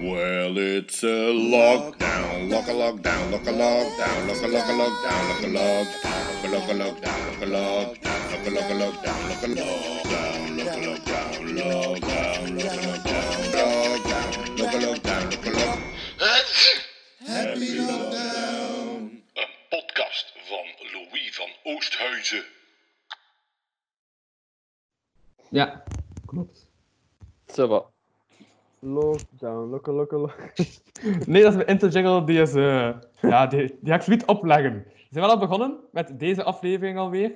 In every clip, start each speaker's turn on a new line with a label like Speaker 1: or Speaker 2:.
Speaker 1: Well, it's a lockdown, lock a lockdown, lock a lockdown, lock a lock a lockdown, lock a lockdown, lock a lockdown, lock a lockdown, lock a lockdown, lock a lockdown, lock a lockdown, lockdown, lock a lockdown, lockdown, lock a lockdown, lock a lock. Happy lockdown.
Speaker 2: Een podcast van Louis van Oosthuizen.
Speaker 3: Ja, klopt.
Speaker 4: Zo wat.
Speaker 5: Lockdown, lokke, lokke, lokke.
Speaker 4: Nee, dat is mijn interjingle. Die, is, eh, ja, die, die ga ik zoiets opleggen. We zijn wel al begonnen met deze aflevering alweer.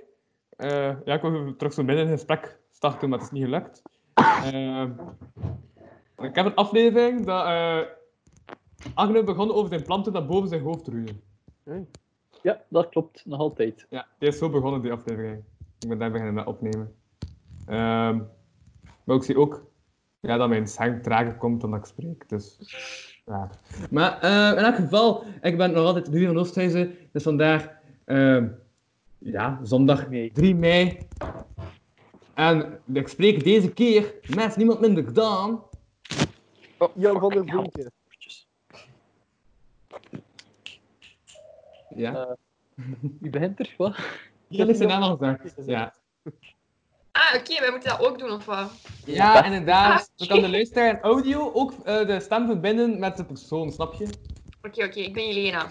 Speaker 4: Eh, ja, ik wil terug zo midden in het gesprek starten, maar het is niet gelukt. Eh, ik heb een aflevering dat eh Agne begon over zijn planten dat boven zijn hoofd roeien.
Speaker 3: Ja, dat klopt. Nog altijd.
Speaker 4: Ja, die is zo begonnen, die aflevering. Ik ben daar beginnen met opnemen. Ehm, maar ik zie ook ja, dat mijn zang trager komt dan dat ik spreek. Dus, ja. Maar eh, in elk geval, ik ben nog altijd Louis van Oosthuizen. Dus vandaag, ehm, ja, zondag
Speaker 3: Nee.
Speaker 4: 3 mei. En ik spreek deze keer met niemand minder dan...
Speaker 3: Oh,
Speaker 5: Jan van der Boenke.
Speaker 4: Ja,
Speaker 3: Eh, Wie begint er? Wat?
Speaker 4: dat is zijn naam al gezegd. Ja.
Speaker 6: Ah, oké, wij moeten dat ook doen, of wat?
Speaker 4: Ja,
Speaker 3: Ah,
Speaker 4: inderdaad. We kan de luisteraar en audio ook eh, de stem verbinden met de persoon, snap je?
Speaker 6: Oké, oké, ik ben Jelena.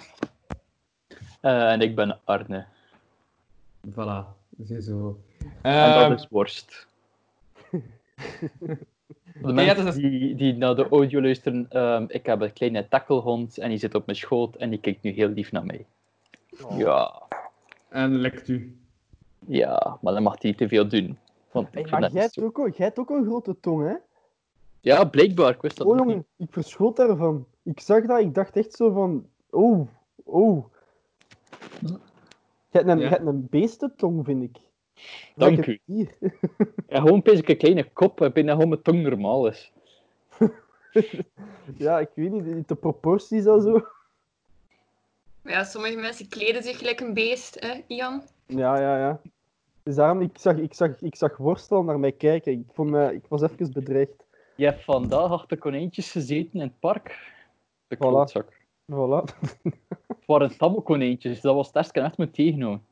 Speaker 3: Eh, en ik ben Arne.
Speaker 4: Voilà, zie zo.
Speaker 3: En
Speaker 4: Ehm,
Speaker 3: dat is worst. De
Speaker 4: ja,
Speaker 3: mensen
Speaker 4: dat is-
Speaker 3: die, die naar de audio luisteren, ehm, ik heb een kleine takkelhond en die zit op mijn schoot en die kijkt nu heel lief naar mij.
Speaker 5: Oh.
Speaker 3: Ja,
Speaker 4: En lekt u.
Speaker 3: ja, maar dan mag hij niet te veel doen. Want ik vind
Speaker 5: Maar
Speaker 3: dat
Speaker 5: jij
Speaker 3: niet zo...
Speaker 5: hebt, ook, al- jij hebt ook een grote tong, hè?
Speaker 3: Ja, blijkbaar, ik wist dat
Speaker 5: Oh,
Speaker 3: nog niet.
Speaker 5: jongen, ik verschoot daarvan. Ik zag dat, ik dacht echt zo van... Oh, oh. Je hebt een,
Speaker 4: Ja.
Speaker 5: je hebt een beestentong, vind ik.
Speaker 3: Dank
Speaker 5: Lekker
Speaker 3: u.
Speaker 5: Hier.
Speaker 3: Ja, gewoon pees ik een kleine kop, en bijna gewoon mijn tong normaal is.
Speaker 5: Ja, ik weet niet, de proporties en zo.
Speaker 6: Maar ja, sommige mensen kleden zich gelijk een beest, hè, Ian?
Speaker 5: Ja, ja, ja. Dus daarom, ik zag, ik zag, ik zag worstel naar mij kijken. Ik, vond, me- ik was even bedreigd.
Speaker 3: Je hebt vandaag achter konijntjes gezeten in het park. De
Speaker 5: Voilà.
Speaker 3: klootzak.
Speaker 5: Voilà.
Speaker 3: Het waren tabelkonijntjes, dat was het echt met tegenhouden.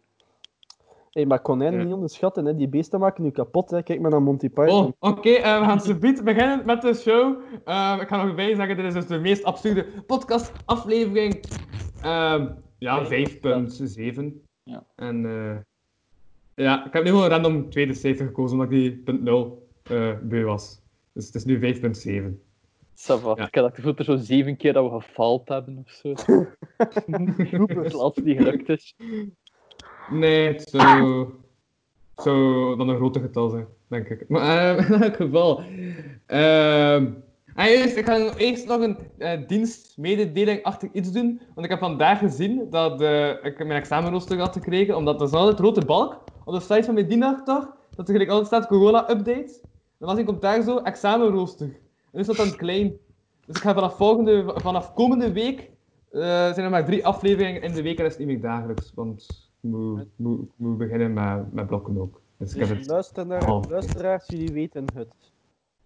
Speaker 5: Hé, maar konijnen
Speaker 4: Ja.
Speaker 5: niet onderschatten, hè. Die beesten maken nu kapot, hè. Kijk maar naar Monty Python.
Speaker 4: Oh, oké, eh, we gaan subiet beginnen met de show. Ehm, ik ga nog bij zeggen, dit is dus de meest absurde podcastaflevering. Ehm ja, 5.7.
Speaker 3: Ja.
Speaker 4: En eh, ja, ik heb nu gewoon random tweede cijfer gekozen, omdat ik die punt nul, eh, beu was. Dus het is nu 5.7.
Speaker 3: Sava,
Speaker 4: Ja.
Speaker 3: ik had het gevoel dat er zo zeven keer dat we gefaald hebben of zo. Het laatste die gelukt is.
Speaker 4: Nee, het zou, zou dan een groter getal zijn, denk ik. Maar eh, in elk geval. ehm, ah, eerst, ik ga eerst nog een eh dienstmededeling achter iets doen. Want ik heb vandaag gezien dat eh, ik mijn examenrooster had gekregen. Omdat er is altijd een rode balk op de site van mijn dienachter. Dat er gelijk altijd staat corona-update. Dan was ik op daar zo examenrooster. En nu staat dan klein. Dus ik ga vanaf, volgende, vanaf komende week eh, zijn er maar drie afleveringen in de week en dat is niet meer dagelijks, want ik moet, ik moet, ik moet beginnen met, met blokken ook. Dus ik heb
Speaker 5: Dus
Speaker 4: het...
Speaker 5: luister naar,
Speaker 4: Oh.
Speaker 5: luisteraars, jullie weten het.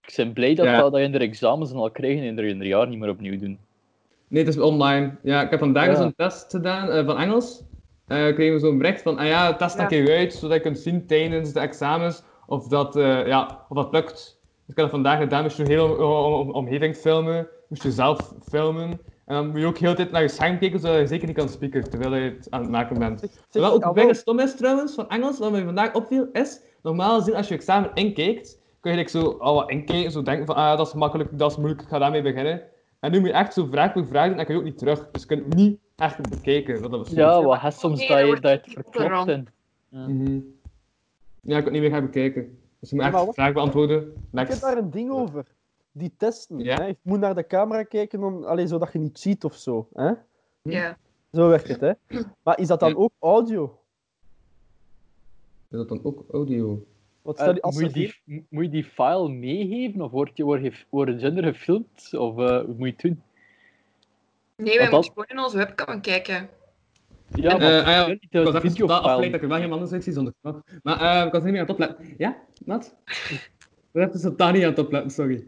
Speaker 3: Ik ben blij dat,
Speaker 4: Ja.
Speaker 3: dat, dat je er examens al krijgt en er in een jaar niet meer opnieuw doen.
Speaker 4: Nee, het is online. Ja, ik heb vandaag
Speaker 3: Ja.
Speaker 4: dus een test gedaan eh, van Engels. Eh kregen we zo'n bericht van, ah ja, test dat keer uit, zodat je kunt zien tijdens de examens of dat, eh, ja, of dat lukt. Dus ik heb dat vandaag gedaan, moest je een hele om, om- om- omgeving filmen, moest je zelf filmen. En dan moet je ook heel de tijd naar je scherm kijken, zodat je zeker niet kan spieken terwijl je het aan het maken bent.
Speaker 5: Zeg- zeg-
Speaker 4: Terwijl ook
Speaker 5: ah,
Speaker 4: het bijna stom is trouwens van Engels, wat mij vandaag opviel, is normaal gezien als je examen inkijkt, kun je like zo al wat inkijken, zo denken van ah, dat is makkelijk, dat is moeilijk, ik ga daarmee beginnen. En nu moet je echt zo vraag voor vraag doen en kun je ook niet terug. Dus je kunt het niet echt bekijken. Wat dat was.
Speaker 3: Ja, wat hè, soms
Speaker 6: Nee,
Speaker 3: dat je
Speaker 6: dat wordt
Speaker 3: dat je het
Speaker 6: niet opgeruimd.
Speaker 3: verklopt en...
Speaker 4: Mhm. Ja, ik kan het niet meer gaan bekijken. Dus je moet
Speaker 5: Ja,
Speaker 4: echt
Speaker 5: maar wat-
Speaker 4: vraag beantwoorden.
Speaker 5: Ik heb
Speaker 4: Next.
Speaker 5: daar een ding over. Die testen.
Speaker 4: Ja.
Speaker 5: Hè? Je moet naar de camera kijken, om, allee, zodat je niet ziet of zo. Hè?
Speaker 4: Hm.
Speaker 6: Ja.
Speaker 5: Zo werkt het, hè? Maar is dat dan
Speaker 4: Ja.
Speaker 5: ook audio?
Speaker 4: Is dat dan ook audio?
Speaker 5: Wat
Speaker 3: Eh,
Speaker 5: stel je als
Speaker 3: moet, je
Speaker 5: er
Speaker 3: die, moet je die file meegeven of wordt je, wordt je, wordt je gefilmd? Of eh, hoe moet je het doen?
Speaker 6: Nee, wij
Speaker 3: Wat dan?
Speaker 6: moeten gewoon in onze webcam kijken.
Speaker 3: Ja,
Speaker 4: Eh, ah ja,
Speaker 3: je kunt niet
Speaker 4: Ik
Speaker 3: de
Speaker 4: was even
Speaker 3: videofile
Speaker 4: totaal afgeleid dat ik er wel helemaal anders uitzie zonder knop. Maar eh, ik was er niet meer aan het opletten. Ja, Matt? Ik was even totaal niet aan het opletten, sorry.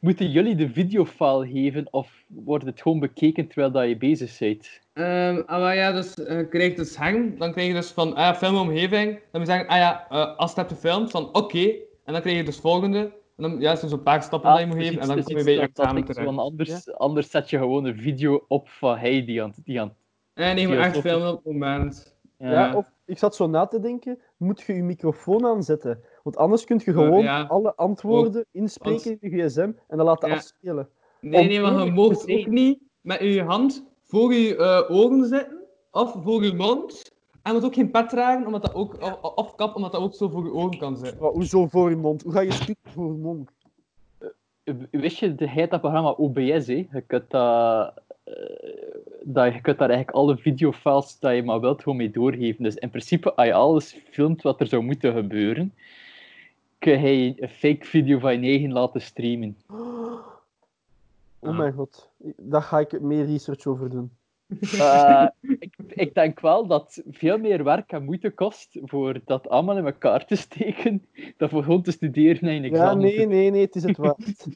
Speaker 3: Moeten jullie de videofile geven of wordt het gewoon bekeken terwijl dat je bezig bent?
Speaker 4: Ehm, ah, maar ja, dus eh, krijg je het scherm, dan krijg je dus van ah, filmomgeving, dan moet je zeggen, ah ja, eh, als het hebt gefilmd, van oké, en dan krijg je dus volgende, en dan ja, zo'n paar stappen die je moet
Speaker 3: het is
Speaker 4: geven, en
Speaker 3: Ah, dus iets-
Speaker 4: dan kom
Speaker 3: het is
Speaker 4: je bij je
Speaker 3: iets dat- dat
Speaker 4: examen
Speaker 3: ik zo,
Speaker 4: terecht.
Speaker 3: want anders, anders zet je gewoon een video op van hij die aan het- die aan het-
Speaker 4: En nee, je moet
Speaker 3: Ja,
Speaker 4: echt
Speaker 3: klopt.
Speaker 4: filmen op het moment.
Speaker 3: ja.
Speaker 4: Ja.
Speaker 5: Ja, of ik zat zo na te denken, moet je je microfoon aanzetten? Want anders kun je
Speaker 4: Eh,
Speaker 5: gewoon
Speaker 4: ja. Oh.
Speaker 5: alle antwoorden inspreken
Speaker 4: want-
Speaker 5: in je gsm en dan laten
Speaker 4: Ja.
Speaker 5: afspelen.
Speaker 4: Nee,
Speaker 5: Om
Speaker 4: nee, maar je
Speaker 5: eerlijk te
Speaker 4: mocht
Speaker 5: zijn-
Speaker 4: ook niet met je hand voor je eh, ogen zitten, of voor je mond, en je moet ook geen pet dragen, omdat dat ook, of, of kap, omdat dat ook zo voor je ogen kan zitten.
Speaker 5: Maar hoezo voor je mond? Hoe ga je spieken voor je mond?
Speaker 3: Wist je, hij had dat programma OBS, hè? Je kunt, dat, eh, dat, je kunt daar eigenlijk alle videofiles dat je maar wilt gewoon mee doorgeven. Dus in principe, als je alles filmt wat er zou moeten gebeuren, kun je een fake video van je eigen laten streamen.
Speaker 5: Oh
Speaker 4: Ah.
Speaker 5: mijn god, daar ga ik meer research over doen.
Speaker 3: Eh, ik, ik denk wel dat veel meer werk en moeite kost voor dat allemaal in elkaar te steken, dan voor gewoon te studeren en een
Speaker 5: Ja,
Speaker 3: examen.
Speaker 5: nee, nee, nee, het is het waard.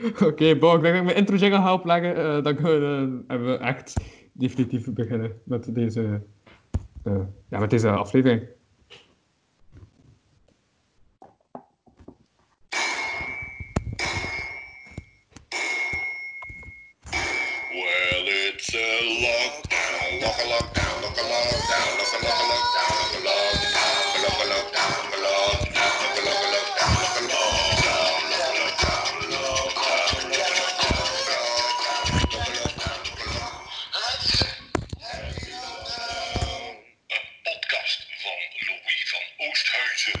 Speaker 4: Oké, bon, ik denk dat ik mijn intro jingle ga opleggen. eh, dan kunnen we, eh, hebben we echt definitief beginnen met deze, eh, ja, met deze aflevering.
Speaker 1: Well, it's a lockdown, lock a lockdown, lock a lockdown, lock a lock a lockdown, lock a lockdown, lock a lockdown, lock a lockdown, lock a lock a lockdown, lock a lockdown, lock a lockdown, lockdown, lockdown, lockdown, lockdown, lockdown.
Speaker 2: Podcast van Louis van Oosthuizen.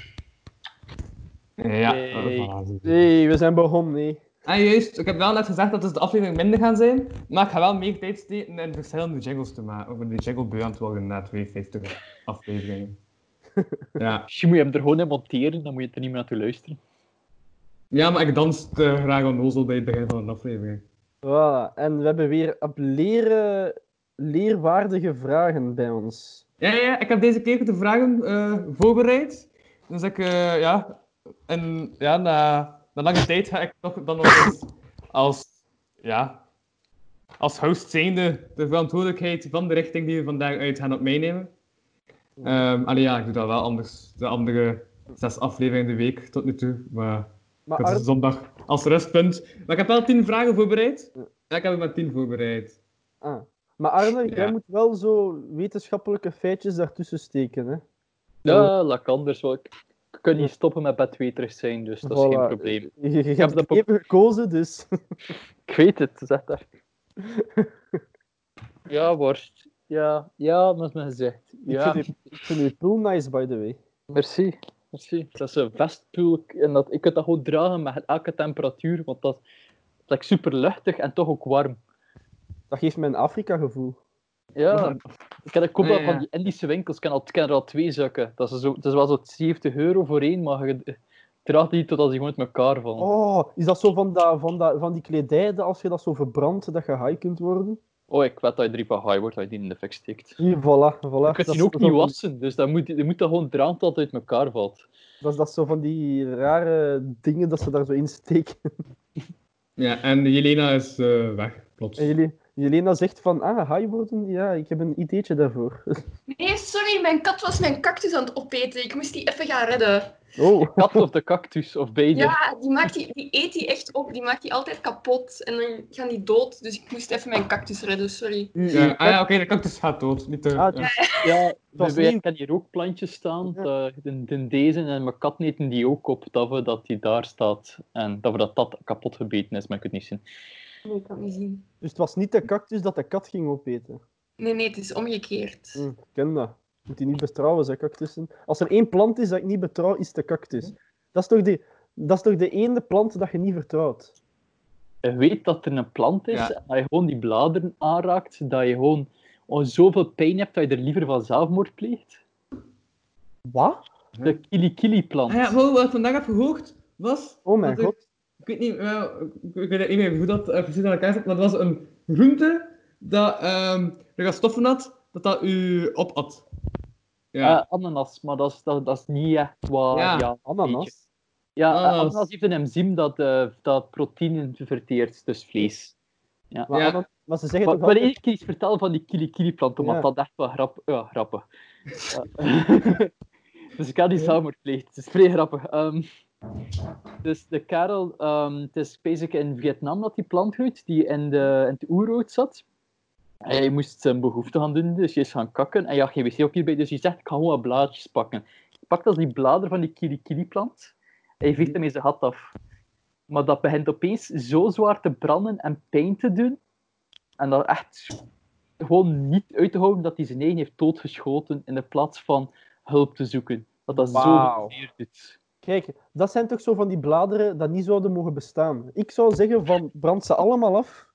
Speaker 4: Ja,
Speaker 3: Yay.
Speaker 4: eh, voilà, zie je.
Speaker 5: Nee, we zijn begonnen, nee.
Speaker 4: En juist, ik heb wel net gezegd dat dus de aflevering minder gaan zijn, maar ik ga wel meer tijd steken in verschillende jingles te maken, om die jingle beu aan te worden na 52 afleveringen. ja.
Speaker 3: Misschien moet Dus je hem er gewoon in monteren, dan moet je er niet meer naartoe luisteren.
Speaker 4: ja, maar ik dans te graag onnozel bij het begin van een aflevering.
Speaker 5: Voilà. En we hebben weer op leren, leerwaardige vragen bij ons.
Speaker 4: Ja, ja, ik heb deze keer de vragen eh, voorbereid. Dus ik, eh, ja, en, ja na, na lange tijd ga ik toch dan nog eens als, ja, als host zijnde de verantwoordelijkheid van de richting die we vandaag uit gaan op meenemen. Ehm allee, ja, ik doe dat wel anders. De andere zes afleveringen de week tot nu toe, maar
Speaker 5: Maar
Speaker 4: dat is
Speaker 5: Arne,
Speaker 4: zondag als rustpunt. Maar ik heb wel tien vragen voorbereid. Ja, ik heb er maar tien voorbereid.
Speaker 5: ah. maar Arne
Speaker 4: Ja.
Speaker 5: jij moet wel zo wetenschappelijke feitjes daartussen steken, hè?
Speaker 3: Ja, dat kan anders wel. Ik ik kan niet stoppen met bedweterig zijn, dus dat is geen
Speaker 5: Voilà.
Speaker 3: probleem.
Speaker 5: Je, je
Speaker 3: dat
Speaker 5: hebt het
Speaker 3: pop-
Speaker 5: even gekozen, dus...
Speaker 3: Ik weet het, zeg daar. Ja, worst. Ja, ja, dat is me gezegd.
Speaker 5: Ik
Speaker 3: Ja,
Speaker 5: vind je- ik vind je pool nice, by the way.
Speaker 3: merci. merci. Dat is een vestpoel en dat, ik kan dat gewoon dragen met elke temperatuur, want dat is like, super luchtig en toch ook warm.
Speaker 5: Dat geeft mij een Afrika-gevoel.
Speaker 3: Ja, ik heb dat koop
Speaker 4: Ja,
Speaker 3: wel van
Speaker 4: ja.
Speaker 3: die Indische winkels. Ik ken, al, ik ken er al twee zakken. Dat is, zo, dat is wel zo'n 70 euro voor één, maar je draagt die totdat die gewoon uit elkaar vallen.
Speaker 5: Oh, is dat zo van, dat, van, dat, van die kledij, dat als je dat zo verbrandt, dat je high kunt worden?
Speaker 3: Oh, ik weet dat je drie van high wordt, dat je die in de fik steekt.
Speaker 5: Hier, voilà, voilà.
Speaker 3: Je kunt
Speaker 5: Dat
Speaker 3: die
Speaker 5: is
Speaker 3: ook
Speaker 5: zo
Speaker 3: niet
Speaker 5: van-
Speaker 3: wassen, dus dan moet, je moet dat gewoon dragen tot het uit elkaar valt.
Speaker 5: Dat is dat zo van die rare dingen dat ze daar zo in steken.
Speaker 4: Ja, en Jelena is eh, weg, plots.
Speaker 5: En jullie, Jelena zegt van, ah, high worden, ja, ik heb een ideetje daarvoor.
Speaker 6: Nee, sorry, mijn kat was mijn cactus aan het opeten. Ik moest die even gaan redden.
Speaker 5: Oh,
Speaker 3: Kat of de cactus, of beide.
Speaker 6: Ja, die, maakt die, die eet die echt op. Die maakt die altijd kapot. En dan gaan die dood. Dus ik moest even mijn cactus redden, sorry.
Speaker 5: u,
Speaker 4: Ja,
Speaker 5: uw
Speaker 4: ah ja, oké,
Speaker 5: kat-
Speaker 4: de cactus gaat dood. Niet de,
Speaker 5: Ah,
Speaker 4: ja.
Speaker 5: dus-
Speaker 3: ja
Speaker 5: was
Speaker 3: we- we-
Speaker 5: nieuw.
Speaker 3: ik kan hier ook plantjes staan, dat- de, de- deze en mijn kat neten die ook op, dat we dat die daar staat. En dat we dat dat kapot gebeten is, maar ik kan het niet zien.
Speaker 6: Nee, ik kan het niet zien.
Speaker 5: dus het was niet de cactus dat de kat ging opeten.
Speaker 6: Nee, nee, het is omgekeerd.
Speaker 5: Hm, ik ken dat. Moet je niet betrouwen, zijn cactussen. Als er één plant is dat ik niet betrouw, is het de cactus. Dat is toch de, dat is toch de ene plant dat je niet vertrouwt?
Speaker 3: je weet dat er een plant is,
Speaker 4: Ja.
Speaker 3: en dat je gewoon die bladeren aanraakt, dat je gewoon oh, zoveel pijn hebt dat je er liever van zelfmoord pleegt.
Speaker 5: Wat?
Speaker 3: De kilikili-plant.
Speaker 4: Ah ja, wow, wat ik vandaag heb gehoord was.
Speaker 5: Oh mijn
Speaker 4: dat er-
Speaker 5: god.
Speaker 4: Ik weet niet, wel, ik ik weet niet meer hoe dat eh, precies aan elkaar zat, maar het was een groente dat ehm er stoffen had, dat dat u opat. Ja.
Speaker 5: Ah,
Speaker 3: Eh, ananas, maar dat is, dat, dat is niet echt wat...
Speaker 4: Ja. Oh.
Speaker 3: beetje.
Speaker 5: Ananas.
Speaker 3: Ja,
Speaker 4: Ananas.
Speaker 3: eh, ananas heeft een enzym dat, eh dat proteïnen verteert, dus vlees.
Speaker 5: Maar,
Speaker 4: Ja.
Speaker 5: anan- maar ze zeggen
Speaker 3: Maar,
Speaker 5: toch
Speaker 3: maar
Speaker 5: altijd...
Speaker 3: eerst iets vertellen van die kili-kili-plant, omdat
Speaker 5: Ja.
Speaker 3: dat echt wel grap, ja, grappig. dus ik had die zelfmoord gepleegd. Het is vrij grappig. Ehm, dus de kerel, ehm, het is basic in Vietnam dat die plant groeit, die in, de, in het oerwoud zat. En hij moest zijn behoefte gaan doen, dus hij is gaan kakken. En ja, geen wc op hierbij, dus hij zegt, ik ga gewoon wat blaadjes pakken. Hij pakt als die blader van die kili-kili-plant en hij
Speaker 5: Mhm.
Speaker 3: veegt hem in zijn gat af. Maar dat begint opeens zo zwaar te branden en pijn te doen, en dat echt gewoon niet uit te houden dat hij zijn eigen heeft doodgeschoten in de plaats van hulp te zoeken. Dat dat zo
Speaker 5: Wauw.
Speaker 3: zeer doet.
Speaker 5: Kijk, dat zijn toch zo van die bladeren dat niet zouden mogen bestaan. Ik zou zeggen van, brand ze allemaal af,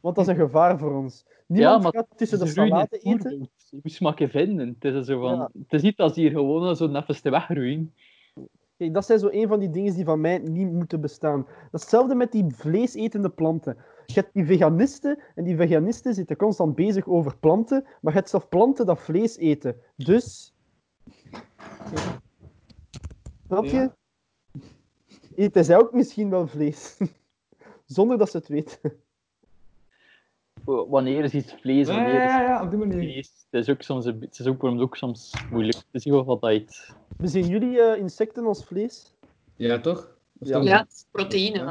Speaker 5: want dat is een gevaar voor ons. Niemand
Speaker 3: maar
Speaker 5: gaat tussen de
Speaker 3: Ze roeien in
Speaker 5: salade
Speaker 3: het oerwoud.
Speaker 5: eten.
Speaker 3: Je moet smaken vinden. Het is, zo van,
Speaker 5: Ja.
Speaker 3: het is niet dat ze hier gewoon zo netjes te wegroeien.
Speaker 5: Kijk, dat zijn zo een van die dingen die van mij niet moeten bestaan. Datzelfde met die vleesetende planten. Je hebt die veganisten, en die veganisten zitten constant bezig over planten, maar je hebt zelf planten dat vlees eten. Dus... Snap je?
Speaker 4: Ja.
Speaker 5: Eten zij ook misschien wel vlees. Zonder dat ze het weten.
Speaker 3: W- Wanneer is iets vlees,
Speaker 4: Ja,
Speaker 3: wanneer is
Speaker 4: ja,
Speaker 3: het
Speaker 4: ja, op die manier.
Speaker 3: vlees. Het is ook soms, een beetje- het is ook, waarom het ook soms moeilijk. Het is heel wat dat iets-
Speaker 5: We zien jullie eh, insecten als vlees?
Speaker 4: Ja, toch? Of
Speaker 5: Ja.
Speaker 4: dan-
Speaker 6: Ja, het is proteïne. hè.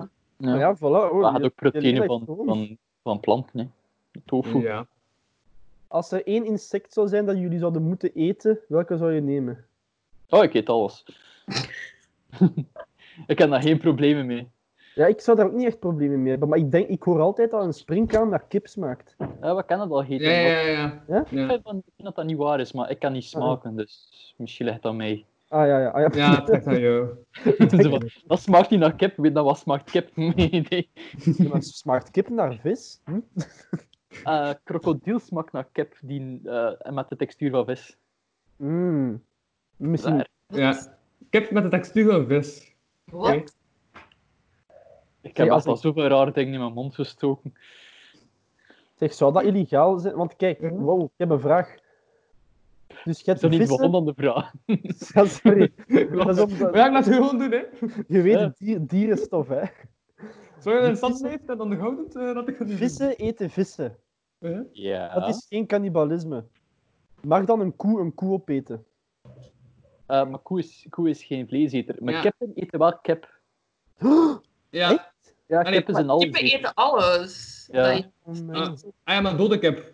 Speaker 3: Ja.
Speaker 5: Ja, voilà.
Speaker 3: Maar
Speaker 5: Oh,
Speaker 3: je hebt
Speaker 5: je-
Speaker 3: ook proteïne
Speaker 5: lijkt
Speaker 3: van,
Speaker 5: gewoon.
Speaker 3: van, van planten. Hè. Tofu.
Speaker 4: Ja.
Speaker 5: Als er één insect zou zijn dat jullie zouden moeten eten, welke zou je nemen?
Speaker 3: Oh, ik eet alles. ik heb daar geen problemen mee.
Speaker 5: Ja, ik zou daar ook niet echt problemen mee hebben, maar ik denk, ik hoor altijd dat een springkaan naar kip smaakt.
Speaker 3: Ja, we kennen dat al
Speaker 4: Ja,
Speaker 3: gegeten.
Speaker 4: ja,
Speaker 3: maar
Speaker 4: ja, ja.
Speaker 5: Ja?
Speaker 3: Ik
Speaker 4: Ja,
Speaker 3: vind van- ik vind dat dat niet waar is, maar ik kan niet smaken, dus misschien ligt dat mee.
Speaker 5: Ah ja, ja. Ah, ja.
Speaker 4: ja het trekt aan jou.
Speaker 3: Zo van, dat smaakt niet naar kip, weet dan wat smaakt kip? Nee, nee.
Speaker 5: Ja, maar smaakt kip naar vis? Hm?
Speaker 3: Eh, krokodil smaakt naar kip die, eh, met de textuur van vis.
Speaker 5: Mm. Misschien.
Speaker 3: Raar.
Speaker 4: Ja. Kip met de textuur van vis.
Speaker 6: Wat?
Speaker 3: Ik
Speaker 5: Nee,
Speaker 3: heb
Speaker 5: als
Speaker 3: echt al
Speaker 5: ik-
Speaker 3: zoveel rare dingen in mijn mond gestoken.
Speaker 5: Zeg, zou dat illegaal zijn? Want kijk,
Speaker 4: Mhm.
Speaker 5: wow, ik heb een vraag. Dus je
Speaker 3: Is
Speaker 5: hebt
Speaker 3: dat niet
Speaker 5: vissen...
Speaker 3: gewoon dan de vraag?
Speaker 5: Ja, sorry.
Speaker 4: Ja,
Speaker 5: Dat is om de-
Speaker 4: Maar ja, ik laat het gewoon doen, hè.
Speaker 5: Je
Speaker 3: Ja.
Speaker 5: weet, dier- dierenstof, hè.
Speaker 4: Zou je een stand heeft en dan de gouden eh, dat ik het niet doe.
Speaker 5: Vissen eten vissen.
Speaker 4: Ja.
Speaker 3: Ja.
Speaker 5: Dat is geen cannibalisme. Mag dan een koe een koe opeten?
Speaker 3: Eh, maar koe is, koe is geen vleeseter. Maar
Speaker 4: Ja.
Speaker 3: kippen eten wel kip.
Speaker 5: Oh,
Speaker 4: Ja.
Speaker 5: Echt?
Speaker 3: Ja,
Speaker 4: nee,
Speaker 3: kippen
Speaker 5: maar
Speaker 3: zijn alles.
Speaker 6: Kippen
Speaker 3: eten.
Speaker 6: eten alles.
Speaker 3: Ja.
Speaker 6: Dat je-
Speaker 5: Oh, mijn
Speaker 4: Ah, ah ja, maar dode kip.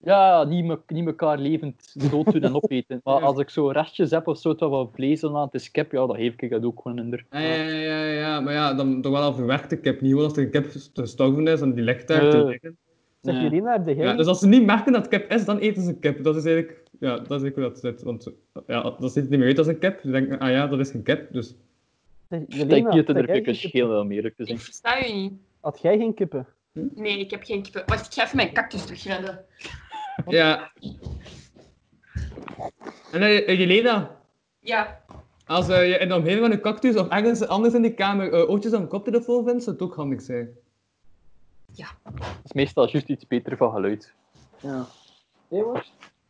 Speaker 3: Ja, niet, me, niet elkaar levend dood doen en opeten. Maar
Speaker 4: Ja.
Speaker 3: als ik zo restjes heb of zo, het wel wat vlees en aan het is kip, ja, dan geef ik dat ook gewoon in
Speaker 4: Ah, ja, ja, ja, ja, maar ja, dan toch wel al verwerkte kip. Niet gewoon als de kip gestorven is en die ligt daar te
Speaker 3: Nee.
Speaker 4: liggen.
Speaker 5: Zeg,
Speaker 3: Nee.
Speaker 5: Jelena, heb jij...
Speaker 4: Ja, dus als ze niet merken dat kip is, dan eten ze kip. Dat is eigenlijk, ja, dat is eigenlijk hoe dat zit. Want ja, dat zit niet meer uit als een kip. Ze denken, ah ja, dat is geen kip. Dus
Speaker 5: Zeg,
Speaker 3: Ik
Speaker 5: Jelena,
Speaker 3: denk niet dat
Speaker 5: had
Speaker 3: er
Speaker 5: jij
Speaker 3: pikkers
Speaker 5: geen
Speaker 3: scheel wel meer te
Speaker 6: Ik
Speaker 3: zijn.
Speaker 6: versta je niet.
Speaker 5: kippen? Had jij geen kippen?
Speaker 6: Nee, ik heb geen kippen. Wacht, ik ga even mijn cactus terugredden.
Speaker 4: ja. En eh, Jelena,
Speaker 6: Ja,
Speaker 4: als eh, je in de omgeving van een cactus of ergens anders in de kamer eh, ootjes aan een koptelefoon vindt, zou het ook handig zijn.
Speaker 3: Dat is meestal juist iets beter van geluid. Ja. Hé,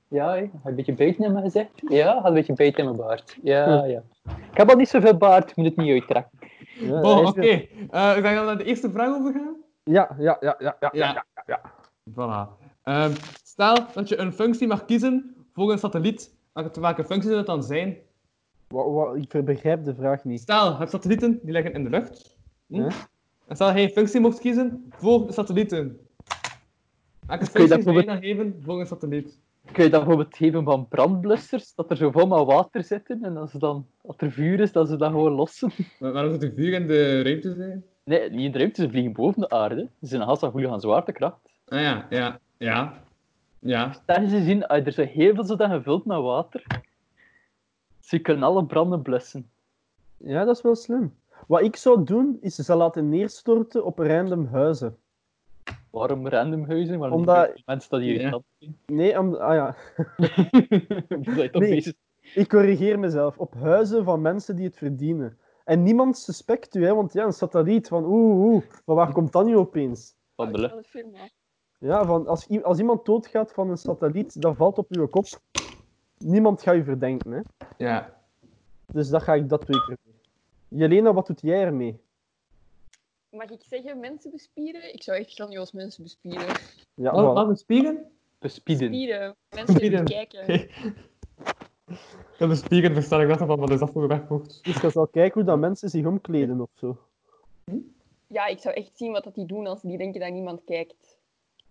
Speaker 3: Ja, hé. Had een beetje bijt in mijn gezicht? Ja, had een beetje bijt in mijn baard. Ja, ja. Ik heb al niet zoveel baard, ik moet het niet uittrekken.
Speaker 5: Ja, hij
Speaker 4: Bon,
Speaker 5: is-
Speaker 4: Oh, oké. Eh, ik denk dat we naar de eerste vraag overgaan.
Speaker 5: Ja, ja, ja, ja, ja.
Speaker 4: Ja, ja, Voilà. Ehm, stel dat je een functie mag kiezen voor een satelliet. Welke welke functie zou dat dan zijn?
Speaker 5: Wa- wa- ik ver- begrijp de vraag niet.
Speaker 4: Stel, je hebt satellieten die liggen in de lucht. Hm?
Speaker 5: Ja.
Speaker 4: En stel dat je een functie mocht kiezen voor de satellieten. Welke
Speaker 3: Kun je dat
Speaker 4: functie zou je dan geven voor een satelliet?
Speaker 3: Kun je dat bijvoorbeeld geven van brandblussers, dat er zo vol met water zitten en als, dan, als er vuur is, dat ze dat gewoon lossen?
Speaker 4: Wa- Waarom zou er vuur in de ruimte zijn?
Speaker 3: Nee, niet in de ruimte, ze vliegen boven de aarde. Ze zijn haast aan goede aan zwaartekracht.
Speaker 4: Ah ja, ja, ja. Ja,
Speaker 3: Daar ze zien, ah, er zijn heel veel zodanig gevuld met water. Ze kunnen alle branden blussen.
Speaker 5: Ja, dat is wel slim. Wat ik zou doen, is ze laten neerstorten op random huizen.
Speaker 3: Waarom random huizen? Waarom
Speaker 5: Omdat-
Speaker 3: Omdat... mensen dat hier
Speaker 4: Ja.
Speaker 3: ja.
Speaker 5: Nee, om, ah ja. Nee.
Speaker 3: bezig.
Speaker 5: Ik corrigeer mezelf. Op huizen van mensen die het verdienen. En niemand suspect u, hè, want ja, een satelliet van oeh, oeh, van waar komt dat nu opeens?
Speaker 3: Van de lucht.
Speaker 5: Ja, van als, i- als iemand doodgaat van een satelliet, dat valt op uw kop. niemand gaat je verdenken. Hè?
Speaker 4: Ja.
Speaker 5: Dus dat ga ik dat twee keer doen. Jelena, wat doet jij ermee?
Speaker 6: Mag ik zeggen, mensen bespieden? Ik zou echt grandioos mensen bespieden.
Speaker 5: Ja,
Speaker 4: Wat,
Speaker 5: voilà.
Speaker 4: wat een spieren?
Speaker 3: Bespieden.
Speaker 6: Spieren. Mensen
Speaker 4: Spieren.
Speaker 6: die kijken.
Speaker 4: Dat is spieren, verstaan ik dat van, wat is dat voor een werkwoord?
Speaker 5: Dus je zal kijken hoe dat mensen zich omkleden of zo.
Speaker 6: Ja, ik zou echt zien wat dat die doen als die denken dat niemand kijkt.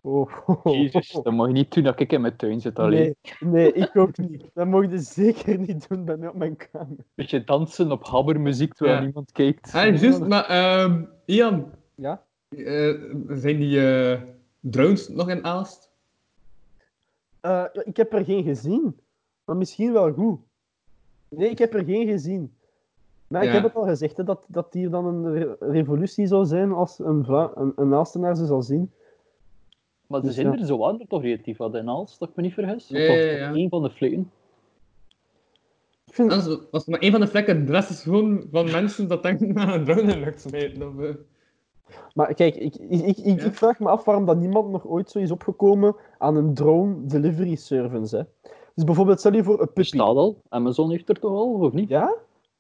Speaker 5: Oh, oh, oh.
Speaker 3: Jezus, dat mag je niet doen dat ik in mijn tuin zit alleen.
Speaker 5: Nee, nee, ik ook niet. Dat mocht je zeker niet doen bij mij op mijn kamer.
Speaker 3: Beetje dansen op habbermuziek terwijl
Speaker 4: Ja.
Speaker 3: niemand kijkt.
Speaker 4: Ah, juist, maar ehm, Ian,
Speaker 5: Ja?
Speaker 4: eh, zijn die eh, drones nog in Aalst?
Speaker 5: Eh, ik heb er geen gezien. Maar misschien wel goed. Nee, ik heb er geen gezien. Maar ik
Speaker 4: Ja.
Speaker 5: heb het al gezegd, hè, dat, dat hier dan een re- revolutie zou zijn als een, Vla een, een Aastenaar ze zal zien.
Speaker 3: Maar ze
Speaker 5: Dus
Speaker 3: zijn
Speaker 5: ja.
Speaker 3: er zo aan toch relatief wat in als, dat ik me niet vergis.
Speaker 4: Ja, ja, ja.
Speaker 3: Een van de flikken.
Speaker 5: Ik vind,
Speaker 4: Dat is- was maar één van de vlekken. De rest is gewoon van mensen dat denken aan een drone in lucht smijten. Of, eh.
Speaker 5: Maar kijk, ik, ik, ik, ik-
Speaker 4: Ja?
Speaker 5: ik vraag me af waarom dat niemand nog ooit zo is opgekomen aan een drone delivery service. Hè. Dus bijvoorbeeld, stel je voor een puppy.
Speaker 3: Bestaat al. Amazon heeft er toch al, of niet? Ja,
Speaker 5: Ja?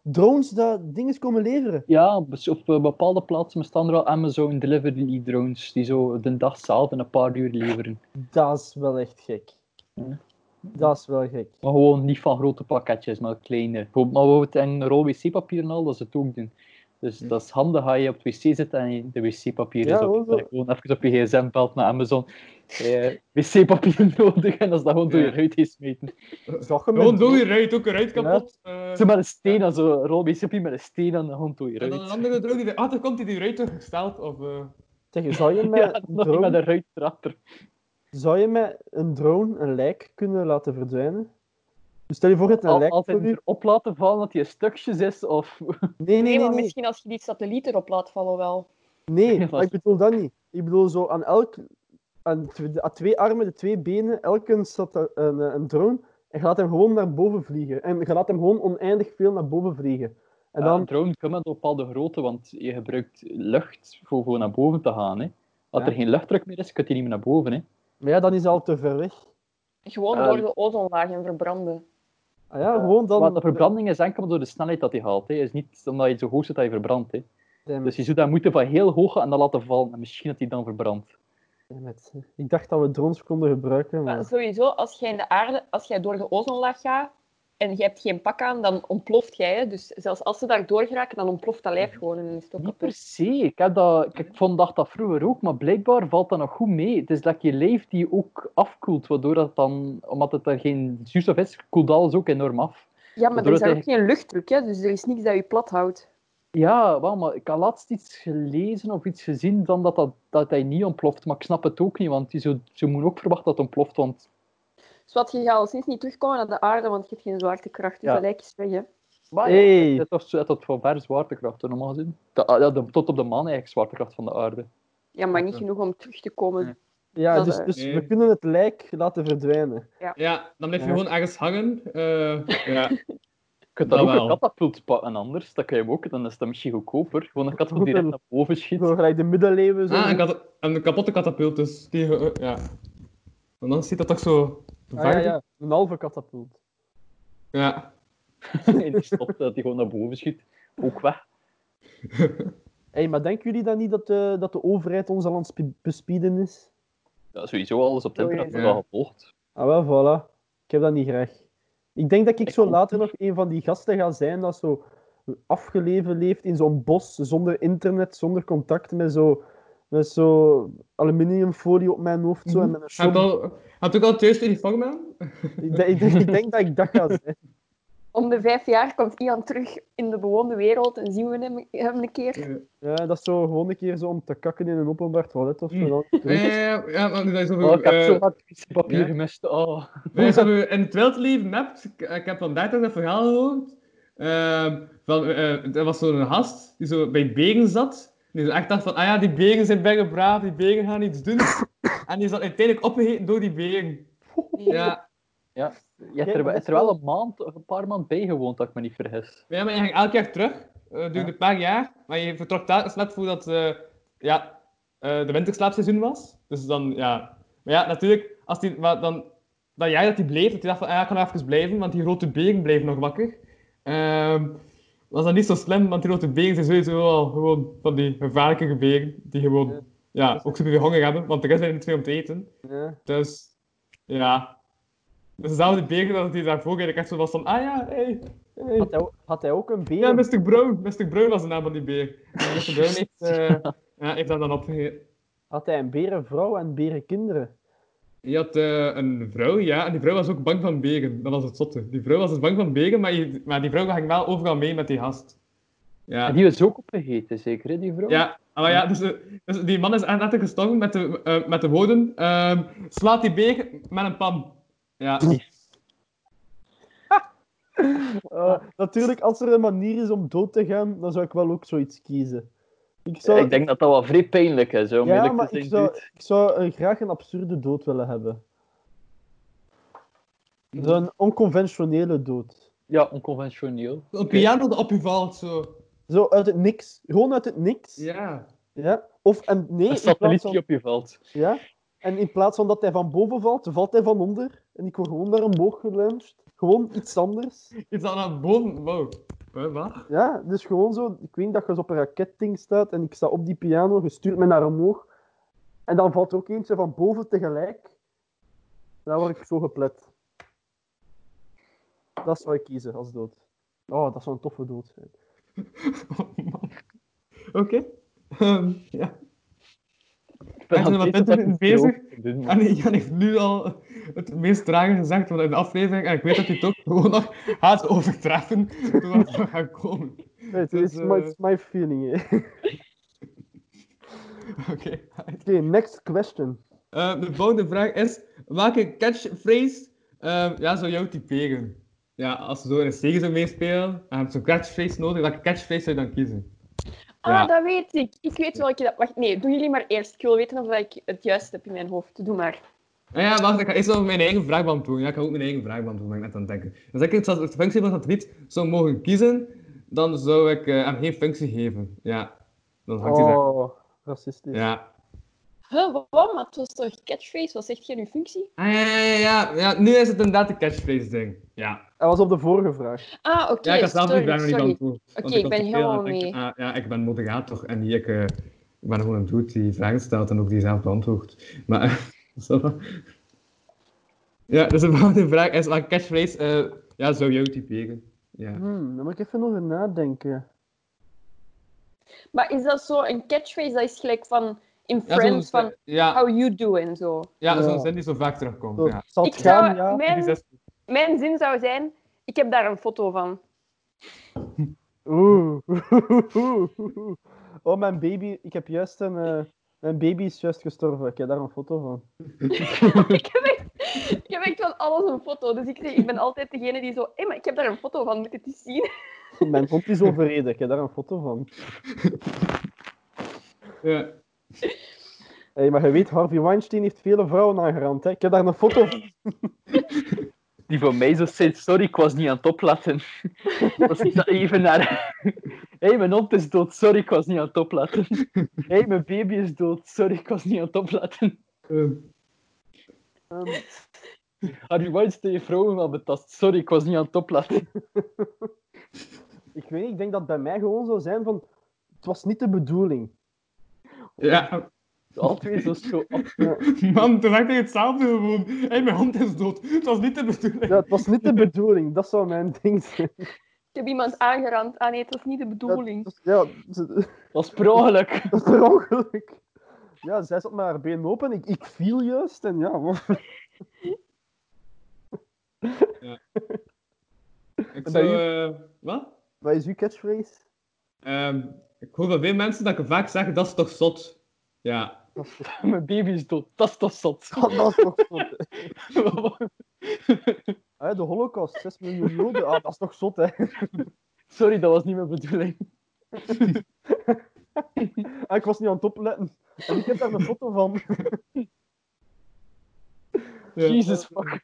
Speaker 5: Drones dat dingen komen leveren.
Speaker 3: bes- op eh, bepaalde plaatsen bestaan er al Amazon delivery drones die zo de dag zelf in een paar uur leveren.
Speaker 5: Dat is wel echt gek.
Speaker 3: Ja.
Speaker 5: Dat is wel gek.
Speaker 3: Maar gewoon niet van grote pakketjes, maar kleine. Gewoon- Maar bijvoorbeeld en rol wc-papier en al, dat ze het ook doen. Dus
Speaker 4: Hm.
Speaker 3: dat is handig als je op het wc zit en je de wc-papier
Speaker 5: Ja,
Speaker 3: is op.
Speaker 5: hoor,
Speaker 3: Dat je
Speaker 5: zo.
Speaker 3: gewoon even op je gsm belt naar Amazon. Eh, wc-papier nodig en dat is dat gewoon door
Speaker 4: Ja.
Speaker 3: je huid heen smeten.
Speaker 5: Zag je met
Speaker 4: Gewoon
Speaker 5: drone-
Speaker 4: door je ruit, ook een ruit kapot. eh.
Speaker 3: Zo met een steen, dan zo rol wc-papier met een steen aan de hand door je
Speaker 4: en dan een
Speaker 3: ruit.
Speaker 4: andere drone die... Ah, daar komt die die ruit teruggesteld. Of, eh.
Speaker 5: Zeg, zou, je met
Speaker 3: Ja,
Speaker 5: een
Speaker 3: nog niet met
Speaker 5: drone,
Speaker 3: een ruit erachter.
Speaker 5: zou je met een drone een lijk kunnen laten verdwijnen? Dus stel je voor, het een
Speaker 3: Al-
Speaker 5: lijk
Speaker 3: altijd
Speaker 5: voor u-
Speaker 3: erop laten vallen dat hij stukjes is, of...
Speaker 5: Nee, nee,
Speaker 6: Nee,
Speaker 5: nee.
Speaker 6: maar
Speaker 5: nee.
Speaker 6: misschien als je die satelliet erop laat vallen wel.
Speaker 5: Nee,
Speaker 3: Ja,
Speaker 5: maar ik bedoel dat niet. Ik bedoel zo aan elk... Aan tw- de- aan twee armen, de twee benen, elk een, sata- een, eh, een drone. En je laat hem gewoon naar boven vliegen. En je laat hem gewoon oneindig veel naar boven vliegen. En
Speaker 3: Ja, een
Speaker 5: dan...
Speaker 3: drone kan met een bepaalde grootte, want je gebruikt lucht voor gewoon naar boven te gaan. Hè. Als
Speaker 5: Ja.
Speaker 3: er geen luchtdruk meer is, kun je niet meer naar boven. Hè.
Speaker 5: Maar ja, dan is hij al te ver weg.
Speaker 6: Gewoon
Speaker 3: Eh,
Speaker 6: door de ozonlaag en verbranden.
Speaker 5: Ah ja, gewoon dan...
Speaker 3: Want de verbranding is enkel door de snelheid dat hij haalt. Hè. is niet omdat je zo hoog zit dat je verbrandt. Hè.
Speaker 5: Damn
Speaker 3: Dus
Speaker 5: it,
Speaker 3: je zou dat moeten van heel hoog en dan laten vallen. En misschien dat hij dan verbrandt.
Speaker 5: damn it. Ik dacht dat we drones konden gebruiken,
Speaker 6: Maar
Speaker 5: maar...
Speaker 6: sowieso, als jij in de aarde, als jij door de ozonlaag gaat en je hebt geen pak aan, dan ontploft jij. hè. Dus zelfs als ze daar door geraken, dan ontploft dat lijf gewoon en dan is het ook
Speaker 3: Niet
Speaker 6: kapot.
Speaker 3: per se. Ik, heb dat, ik- ik vond dacht dat vroeger ook, maar blijkbaar valt dat nog goed mee. Het is dat je leeft die ook afkoelt, waardoor dat dan, omdat het er geen zuurstof is, koelt alles ook enorm af.
Speaker 6: Ja, maar
Speaker 3: Waardoor
Speaker 6: er is
Speaker 3: het
Speaker 6: daar ook geen luchtdruk, hè? dus er is niks dat je plat houdt.
Speaker 3: Ja, wel, maar ik had laatst iets gelezen of iets gezien dan dat, dat, dat hij niet ontploft. Maar ik snap het ook niet, want je zou, ze moeten ook verwachten dat het ontploft. Want
Speaker 6: Zodat Dus je gaat al sinds niet terugkomen naar de aarde, want je hebt geen zwaartekracht. Dus
Speaker 3: Ja.
Speaker 6: dat lijkt is weg, hè.
Speaker 3: maar ja,
Speaker 5: Hey.
Speaker 3: het is toch zo- het had van ver zwaartekracht, hè, normaal gezien. De- ah, ja, de- tot op de maan eigenlijk, zwaartekracht van de aarde.
Speaker 6: Ja, maar niet
Speaker 4: Oké.
Speaker 6: genoeg om terug te komen.
Speaker 3: Nee.
Speaker 5: Ja,
Speaker 6: Dat,
Speaker 5: dus,
Speaker 6: eh,
Speaker 5: dus
Speaker 4: nee.
Speaker 5: we kunnen het lijk laten verdwijnen.
Speaker 4: Ja, dan blijf je
Speaker 5: Ja.
Speaker 4: gewoon ergens hangen. eh, ja.
Speaker 3: Je kunt dan
Speaker 4: Dat
Speaker 3: ook een
Speaker 4: wel.
Speaker 3: katapult pakken anders, dat kun je ook, dan is dat misschien goedkoper. Gewoon een katapult die
Speaker 5: Goed,
Speaker 3: direct naar boven schiet.
Speaker 5: Zo gelijk de middeleeuwen. Zo.
Speaker 4: Ah, een, kat- een kapotte katapult dus. Die, ge- eh, ja. Want dan ziet dat toch zo...
Speaker 5: Ah, ja, ja, een halve katapult.
Speaker 4: Ja.
Speaker 3: En die stopt dat hij gewoon naar boven schiet. Ook weg.
Speaker 5: Hey, maar denken jullie dan niet dat, eh, dat de overheid ons al aan het spi- bespieden is?
Speaker 3: Ja, sowieso alles op het
Speaker 6: Oh,
Speaker 3: internet wordt
Speaker 4: ja.
Speaker 3: al gevolgd.
Speaker 5: Ah, wel, voilà. Ik heb dat niet graag. Ik denk dat ik
Speaker 3: Ik
Speaker 5: zo
Speaker 3: ook
Speaker 5: later nog een van die gasten ga zijn dat zo afgeleven leeft in zo'n bos, zonder internet, zonder contact, met zo, met zo aluminiumfolie op mijn hoofd zo, en met een
Speaker 4: Had,
Speaker 5: shotgun.
Speaker 4: al, had ook al het juiste uniform aan?
Speaker 5: Ik, denk- ik denk- ik denk dat ik dat ga zijn.
Speaker 6: Om de vijf jaar komt Ian terug in de bewoonde wereld en zien we hem, hem een keer.
Speaker 5: Ja, dat is zo gewoon een keer zo om te kakken in een openbaar toilet of zo.
Speaker 4: Mm.
Speaker 5: Dan.
Speaker 4: Ja, ja, ja, ja, maar dat is over,
Speaker 3: Oh, ik heb
Speaker 4: eh,
Speaker 3: zo hard papier
Speaker 4: ja.
Speaker 3: gemist. Oh.
Speaker 4: Wij hebben in het wild leven hebt, ik, ik heb vandaag toch dat verhaal gehoord. Ehm, van, eh, er was zo'n gast die zo bij beren zat. Die zo echt dacht van, ah ja, die beren zijn bergen braaf, die beren gaan iets doen. En die is dan uiteindelijk opgegeten door die beren. Ja,
Speaker 3: Je hebt er,
Speaker 5: Ja, dat
Speaker 3: wel-
Speaker 5: is
Speaker 3: is er wel
Speaker 5: wel-
Speaker 3: een maand of een paar maand bij gewoond, dat ik me niet vergis.
Speaker 4: ja maar je ging elk jaar terug, eh duurde
Speaker 5: Ja.
Speaker 4: een paar jaar. Maar je vertrok telkens net voordat eh, ja, eh, de winterslaapseizoen was. Dus dan, ja. Maar ja, natuurlijk, als die, maar dan dat jaar dat hij bleef, dat hij dacht van, ah, ik kan nog even blijven, want die grote begen bleven nog wakker. Ehm, was dat niet zo slim, want die grote begen zijn sowieso al gewoon van die gevaarlijke begen, die
Speaker 5: Ja.
Speaker 4: gewoon, ja, ook super honger hebben, want er is eigenlijk niet veel om te eten.
Speaker 5: Ja.
Speaker 4: Dus, ja. Dus dezelfde begen dat hij daarvoor eigenlijk echt zo was van, ah ja, hey, hey.
Speaker 5: Had, hij, ook- had hij ook een beer?
Speaker 4: Ja, Mr. Brown. Mr. Brown was de naam van die beer. En Mr. Brown heeft, eh, ja, heeft dat dan opgegeten.
Speaker 5: Had hij een berenvrouw en berenkinderen?
Speaker 4: Je had eh, een vrouw, ja, en die vrouw was ook bang van begen. Dat was het zotte. Die vrouw was dus bang van begen, maar, je- maar die vrouw ging wel overal mee met die gast. Ja,
Speaker 3: En die was ook opgegeten, zeker, hè, die vrouw?
Speaker 4: ja. Maar ja dus, eh, dus die man is aan het gestongen met de, eh, met de woorden: ehm, slaat die begen met een pan. Ja,
Speaker 5: Eh, natuurlijk, als er een manier is om dood te gaan, dan zou ik wel ook zoiets kiezen. Ik
Speaker 3: Ja,
Speaker 5: zou,
Speaker 3: Eh, ik denk dat dat wel vrij pijnlijk is, hè, om
Speaker 5: Ja,
Speaker 3: eerlijk
Speaker 5: maar
Speaker 3: te
Speaker 5: ik
Speaker 3: zijn.
Speaker 5: zou,
Speaker 3: dude.
Speaker 5: ik zou eh, graag een absurde dood willen hebben.
Speaker 3: Mhm.
Speaker 5: Zo'n onconventionele dood.
Speaker 3: Ja, onconventioneel.
Speaker 4: een piano dat op je valt, zo.
Speaker 5: Zo uit het niks. Gewoon uit het niks. Ja.
Speaker 4: Ja.
Speaker 5: Of, en nee,
Speaker 3: Een
Speaker 5: in plaats
Speaker 3: satelliet
Speaker 5: van-
Speaker 3: die op je valt.
Speaker 5: Ja. En in plaats van dat hij van boven valt, valt hij van onder. En ik word gewoon naar een boog geluncht. Gewoon iets anders.
Speaker 4: Iets dat naar boven. Wow. Wat? Wat?
Speaker 5: Ja, dus gewoon zo. Ik weet dat je zo op een raketting staat en ik sta op die piano, je stuurt me naar omhoog. En dan valt er ook eentje van boven tegelijk. Dan word ik zo geplet. Dat zou ik kiezen als dood. Oh, dat zou een toffe dood zijn.
Speaker 4: Oh, man. Oké. Ehm, ja.
Speaker 3: Ik ben
Speaker 4: Echt,
Speaker 3: aan
Speaker 4: wat
Speaker 3: het
Speaker 4: bent u
Speaker 3: eten
Speaker 4: mee
Speaker 3: met
Speaker 4: bezig?
Speaker 3: een stroop. Dit moet-
Speaker 4: En Ah, Jan heeft nu al het meest trage gezegd van in de aflevering. En ik weet dat hij het ook gewoon nog gaat overtreffen toen we er gaan komen.
Speaker 5: Het
Speaker 4: Dus,
Speaker 5: is my,
Speaker 4: eh,
Speaker 5: it's my feeling. hè. Oké,
Speaker 4: Oké.
Speaker 5: next question.
Speaker 4: Eh, de volgende vraag is: welke catchphrase eh, ja, zou jou typeren? Ja, als ze zo in een serie zou meespelen en je hebt zo'n catchphrase nodig, welke catchphrase zou je dan kiezen?
Speaker 6: Ah,
Speaker 4: Ja.
Speaker 6: dat weet ik. Ik weet welke dat... Wacht, nee, doen jullie maar eerst. Ik wil weten of dat ik het juist heb in mijn hoofd. Doe maar.
Speaker 4: Ah ja, wacht, ik ga eerst nog mijn eigen vraag beantwoorden. Ja, ik ga ook mijn eigen vraag beantwoorden, ben ik net aan het denken. Dus als ik de functie van dat lied zou mogen kiezen, dan zou ik eh, hem geen functie geven. Ja, dan hangt hij daar.
Speaker 5: Oh, racistisch.
Speaker 4: Ja.
Speaker 6: Huh, wa- wat? Maar het was toch catchphrase? Wat zegt jij nu functie?
Speaker 4: Ah, ja, ja, ja, ja, ja. Nu is het inderdaad een catchphrase ding. Ja.
Speaker 5: Dat was op de vorige vraag.
Speaker 6: Ah, oké.
Speaker 4: Ja, ik had zelf die
Speaker 6: sorry,
Speaker 4: vraag nog niet
Speaker 6: sorry.
Speaker 4: beantwoord. want
Speaker 6: Oké, ik
Speaker 4: had
Speaker 6: ben
Speaker 4: te veel
Speaker 6: helemaal
Speaker 4: en ik denk,
Speaker 6: mee.
Speaker 4: ah, ja, ik ben moderator en niet ik, eh, ik ben gewoon een dude die vragen stelt en ook die zelf beantwoordt. Maar, eh, ça va. Ja, dus de volgende vraag is, welke catchphrase eh, ja, zou jou typeren? Ja.
Speaker 5: Hmm, dan moet ik even nog over nadenken.
Speaker 6: Maar is dat zo een catchphrase? Dat is gelijk van in
Speaker 4: Ja, zo'n
Speaker 6: Friends,
Speaker 4: zin-
Speaker 6: van
Speaker 4: ja,
Speaker 6: how you do en zo.
Speaker 4: ja,
Speaker 5: Ja.
Speaker 4: zo'n zin die zo vaak terugkomt.
Speaker 5: Zo,
Speaker 4: Ja.
Speaker 5: het zal
Speaker 6: Ik
Speaker 5: het gaan,
Speaker 6: zou-
Speaker 5: ja.
Speaker 6: mijn-
Speaker 4: Die zes-
Speaker 6: Mijn zin zou zijn, ik heb daar een foto van.
Speaker 5: Oeh. Oh, mijn baby. Ik heb juist een... eh, mijn baby is juist gestorven. Ik heb daar een foto van.
Speaker 6: ik, heb echt, ik heb echt van alles een foto. Dus ik, zeg, ik ben altijd degene die zo... Hé, maar ik heb daar een foto van. Moet je het eens zien?
Speaker 5: Mijn hond is overreden. Ik heb daar een foto van.
Speaker 4: ja.
Speaker 5: Hey, maar je weet, Harvey Weinstein heeft vele vrouwen aangerand. Hè? Ik heb daar een foto van.
Speaker 3: Die van mij zo zei, sorry, ik was niet aan het opletten. was ik dat even naar... Hé, hey, mijn hond is dood, sorry, ik was niet aan het opletten. Hé, hey, mijn baby is dood, sorry, ik was niet aan het opletten.
Speaker 4: Eh,
Speaker 5: Ehm,
Speaker 3: Harry Weinstein heeft vrouwen wel betast, sorry, ik was niet aan het opletten.
Speaker 5: ik weet niet, ik denk dat het bij mij gewoon zou zijn van... Het was niet de bedoeling.
Speaker 4: ja.
Speaker 3: Altijd zo zo
Speaker 4: Man, toen dacht ik hetzelfde gewoon. Hé, mijn hond is dood. Het was niet de bedoeling.
Speaker 5: Ja, het was niet de bedoeling. Dat zou mijn ding zijn.
Speaker 6: Ik heb iemand aangerand. Ah nee, het was niet de bedoeling.
Speaker 5: Dat, ja, dat
Speaker 3: Dat is per ongeluk.
Speaker 5: is per ongeluk. Ja, zij zat met haar been open. Ik, ik viel juist. En ja, wat-
Speaker 4: Ik
Speaker 5: En
Speaker 4: zou,
Speaker 5: bij
Speaker 4: eh, wat?
Speaker 5: wat is uw catchphrase?
Speaker 4: Ehm, ik hoor van veel mensen dat ik vaak zeg, dat is toch zot. Ja.
Speaker 3: Mijn baby is dood, dat is toch zot.
Speaker 5: Dat is toch zot. Hè, de holocaust, 6 miljoen joden. Ah, dat is toch zot, hè?
Speaker 3: sorry, dat was niet mijn bedoeling.
Speaker 5: Ah, ik was niet aan het opletten. En ik heb daar een foto van.
Speaker 4: Ja.
Speaker 3: Jesus fuck.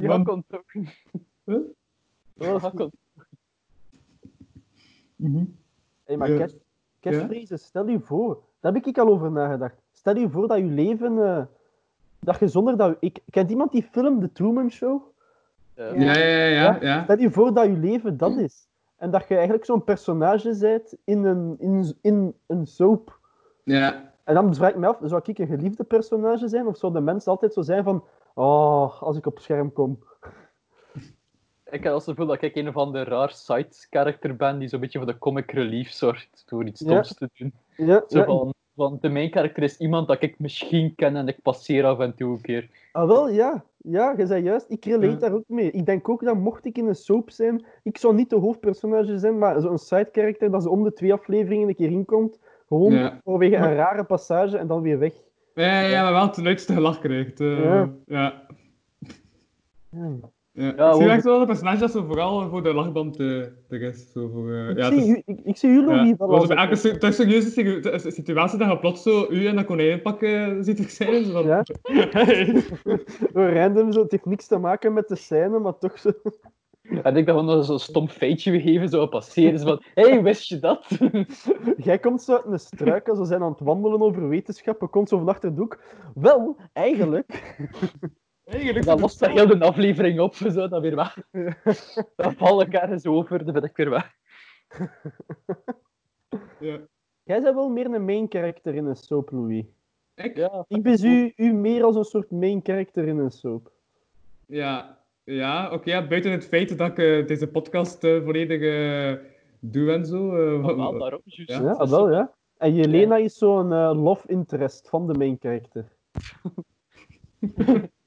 Speaker 3: Die
Speaker 4: Man.
Speaker 3: hakkelt ook.
Speaker 4: Huh?
Speaker 3: Die hakkelt.
Speaker 4: Mhm.
Speaker 5: Hey, maar
Speaker 4: Ja.
Speaker 5: catch, catchphrases, stel je voor. Daar heb ik al over nagedacht. Stel je voor dat je leven eh, dat je zonder dat... Ik, kent iemand die film The Truman Show?
Speaker 3: Eh,
Speaker 4: Ja, ja, ja, ja. ja.
Speaker 5: Stel je voor dat je leven dat is. En dat je eigenlijk zo'n personage bent in een, in, in een soap.
Speaker 4: ja.
Speaker 5: En dan vraag ik me af, zou ik een geliefde personage zijn? Of zou de mensen altijd zo zijn van... Oh, als ik op scherm kom.
Speaker 3: Ik heb als het gevoel dat ik een van de raar side-character ben die zo'n beetje voor de comic relief zorgt door iets
Speaker 5: Ja.
Speaker 3: stoms te doen.
Speaker 5: Ja,
Speaker 3: Zo
Speaker 5: ja,
Speaker 3: van, want de main character is iemand dat ik misschien ken en ik passeer af en toe een keer.
Speaker 5: Ah, wel, ja. Ja, je zei juist, ik relate
Speaker 4: Ja.
Speaker 5: daar ook mee. Ik denk ook dat mocht ik in een soap zijn, ik zou niet de hoofdpersonage zijn, maar zo'n side-character dat ze om de twee afleveringen een keer inkomt, gewoon
Speaker 4: Ja.
Speaker 5: vanwege een
Speaker 4: Maar-
Speaker 5: rare passage en dan weer weg.
Speaker 4: Ja, ja, maar wel het leukste gelach krijgt. eh,
Speaker 5: Ja.
Speaker 4: ja.
Speaker 5: Ja.
Speaker 4: ja.
Speaker 3: Ja,
Speaker 4: ik zie
Speaker 3: hoe-
Speaker 4: echt wel een personage dat zo vooral voor de lachband eh, er is. Zo voor, eh,
Speaker 5: Ik,
Speaker 4: ja, het
Speaker 5: zie,
Speaker 4: is-
Speaker 5: u- ik, ik zie u, Louis,
Speaker 4: Ja,
Speaker 5: van
Speaker 4: want
Speaker 5: als-
Speaker 4: bij elke se- dat is een serieuze situ- dat is een situatie dat je plots zo u en dat konijnenpak eh, ziet er zijn. Zo van...
Speaker 5: Ja.
Speaker 4: Hey.
Speaker 5: Door random, zo, het heeft niks te maken met de scène, maar toch zo.
Speaker 3: En ik dacht gewoon dat ze zo'n stom feitje we geven zou passeren. Zo van, hé, hey, wist je dat?
Speaker 5: Jij komt zo uit een struik, als we zijn aan het wandelen over wetenschappen, komt zo van achter de hoek. Wel, eigenlijk.
Speaker 4: Eigenlijk
Speaker 3: dat lost daar heel de aflevering op, zo, dan weer weg. Dan val ik ergens over, dan ben ik weer weg.
Speaker 4: Ja.
Speaker 5: Jij bent wel meer een main character in een soap, Louis.
Speaker 4: Ik? Ja.
Speaker 3: Ja,
Speaker 5: Ik bezie u meer als een soort main character in een soap.
Speaker 4: Ja, oké. ja, buiten het feit dat ik eh, deze podcast eh, volledig eh, doe en zo. eh,
Speaker 3: maar wel, daarom, juist.
Speaker 4: Ja,
Speaker 5: Ja, ah, wel, ja. En Jelena is zo'n eh, love interest van de main character.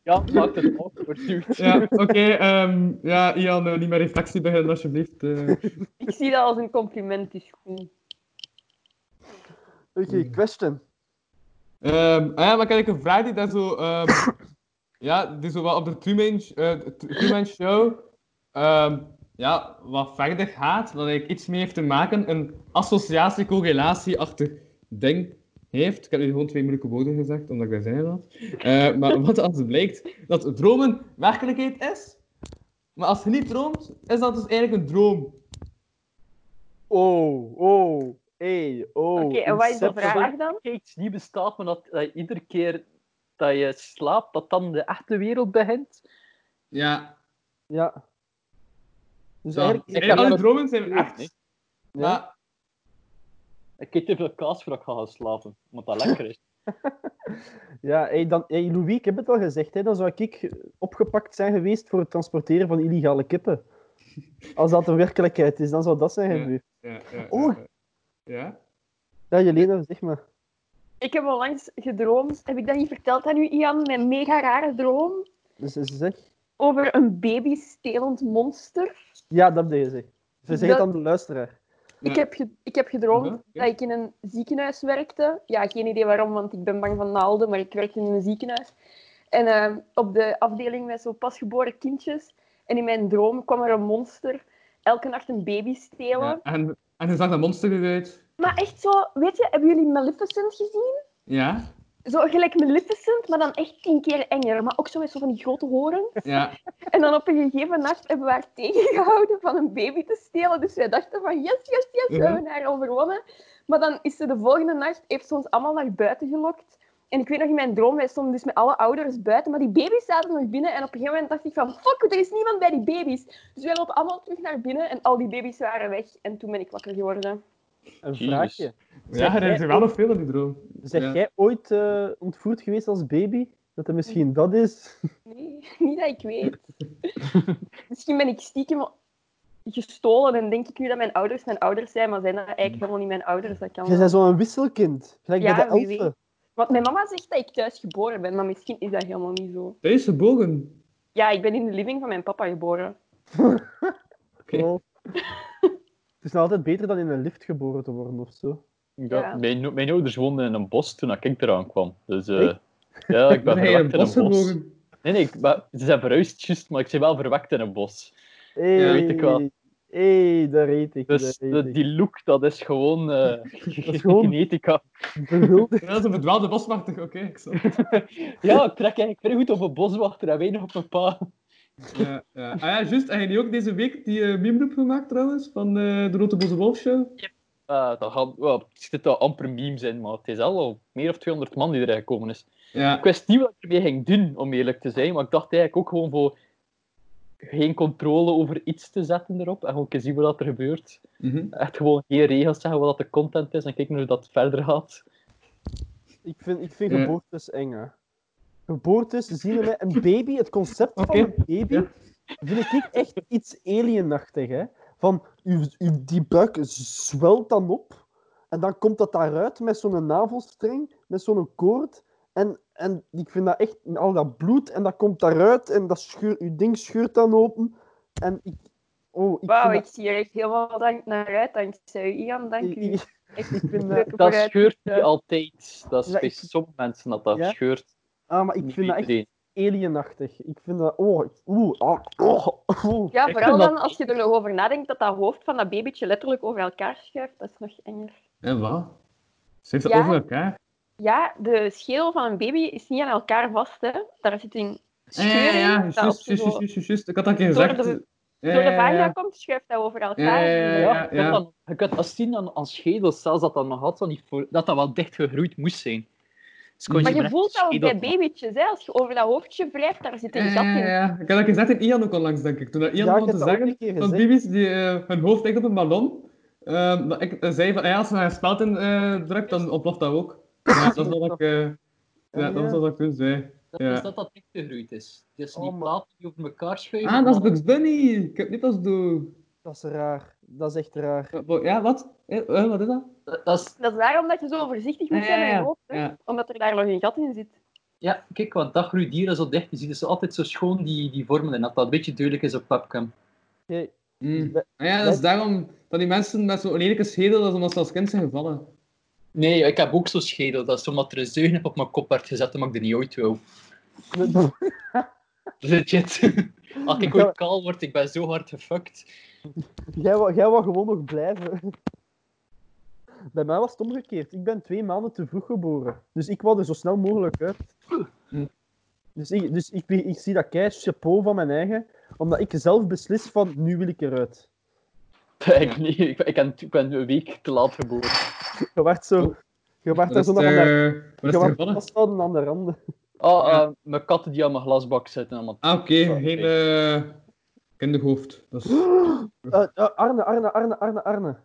Speaker 3: Ja, maakt het awkward, dude.
Speaker 4: ja, oké. ehm, ja, Ian, eh, niet meer reflectie beginnen, alsjeblieft. eh.
Speaker 6: Ik zie dat als een compliment, dus goed.
Speaker 5: Oké,
Speaker 4: Hmm.
Speaker 5: question.
Speaker 4: Ehm, ah ja, maar kijk, een vraag die daar zo... ehm, ja, die zo wel op de Truman, Sh- eh, de Tru- Truman Show ehm, ja, wat verder gaat, dat ik iets mee heeft te maken, een associatie, correlatieachtig ding heeft. Ik heb nu gewoon twee moeilijke woorden gezegd, omdat ik daar zin in had. Eh, maar wat als het blijkt dat dromen werkelijkheid is, maar als je niet droomt, is dat dus eigenlijk een droom.
Speaker 5: Oh, oh, hey, oh.
Speaker 6: Oké, en wat is de
Speaker 5: Inception.
Speaker 6: vraag dan?
Speaker 3: Kijk, iets niet bestaat, maar dat, dat je iedere keer dat je slaapt, dat dan de echte wereld begint.
Speaker 4: Ja,
Speaker 5: Ja. Dus
Speaker 4: ja.
Speaker 5: eigenlijk...
Speaker 3: ik
Speaker 4: Eigenlijk
Speaker 3: heb
Speaker 4: alle
Speaker 3: dat-
Speaker 4: dromen zijn echt. Ah,
Speaker 3: Nee.
Speaker 5: Ja.
Speaker 4: Maar
Speaker 3: Ik eet te veel kaas voor dat ik ga gaan slapen, omdat dat lekker is.
Speaker 5: Ja, hey, dan, hey, Louis, ik heb het al gezegd, hè, dan zou ik opgepakt zijn geweest voor het transporteren van illegale kippen. Als dat een werkelijkheid is, dan zou dat zijn
Speaker 4: Ja.
Speaker 5: gebeurd.
Speaker 4: Ja, ja,
Speaker 5: Oh.
Speaker 4: ja, ja.
Speaker 5: Ja, Jelena, zeg maar.
Speaker 6: Ik heb onlangs gedroomd, heb ik dat niet verteld aan u, Ian, mijn mega rare droom
Speaker 5: Dus ze zegt...
Speaker 6: over een babystelend monster.
Speaker 5: Ja, dat heb je gezegd. Verzeg het
Speaker 6: Dat-
Speaker 5: aan de luisteraar.
Speaker 4: Ja.
Speaker 6: Ik, heb ge- ik heb gedroomd
Speaker 4: Ja, ja.
Speaker 6: dat ik in een ziekenhuis werkte. Ja, geen idee waarom, want ik ben bang van naalden, maar ik werkte in een ziekenhuis. En eh, op de afdeling met zo pasgeboren kindjes. En in mijn droom kwam er een monster elke nacht een baby stelen.
Speaker 4: Ja, En, en je zag dat monster eruit.
Speaker 6: Maar echt zo, weet je, hebben jullie Maleficent gezien?
Speaker 4: Ja,
Speaker 6: Zo gelijk Maleficent, maar dan echt tien keer enger. Maar ook zo met zo van die grote horen.
Speaker 4: ja.
Speaker 6: En dan op een gegeven nacht hebben we haar tegengehouden van een baby te stelen. Dus wij dachten van yes, yes, yes, we
Speaker 4: Mhm.
Speaker 6: hebben haar overwonnen. Maar dan is ze de volgende nacht, heeft ze ons allemaal naar buiten gelokt. En ik weet nog in mijn droom, wij stonden dus met alle ouders buiten, maar die baby's zaten nog binnen. En op een gegeven moment dacht ik van fuck, er is niemand bij die baby's. Dus wij lopen allemaal terug naar binnen en al die baby's waren weg. En toen ben ik wakker geworden.
Speaker 5: Een
Speaker 3: Jezus.
Speaker 5: vraagje.
Speaker 4: Ja, er is
Speaker 5: jij
Speaker 4: wel nog veel in die droom.
Speaker 5: Zeg
Speaker 4: Ja.
Speaker 5: jij ooit eh, ontvoerd geweest als baby? Dat er misschien dat is?
Speaker 6: Nee, niet dat ik weet. Misschien ben ik stiekem gestolen en denk ik nu dat mijn ouders mijn ouders zijn, maar zijn dat eigenlijk helemaal niet mijn ouders. Dat
Speaker 5: Jij
Speaker 6: kan Oh, wel.
Speaker 5: bent zo'n wisselkind. Gelijk
Speaker 6: Ja,
Speaker 5: bij de
Speaker 6: wie
Speaker 5: elfen.
Speaker 6: Want mijn mama zegt dat ik thuis geboren ben, maar misschien is dat helemaal niet zo.
Speaker 4: Deze bogen.
Speaker 6: Ja, ik ben in de living van mijn papa geboren.
Speaker 4: Oké.
Speaker 5: Wel. Het is nou altijd beter dan in een lift geboren te worden of zo.
Speaker 6: Ja.
Speaker 3: Mijn, mijn ouders woonden in een bos toen ik eraan kwam. Dus, eh,
Speaker 5: Echt?
Speaker 3: ja, ik ben
Speaker 4: hij
Speaker 3: verwekt in een bos.
Speaker 4: gebogen.
Speaker 3: Nee, nee, ik ben- ze zijn verhuisd, juist, maar ik ben wel verwekt in een bos.
Speaker 5: Hey,
Speaker 4: Ja,
Speaker 3: weet ik wel.
Speaker 5: hey, daar heet ik.
Speaker 3: Dus
Speaker 5: daar
Speaker 3: de-
Speaker 5: heet ik.
Speaker 3: die look, dat is gewoon, eh,
Speaker 5: gewoon-
Speaker 3: genetica.
Speaker 5: Verwilderd.
Speaker 4: Ja, dat is een verdwaalde boswachter. Oké, ik snap het.
Speaker 3: Ja, ik trek eigenlijk vrij goed op een boswachter en weinig op mijn pa.
Speaker 4: Ja, ja. Ah ja, juist. En je ook deze week die eh meme-loop gemaakt trouwens? Van eh, de Rote Boze Wolf Show?
Speaker 3: Eh, dat gaat, wel, er zitten daar amper memes in, maar het is al, al meer of 200 man die er gekomen is.
Speaker 4: Ja.
Speaker 3: Ik wist niet wat ik ermee ging doen, om eerlijk te zijn. Maar ik dacht eigenlijk ook gewoon voor geen controle over iets te zetten erop. En gewoon een keer zien wat er gebeurt.
Speaker 4: Mhm.
Speaker 3: Echt gewoon geen regels zeggen wat dat de content is en kijken hoe dat verder gaat.
Speaker 5: Ik vind, ik vind
Speaker 4: Ja.
Speaker 5: geboortes eng, hè. Geboortes, zien we een baby, het concept
Speaker 4: Oké,
Speaker 5: van een baby,
Speaker 4: ja.
Speaker 5: vind ik echt iets alienachtig, hè. Van, u, u, die buik zwelt dan op, en dan komt dat daaruit met zo'n navelstreng, met zo'n koord, en, en ik vind dat echt, al dat bloed, en dat komt daaruit, en dat scheur, uw ding scheurt dan open, en ik... Oh, ik
Speaker 6: Wauw,
Speaker 5: vind
Speaker 6: ik zie er echt helemaal dank naar uit. Dankzij u, Ian. Dank u.
Speaker 5: ik-
Speaker 6: Echt
Speaker 5: ik vind dat...
Speaker 6: leuke
Speaker 3: Dat
Speaker 6: vooruit-
Speaker 3: scheurt niet
Speaker 6: Ja.
Speaker 3: altijd. Dat is
Speaker 5: Ja,
Speaker 3: bij
Speaker 5: ik-
Speaker 3: sommige mensen dat dat
Speaker 5: Ja?
Speaker 3: scheurt.
Speaker 5: Ah, maar ik
Speaker 3: Niet
Speaker 5: vind dat echt
Speaker 3: iedereen.
Speaker 5: alienachtig. Ik vind dat... Oh, ik- oeh, ah, oh, oeh.
Speaker 6: Ja,
Speaker 3: Ik
Speaker 6: vooral
Speaker 3: vind dat
Speaker 6: dan als je er nog over nadenkt dat dat hoofd van dat babytje letterlijk over elkaar schuift. Dat is nog enger.
Speaker 4: En wat? Ze heeft het
Speaker 6: Ja.
Speaker 4: over elkaar.
Speaker 6: Ja, de schedel van een baby is niet aan elkaar vast, hè. Daar zit een
Speaker 4: Ja,
Speaker 6: scheur
Speaker 4: ja,
Speaker 6: in.
Speaker 4: ja.
Speaker 6: dat
Speaker 4: Juist,
Speaker 6: als
Speaker 4: juist,
Speaker 6: je zo
Speaker 4: juist, juist, juist. Ik had dat keer
Speaker 6: Door
Speaker 4: gezegd.
Speaker 6: de-
Speaker 4: Ja,
Speaker 6: door de
Speaker 4: ja,
Speaker 6: vagina
Speaker 4: ja.
Speaker 6: komt, schuift dat over
Speaker 4: Ja,
Speaker 6: elkaar.
Speaker 4: ja, ja,
Speaker 3: Ja,
Speaker 4: ja,
Speaker 3: je
Speaker 4: ja.
Speaker 3: kunt dan- je kunt dat zien aan, aan schedels, zelfs dat dat nog had, van die voor- dat dat wel dicht gegroeid moest zijn. Dus kon
Speaker 6: Maar je
Speaker 3: echt
Speaker 6: voelt dat ook bij
Speaker 3: schedel-
Speaker 6: babytjes, hè. Als je over dat hoofdje wrijft, daar zit
Speaker 4: Ja,
Speaker 6: een gat
Speaker 4: ja,
Speaker 6: in.
Speaker 4: Eh, ja. Ik had dat gezegd in Ian ook onlangs, denk ik. Toen dat Ian
Speaker 5: Ja, ik
Speaker 4: begon
Speaker 5: heb
Speaker 4: te
Speaker 5: dat ook
Speaker 4: zeggen
Speaker 5: een keer
Speaker 4: dat
Speaker 5: gezegd.
Speaker 4: baby's die, eh, hun hoofd echt op een ballon, ehm, dat ik eh, zei van ja, als ze een speld in eh, drukt, dan ontploft dat ook. Ja, dat was wat ik, eh, ja, dat was wat ik toen zei.
Speaker 3: Dat
Speaker 4: Ja.
Speaker 3: is dat dat dicht gegroeid is. Dus
Speaker 5: Oh,
Speaker 3: die
Speaker 5: maar-
Speaker 3: platen die over elkaar schuiven.
Speaker 4: Ah, dat is
Speaker 3: maar-
Speaker 4: Bugs Bunny! Ik heb niet als doe.
Speaker 5: Dat is raar. Dat is echt raar.
Speaker 4: Ja, wat? Eh, eh, wat is dat?
Speaker 3: dat- dat is-
Speaker 6: Dat is daarom dat je zo voorzichtig moet
Speaker 4: Ah,
Speaker 6: zijn
Speaker 4: ja,
Speaker 6: met je
Speaker 4: ja,
Speaker 6: hoofd, hè.
Speaker 4: ja.
Speaker 6: Omdat er daar nog een gat in zit.
Speaker 3: Ja, kijk, want dat groeit hier zo dicht. Je ziet dus altijd zo schoon die, die vormen en dat dat een beetje duidelijk is op webcam.
Speaker 5: Oké,
Speaker 4: Mm.
Speaker 5: Be-
Speaker 4: Ah ja, dat is
Speaker 5: be-
Speaker 4: daarom dat die mensen met zo'n lelijke schedel, dat is omdat ze als kind zijn gevallen.
Speaker 3: Nee, ik heb ook zo'n schedel. Dat is omdat er een zeun op mijn kop werd gezet, omdat ik er niet uit wil. Legit. Als ik ooit kaal word, ik ben zo hard gefucked.
Speaker 5: Jij wou, jij wou gewoon nog blijven. Bij mij was het omgekeerd. Ik ben twee maanden te vroeg geboren. Dus ik wou er zo snel mogelijk uit.
Speaker 4: Hm.
Speaker 5: Dus ik, dus ik, ik zie dat kei chapeau van mijn eigen. Omdat ik zelf beslis van, nu wil ik eruit.
Speaker 3: Ik, nee, ik, ben- ik, ben, ik ben een week te laat geboren.
Speaker 5: Je werd zo... Je werd
Speaker 4: Dat
Speaker 5: daar
Speaker 4: is eh,
Speaker 5: zo nog aan de...
Speaker 4: wat
Speaker 5: Je
Speaker 4: is er
Speaker 5: werd
Speaker 4: gevallen?
Speaker 5: vasthouden aan de randen.
Speaker 3: Ah, eh,
Speaker 4: Ja.
Speaker 3: mijn katten die aan mijn glasbak zitten. Allemaal.
Speaker 4: Ah, oké, geen eh kinderhoofd. Dat is...
Speaker 5: Eh, eh, Arne, Arne, Arne, Arne, Arne.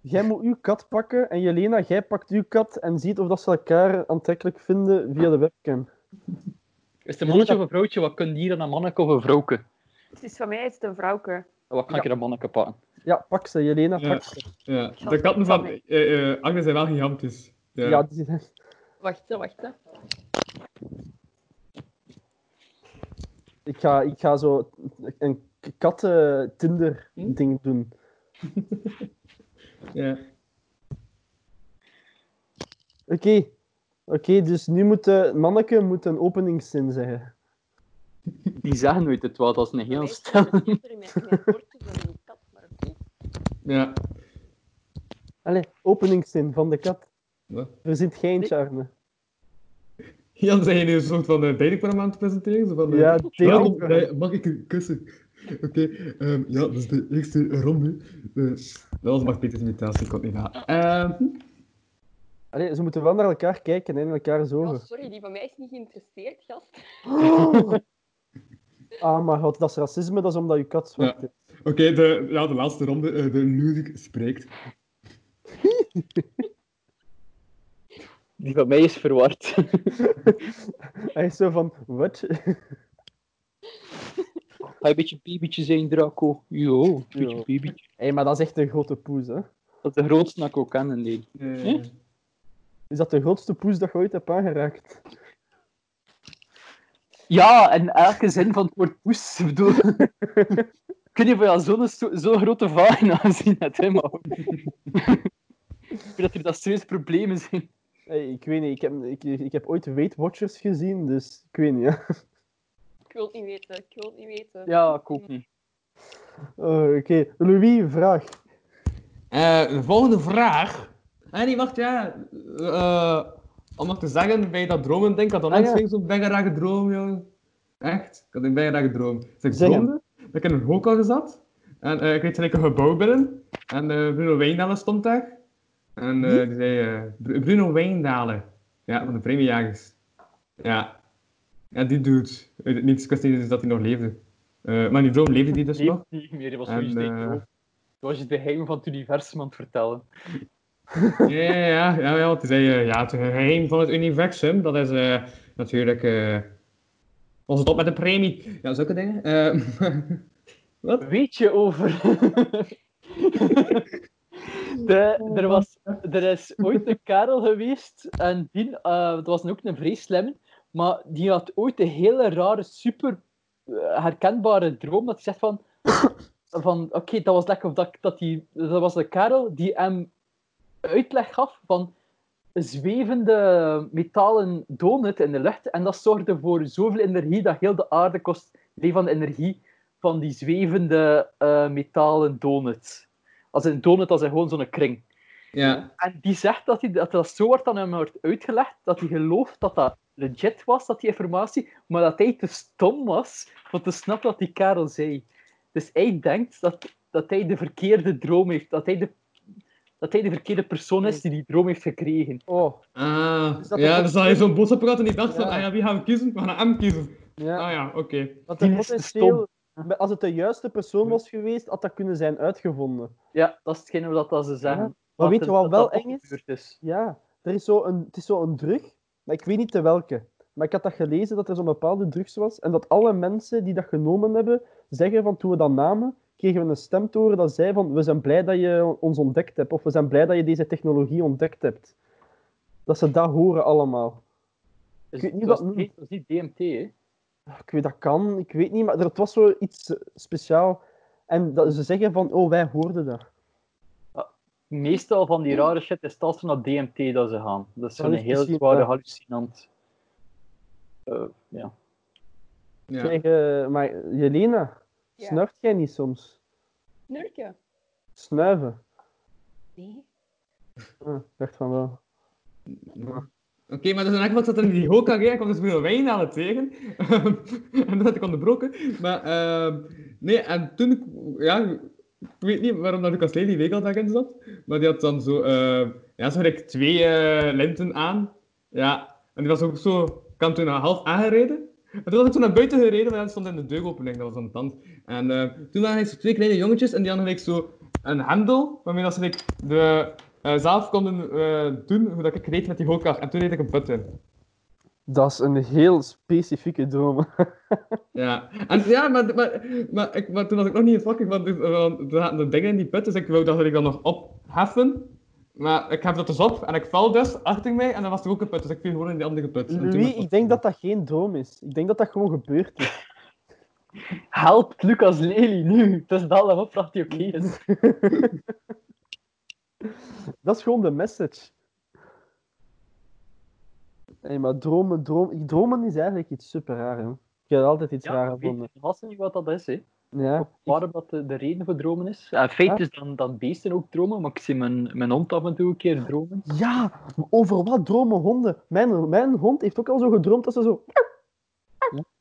Speaker 5: Jij moet uw kat pakken en Jelena, jij pakt uw kat en ziet of dat ze elkaar aantrekkelijk vinden via de webcam.
Speaker 3: Is het een mannetje of een vrouwtje? Wat kun je hier aan een manneke of een vrouwke?
Speaker 6: Dus voor mij is het een vrouwke.
Speaker 3: Wat kan ik er een manneke pakken?
Speaker 5: Ja, pak ze, Jelena,
Speaker 4: Ja.
Speaker 5: pak ze.
Speaker 4: Ja,
Speaker 6: zal
Speaker 4: de
Speaker 6: het
Speaker 4: katten
Speaker 6: niet
Speaker 4: van
Speaker 6: zeggen.
Speaker 4: eh, eh, Agnes zijn wel gigantisch. Ja.
Speaker 5: Ja, die,
Speaker 6: Wacht, hè, wacht. hè.
Speaker 5: ik, ga, ik ga zo een katten-Tinder-ding doen.
Speaker 4: ja.
Speaker 5: Oké, oké, dus nu moet de manneke moet een openingszin zeggen.
Speaker 3: Die zeggen nooit het wel, dat is een heel
Speaker 6: Voor
Speaker 3: stel.
Speaker 6: mij is het een dier met geen poortjes en een kat, maar oké.
Speaker 4: Ja.
Speaker 5: Allee, openingszin van de kat.
Speaker 4: Wat?
Speaker 5: Er zit geintje, Arne.
Speaker 4: Jan, zijn jullie een soort van eh datingprogramma aan het presenteren? Zo van, eh,
Speaker 5: Ja, dating-
Speaker 4: welkom bij Mag ik een kussen? Oké, ehm, ja, dat is de eerste ronde. Eh, dat was maar Peters imitatie, ik kon het niet na. Ehm,
Speaker 5: Allee, ze moeten wel naar elkaar kijken hè, en elkaar
Speaker 6: Oh,
Speaker 5: zogen.
Speaker 6: sorry, die van mij is niet geïnteresseerd, gast.
Speaker 5: Ah, maar god, dat is racisme, dat is omdat je kat zwart
Speaker 4: Ja.
Speaker 5: is.
Speaker 4: Oké, de, ja, de laatste ronde. eh, de Lurik spreekt.
Speaker 3: Die van mij is verward.
Speaker 5: Hij is zo van, wat?
Speaker 3: Ga je een beetje babytje zijn, Draco? Jo, een beetje
Speaker 5: Jo.
Speaker 3: babytje.
Speaker 5: Hé, maar dat is echt een grote poes, hè.
Speaker 3: Dat is de grootste dat ik ook ken, nee.
Speaker 4: Eh,
Speaker 3: Hm?
Speaker 5: Is dat de grootste poes dat je ooit hebt aangeraakt?
Speaker 3: Ja, en elke zin van het woord poes, ik bedoel... Kun je van jou zo'n zo zo'n grote vagina zien, net, hè, maar... ik vind dat er dat serieuze problemen zijn.
Speaker 5: Hey, ik weet niet, ik heb, ik, ik heb ooit Weight Watchers gezien, dus ik weet niet, hè.
Speaker 6: Ik wil het niet weten, ik wil het niet weten.
Speaker 3: Ja, ik ook niet.
Speaker 5: Oh, Oké, Louis, vraag.
Speaker 4: Eh, de volgende vraag. Ah nee, wacht, ja. Eh, om nog te zeggen, bij dat dromen denk ik had onlangs
Speaker 5: Ah, ja.
Speaker 4: weer zo'n bijna rare droom, jongen. Echt? Ik had een bijna rare droom. Dus ik
Speaker 5: Zeg hem.
Speaker 4: droomde dat ik in een hotel zat. En eh, ik weet gelijk een gebouw binnen. En eh, Bruno Wijndalen stond daar. En eh, die zei, eh, Bru- Bruno Wijndalen. Ja, van de premiejagers. Ja. Ja, die dude. Uit het niets, ik wist niet eens dus dat hij nog leefde. Eh, maar in die droom leefde die dus nog.
Speaker 3: leeft niet meer. Die was
Speaker 4: En,
Speaker 3: zoiets
Speaker 4: eh,
Speaker 3: uh... was je het geheim van het universum aan het vertellen.
Speaker 4: Ja, ja, ja. ja, ja want hij zei, eh, ja, het geheim van het universum, dat is eh, natuurlijk... eh ons het op met de premie. Ja, zulke dingen. Eh,
Speaker 3: Weet je over... De, er, was, er is ooit een kerel geweest en die, eh, het was ook een vrij slimme, maar die had ooit een hele rare, super eh, herkenbare droom dat hij zegt van, van oké, dat was lekker, of dat, dat, die, dat was een kerel die hem uitleg gaf van zwevende metalen donut in de lucht en dat zorgde voor zoveel energie dat heel de aarde kost levende energie van die zwevende eh, metalen donut. Als een donut, als in gewoon zo'n kring.
Speaker 4: ja.
Speaker 3: En die zegt dat, hij, dat dat zo wordt aan hem wordt uitgelegd, dat hij gelooft dat dat legit was, dat die informatie, maar dat hij te stom was om te snappen wat die kerel zei. Dus hij denkt dat, dat hij de verkeerde droom heeft, dat hij de, dat hij de verkeerde persoon is die die droom heeft gekregen.
Speaker 5: Oh,
Speaker 4: Ah,
Speaker 5: Is dat
Speaker 4: ja,
Speaker 5: de-
Speaker 4: dus dan is zo'n boodschappraat en die dacht van,
Speaker 5: Ja.
Speaker 4: ah ja, wie gaan we kiezen? We gaan hem kiezen.
Speaker 5: ja.
Speaker 4: Ah ja, oké.
Speaker 5: Want
Speaker 3: Die
Speaker 5: er
Speaker 3: is te
Speaker 5: potentieel, als het de juiste persoon was geweest, had dat kunnen zijn uitgevonden.
Speaker 3: Ja, dat is hetgeen wat dat ze zeggen.
Speaker 5: Ja.
Speaker 3: Dat
Speaker 5: Maar weet je
Speaker 3: het-
Speaker 5: wat
Speaker 3: dat
Speaker 5: wel
Speaker 3: dat
Speaker 5: eng is?
Speaker 3: gebeurd is?
Speaker 5: Ja, er is zo een, het is zo'n drug, maar ik weet niet de welke. Maar ik had dat gelezen, dat er zo'n bepaalde drugs was. En dat alle mensen die dat genomen hebben, zeggen van toen we dat namen, kregen we een stem te horen dat zei van we zijn blij dat je ons ontdekt hebt. Of we zijn blij dat je deze technologie ontdekt hebt. Dat ze dat horen allemaal.
Speaker 3: Dus
Speaker 5: weet niet
Speaker 3: het was
Speaker 5: wat-
Speaker 3: niet- het was niet DMT, hè?
Speaker 5: Ik weet dat kan, ik weet niet, maar er- het was zo iets eh, speciaal. En dat ze zeggen van, oh, wij hoorden dat.
Speaker 3: meestal van die rare shit is het als ze naar DMT dat ze gaan. Dat is
Speaker 5: Dat
Speaker 3: zo'n
Speaker 5: is
Speaker 3: heel
Speaker 5: misschien,
Speaker 3: zware
Speaker 5: ja.
Speaker 3: hallucinant. Eh, ja.
Speaker 4: Ja.
Speaker 5: Zeg, eh, maar Jelena,
Speaker 6: Ja.
Speaker 5: snuift jij niet soms?
Speaker 6: Nurken?
Speaker 5: Snuiven?
Speaker 6: Nee.
Speaker 5: Ah, ik dacht van wel.
Speaker 4: Oké, maar dus in elk geval zat er in die hoka ik kwam dus veel wijn aan het tegen. en dat had ik onderbroken. Maar ehm, nee, en toen, ja, ik weet niet waarom dat Lucas Lee die week al daarin zat. Maar die had dan zo, eh, ja, zo had ik twee eh, linten aan. Ja, en die was ook zo, ik had hem toen half aangereden. En toen was ik toen naar buiten gereden, maar dat stond in de deuropening, dat was aan de tand. En eh, toen waren er zo twee kleine jongetjes en die hadden like, zo een hendel, waarmee dat ze like, de, eh, zelf konden eh, doen hoe dat ik reed met die hookkaart. En toen deed ik een put in.
Speaker 5: Dat is een heel specifieke droom.
Speaker 4: Ja, en, ja maar, maar, maar, ik, maar toen was ik nog niet in het wakker, want er want er zaten de dingen in die put, dus ik wou dat ik dat nog opheffen. Maar ik heb dat dus op en ik val dus achter mij en dan was er ook een put, dus ik viel gewoon in die andere put. En toen was
Speaker 5: Louis,
Speaker 4: het-
Speaker 5: ik denk dat dat geen droom is. Ik denk dat dat gewoon gebeurd is.
Speaker 3: Helpt Lucas Lely nu! Het is dat een opdracht die oké is.
Speaker 5: Dat is gewoon de message. Hey, maar dromen, dromen, dromen is eigenlijk iets super raar, hè. Ik heb altijd iets raar
Speaker 3: Ja, weet
Speaker 5: gevonden.
Speaker 3: je vast niet wat dat is, hè.
Speaker 5: Ja.
Speaker 3: Waarom dat de, de reden voor dromen is. Eh, Ja, in feite
Speaker 5: Ja.
Speaker 3: is dan, dan beesten ook dromen, maar ik zie mijn, mijn hond af en toe een keer dromen.
Speaker 5: ja, over wat dromen honden? Mijn, mijn hond heeft ook al zo gedroomd dat ze zo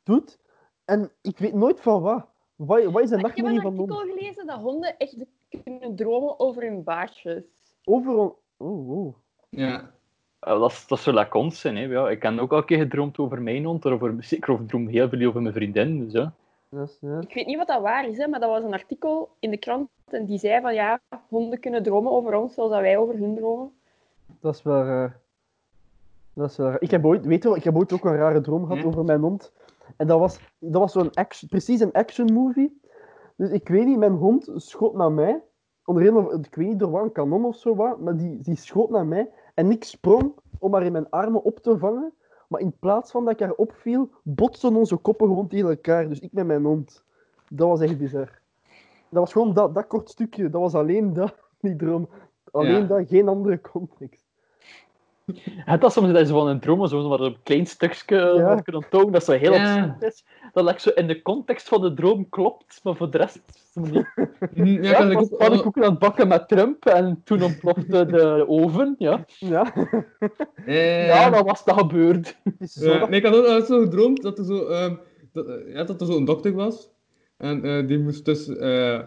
Speaker 5: doet. En ik weet nooit van wat. Wat, wat is de
Speaker 6: Ik heb een
Speaker 5: nachtmerrie van
Speaker 6: artikel
Speaker 5: honden?
Speaker 6: gelezen dat honden echt kunnen dromen over hun baasjes.
Speaker 5: Over... Oh, oh.
Speaker 4: Ja.
Speaker 3: Eh, dat, is- dat zou lekker ons zijn, hè. Ja, ik heb ook al een keer gedroomd over mijn hond, of over, zeker over, droom heel veel over mijn vriendin. Dus, ja.
Speaker 5: Dat is, eh, ja.
Speaker 6: Ik weet niet wat dat waar is, hè, maar dat was een artikel in de krant en die zei van ja, honden kunnen dromen over ons zoals dat wij over hun dromen.
Speaker 5: Dat is wel raar. Dat is wel raar. Ik heb ooit, weet je wel, ik heb ooit ook een rare droom gehad
Speaker 4: Ja?
Speaker 5: over mijn hond. En dat was, dat was zo'n action, precies een action movie. Dus ik weet niet, mijn hond schoot naar mij. Onder een, of- ik weet niet door wat, een kanon of zo wat, maar die, die schoot naar mij. En ik sprong om haar in mijn armen op te vangen. Maar in plaats van dat ik haar opviel, botsten onze koppen gewoon tegen elkaar. Dus ik met mijn hond. Dat was echt bizar. Dat was gewoon dat, dat kort stukje. Dat was alleen dat, die droom. Alleen
Speaker 4: Ja.
Speaker 5: dat, geen andere context.
Speaker 3: Het dat soms dat is van een droom, zo maar een klein stukje eh, ja. kunnen onthouden, dat zo heel
Speaker 4: Ja.
Speaker 3: absurd is. Dat like, zo in de context van de droom klopt, maar voor de rest niet.
Speaker 4: Hm, Ja,
Speaker 3: Ja,
Speaker 4: kan
Speaker 3: ik
Speaker 4: ik
Speaker 3: was
Speaker 4: ook-
Speaker 3: pannenkoeken aan het bakken met Trump en toen ontplofte de oven. Ja,
Speaker 5: Ja,
Speaker 4: Eh,
Speaker 3: ja dat was dat gebeurd.
Speaker 5: het is zo.
Speaker 4: Ja,
Speaker 5: dat-
Speaker 4: Eh, nee, ik had ook altijd zo gedroomd dat er zo, ehm, dat, eh, ja, dat er zo een dokter was. En eh, die moest dus, eh,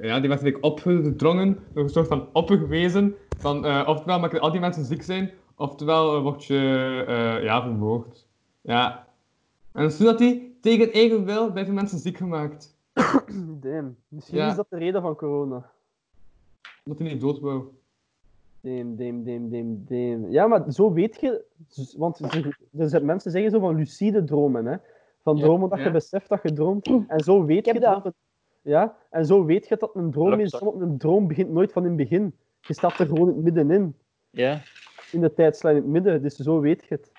Speaker 4: ja, die werd like, opgedrongen door een soort van opgewezen. Van, eh, oftewel maken al die mensen ziek zijn, oftewel eh, word je, eh, ja, vermoord. Ja. En dus toen had hij tegen eigen wil bij veel mensen ziek gemaakt.
Speaker 5: Damn. Misschien
Speaker 4: Ja.
Speaker 5: is dat de reden van corona.
Speaker 4: Omdat hij niet dood wou.
Speaker 5: Damn, damn, damn, damn, damn. Ja, maar zo weet je... z- Want ze- er zijn- mensen zeggen zo van lucide dromen, hè. Van
Speaker 4: Ja,
Speaker 5: dromen dat
Speaker 4: ja.
Speaker 5: je beseft dat je droomt. En zo weet
Speaker 6: heb
Speaker 5: je
Speaker 6: dat.
Speaker 5: dat... het- ja, en zo weet je dat het een droom is.
Speaker 3: Rugzak.
Speaker 5: Want een droom begint nooit van in het begin. Je staat er gewoon in het middenin.
Speaker 3: Ja.
Speaker 5: In de tijdslijn in het midden. Dus zo weet je het.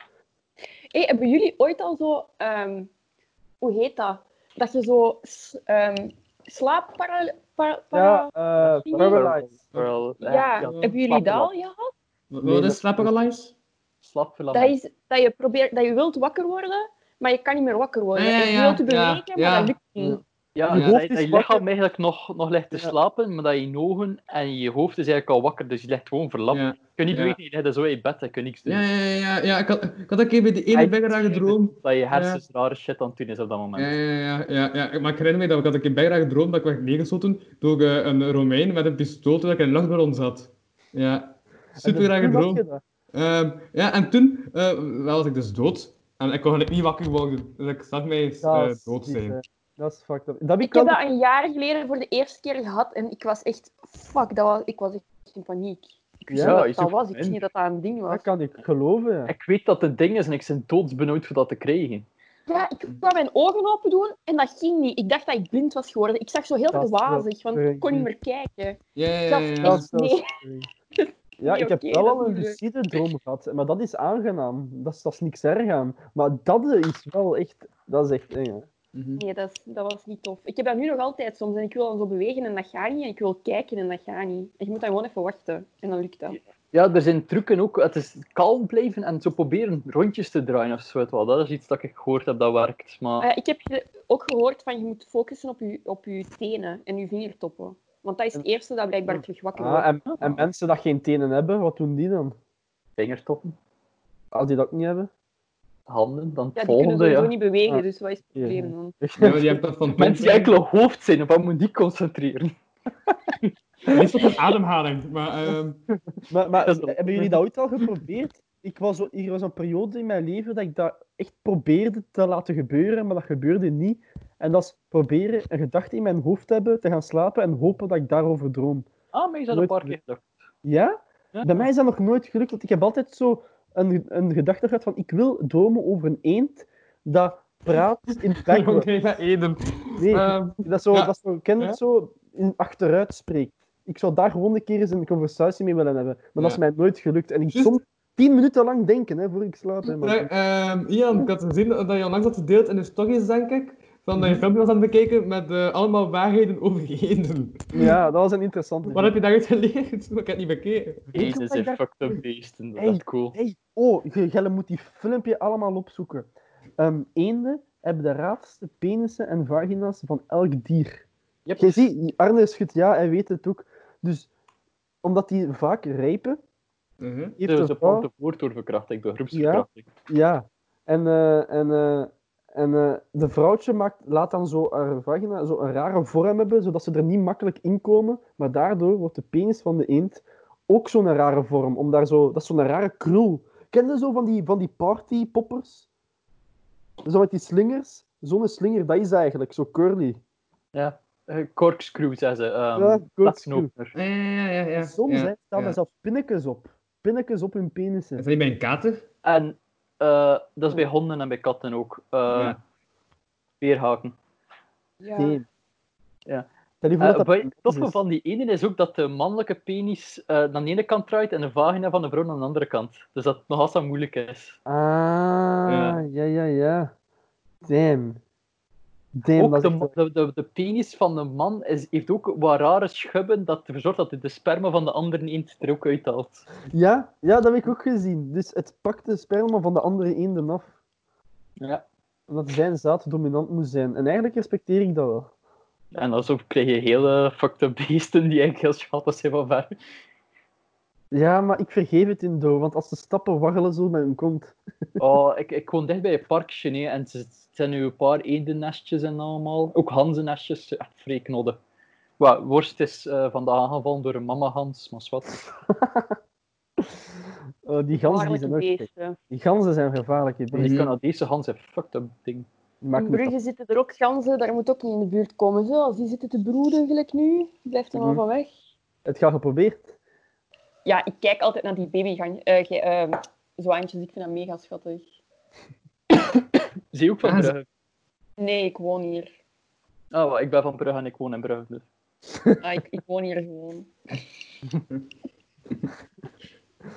Speaker 6: Hey, hebben jullie ooit al zo... ehm, hoe heet dat? Dat je zo s- ehm slaappara... para- para-
Speaker 5: Ja, eh
Speaker 6: Ja.
Speaker 5: Paralyzed.
Speaker 3: Wel, eh,
Speaker 6: ja, hebben jullie dat al
Speaker 3: slaapverlamming.
Speaker 6: gehad?
Speaker 4: Wat
Speaker 5: Nee,
Speaker 4: wat
Speaker 5: dat-
Speaker 4: is slap paralysis?
Speaker 6: Dat
Speaker 3: Slaapverlamming.
Speaker 6: is dat je, probeert, dat je wilt wakker worden, maar je kan niet meer wakker worden.
Speaker 4: Ah, ja,
Speaker 6: En je
Speaker 4: ja,
Speaker 6: wilt te
Speaker 4: ja,
Speaker 6: bewegen, maar
Speaker 4: ja.
Speaker 6: dat lukt niet.
Speaker 3: Ja,
Speaker 5: Je
Speaker 3: dat-
Speaker 5: hoofd
Speaker 3: dat
Speaker 5: is
Speaker 3: je
Speaker 5: wakker.
Speaker 3: lichaam eigenlijk nog, nog ligt te
Speaker 5: Ja.
Speaker 3: slapen, maar dat je ogen en je hoofd is eigenlijk al wakker, dus je ligt gewoon verlamd.
Speaker 4: Ja.
Speaker 3: Je kunt niet
Speaker 4: Ja.
Speaker 3: bewegen, je ligt zo in je bed, je kunt niks doen.
Speaker 4: Ja, ja, ja, ja, ja. Ik, had, ik had een keer bij die ene
Speaker 3: Hij-
Speaker 4: bijdrage droom.
Speaker 3: Dat je hersens rare shit aan het doen is op dat moment.
Speaker 4: Ja, ja, ja, ja, ja. Maar ik herinner me dat ik had een keer bijdrage droom dat ik werd neergeschoten door eh, een Romein met een pistool terwijl ik in een luchtballon zat. Ja, super rare droom. Ehm, ja, en toen eh, wel was ik dus dood. En ik kon eigenlijk niet wakker worden. Dus ik zat mij eens, eh,
Speaker 5: Dat is
Speaker 4: dood
Speaker 5: niet,
Speaker 4: zijn.
Speaker 5: eh, Dat is fucked up. Dat
Speaker 6: Ik
Speaker 5: kan
Speaker 6: heb dat een jaar geleden voor de eerste keer gehad en ik was echt... Fuck, dat was, ik was echt in paniek. Ik wist
Speaker 5: Ja,
Speaker 6: niet
Speaker 3: je
Speaker 6: wat
Speaker 3: zit
Speaker 6: dat was. Ik
Speaker 3: erin.
Speaker 6: wist niet dat dat een ding was.
Speaker 5: Dat kan ik geloven. ja.
Speaker 3: Ik weet dat het ding is en ik ben doodsbenauwd voor dat te krijgen.
Speaker 6: Ja, ik wou mijn ogen open doen en dat ging niet. Ik dacht dat ik blind was geworden. Ik zag zo heel
Speaker 5: Dat is wel
Speaker 6: wazig, want ik kon niet meer kijken.
Speaker 4: Ja, ja, ja.
Speaker 6: Dat-
Speaker 4: ja.
Speaker 5: Dat is wel
Speaker 6: Nee.
Speaker 5: scary. Ja,
Speaker 6: Niet
Speaker 5: ik heb
Speaker 6: oké,
Speaker 5: wel
Speaker 6: dat
Speaker 5: al
Speaker 6: is
Speaker 5: een
Speaker 6: niet leuk.
Speaker 5: lucide droom gehad, maar dat is aangenaam. Dat is, dat is niks erg aan. Maar dat is wel echt... Dat is echt eh, eng, hè.
Speaker 4: Mhm.
Speaker 6: Nee, dat, is- dat was niet tof. Ik heb dat nu nog altijd soms en ik wil dan zo bewegen en dat gaat niet. En ik wil kijken en dat gaat niet. En je moet dan gewoon even wachten en dan lukt dat.
Speaker 3: Ja, er zijn trucken ook. Het is kalm blijven en zo proberen rondjes te draaien of zo. weet wel. Dat is iets dat ik gehoord heb dat werkt. Maar
Speaker 6: Eh, ik heb ge- ook gehoord van je moet focussen op je, op je tenen en je vingertoppen. Want dat is het eerste dat blijkbaar terug wakker wordt.
Speaker 5: Ah, en, en mensen dat geen tenen hebben, wat doen die dan?
Speaker 3: vingertoppen,
Speaker 5: Als die dat ook niet hebben?
Speaker 3: handen, dan het
Speaker 6: Ja, die kunnen
Speaker 3: volgende.
Speaker 6: sowieso
Speaker 3: Ja.
Speaker 6: niet bewegen,
Speaker 5: Ah.
Speaker 6: dus wat is het probleem dan?
Speaker 4: Ja, maar die hebt dat van
Speaker 3: Mensen die
Speaker 4: Tom.
Speaker 3: enkel op hoofd zijn, op wat moet die concentreren?
Speaker 4: Niet op een ademhaling, maar... ehm,
Speaker 5: Maar, maar
Speaker 3: Dat is wel-
Speaker 5: hebben jullie dat ooit al geprobeerd? Ik was, zo- er was een periode in mijn leven dat ik dat echt probeerde te laten gebeuren, maar dat gebeurde niet. En dat is proberen een gedachte in mijn hoofd te hebben, te gaan slapen en hopen dat ik daarover droom.
Speaker 3: Ah, maar je zou een
Speaker 5: Nooit
Speaker 3: paar keer gedacht.
Speaker 5: Ja?
Speaker 3: Ja.
Speaker 5: Bij mij is dat nog nooit gelukt, want ik heb altijd zo een, een gedachte gehad van ik wil dromen over een eend dat praat in backward.
Speaker 4: Oké, dat Eden.
Speaker 5: Nee,
Speaker 4: Ehm,
Speaker 5: dat is zo,
Speaker 4: ja.
Speaker 5: dat is zo, ken je het zo, in, achteruit spreekt. Ik zou daar gewoon een keer eens een conversatie mee willen hebben, maar dat
Speaker 4: Ja.
Speaker 5: is mij nooit gelukt. En ik
Speaker 4: Juist.
Speaker 5: soms tien minuten lang denken, hè, voor ik slaap. Hè, maar...
Speaker 4: Ja, ehm, Ian, ik had gezien dat je onlangs had gedeeld in de stories, denk ik. Van dat je filmpje was aan het bekijken met eh, allemaal waarheden over eenden.
Speaker 5: Ja, dat was een interessante.
Speaker 4: Wat heb je daaruit geleerd? Ik heb het niet bekeken.
Speaker 5: Weet je
Speaker 3: Jezus,
Speaker 5: wat ik
Speaker 3: zijn
Speaker 5: daar-
Speaker 3: fucked up beesten. Dat
Speaker 5: Hey,
Speaker 3: is cool.
Speaker 5: Hey, oh, je- Jelle moet die filmpje allemaal opzoeken. Ehm, eenden hebben de raarste penissen en vagina's van elk dier.
Speaker 3: Yep.
Speaker 5: Je ziet, Arne schudt ja, hij weet het ook. Dus omdat die vaak rijpen,
Speaker 4: Mhm.
Speaker 5: heeft
Speaker 3: Ze
Speaker 5: de vrouw...
Speaker 3: ze voort door verkrachting, door groepsverkrachting.
Speaker 5: Ja, en, eh, en, eh, en eh, de vrouwtje maakt, laat dan zo haar vagina zo een rare vorm hebben, zodat ze er niet makkelijk in komen. Maar daardoor wordt de penis van de eend ook zo'n rare vorm. Om daar zo, dat is zo'n rare krul. Ken je zo van die, van die partypoppers? Zo met die slingers? Zo'n slinger, dat is eigenlijk, zo curly.
Speaker 3: Ja. Eh, Corkscrew, zei ze. ehm,
Speaker 5: Ja, corkscrew.
Speaker 3: platknoper.
Speaker 4: Ja, ja, ja, ja, ja.
Speaker 5: Soms
Speaker 4: ja,
Speaker 5: hè, staan
Speaker 4: ja. Eh,
Speaker 5: er zelfs pinnetjes op. Pinnetjes op hun penissen.
Speaker 4: Is dat niet bij een kater?
Speaker 3: En eh, dat is bij honden en bij katten ook. eh
Speaker 4: Ja.
Speaker 3: Weerhaken.
Speaker 6: Ja.
Speaker 5: Damn.
Speaker 3: Ja.
Speaker 5: Stel je voor
Speaker 3: Eh,
Speaker 5: dat dat
Speaker 3: wat
Speaker 5: een
Speaker 3: het
Speaker 5: penis
Speaker 3: toffe
Speaker 5: is.
Speaker 3: van die ene is ook dat de mannelijke penis eh, aan de ene kant draait en de vagina van de vrouw aan de andere kant. Dus dat het nog altijd moeilijk is.
Speaker 5: Ah,
Speaker 4: Ja.
Speaker 5: ja, ja, ja. Damn. Damn,
Speaker 3: ook
Speaker 5: dat is
Speaker 3: de,
Speaker 5: echt-
Speaker 3: de, de, de penis van de man is, heeft ook wat rare schubben dat ervoor zorgt dat de sperma van de andere eend er ook uithaalt.
Speaker 5: ja, ja, dat heb ik ook gezien. Dus het pakt de sperma van de andere eenden af.
Speaker 3: Ja.
Speaker 5: Omdat zijn zaad dominant moet zijn. En eigenlijk respecteer ik dat wel.
Speaker 3: En dan zo krijg je hele fucked up beesten die eigenlijk heel schattig zijn van ver.
Speaker 5: Ja, maar ik vergeef het in Do, want als de stappen waggelen zo met hun kont. eh,
Speaker 3: Oh, ik, ik woon dicht bij een parkje hè, en ze- het zijn nu een paar eendennestjes en allemaal. Ook hanzennestjes, echt vrij knodden. Wel, worst is eh, vandaag aangevallen door een mama hans, maar wat.
Speaker 5: Eh, die ganzen die
Speaker 6: Waarlijk
Speaker 5: zijn ook gek.
Speaker 6: beesten.
Speaker 5: Die ganzen zijn gevaarlijke
Speaker 3: Want die
Speaker 5: beesten.
Speaker 3: Canadese gans heeft fucked up ding.
Speaker 5: Die maken
Speaker 6: In
Speaker 5: met
Speaker 6: Brugge zitten er ook ganzen, daar moet ook niet in de buurt komen. Zo, als die zitten te broeden, gelijk nu, blijft er
Speaker 5: Mhm.
Speaker 6: allemaal van weg.
Speaker 5: dat- Het gaat geprobeerd.
Speaker 6: Ja, ik kijk altijd naar die babygang, eh, ge- eh, zwaantjes, ik vind dat mega schattig.
Speaker 3: Zie je ook van
Speaker 4: Ah, ze-
Speaker 3: Brugge?
Speaker 6: Nee, ik woon hier.
Speaker 3: Ah, wel, ik ben van Brugge en ik woon in Brugge. dus.
Speaker 6: Ah, ik, ik woon hier gewoon.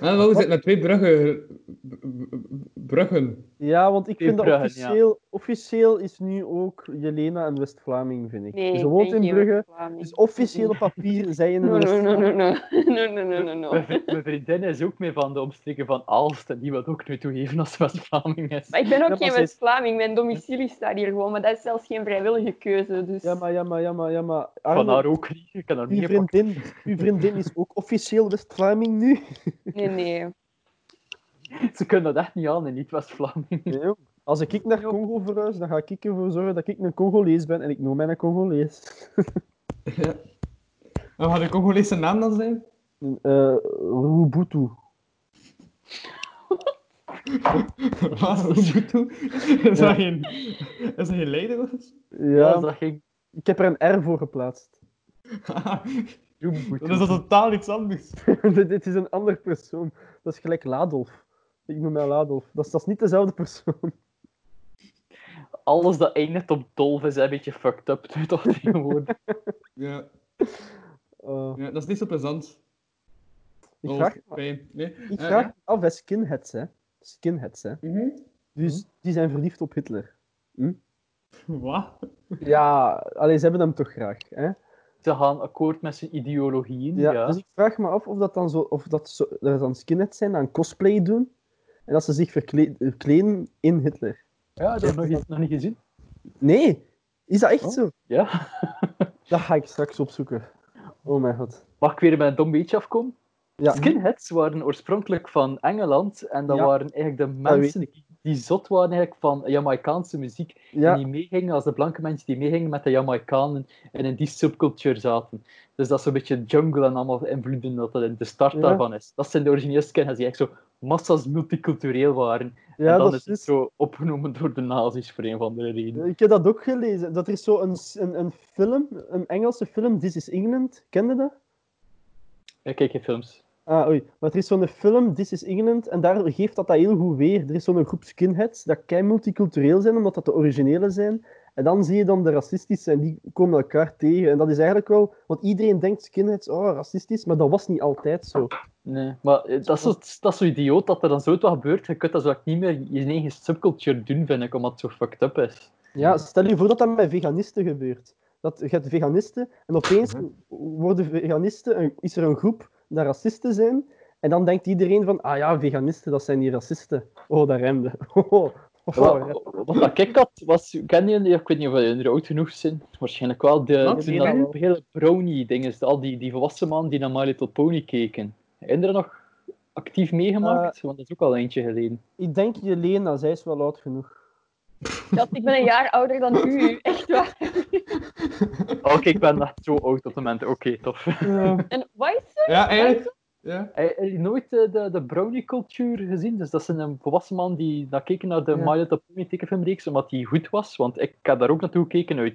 Speaker 4: Ah, wel, we zitten met twee bruggen. b- b- Bruggen.
Speaker 5: Ja, want ik
Speaker 3: In
Speaker 5: vind dat
Speaker 3: Brugge,
Speaker 5: officieel, officieel is nu ook Jelena en West-Vlaming, vind ik.
Speaker 6: Nee,
Speaker 5: Ze woont
Speaker 6: ik
Speaker 5: in
Speaker 6: ben geen
Speaker 5: Brugge,
Speaker 6: West-Vlaming.
Speaker 5: dus officieel op papier zijn in
Speaker 6: No,
Speaker 5: een
Speaker 6: no, no,
Speaker 5: West-Vlaming.
Speaker 6: no, no. No, no, no, no, no.
Speaker 3: Mijn vri- Mijn vriendin is ook mee van de omstreken van Aalst en die wil ook nu toegeven als ze West-Vlaming is.
Speaker 6: Maar ik ben ook
Speaker 5: Ja,
Speaker 6: geen
Speaker 5: precies.
Speaker 6: West-Vlaming, mijn domicilie staat hier gewoon, maar dat is zelfs geen vrijwillige keuze. Dus...
Speaker 5: Ja, maar ja, maar ja, maar ja, maar.
Speaker 3: Van
Speaker 5: Arne,
Speaker 3: haar ook niet, ik kan haar
Speaker 5: uw,
Speaker 3: niet pakken.
Speaker 5: vriendin, uw vriendin is ook officieel West-Vlaming nu.
Speaker 6: Nee, nee.
Speaker 3: Ze kunnen dat echt niet aan, een niet-West-Vlaming.
Speaker 5: Nee, joh. Als ik naar Congo verhuis, dan ga ik ervoor zorgen dat ik een Congolees ben en ik noem mij een Congolees.
Speaker 4: En wat Oh, had ik ook wel eens zijn naam dan zijn?
Speaker 5: Eh Rubutu.
Speaker 4: Wat? Robutu? Is dat geen... Is dat geen Leidenwas?
Speaker 3: Ja,
Speaker 5: Ja,
Speaker 3: dat ging...
Speaker 5: ik heb er een R voor geplaatst.
Speaker 4: Dat is dat totaal iets anders.
Speaker 5: Dit dit is een ander persoon. Dat is gelijk Ladolf. Ik noem mij Ladolf. Dat is, dat is niet dezelfde persoon.
Speaker 3: Alles dat eindigt op dolf is een beetje fucked up nu toch tegenwoordig.
Speaker 4: Ja,
Speaker 5: Eh,
Speaker 3: Oh.
Speaker 4: ja, dat is niet zo plezant.
Speaker 5: ik
Speaker 4: Oh,
Speaker 5: vraag,
Speaker 4: pijn. Nee.
Speaker 5: ik
Speaker 4: Eh,
Speaker 5: vraag
Speaker 4: ja.
Speaker 5: me af, hè, skinheads, hè. Skinheads, hè.
Speaker 4: Mhm.
Speaker 5: Dus
Speaker 3: Hm?
Speaker 5: die zijn verliefd op Hitler.
Speaker 4: Wat?
Speaker 5: Ja, alleen ze hebben hem toch graag, hè.
Speaker 3: Ze gaan akkoord met zijn ideologieën,
Speaker 5: Ja,
Speaker 3: ja.
Speaker 5: Dus ik vraag me af of dat dan zo, of dat zo, er dan skinheads zijn aan cosplay doen en dat ze zich verkle- verkleden in Hitler.
Speaker 3: Ja, dat heb ik nog, niet- nog niet gezien.
Speaker 5: Nee, is dat echt
Speaker 3: Oh.
Speaker 5: zo?
Speaker 3: Ja.
Speaker 5: Dat ga ik straks opzoeken. Oh mijn god.
Speaker 3: Mag ik weer bij een dom beetje afkomen?
Speaker 5: Ja,
Speaker 3: Skinheads waren oorspronkelijk van Engeland en dat
Speaker 5: Ja.
Speaker 3: waren eigenlijk de
Speaker 5: Dat Ah, weet
Speaker 3: mensen die, die zot waren eigenlijk van Jamaicaanse muziek en
Speaker 5: ja,
Speaker 3: die meegingen als de blanke mensen die meegingen met de Jamaicanen en in die subculture zaten. Dus dat is een beetje jungle en allemaal invloeden dat dat in de start
Speaker 5: Ja.
Speaker 3: daarvan is. Dat zijn de originele skinheads die echt zo massas multicultureel waren.
Speaker 5: ja
Speaker 3: en dan
Speaker 5: dat
Speaker 3: is
Speaker 5: is
Speaker 3: het zo opgenomen door de nazi's voor een of andere reden.
Speaker 5: Ik heb dat ook gelezen. Dat er is zo een, s- een, een film, een Engelse film, This is England. Kende dat?
Speaker 3: Ja, kijk je films.
Speaker 5: Ah, oei. Maar er is zo'n film, This is England, en daar geeft dat dat heel goed weer. Er is zo'n groep skinheads, dat kei multicultureel zijn, omdat dat de originele zijn. En dan zie je dan de racistische, en die komen elkaar tegen. En dat is eigenlijk wel... Want iedereen denkt skinheads, oh, racistisch, maar dat was niet altijd zo.
Speaker 3: Nee, maar eh, dat is, zo, dat is zo idioot dat er dan zoiets wat gebeurt. Je kunt dat zo ook niet meer je eigen subculture doen, vind ik, omdat het zo fucked up is.
Speaker 5: Ja, stel je voor dat dat met veganisten gebeurt. Dat, je hebt veganisten, en opeens
Speaker 4: Mhm.
Speaker 5: worden veganisten, een- is er een groep dat racisten zijn, en dan denkt iedereen van, ah ja, veganisten, dat zijn die racisten. Oh, dat remde. Oh, oh,
Speaker 3: Wat,
Speaker 5: ja.
Speaker 3: wat dat ik had, was, ken je, ik weet niet of jullie oud genoeg zijn, waarschijnlijk wel, de,
Speaker 4: Wat?
Speaker 3: toen dat hele brownie-ding al die, die volwassen man die naar My Little Pony keken. Heb je er nog actief meegemaakt? Want dat is ook al eentje geleden.
Speaker 5: Ik denk Jelena, zij is wel oud genoeg.
Speaker 6: Schat, ik ben een jaar ouder dan u, echt waar.
Speaker 3: Oké, ik ben echt zo oud op het moment. Oké, tof.
Speaker 6: En wat is het?
Speaker 4: Ja, eigenlijk. Ja.
Speaker 3: Heb je nooit eh, de, de brownie-cultuur gezien? Dus dat is een volwassen man die dat keek naar de
Speaker 5: Ja.
Speaker 3: My Little Pony tekenfilmreeks, omdat die goed was. Want ik heb daar ook naartoe gekeken uit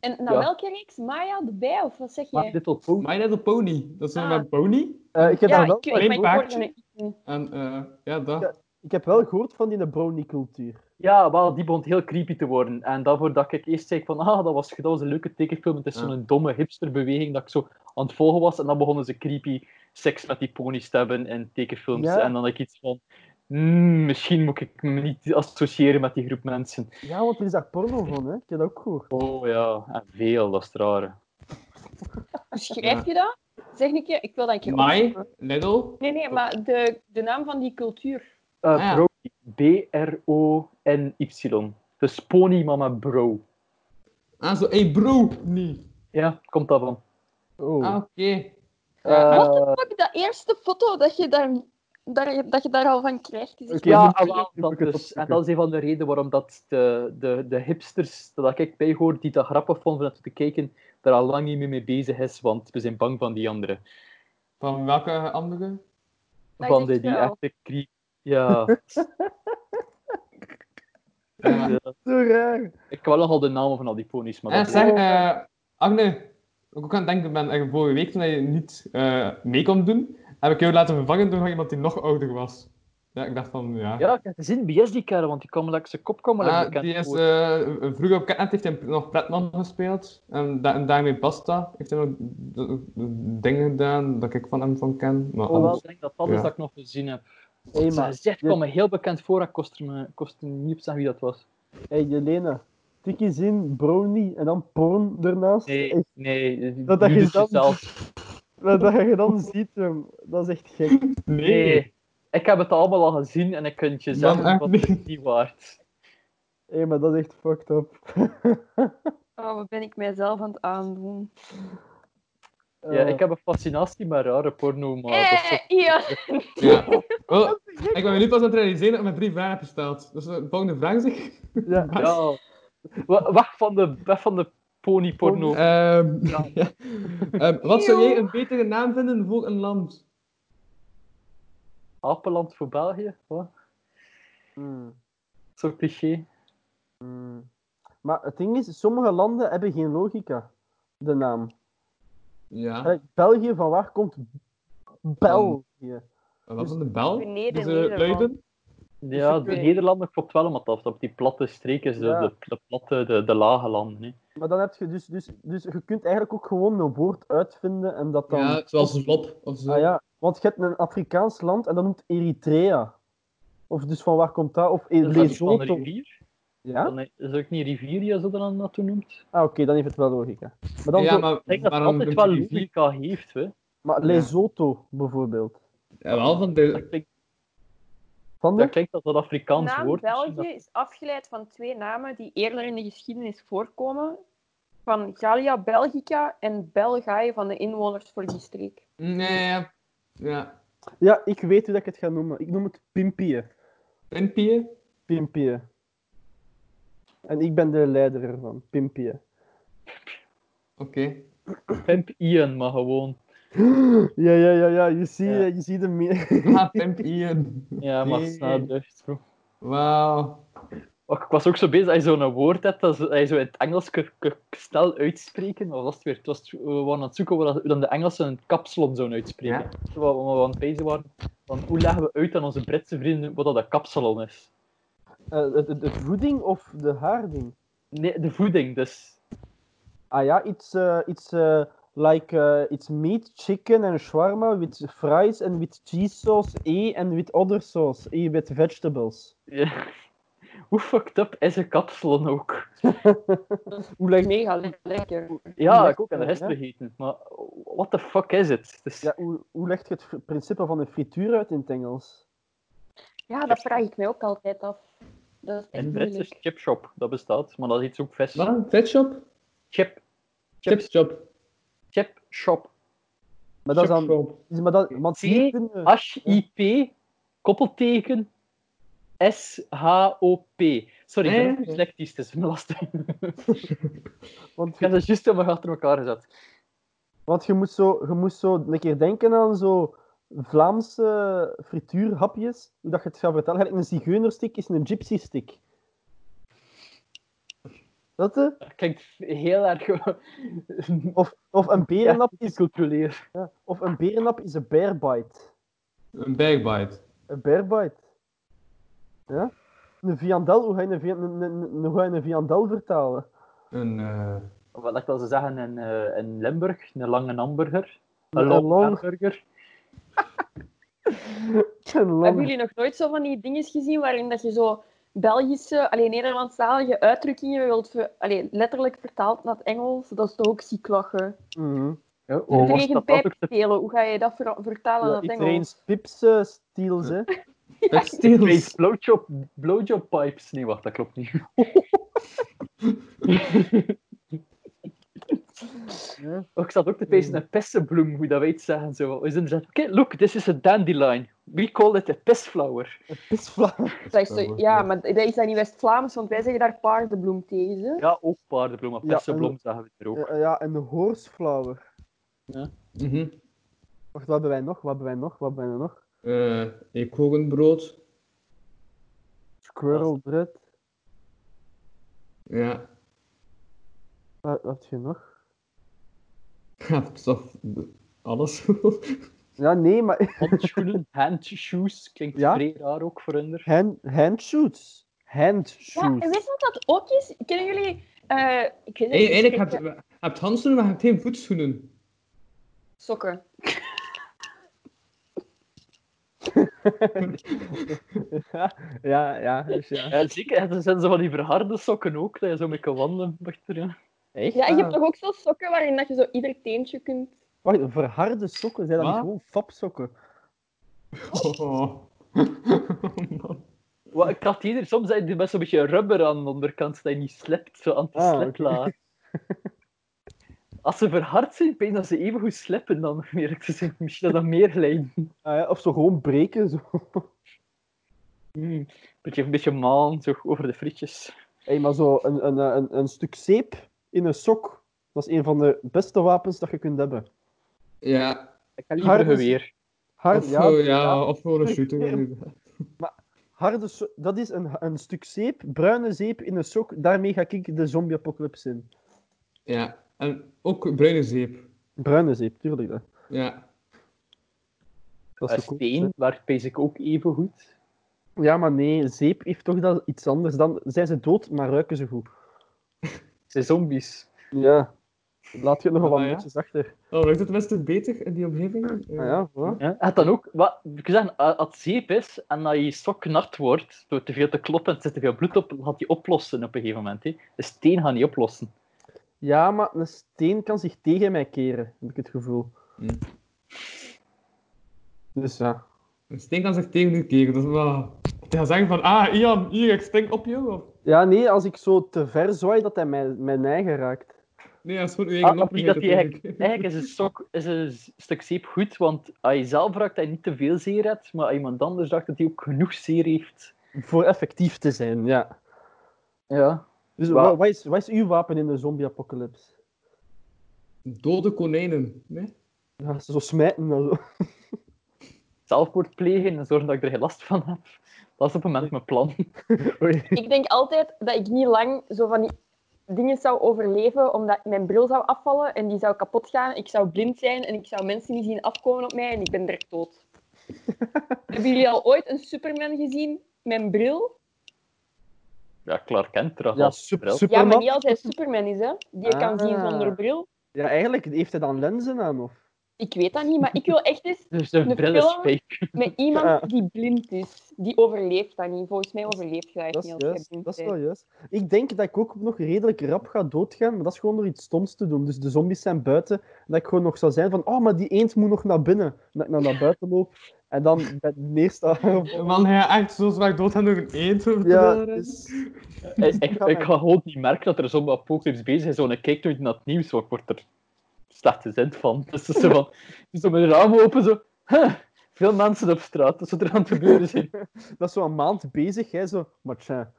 Speaker 6: En naar
Speaker 3: Ja.
Speaker 6: welke reeks? Maya, de bij, of wat zeg
Speaker 3: My
Speaker 6: jij?
Speaker 3: Little Pony.
Speaker 4: My Little Pony. Dat is
Speaker 6: Ah.
Speaker 4: een met pony.
Speaker 5: Eh, ik, heb
Speaker 6: Ja,
Speaker 5: daar
Speaker 6: ik,
Speaker 5: wel,
Speaker 6: ik, ben- ik
Speaker 4: Paardje.
Speaker 6: hoorde het.
Speaker 4: En eh, ja, dat.
Speaker 5: Ja. ik heb wel gehoord van die brownie-cultuur.
Speaker 3: Ja, wel, die begon heel creepy te worden. En daarvoor dat ik eerst zei van, ah, dat was, dat was een leuke tekenfilm. Het is
Speaker 4: Ja.
Speaker 3: zo'n domme hipsterbeweging dat ik zo aan het volgen was. En dan begonnen ze creepy seks met die ponies te hebben in tekenfilms.
Speaker 5: Ja.
Speaker 3: En dan had ik iets van, "Hmm, misschien moet ik me niet associëren met die groep mensen.
Speaker 5: Ja, want er is daar porno van, hè? Ik heb dat ook gehoord.
Speaker 3: Oh ja, en veel, dat is het rare.
Speaker 6: Hoe schrijf je dat? Zeg een keer, ik wil dat een keer
Speaker 4: My
Speaker 6: opzoeken.
Speaker 4: Little.
Speaker 6: Nee, nee, maar de, de naam van die cultuur.
Speaker 3: Eh,
Speaker 4: Ah, ja.
Speaker 3: bro, B-R-O-N-Y. Dus pony mama bro.
Speaker 4: Ah, zo, hey bro. Nee.
Speaker 3: Ja, komt daarvan.
Speaker 5: Oh.
Speaker 4: Ah, oké.
Speaker 3: Eh,
Speaker 6: Wat de fuck, dat eerste foto dat je daar, daar, dat je daar al van krijgt. Is echt-
Speaker 5: Oké.
Speaker 3: Ja,
Speaker 5: dus-
Speaker 3: ah, wel,
Speaker 5: ik
Speaker 3: dat
Speaker 5: moet
Speaker 3: dus.
Speaker 5: het opzoeken.
Speaker 3: En dat is een van de redenen waarom dat de, de, de hipsters, dat ik bijhoor, die dat grappig vonden om dat te kijken, daar al lang niet meer mee bezig is, want we zijn bang van die anderen.
Speaker 4: Van welke andere?
Speaker 6: Dat
Speaker 3: van
Speaker 6: is
Speaker 3: die,
Speaker 6: echt
Speaker 3: die
Speaker 6: wel.
Speaker 3: echte creep. Ja.
Speaker 4: Ja.
Speaker 3: Ja.
Speaker 5: Zo raar.
Speaker 3: Ik wil nogal de namen van al die ponies, maar
Speaker 4: En
Speaker 3: dat
Speaker 4: zeg, eh, Agne, wat ik ook aan het denken ben, eh, vorige week toen je niet eh, mee kon doen, heb ik jou laten vervangen door iemand die nog ouder was. Ja, ik dacht van, ja.
Speaker 3: Ja, ik heb gezien BS die kerel, want die kwam lekker zijn kop komen
Speaker 4: Ah,
Speaker 3: lekker bekend
Speaker 4: die is
Speaker 3: voor.
Speaker 4: eh, vroeger op Catnet heeft hij nog Pretman gespeeld. En, da- en daarmee Basta heeft hij nog d- d- dingen gedaan dat ik van hem van ken. Maar
Speaker 3: Oh, wel,
Speaker 4: anders-
Speaker 3: ik denk dat dat is
Speaker 4: Ja.
Speaker 3: dat ik nog gezien heb.
Speaker 5: Hé,
Speaker 3: Zijn
Speaker 5: maar.
Speaker 3: gezicht
Speaker 5: dit-
Speaker 3: kwam me heel bekend voor, ik kost er me- kost er niet op zeggen wie dat was.
Speaker 5: Hey, Jelena. Tikkie zin, brownie en dan porn ernaast.
Speaker 3: Nee,
Speaker 5: Echt,
Speaker 3: nee,
Speaker 5: Dat
Speaker 3: dat
Speaker 5: dat
Speaker 3: je
Speaker 5: je
Speaker 3: doet
Speaker 5: dan-
Speaker 3: jezelf.
Speaker 5: wat dat je dan ziet, jong, dat is echt gek.
Speaker 3: Nee, ik heb het allemaal al gezien en ik kan het je
Speaker 4: Man,
Speaker 3: zeggen
Speaker 4: echt
Speaker 3: wat
Speaker 4: niet.
Speaker 3: het niet waard.
Speaker 5: Hé, maar dat is echt fucked up.
Speaker 6: Oh, wat ben ik mijzelf aan het aandoen?
Speaker 3: Ja,
Speaker 5: Eh,
Speaker 3: ik heb een fascinatie met rare porno, maar Oh, dat is
Speaker 6: Eh,
Speaker 3: toch-
Speaker 6: Ian!
Speaker 4: Ja. Wel, ik ben me nu pas aan het realiseren dat ik maar drie vragen heb gesteld. Dus de volgende vraag zeg.
Speaker 5: Ja.
Speaker 3: Ja. Wa- Weg van de, weg van de pony porno.
Speaker 4: Ehm,
Speaker 3: Ja.
Speaker 4: ja. Ehm, wat zou jij
Speaker 6: Eeuw.
Speaker 4: een betere naam vinden voor een land?
Speaker 3: Apeland voor België, wat?
Speaker 5: Hmm,
Speaker 3: Zo'n cliché.
Speaker 5: hmm. Maar het ding is, sommige landen hebben geen logica. De naam.
Speaker 3: Eh,
Speaker 4: Ja.
Speaker 5: Allee, België, van waar komt België?
Speaker 4: Wat van de bel?
Speaker 6: Beneden
Speaker 4: Dus, eh,
Speaker 6: Nederland.
Speaker 4: luiden?
Speaker 3: Ja, de
Speaker 6: oké.
Speaker 3: Nederlanden klopt wel, omdat dat op die platte streek is, de,
Speaker 5: Ja.
Speaker 3: de, de platte, de, de lage landen. Hè.
Speaker 5: Maar dan heb je dus, dus, dus je kunt eigenlijk ook gewoon een woord uitvinden en dat dan.
Speaker 4: Ja, zoals lop of zo.
Speaker 5: Ah ja, want je hebt een Afrikaans land en dat noemt Eritrea. Of dus van waar komt dat? Of
Speaker 3: Is dat niet van een
Speaker 5: Lesotho.
Speaker 3: rivier?
Speaker 5: Ja?
Speaker 3: Dan is dat ook niet Riviera, zo dan dat toen noemt?
Speaker 5: Ah, oké, dan heeft het wel logica. Maar, dan
Speaker 4: Ja,
Speaker 5: zo- maar...
Speaker 4: maar
Speaker 3: Ik denk dat het
Speaker 4: waarom
Speaker 3: altijd
Speaker 4: noemt
Speaker 3: wel
Speaker 4: je die vier?
Speaker 3: logica heeft, hè.
Speaker 5: Lesotho bijvoorbeeld.
Speaker 4: Ja, wel van de...
Speaker 3: Dat klinkt,
Speaker 5: Van de?
Speaker 3: dat klinkt als dat
Speaker 6: De
Speaker 3: Afrikaans
Speaker 6: naam
Speaker 3: woord. misschien,
Speaker 6: België is afgeleid van twee namen die eerder in de geschiedenis voorkomen. Van Gallia Belgica en Belgae van de inwoners voor die streek.
Speaker 4: Nee, ja. Ja.
Speaker 5: Ja, ik weet hoe dat ik het ga noemen. Ik noem het Pimpie.
Speaker 4: Pimpie?
Speaker 5: Pimpie. En ik ben de leider ervan, Pimpie.
Speaker 4: Oké.
Speaker 3: dat Pimp Ian, maar gewoon.
Speaker 5: Ja, ja, ja, ja, je ziet
Speaker 3: Ja.
Speaker 5: je ziet de meer.
Speaker 4: Ah, Pimp Ian.
Speaker 3: Ja, maar
Speaker 4: Nee.
Speaker 3: snel echt, bro.
Speaker 4: Wauw.
Speaker 3: Och, Ik was ook zo bezig dat je zo'n woord hebt dat ze- dat je zo in het Engels kun- kun- snel uitspreken. Of was het weer? Het was, we waren aan het zoeken hoe dat- hoe dan de Engelsen een kapsalon zouden uitspreken.
Speaker 4: Ja.
Speaker 3: Wat we wat we aan het bezig waren. Van, hoe leggen we uit aan onze Britse vrienden wat dat een kapsalon is?
Speaker 5: Eh, de, de- de voeding of de haarding?
Speaker 3: Nee, de voeding dus.
Speaker 5: Ah ja, it's, eh, it's eh, like eh, it's meat, chicken and shawarma with fries and with cheese sauce, eh, and with other sauce, eh, with vegetables.
Speaker 3: Ja. Hoe fucked up is een kapsalon ook?
Speaker 5: Hoe lijkt
Speaker 6: Mega le- lekker.
Speaker 3: Ja,
Speaker 5: Ja,
Speaker 3: ik ook aan de
Speaker 5: ja.
Speaker 3: gisteren gegeten. Maar what the fuck is het? Het is-
Speaker 5: ja, hoe, hoe legt je het fr- principe van een frituur uit in het Engels?
Speaker 6: Ja, dat vraag ik mij ook altijd af. Dat is echt
Speaker 3: In Brits is
Speaker 6: moeilijk.
Speaker 3: chipshop, dat bestaat. Maar dat is iets ook vis.
Speaker 4: Wat? Vetshop?
Speaker 3: Chip, Chips.
Speaker 4: Chipshop.
Speaker 3: chipshop.
Speaker 5: Maar dat is dan...
Speaker 4: Chipshop.
Speaker 5: is- Maar dat, want
Speaker 3: Zie je?
Speaker 5: hier kunnen we-
Speaker 3: H-I-P, koppelteken, S-H-O-P. Sorry, ik
Speaker 4: Nee,
Speaker 3: ben ook
Speaker 4: nee.
Speaker 3: dyslectisch, het is me lastig. ik
Speaker 5: want,
Speaker 3: heb
Speaker 5: je,
Speaker 3: dat juist helemaal achter elkaar gezet.
Speaker 5: want je, moet zo, je moest zo een keer denken aan zo Vlaamse frituurhapjes. Hoe dat je het gaat vertellen. Eigenlijk Een zigeunerstick is een gypsy stick. Dat eh?
Speaker 3: Dat klinkt heel erg
Speaker 5: Of, of een berennap is
Speaker 3: cultureer.
Speaker 5: Ja, Of een berennap is een bear bite.
Speaker 4: Een bagbite.
Speaker 5: Een bear bite. Ja? Een viandel, hoe ga je een, vi- een, een- een- hoe ga je een viandel vertalen?
Speaker 4: Een... eh,
Speaker 3: Wat ik wil ze zeggen in, eh, in Limburg, een lange hamburger. Een
Speaker 5: Een
Speaker 3: lange
Speaker 5: long-
Speaker 3: hamburger.
Speaker 5: Een
Speaker 6: Hebben
Speaker 5: lam.
Speaker 6: jullie nog nooit zo van die dingetjes gezien waarin dat je zo Belgische, alleen Nederlandstalige uitdrukkingen wilt ver, allee, letterlijk vertaald naar het Engels? Dat is toch ook ziek lachen.
Speaker 5: Mhm.
Speaker 3: Ja, hoe Oh, was dat
Speaker 6: Regenpijp
Speaker 3: ook de
Speaker 6: spelen, hoe ga je dat ver- vertalen
Speaker 5: Ja,
Speaker 6: naar het
Speaker 5: ik
Speaker 6: Engels?
Speaker 5: train pips eh, steals, hè.
Speaker 4: Pip
Speaker 3: Twee
Speaker 4: Steels.
Speaker 3: blowjob, blowjob pipes. Nee, wacht, dat klopt niet.
Speaker 5: Ja.
Speaker 3: Oh, Ik zat ook te pezen een pissenbloem, hoe dat wij het zeggen. Zo. We zijn zo, Oké, look, this is a dandelion. We call it a pissflower.
Speaker 5: Pisvla-
Speaker 6: Dat is zo-
Speaker 4: Dat wordt
Speaker 6: ja,
Speaker 4: leuk.
Speaker 6: maar dat is dan niet West-Vlaams, want wij zeggen daar paardenbloem tegen. hè.
Speaker 3: Ja, ook paardenbloem, maar
Speaker 5: Ja,
Speaker 3: pissenbloem zeggen we er ook.
Speaker 5: Eh, eh, ja, en de horseflower.
Speaker 4: Mhm.
Speaker 5: Wacht, wat hebben wij nog? Wat hebben wij nog? Wat hebben wij nog?
Speaker 4: eh eekhoornbrood.
Speaker 5: Squirrel bread.
Speaker 4: Ja,
Speaker 5: Wat wat heb je nog?
Speaker 4: dat is toch alles.
Speaker 5: Ja, nee, maar
Speaker 3: Handschoenen, handshoes, klinkt
Speaker 5: Ja.
Speaker 3: vrij raar ook voor hun.
Speaker 5: hand, handshoes.
Speaker 6: Ja, en weet
Speaker 5: Handshoes.
Speaker 6: je wat dat ook is? Kennen jullie... eh, ik weet het
Speaker 4: Eén-
Speaker 6: niet.
Speaker 4: Eigenlijk heb je hebt handschoenen, maar je hebt geen voetschoenen.
Speaker 6: Sokken.
Speaker 5: Ja, ja, ja, dus ja.
Speaker 3: Ja, zeker. En dan zijn ze van die verharde sokken ook, dat je zo mee kan wandelen. achterin.
Speaker 5: Echt?
Speaker 6: Ja, en je
Speaker 5: Ah.
Speaker 6: hebt toch ook zo'n sokken waarin dat je zo ieder teentje kunt...
Speaker 5: Wacht, verharde sokken? Zijn dat niet
Speaker 3: Wat?
Speaker 5: gewoon fapsokken?
Speaker 4: Oh. Man.
Speaker 3: Wat, ik had hier soms zijn die best een beetje rubber aan de onderkant, dat je niet slept, zo anti-sleplaar. Als ze verhard zijn, denk dat ze even goed sleppen dan, om eerlijk te zijn. Misschien dat dat meer lijkt.
Speaker 5: Ah, ja, of zo gewoon breken, zo.
Speaker 3: Mm, beetje, een beetje malen, zo over de frietjes.
Speaker 5: Hey, maar zo een, een, eh, een, een stuk zeep in een sok, dat is een van de beste wapens dat je kunt hebben.
Speaker 4: Ja,
Speaker 3: Ik ga
Speaker 5: liever
Speaker 3: liever
Speaker 5: geweer.
Speaker 3: geweer.
Speaker 5: Hard,
Speaker 4: of, eh,
Speaker 5: ja,
Speaker 4: ja, ja, of voor een shooter. inderdaad.
Speaker 5: harde so- dat is een, een stuk zeep, bruine zeep in een sok, daarmee ga ik de zombie-apocalypse in.
Speaker 4: Ja, en ook bruine zeep.
Speaker 5: Bruine zeep, tuurlijk. Dat,
Speaker 4: Ja,
Speaker 5: dat
Speaker 3: Een
Speaker 5: zo cool.
Speaker 3: steen werkt basic ook even goed.
Speaker 5: Ja, maar nee, zeep heeft toch dat iets anders. Dan zijn ze dood, maar ruiken ze goed.
Speaker 3: Ze zombies.
Speaker 5: Ja. Laat je nog wel
Speaker 4: Ah,
Speaker 5: wat
Speaker 4: ja.
Speaker 5: muntjes achter.
Speaker 4: dan lukt Oh, het best beter in die omgeving.
Speaker 5: Ah, ja, voilà.
Speaker 3: Ja. Het dan ook, wat, ik zeg, eh, als het zeep is en dat je sok nat wordt door te veel te kloppen en er zit te veel bloed op, dan gaat die oplossen op een gegeven moment. Hè. De steen gaat niet oplossen.
Speaker 5: ja, maar een steen kan zich tegen mij keren, heb ik het gevoel.
Speaker 4: Hm.
Speaker 5: Dus ja.
Speaker 4: Een steen kan zich tegen u keren, dus wel... Hij zeggen van, ah, Ian, hier, ik stink op jou. Of...
Speaker 5: Ja, nee, als ik zo te ver zwaai, dat hij mijn, mijn eigen raakt.
Speaker 4: Nee, dat is gewoon uw eigen
Speaker 3: Ah, of niet dat
Speaker 4: opmerking
Speaker 3: die
Speaker 4: natuurlijk.
Speaker 3: eigenlijk, eigenlijk is een, sok, is een s- stuk zeep goed, want als je zelf raakt dat je niet te veel zeer hebt, maar als iemand anders raakt dat hij ook genoeg zeer heeft.
Speaker 5: Voor effectief te zijn, ja.
Speaker 3: Ja.
Speaker 5: Dus
Speaker 3: Wa-
Speaker 5: wa- wat is, wat is uw wapen in de zombie-apocalypse?
Speaker 4: Dode konijnen, nee?
Speaker 5: Ja, ze zo smijten. dan zo.
Speaker 3: Zelfmoord plegen en zorgen dat ik er geen last van heb. Dat is op het moment mijn plan.
Speaker 5: Oei.
Speaker 6: Ik denk altijd dat ik niet lang zo van die dingen zou overleven, omdat mijn bril zou afvallen en die zou kapot gaan. Ik zou blind zijn en ik zou mensen niet zien afkomen op mij en ik ben direct dood. Hebben jullie al ooit een Superman gezien? Mijn bril?
Speaker 3: Ja, Clark Kent er
Speaker 5: Ja,
Speaker 3: ja,
Speaker 5: sup-
Speaker 3: super.
Speaker 5: sup-
Speaker 6: Ja, maar
Speaker 5: Superman?
Speaker 6: niet als hij Superman is, hè. Die kan
Speaker 5: Ah.
Speaker 6: zien zonder bril.
Speaker 5: Ja, eigenlijk heeft hij dan lenzen aan, of?
Speaker 6: Ik weet dat niet, maar ik wil echt eens
Speaker 3: Dus een
Speaker 6: de
Speaker 3: bril is
Speaker 6: film-
Speaker 3: fake.
Speaker 6: met
Speaker 5: Ja.
Speaker 6: iemand die blind is. Die overleeft dat niet. Volgens mij overleeft je dat
Speaker 5: Dat
Speaker 6: echt
Speaker 5: is,
Speaker 6: niet als jij
Speaker 5: juist,
Speaker 6: blind
Speaker 5: dat is
Speaker 6: bent.
Speaker 5: wel juist. Ik denk dat ik ook nog redelijk rap ga doodgaan, maar dat is gewoon door iets stoms te doen. Dus de zombies zijn buiten, dat ik gewoon nog zou zijn van oh, maar die eend moet nog naar binnen. En Dat ik dan naar buiten loop en dan bij de neersta.
Speaker 4: Man, hij gaat echt zo zwaar dood aan door een eend. hoor.
Speaker 5: Ja, dus...
Speaker 3: ik, ik, ik ga gewoon niet merken dat er zo'n apocalypse bezig is, want ik kijk nooit naar het nieuws, want ik word er slechte zin van. Dus het is zo van, zo met de ramen open, zo... "Huh, veel mensen op straat, dat ze er aan het gebeuren zijn.
Speaker 5: dat is zo een maand bezig, hè, zo. Maar tja,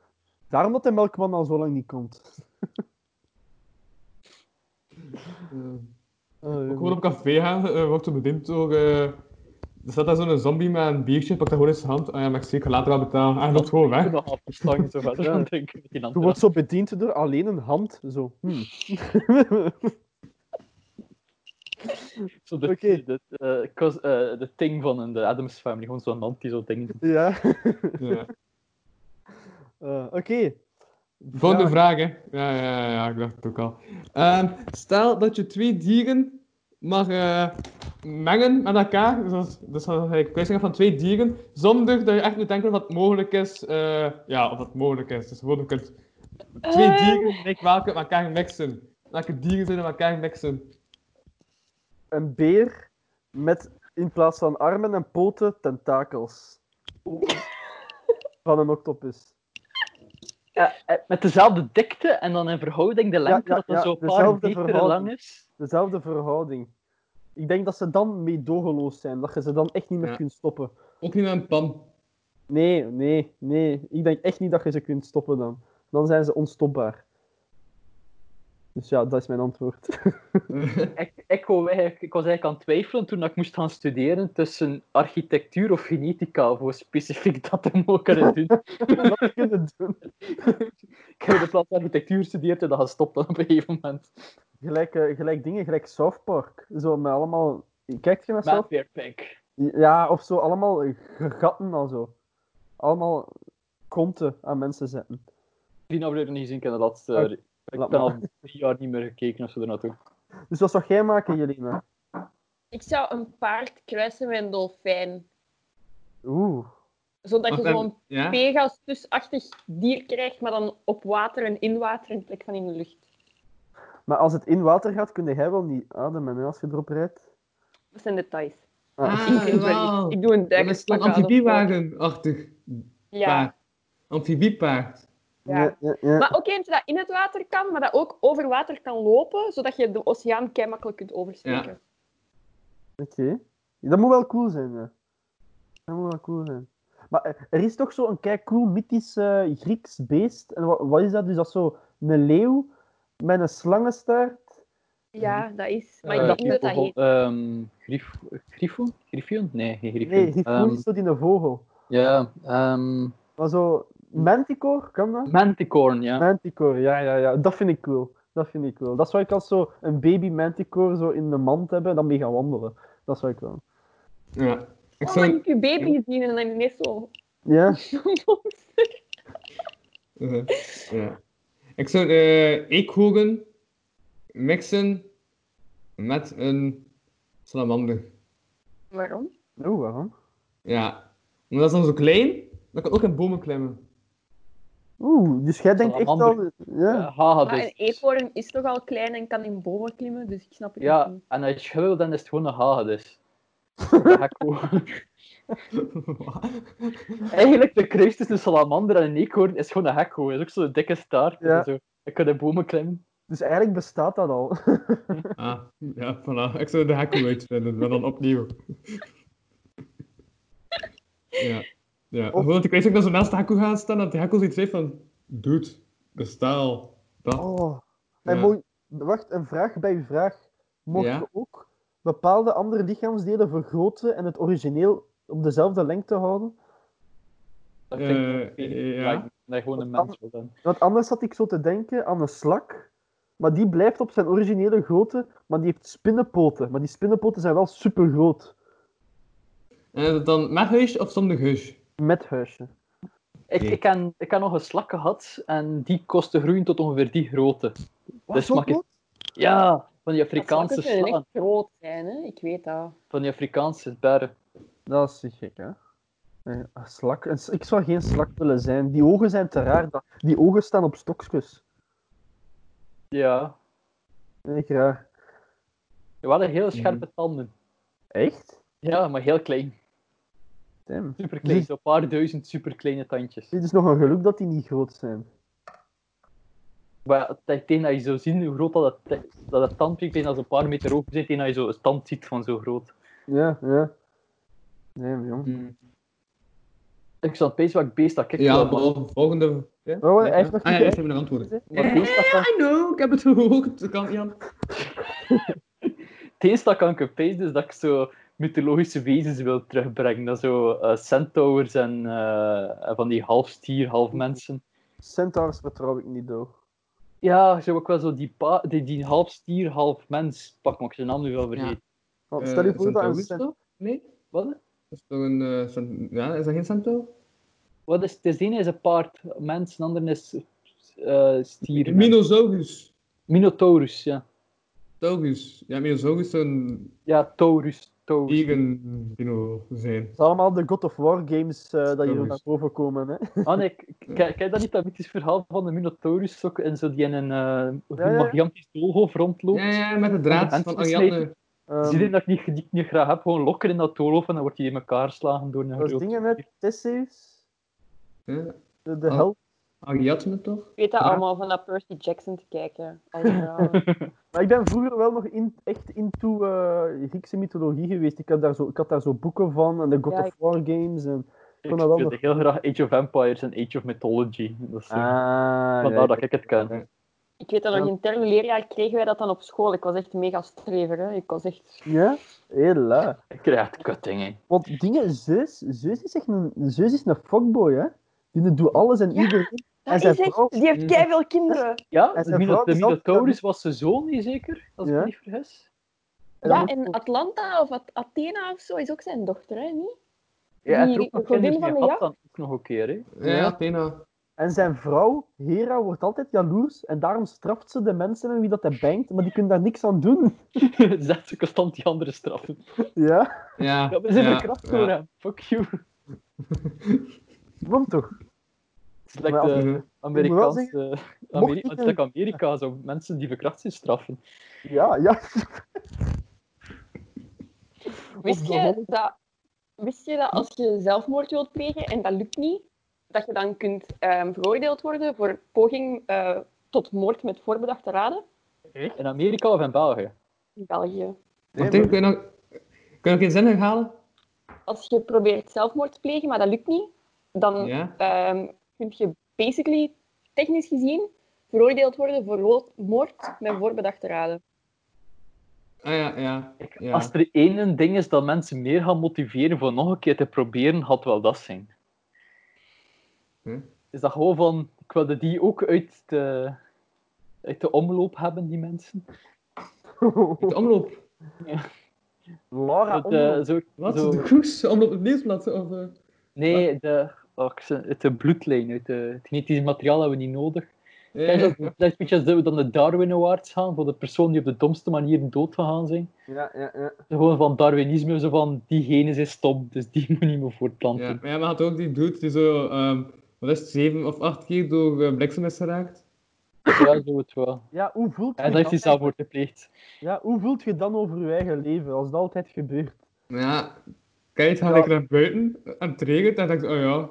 Speaker 5: daarom dat de melkman al zo lang niet komt.
Speaker 4: Eh,
Speaker 5: Oh, jongen.
Speaker 4: ook gewoon op café gaan, eh, wordt zo bediend door... eh, Er staat daar zo'n zombie met een biertje, pakt dat gewoon in zijn hand. Ah ja, maar ik zie, ik ga later wel betalen. Ah, hij loopt gewoon weg.
Speaker 3: Ik nog afstangen, zo verder aan denken met die
Speaker 5: Je
Speaker 3: andere
Speaker 5: wordt zo bediend door alleen een hand. Zo. Hm.
Speaker 3: hand. Zo de,
Speaker 5: Oké.
Speaker 3: de, eh, cos- eh, de ting van een- de Adams Family, gewoon zo'n hand die zo dingen doet.
Speaker 5: ja.
Speaker 4: Ja.
Speaker 5: Eh, Oké.
Speaker 4: Volgende
Speaker 5: Ja.
Speaker 4: vraag, hè. Ja, ja, ja, ja, ik dacht het ook al. Ehm, stel dat je twee dieren mag eh, mengen met elkaar. Dus, als- dus dan ga ik kwijt van twee dieren. Zonder dat je echt moet denken of dat mogelijk is. eh, ja, of dat mogelijk is. Dus gewoon, je kunt twee
Speaker 6: Eh.
Speaker 4: dieren gelijk welke met elkaar mixen. Welke dieren zullen met elkaar mixen?
Speaker 5: Een beer met in plaats van armen en poten tentakels. Van een octopus.
Speaker 3: Eh, eh, met dezelfde dikte en dan in verhouding de lengte,
Speaker 5: ja,
Speaker 3: dat
Speaker 5: ja,
Speaker 3: dat zo een paar
Speaker 5: dezelfde
Speaker 3: meter
Speaker 5: verhouding.
Speaker 3: lang is.
Speaker 5: Dezelfde verhouding. Ik denk dat ze dan meedogenloos zijn. Dat je ze dan echt niet meer
Speaker 4: Ja.
Speaker 5: kunt stoppen.
Speaker 4: Ook niet met een pan.
Speaker 5: Nee, nee, nee. Ik denk echt niet dat je ze kunt stoppen dan. Dan zijn ze onstopbaar. Dus ja, dat is mijn antwoord.
Speaker 3: Ik, ik, wou eigenlijk- ik was eigenlijk aan het twijfelen toen ik moest gaan studeren tussen architectuur of genetica, voor specifiek dat te mogen doen.
Speaker 5: Wat kunnen we doen?
Speaker 3: ik heb in plaats van architectuur gestudeerd en dat gestopt dan op een gegeven moment.
Speaker 5: Gelijk, eh, gelijk dingen, gelijk South Park. Zo met allemaal... Kijkt je naar South
Speaker 3: Maatwerk, pink.
Speaker 5: Ja, of zo allemaal gatten al zo. Allemaal konten aan mensen zetten.
Speaker 3: Die aflevering niet gezien, ik heb de laatste...
Speaker 5: Oh,
Speaker 3: ik
Speaker 5: laat
Speaker 3: heb al
Speaker 5: maar.
Speaker 3: drie jaar niet meer gekeken of zo ernaartoe.
Speaker 5: Dus wat zou jij maken, Jelena?
Speaker 6: Ik zou een paard kruisen met een dolfijn.
Speaker 5: Oeh.
Speaker 6: Zodat je
Speaker 4: Want,
Speaker 6: zo'n
Speaker 4: Ja?
Speaker 6: Pegasus-achtig dus dier krijgt, maar dan op water en in water in plek van in de lucht.
Speaker 5: Maar als het in water gaat, kun jij wel niet ademen hè, als je erop rijdt.
Speaker 6: Dat zijn details.
Speaker 5: Ah.
Speaker 4: Ah,
Speaker 6: ik,
Speaker 4: wel.
Speaker 6: ik doe een
Speaker 4: Dat is
Speaker 6: duikerspak
Speaker 4: een
Speaker 6: aan. of zo.
Speaker 4: amfibiewagenachtig
Speaker 6: Ja,
Speaker 4: paard. Amfibiepaard.
Speaker 6: ja.
Speaker 5: ja, ja.
Speaker 6: Maar ook eentje dat in het water kan, maar dat ook over water kan lopen, zodat je de oceaan kei makkelijk kunt oversteken.
Speaker 5: Oké. Dat moet wel cool zijn, ja. Dat moet wel cool zijn. Maar eh, er is toch zo'n kei cool mythisch eh, Grieks beest. En wat, wat is dat? Dus dat is zo een leeuw met een slangenstaart.
Speaker 6: Ja, dat is. Maar
Speaker 4: Eh,
Speaker 6: ik
Speaker 3: dat
Speaker 6: weet niet dat dat heet.
Speaker 3: Ehm, Grif Griffon? Griffion? Nee, geen Griffion.
Speaker 5: Nee, die cool is zo die een vogel.
Speaker 3: ja, ehm
Speaker 5: Maar zo, manticore, kan dat?
Speaker 3: Manticorn, ja.
Speaker 5: Manticore, ja, ja, ja. Dat vind ik cool. Dat vind ik cool. Dat zou ik als zo een baby manticore zo in de mand hebben en dan mee gaan wandelen. Dat zou ik wel.
Speaker 4: Ja. Ik
Speaker 6: Oh,
Speaker 4: zou...
Speaker 6: maar ik heb je baby gezien en dan ineens zo.
Speaker 5: Ja?
Speaker 4: Eh, ja. Ik zou eh eekhoorn mixen met een salamander.
Speaker 6: Waarom?
Speaker 5: Oeh, waarom?
Speaker 4: Ja. Omdat ze dan zo klein, dan kan ook in bomen klimmen.
Speaker 5: Oeh, dus jij denkt echt al...
Speaker 3: Salamander.
Speaker 5: Ja.
Speaker 3: Eh, haha,
Speaker 6: Maar een
Speaker 3: dus.
Speaker 6: eekhoorn is toch al klein en kan in bomen klimmen, dus ik snap het
Speaker 3: Ja,
Speaker 6: niet.
Speaker 3: en als je wil, dan is het gewoon een dus. hagedis. Dat ga ik gewoon- Eigenlijk, de kruis tussen een salamander en een eekhoorn is gewoon een hekko. Het is ook zo'n dikke staart.
Speaker 5: Ja.
Speaker 3: en Zo. Je kunt in bomen klimmen.
Speaker 5: Dus eigenlijk bestaat dat al.
Speaker 4: ah, ja, voilà. Ik zou de hekkel uitvinden, maar dan opnieuw. ja. ja.
Speaker 5: Of-
Speaker 4: Gewoon dat ik weet ook dat ze naast de hekkel gaan staan, dat de hekkel zoiets heeft van... Dude, de staal. Dat.
Speaker 5: Oh. En
Speaker 4: Ja.
Speaker 5: mooi, wacht, een vraag bij uw vraag. Mocht
Speaker 4: Ja?
Speaker 5: je ook bepaalde andere lichaamsdelen vergroten en het origineel op dezelfde lengte houden?
Speaker 3: Dat
Speaker 4: Eh,
Speaker 3: vind ik ook niet.
Speaker 4: ja.
Speaker 3: ik- dat gewoon een
Speaker 5: Wat
Speaker 3: mens wil dan.
Speaker 5: Want anders zat ik zo te denken aan een slak, maar die blijft op zijn originele grootte, maar die heeft spinnenpoten. Maar die spinnenpoten zijn wel super groot.
Speaker 4: En is het dan met huis of zonder huis?
Speaker 5: Met huisje.
Speaker 3: Ik,
Speaker 4: Nee.
Speaker 3: ik, heb, ik heb nog een slak gehad en die kostte groeien tot ongeveer die grootte. Dus
Speaker 5: zo
Speaker 3: mag ik-
Speaker 5: groot?
Speaker 3: Ja, van die
Speaker 6: Dat
Speaker 3: Afrikaanse
Speaker 6: slakken kunnen
Speaker 3: slaan.
Speaker 6: echt groot zijn, hè? ik weet dat.
Speaker 3: Van die Afrikaanse bergen.
Speaker 5: Dat is gek, hè? Nee, een slak. een s- Ik zou geen slak willen zijn. Die ogen zijn te raar. dat- Die ogen staan op stokjes.
Speaker 3: Ja.
Speaker 5: Echt raar.
Speaker 3: Die hadden hele scherpe tanden.
Speaker 5: Echt?
Speaker 3: Ja, maar heel klein.
Speaker 5: Damn.
Speaker 3: Superklein.
Speaker 5: Dus-
Speaker 3: Zo'n paar duizend superkleine tandjes.
Speaker 5: Dit is nog een geluk dat die niet groot zijn.
Speaker 3: Maar het- tegen dat je zo zien hoe groot dat, het, dat het tandpik is, als een paar meter hoog zit, tegen dat je zo een tand ziet van zo groot.
Speaker 5: Ja, ja. Nee, maar jong.
Speaker 3: Hmm. Ik zat bezig welk beest dat ik
Speaker 4: Ja,
Speaker 3: wil, maar-
Speaker 4: maar volgende...
Speaker 5: Oh, hij heeft nog
Speaker 4: Ah, ja,
Speaker 5: niet
Speaker 4: eerst hebben we nog antwoorden.
Speaker 3: maar het beest dat kan-
Speaker 4: I know, ik heb het gehoord. Dat kan, Jan.
Speaker 3: het eerste dat kan ik op pees, is dat ik zo mythologische wezens wil terugbrengen. Dat zo eh, centaurs en eh, van die half stier, half mensen.
Speaker 5: Centaurs vertrouw ik niet, door.
Speaker 3: Ja, zo ook wel zo die, pa- die, die half stier, half mens pak, maar ik zijn naam nu wel vergeten.
Speaker 5: Want Oh, stel je
Speaker 4: Eh,
Speaker 5: voor dat een
Speaker 4: centaurus
Speaker 5: cent-
Speaker 4: toch? Nee?
Speaker 3: Wat?
Speaker 4: Is toch een... eh, cent- ja, is dat geen centaur?
Speaker 3: Wat is, het is de ene is een paard, mens, en de andere is eh stier. mens.
Speaker 4: Minosaurus.
Speaker 3: Minotaurus, ja.
Speaker 4: Taurus. Ja, Minosaurus zou een
Speaker 3: Ja, Taurus. Taurus.
Speaker 4: vegan dino zijn.
Speaker 5: Het is allemaal de God of War games eh, dat hier
Speaker 4: Centaurus.
Speaker 5: naar boven komen, hè.
Speaker 3: Ah, nee, k- k- kijk dat niet, dat mythisch verhaal van de Minotaurus, ook, en zo die in een eh
Speaker 5: Ja, ja.
Speaker 3: gigantisch doolhof rondloopt.
Speaker 4: Ja, ja, met de draad
Speaker 3: Hand
Speaker 4: van
Speaker 3: gesneden.
Speaker 4: Ariadne.
Speaker 5: Ehm,
Speaker 3: Zie je dat ik niet, die ik niet graag heb? Gewoon lokker in dat doolhof en dan wordt hij in elkaar geslagen door een
Speaker 5: dat is
Speaker 3: groot...
Speaker 5: dingen met Tesseus,
Speaker 4: Ja,
Speaker 5: de, de
Speaker 4: Oh.
Speaker 5: held.
Speaker 4: Ariadne toch?
Speaker 6: Ik weet dat
Speaker 4: Ja.
Speaker 6: allemaal van dat Percy Jackson te kijken. Al die verhalen.
Speaker 5: Maar ik ben vroeger wel nog in, echt into eh, Griekse mythologie geweest. Ik had, daar zo, ik had daar zo boeken van en de God
Speaker 6: Ja,
Speaker 5: of
Speaker 6: ik-
Speaker 5: War games. En...
Speaker 3: Ik
Speaker 5: kon dat wel
Speaker 3: speelde heel graag Age of Empires en Age of Mythology. Dat is, eh,
Speaker 5: Ah,
Speaker 3: vandaar dat ik het ken.
Speaker 6: Ik weet dat nog in het derde leerjaar kregen wij dat dan op school. Ik was echt mega strever. Hè. Ik was echt...
Speaker 5: Ja, heel lui.
Speaker 3: Ik krijg echt kuttingen.
Speaker 5: Want dingen, Zeus, Zeus is echt een, Zeus is een fuckboy, hè. Die doet alles en
Speaker 6: Ja,
Speaker 5: iedereen.
Speaker 6: Dat
Speaker 5: zijn
Speaker 6: is echt...
Speaker 5: vrouw-
Speaker 6: Die heeft keiveel kinderen.
Speaker 3: Ja,
Speaker 5: En
Speaker 3: de,
Speaker 5: zijn
Speaker 3: Mino-
Speaker 5: vrouw
Speaker 3: de
Speaker 5: is ook-
Speaker 3: Minotaurus was zijn zoon, niet zeker? Als ik
Speaker 5: Ja.
Speaker 3: me niet vergis.
Speaker 5: En dan
Speaker 6: Ja,
Speaker 5: moet-
Speaker 6: en Atlanta of At- Athena of zo is ook zijn dochter, hè? Niet?
Speaker 3: Ja, hij
Speaker 6: Die
Speaker 3: trok nog
Speaker 6: godin
Speaker 3: kinderen
Speaker 6: van
Speaker 3: mee
Speaker 6: de
Speaker 3: had dan ook nog een keer, hè.
Speaker 4: Ja,
Speaker 5: Ja.
Speaker 4: Athena.
Speaker 5: En zijn vrouw, Hera, wordt altijd jaloers en daarom straft ze de mensen met wie dat hij bangt, maar die kunnen daar niks aan doen.
Speaker 3: Zet ze constant die andere straffen.
Speaker 5: Ja,
Speaker 4: Ja,
Speaker 3: Ja, we zijn
Speaker 4: ja,
Speaker 3: verkracht door
Speaker 4: ja.
Speaker 3: hem. Fuck you. Het
Speaker 5: waarom toch?
Speaker 3: is like
Speaker 5: Maar als-
Speaker 3: de
Speaker 4: Mhm.
Speaker 5: Ik
Speaker 3: Amerikaanse...
Speaker 5: mocht
Speaker 3: Ameri-
Speaker 5: ik
Speaker 3: het is like Amerika, zo. Mensen die verkracht zijn straffen.
Speaker 5: Ja, ja.
Speaker 6: Wist
Speaker 5: de
Speaker 6: je,
Speaker 5: Holland-
Speaker 6: dat, wist je dat als je zelfmoord wilt plegen en dat lukt niet, dat je dan kunt ehm, veroordeeld worden voor poging eh, tot moord met voorbedachte raden?
Speaker 3: In Amerika of in België?
Speaker 6: In België.
Speaker 4: Wat denk je, kun je nog- kun je nog geen zin herhalen?
Speaker 6: Als je probeert zelfmoord te plegen, maar dat lukt niet, dan
Speaker 4: Ja.
Speaker 6: ehm, kun je basically, technisch gezien, veroordeeld worden voor ro- moord met voorbedachte raden.
Speaker 4: Ah ja, ja. ja.
Speaker 3: Als er één ding is dat mensen meer gaan motiveren voor nog een keer te proberen, had wel dat zijn.
Speaker 4: Hm?
Speaker 3: Is dat gewoon van, ik wilde die ook uit de, uit de omloop hebben, die mensen?
Speaker 4: De omloop.
Speaker 5: Laura,
Speaker 3: Dat, eh, zo,
Speaker 4: Wat?
Speaker 3: zo-
Speaker 4: De koers? Omloop op het nieuwsblad? Of, eh?
Speaker 3: nee, de, oh, ik zei- uit de bloedlijn, uit de, het genetisch materiaal hebben we niet nodig.
Speaker 4: Ja,
Speaker 3: Kijk,
Speaker 4: ja,
Speaker 3: dat, dat is een beetje als dat we dan de Darwin Awards gaan, voor de persoon die op de domste manier dood gegaan zijn.
Speaker 5: Ja, ja, ja.
Speaker 3: Gewoon van Darwinisme, zo van, diegene is stom, dus die moet niet meer voortplanten.
Speaker 4: Ja, maar ja, maar had ook die dude die zo, ehm, wat is het, zeven of acht keer door eh, bliksem is geraakt?
Speaker 3: Ja, zo het wel.
Speaker 5: Ja, hoe voelt
Speaker 3: En
Speaker 5: je
Speaker 3: dat heeft hij
Speaker 5: dan-
Speaker 3: zelfmoord gepleegd.
Speaker 5: Ja, hoe voelt je dan over je eigen leven, als dat altijd gebeurt?
Speaker 4: Nou Ja, kijk, ga
Speaker 5: Ja.
Speaker 4: ik naar buiten en het regent en denk ik, oh ja,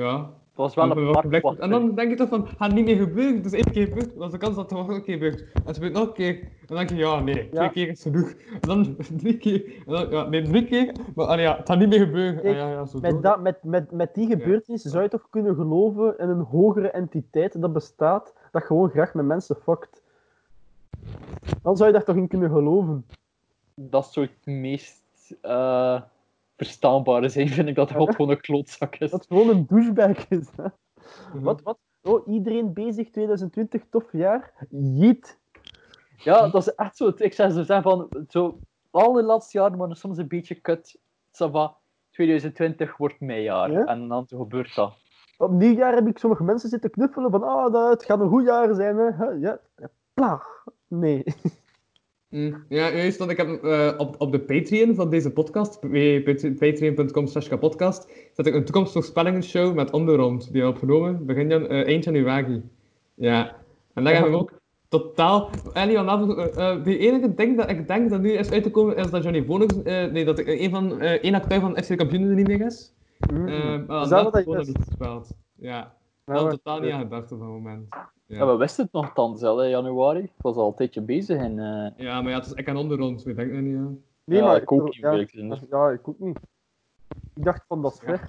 Speaker 4: ja.
Speaker 3: Het was wel een
Speaker 4: Welke
Speaker 3: parkwachter.
Speaker 4: Blackfoot? En dan denk je toch van, gaat niet meer gebeuren, het is één keer gebeurd, dat is de kans dat het nog een keer gebeurt. En het gebeurt nog een keer, en dan denk je, ja, nee, twee
Speaker 5: Ja.
Speaker 4: keer is genoeg. En dan drie keer, en dan, ja, nee, drie keer, maar allee, ja, het gaat niet meer gebeuren. Ah,
Speaker 5: Kijk,
Speaker 4: ja, ja, zo door.
Speaker 5: Met, dat, met, met, met die gebeurtenis zou je toch kunnen geloven in een hogere entiteit dat bestaat, dat gewoon graag met mensen fokt. Dan zou je daar toch in kunnen geloven.
Speaker 3: dat soort meest eh, verstaanbare zijn, vind ik dat God gewoon een klootzak is.
Speaker 5: Dat het gewoon een douchebag is. Hè?
Speaker 4: Mhm.
Speaker 5: Wat, wat? Oh, iedereen bezig, 2020, tof jaar. Jeet.
Speaker 3: Ja, dat is echt zo. Ik zeg zo zijn van, zo, al de laatste jaren waren soms een beetje kut. Ça va, 2020 wordt mijn jaar.
Speaker 5: Ja.
Speaker 3: En dan gebeurt dat.
Speaker 5: Op nieuwjaar heb ik sommige mensen zitten knuffelen van, ah, dat, het gaat een goed jaar zijn, hè. Hè, Ja. Plaag. Nee.
Speaker 4: Mm, Ja, juist, want ik heb eh, op, op de Patreon van deze podcast, eh, patreon.com slash kapodcast, zet ik een toekomstvoorspellingenshow met Onderrond, die we opgenomen begin jan, eh, eind januari. Ja, en daar hebben we ook totaal... Ellie, vanavond, eh eh, de enige ding dat ik denk dat nu is uit te komen, is dat Johnny Vonix, eh, nee, dat eh, een, van, eh één acteur van FC Kampioenen er niet meer is.
Speaker 5: Mm.
Speaker 4: Eh, maar
Speaker 5: dat
Speaker 4: dat
Speaker 5: wat je
Speaker 4: gewoon
Speaker 5: wist?
Speaker 4: niet gespeeld. Ja,
Speaker 5: Nou,
Speaker 4: dat had
Speaker 5: maar-
Speaker 4: ik totaal niet aan gedacht op dat moment.
Speaker 3: Ja. we wisten het nog dan zelf, hè, januari. Ik was al een tijdje bezig en eh,
Speaker 4: Ja, maar ja, het is, ik ken Onderrond, dus ik denk er niet aan.
Speaker 5: Nee,
Speaker 3: Ja,
Speaker 5: maar
Speaker 3: ik ook
Speaker 5: wil-
Speaker 3: niet,
Speaker 5: Ja,
Speaker 3: eerlijk gezegd.
Speaker 5: dat- ja, ik ook niet. Ik dacht van dat is
Speaker 4: Ja.
Speaker 5: ver.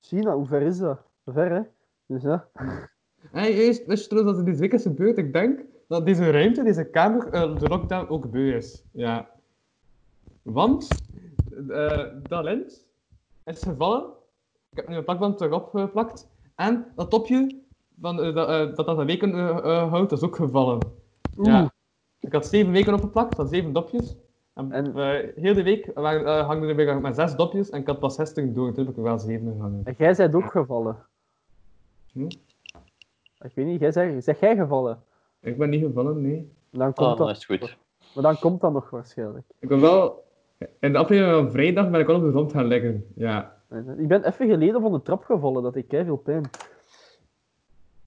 Speaker 5: China, hoe ver is dat? Ver, hè? Dus ja.
Speaker 4: Hey, eerst, wist je trouwens dat er dit week is gebeurd? Ik denk dat deze ruimte, deze kamer, eh, de lockdown ook beu is. Ja. Want eh dat lens is gevallen. Ik heb nu een plakband erop geplakt. En dat topje van, eh, dat, eh, dat dat een weken eh, eh, houdt, is ook gevallen. Ja. Ik had zeven weken opgeplakt, van zeven dopjes. En,
Speaker 5: En-
Speaker 4: eh, heel de week waren, eh, hangden er weer maar zes dopjes en ik had pas 60 door. Toen heb ik er wel zeven gehangen.
Speaker 5: En jij bent ook gevallen.
Speaker 4: Hm?
Speaker 5: Ik weet niet, jij zeg, zeg jij gevallen?
Speaker 4: Ik ben niet gevallen, nee.
Speaker 5: Dan komt
Speaker 3: ah,
Speaker 5: dat,
Speaker 3: dat is goed.
Speaker 5: Maar dan komt dat nog waarschijnlijk.
Speaker 4: Ik ben wel... In de aflevering van vrijdag ben ik wel op de grond gaan liggen. Ja.
Speaker 5: Ik ben even geleden van de trap gevallen, dat ik veel pijn.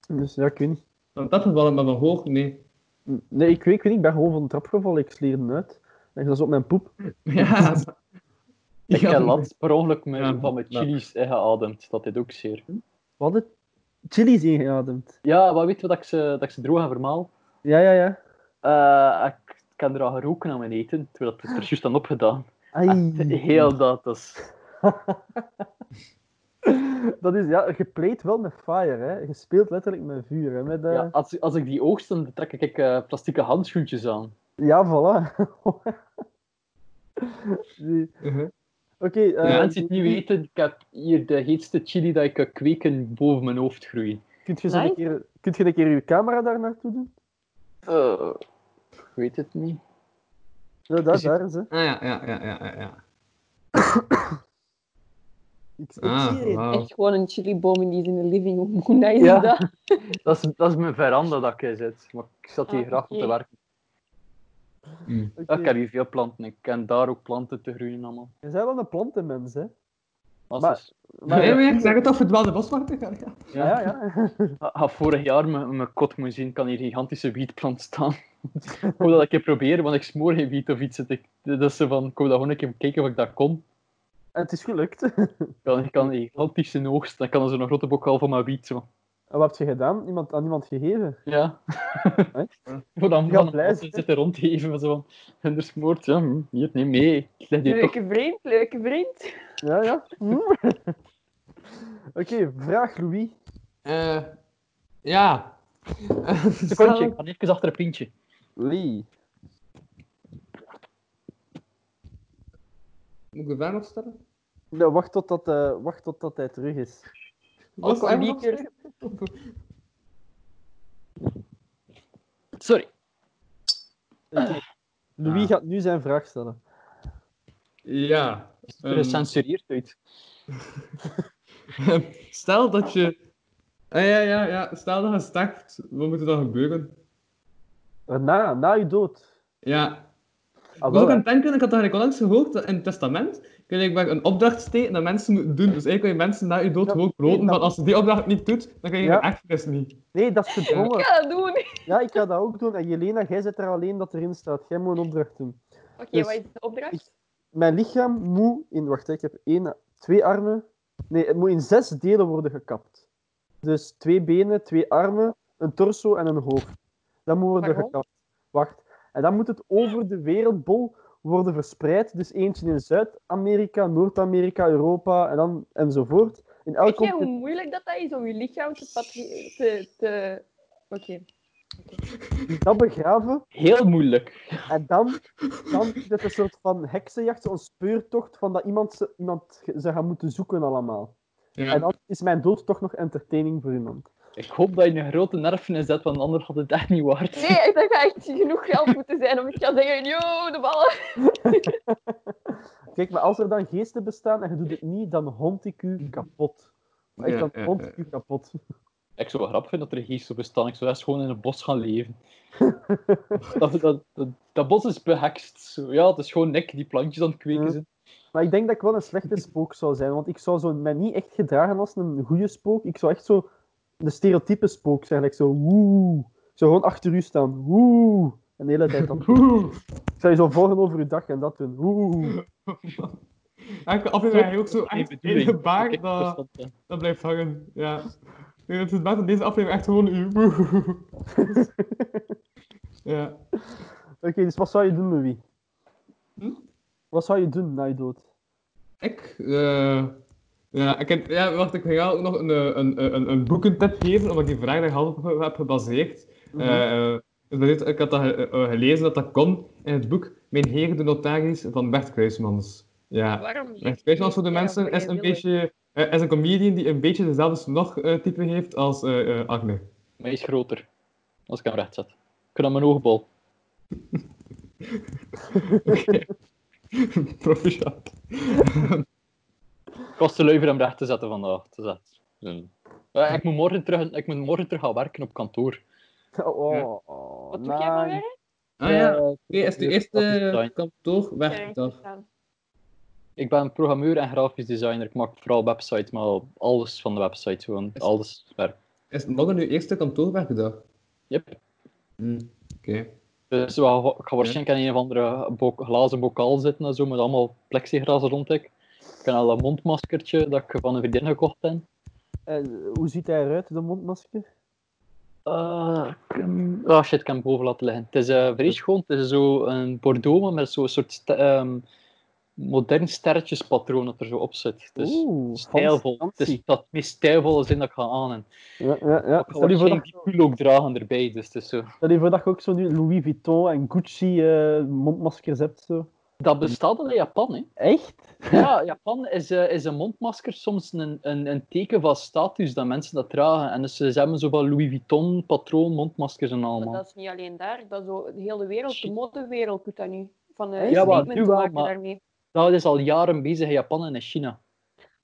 Speaker 5: Dus ja, ik weet niet.
Speaker 4: Want dat geval, maar van hoog, nee.
Speaker 5: Nee, ik weet, ik weet niet, ik ben gewoon van de trap gevallen, ik slierde uit. En ik was op mijn poep.
Speaker 4: Ja.
Speaker 3: Ik heb laatst per ongeluk mijn-
Speaker 4: Ja,
Speaker 3: van mijn
Speaker 4: ja.
Speaker 3: chilies ingeademd. Dat deed ook zeer.
Speaker 5: Wat het? Chili's ingeademd.
Speaker 3: Ja, maar weet je wat ik ze, dat ik ze droog en vermaal?
Speaker 5: Ja, ja, ja.
Speaker 3: Eh, ik, ik heb er al geroken aan mijn eten, terwijl dat het er juist aan
Speaker 4: Ah,
Speaker 3: opgedaan.
Speaker 5: Ai.
Speaker 3: Echt, heel dat, dat is...
Speaker 5: Dat is, ja, je pleit wel met fire, hè. Je speelt letterlijk met vuur, hè. Met, eh,
Speaker 3: Ja,
Speaker 5: ja.
Speaker 3: als, als ik die oogst, dan trek ik eh plastieke handschoentjes aan.
Speaker 5: voilà. Die-
Speaker 4: Mhm.
Speaker 5: Oké, eh,
Speaker 3: De mensen die het niet weten, ik heb hier de heetste chili dat ik kan kweken boven mijn hoofd groeien.
Speaker 5: kunt je, zo een
Speaker 6: Live?
Speaker 5: keer, kunt je een keer je camera daar naartoe doen?
Speaker 3: Eh, ik weet het niet.
Speaker 5: Ja, daar,
Speaker 4: Is het-
Speaker 5: daar is hè.
Speaker 4: Ah ja, ja, ja, ja, ja, ja.
Speaker 5: Ik, ik
Speaker 4: Ah,
Speaker 5: zie erin.
Speaker 4: wauw.
Speaker 6: Echt gewoon een chiliboom en die is in de living room. Hoe nice
Speaker 3: Ja.
Speaker 6: is dat?
Speaker 3: Dat is, dat is mijn veranda dat ik in zit. Maar ik zat hier
Speaker 6: Ah,
Speaker 3: graag op te
Speaker 6: oké.
Speaker 3: werken.
Speaker 4: Mm.
Speaker 5: Oké.
Speaker 3: Ik heb hier veel planten. Ik ken daar ook planten te groeien allemaal.
Speaker 5: Je bent wel een plantenmens, hè.
Speaker 3: Dat
Speaker 5: Maar-
Speaker 3: is- dus-
Speaker 5: Maar,
Speaker 4: Nee, maar ik zeg het toch, verdwaalde boswachter. Ja, ja.
Speaker 5: ja, ja, ja.
Speaker 3: Ik had vorig jaar mijn, mijn kot moeten zien, kan hier gigantische wietplant staan. ik wou dat een keer proberen, want ik smoor geen wiet of iets. Ik, dus van, ik wou dat gewoon een keer kijken of ik dat kon.
Speaker 5: En het is gelukt.
Speaker 3: Ik kan, ik kan een gigantische oogst, dan kan er zo'n grote bokaal van mijn wiet. Zo.
Speaker 5: En wat heb je gedaan? Iemand, aan iemand gegeven?
Speaker 3: Ja.
Speaker 5: Echt?
Speaker 3: Voor dan
Speaker 5: Je gaat
Speaker 3: van
Speaker 5: blij
Speaker 3: een
Speaker 5: zijn.
Speaker 3: zitten rondgeven, zo van, en er smoort, ja, hm, hier, neem mee. Ik leg hier toch...
Speaker 6: Leuke vriend, leuke vriend.
Speaker 5: Ja, ja. Hm. Oké, vraag Louis.
Speaker 4: Eh, ja.
Speaker 3: Secondje, ik ga even achter een pintje.
Speaker 5: Lee.
Speaker 4: Moet ik de vraag opstellen?
Speaker 5: Ja, wacht, totdat, eh wacht totdat hij terug is.
Speaker 4: Was
Speaker 6: Ook
Speaker 4: het
Speaker 6: al
Speaker 4: eigenlijk
Speaker 6: niet
Speaker 4: opstellen?
Speaker 3: Sorry.
Speaker 5: Oké. Eh, Louis
Speaker 4: Ah.
Speaker 5: gaat nu zijn vraag stellen.
Speaker 4: Ja.
Speaker 3: Er
Speaker 4: ehm,
Speaker 3: is censureerd uit.
Speaker 4: stel dat je... Ah, ja, ja, ja. Stel dat je sterft, wat moet er dan gebeuren?
Speaker 5: Na, na je dood.
Speaker 4: Ja,
Speaker 5: Ah,
Speaker 4: Ik was
Speaker 5: wel,
Speaker 4: Dus ook aan het denken, ik had daar onlangs gehoord, dat in het testament kun je blijkbaar een opdracht steken dat mensen moeten doen. Dus eigenlijk kun je mensen na je dood
Speaker 5: Ja,
Speaker 4: gewoon kloten,
Speaker 5: dat-
Speaker 4: van als je die opdracht niet doet, dan krijg je
Speaker 5: Ja.
Speaker 4: een erfenis niet.
Speaker 5: nee, dat is
Speaker 6: Ik
Speaker 5: gedwongen.
Speaker 6: ga dat doen. Oké,
Speaker 5: Ja, ik ga dat ook doen. En Jelena, jij zet er alleen dat erin staat. Jij moet een opdracht doen. Dus-
Speaker 6: wat is de opdracht?
Speaker 5: Mijn lichaam moet in... Wacht, hè, ik heb één, twee armen. Nee, het moet in zes delen worden gekapt. Dus twee benen, twee armen, een torso en een hoofd. Dat moet worden
Speaker 6: Waarom?
Speaker 5: gekapt. Wacht. En dan moet het over de wereldbol worden verspreid. Dus eentje in Zuid-Amerika, Noord-Amerika, Europa en dan enzovoort. In elk
Speaker 6: Weet jij hoe
Speaker 5: continent-
Speaker 6: moeilijk dat, dat is om je lichaam te... patri- te, te... Oké.
Speaker 5: dat begraven.
Speaker 3: Heel moeilijk.
Speaker 5: En dan, dan is het een soort van heksenjacht, zo'n speurtocht van dat iemand ze, iemand ze gaan moeten zoeken allemaal.
Speaker 4: Ja.
Speaker 5: En dan is mijn dood toch nog entertaining voor iemand.
Speaker 3: Ik hoop dat je een grote nerven zet, want anders had het echt niet waard.
Speaker 6: Nee, ik dacht dat echt genoeg geld moeten zijn om ik te zeggen, yo, de ballen.
Speaker 5: Kijk, maar als er dan geesten bestaan en je doet het niet, dan hond ik u kapot. Maar ik
Speaker 4: Ja,
Speaker 5: dan
Speaker 4: ja,
Speaker 5: hond
Speaker 4: ja.
Speaker 5: ik u kapot.
Speaker 3: Ik zou het grappig vinden dat er een geest zou bestaan. Ik zou eerst gewoon in een bos gaan leven. dat, dat, dat, dat bos is behekst. Zo. Ja, het is gewoon ik die plantjes aan het kweken
Speaker 5: Ja.
Speaker 3: zijn.
Speaker 5: Maar ik denk dat ik wel een slechte spook zou zijn, want ik zou zo mij niet echt gedragen als een goede spook. Ik zou echt zo de stereotype spook zijn, like zo woe. Ik zou gewoon achter u staan, woe. En de hele tijd dan.
Speaker 4: Oeh.
Speaker 5: Ik zou je zo volgen over uw dag en dat doen, woe.
Speaker 4: Elke aflevering heb je ook zo
Speaker 3: Geen
Speaker 4: echt
Speaker 3: bedoeling.
Speaker 4: één
Speaker 3: Ik
Speaker 4: gebaar
Speaker 3: heb
Speaker 4: dat,
Speaker 3: verstand, hè.
Speaker 4: dat blijft hangen. Ja. Ik denk dat het best in deze aflevering echt gewoon u. ja.
Speaker 5: Oké, dus wat zou je doen, Louis?
Speaker 4: Hm?
Speaker 5: Wat zou je doen na je dood?
Speaker 4: Ik, eh, ja, ik heb, ja, wacht, ik ga ook nog een, eh, een, een, een boekentip geven, omdat ik die vraag daar half op heb gebaseerd.
Speaker 5: Mhm.
Speaker 4: Eh, eh, ik ben dit- ik had dat eh, eh, gelezen dat dat kon in het boek Mijn Heer de Notaris van Bert Kruismans. Ja,
Speaker 6: Waarom
Speaker 4: Bert Kruismans voor de mensen is een beetje, eh, is een comedian die een beetje dezelfde nog type heeft als eh, eh, Agne.
Speaker 3: Maar hij is groter. Als ik hem recht zet. Ik kan aan mijn oogbal.
Speaker 4: Proficiat.
Speaker 3: Ik was te lui voor hem recht te zetten vandaag. Te zetten. Eh, ik, moet morgen terug, ik moet morgen terug gaan werken op kantoor.
Speaker 5: Oh, oh,
Speaker 6: Wat doe jij van werk?
Speaker 4: Ah ja,
Speaker 3: Eh,
Speaker 4: nee, is de
Speaker 3: dus grafisch
Speaker 4: eerste
Speaker 3: design.
Speaker 4: kantoorwerkdag.
Speaker 3: Ik ben programmeur en grafisch designer. Ik maak vooral websites, maar alles van de website. Gewoon
Speaker 4: Is-
Speaker 3: alles werk.
Speaker 4: Is het morgen uw eerste kantoorwerkdag?
Speaker 3: Yep.
Speaker 4: Hmm, Oké.
Speaker 3: Dus we gaan- ik ga waarschijnlijk in een of andere bo- glazen bokaal zitten en zo, met allemaal plexiglas rond ik. Ik heb al een mondmaskertje dat ik van een vriendin gekocht heb.
Speaker 5: En eh, hoe ziet hij eruit, de mondmasker?
Speaker 3: Ah, ik kan- ah, shit, ik kan hem boven laten liggen. Het is eh vrij schoon, het is zo een bordeaux maar met zo'n soort st- ehm, modern sterretjespatroon dat er zo op zit. Het is
Speaker 5: Oeh,
Speaker 3: stijlvol.
Speaker 5: fancy.
Speaker 3: Het is dat meest stijlvolle zin dat ik ga aan. En
Speaker 5: Ja, ja, ja.
Speaker 3: ik ga
Speaker 5: Stel, je voor
Speaker 3: waarschijnlijk
Speaker 5: dat,
Speaker 3: die cool ook dragen erbij, dus het is zo.
Speaker 5: stel je voor dat je ook zo nu Louis Vuitton en Gucci eh, mondmaskers hebt. Zo.
Speaker 3: Dat bestaat al in Japan, hè.
Speaker 5: Echt?
Speaker 3: Ja, Japan is, eh, is een mondmasker soms een, een, een teken van status dat mensen dat dragen. En dus ze hebben zo van Louis Vuitton patroon mondmaskers en
Speaker 6: Maar
Speaker 3: allemaal.
Speaker 6: dat is niet alleen daar, dat is ook de hele wereld, de
Speaker 3: Shit.
Speaker 6: modewereld doet dat nu. Van
Speaker 5: Ja,
Speaker 6: eh
Speaker 5: maar
Speaker 6: statement
Speaker 3: nu wel,
Speaker 6: maken
Speaker 3: maar-
Speaker 6: daarmee.
Speaker 3: Dat is al jaren bezig in Japan en in China.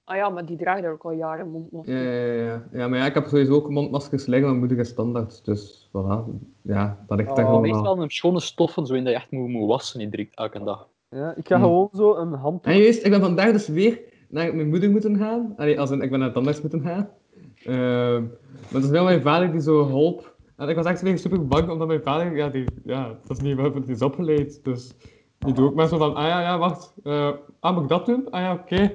Speaker 6: Ah ja, maar die dragen daar ook al jaren mondmaskers.
Speaker 4: Ja, ja, ja. ja, maar ja, ik heb sowieso ook mondmaskers liggen, maar moedige standaard. Dus voilà. Ja, dat ligt daar
Speaker 5: Oh,
Speaker 3: Maar
Speaker 4: gewoon aan.
Speaker 3: meestal een schone stoffen, zo in dat je echt moet, moet wassen iedere elke dag.
Speaker 5: Ja, ik ga
Speaker 4: Hm.
Speaker 5: gewoon zo een handdoek.
Speaker 4: En juist, ik ben vandaag dus weer naar mijn moeder moeten gaan. Allee, als in, ik ben naar de tandarts moeten gaan. Ehm, maar het is wel mijn vader die zo hulp. En ik was echt weer super bang, omdat mijn vader, ja, die, ja dat is niet waarvoor die is opgeleid. Dus die doet ook maar zo van, ah ja, ja, wacht. eh, ah, moet ik dat doen? Ah ja, oké.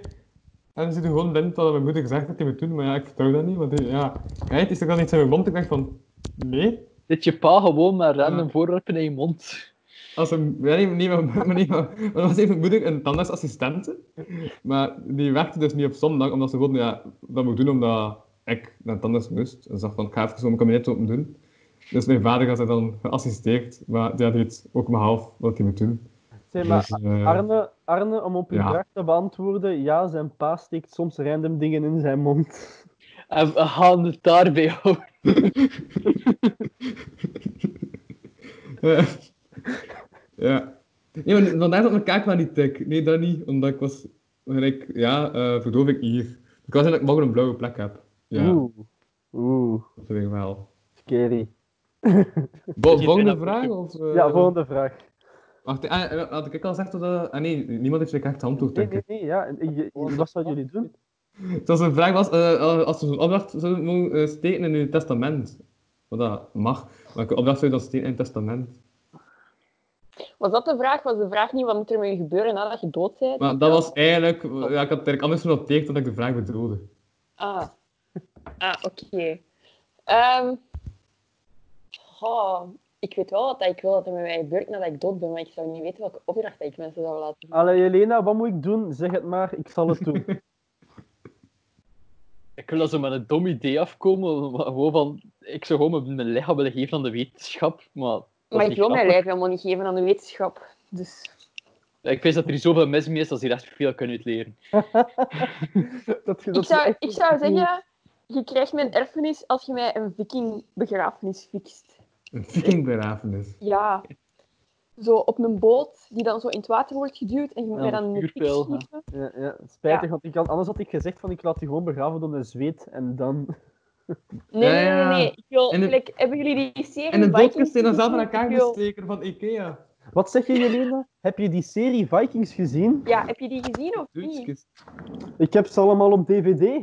Speaker 4: En dan zit er gewoon blind dat mijn moeder gezegd dat hij moet doen, maar ja, ik vertrouw dat niet. Want die, ja, kijk, is er dan iets in mijn mond? Ik dacht van, nee.
Speaker 3: Zit je pa gewoon met random voorwerpen in je mond?
Speaker 4: Als een, ja, nee, nee, maar, maar nee, maar, maar dat was even moeder, een tandartsassistente. Maar die werkte dus niet op zondag, omdat ze gewoon, ja, dat moet doen omdat ik naar de tandarts moest. En ze dacht van, ik ga even zo mijn kabinet open doen. Dus mijn vader had haar dan geassisteerd, maar die had het ook maar half wat hij moet doen.
Speaker 5: Zeg maar,
Speaker 4: Dus, eh,
Speaker 5: Arne, Arne, om op uw
Speaker 4: Ja.
Speaker 5: vraag te beantwoorden, ja, zijn pa steekt soms random dingen in zijn mond.
Speaker 3: En we gaan het daarbij houden.
Speaker 4: eh, ja. Nee, maar vandaar dat mijn kaak maar niet dik. Nee, dat niet, omdat ik was, gelijk, ja, eh verdoof ik hier. Ik was dat ik morgen een blauwe plek heb. Ja,
Speaker 5: Oeh. Oeh,
Speaker 4: dat weet ik wel.
Speaker 5: scary.
Speaker 4: Vol-
Speaker 3: je
Speaker 4: volgende
Speaker 3: bijna
Speaker 4: vraag?
Speaker 3: voor-
Speaker 4: Of, eh,
Speaker 5: Ja, volgende vraag.
Speaker 4: Wacht, ah, eh, had ik al gezegd dat... eh, Ah nee, niemand heeft zich echt handdoek,
Speaker 5: Nee,
Speaker 4: denk
Speaker 5: nee,
Speaker 4: ik.
Speaker 5: nee, ja. en ik- je- Wat zouden jullie doen?
Speaker 4: Zoals een vraag was, eh, als we zo'n opdracht zouden mogen eh, steken in uw testament. Wat dat mag. Welke opdracht zou je dan steken in het testament?
Speaker 6: Was dat de vraag? Was de vraag niet wat moet er met je gebeuren nadat je dood bent?
Speaker 4: Maar dat was eigenlijk... Ja, ik had het eigenlijk anders genoteerd dan ik de vraag bedoelde.
Speaker 6: Ah, ah oké. Ehm, goh, ik weet wel wat dat ik wil dat er met mij gebeurt nadat ik dood ben, maar ik zou niet weten welke opdracht dat ik mensen zou laten doen.
Speaker 5: Allee, Jelena, wat moet ik doen? Zeg het maar, ik zal het doen.
Speaker 3: Ik wil dat ze met een dom idee afkomen. maar Gewoon van, ik zou gewoon mijn- mijn lichaam willen geven aan de wetenschap. Maar, dat is
Speaker 6: Maar ik
Speaker 3: niet
Speaker 6: wil mijn
Speaker 3: grappig.
Speaker 6: lijf helemaal niet geven aan de wetenschap. Dus
Speaker 3: Ik weet dat er zoveel mis mee is dat ze hier echt veel kunnen uit leren.
Speaker 5: Dat,
Speaker 6: ik zou, ik zou zeggen, je krijgt mijn erfenis als je mij een vikingbegrafenis fixt.
Speaker 4: Een vikingbegrafenis.
Speaker 6: Ja. Zo op een boot die dan zo in het water wordt geduwd en je moet
Speaker 3: Ja,
Speaker 6: mij dan
Speaker 3: een
Speaker 6: een pik
Speaker 3: vuurpijl, ja.
Speaker 6: schieten.
Speaker 5: Ja, ja, spijtig, want ik had, anders had ik gezegd van ik laat die gewoon begraven door een zweet en dan...
Speaker 4: Ja,
Speaker 6: Nee, nee,
Speaker 4: ja,
Speaker 6: nee,
Speaker 4: ja.
Speaker 6: nee. Ik wil,
Speaker 4: En het-
Speaker 6: like, hebben jullie die serie
Speaker 4: En een
Speaker 6: Vikings
Speaker 4: doodkist zijn dan zelf aan
Speaker 6: gezien?
Speaker 4: elkaar
Speaker 6: Ik wil-
Speaker 4: gestreken van Ikea.
Speaker 5: Wat zeg je, Jelena? Heb je die serie Vikings gezien?
Speaker 6: Ja, heb je die gezien of niet?
Speaker 4: Doodkist.
Speaker 5: Ik heb ze allemaal op dvd.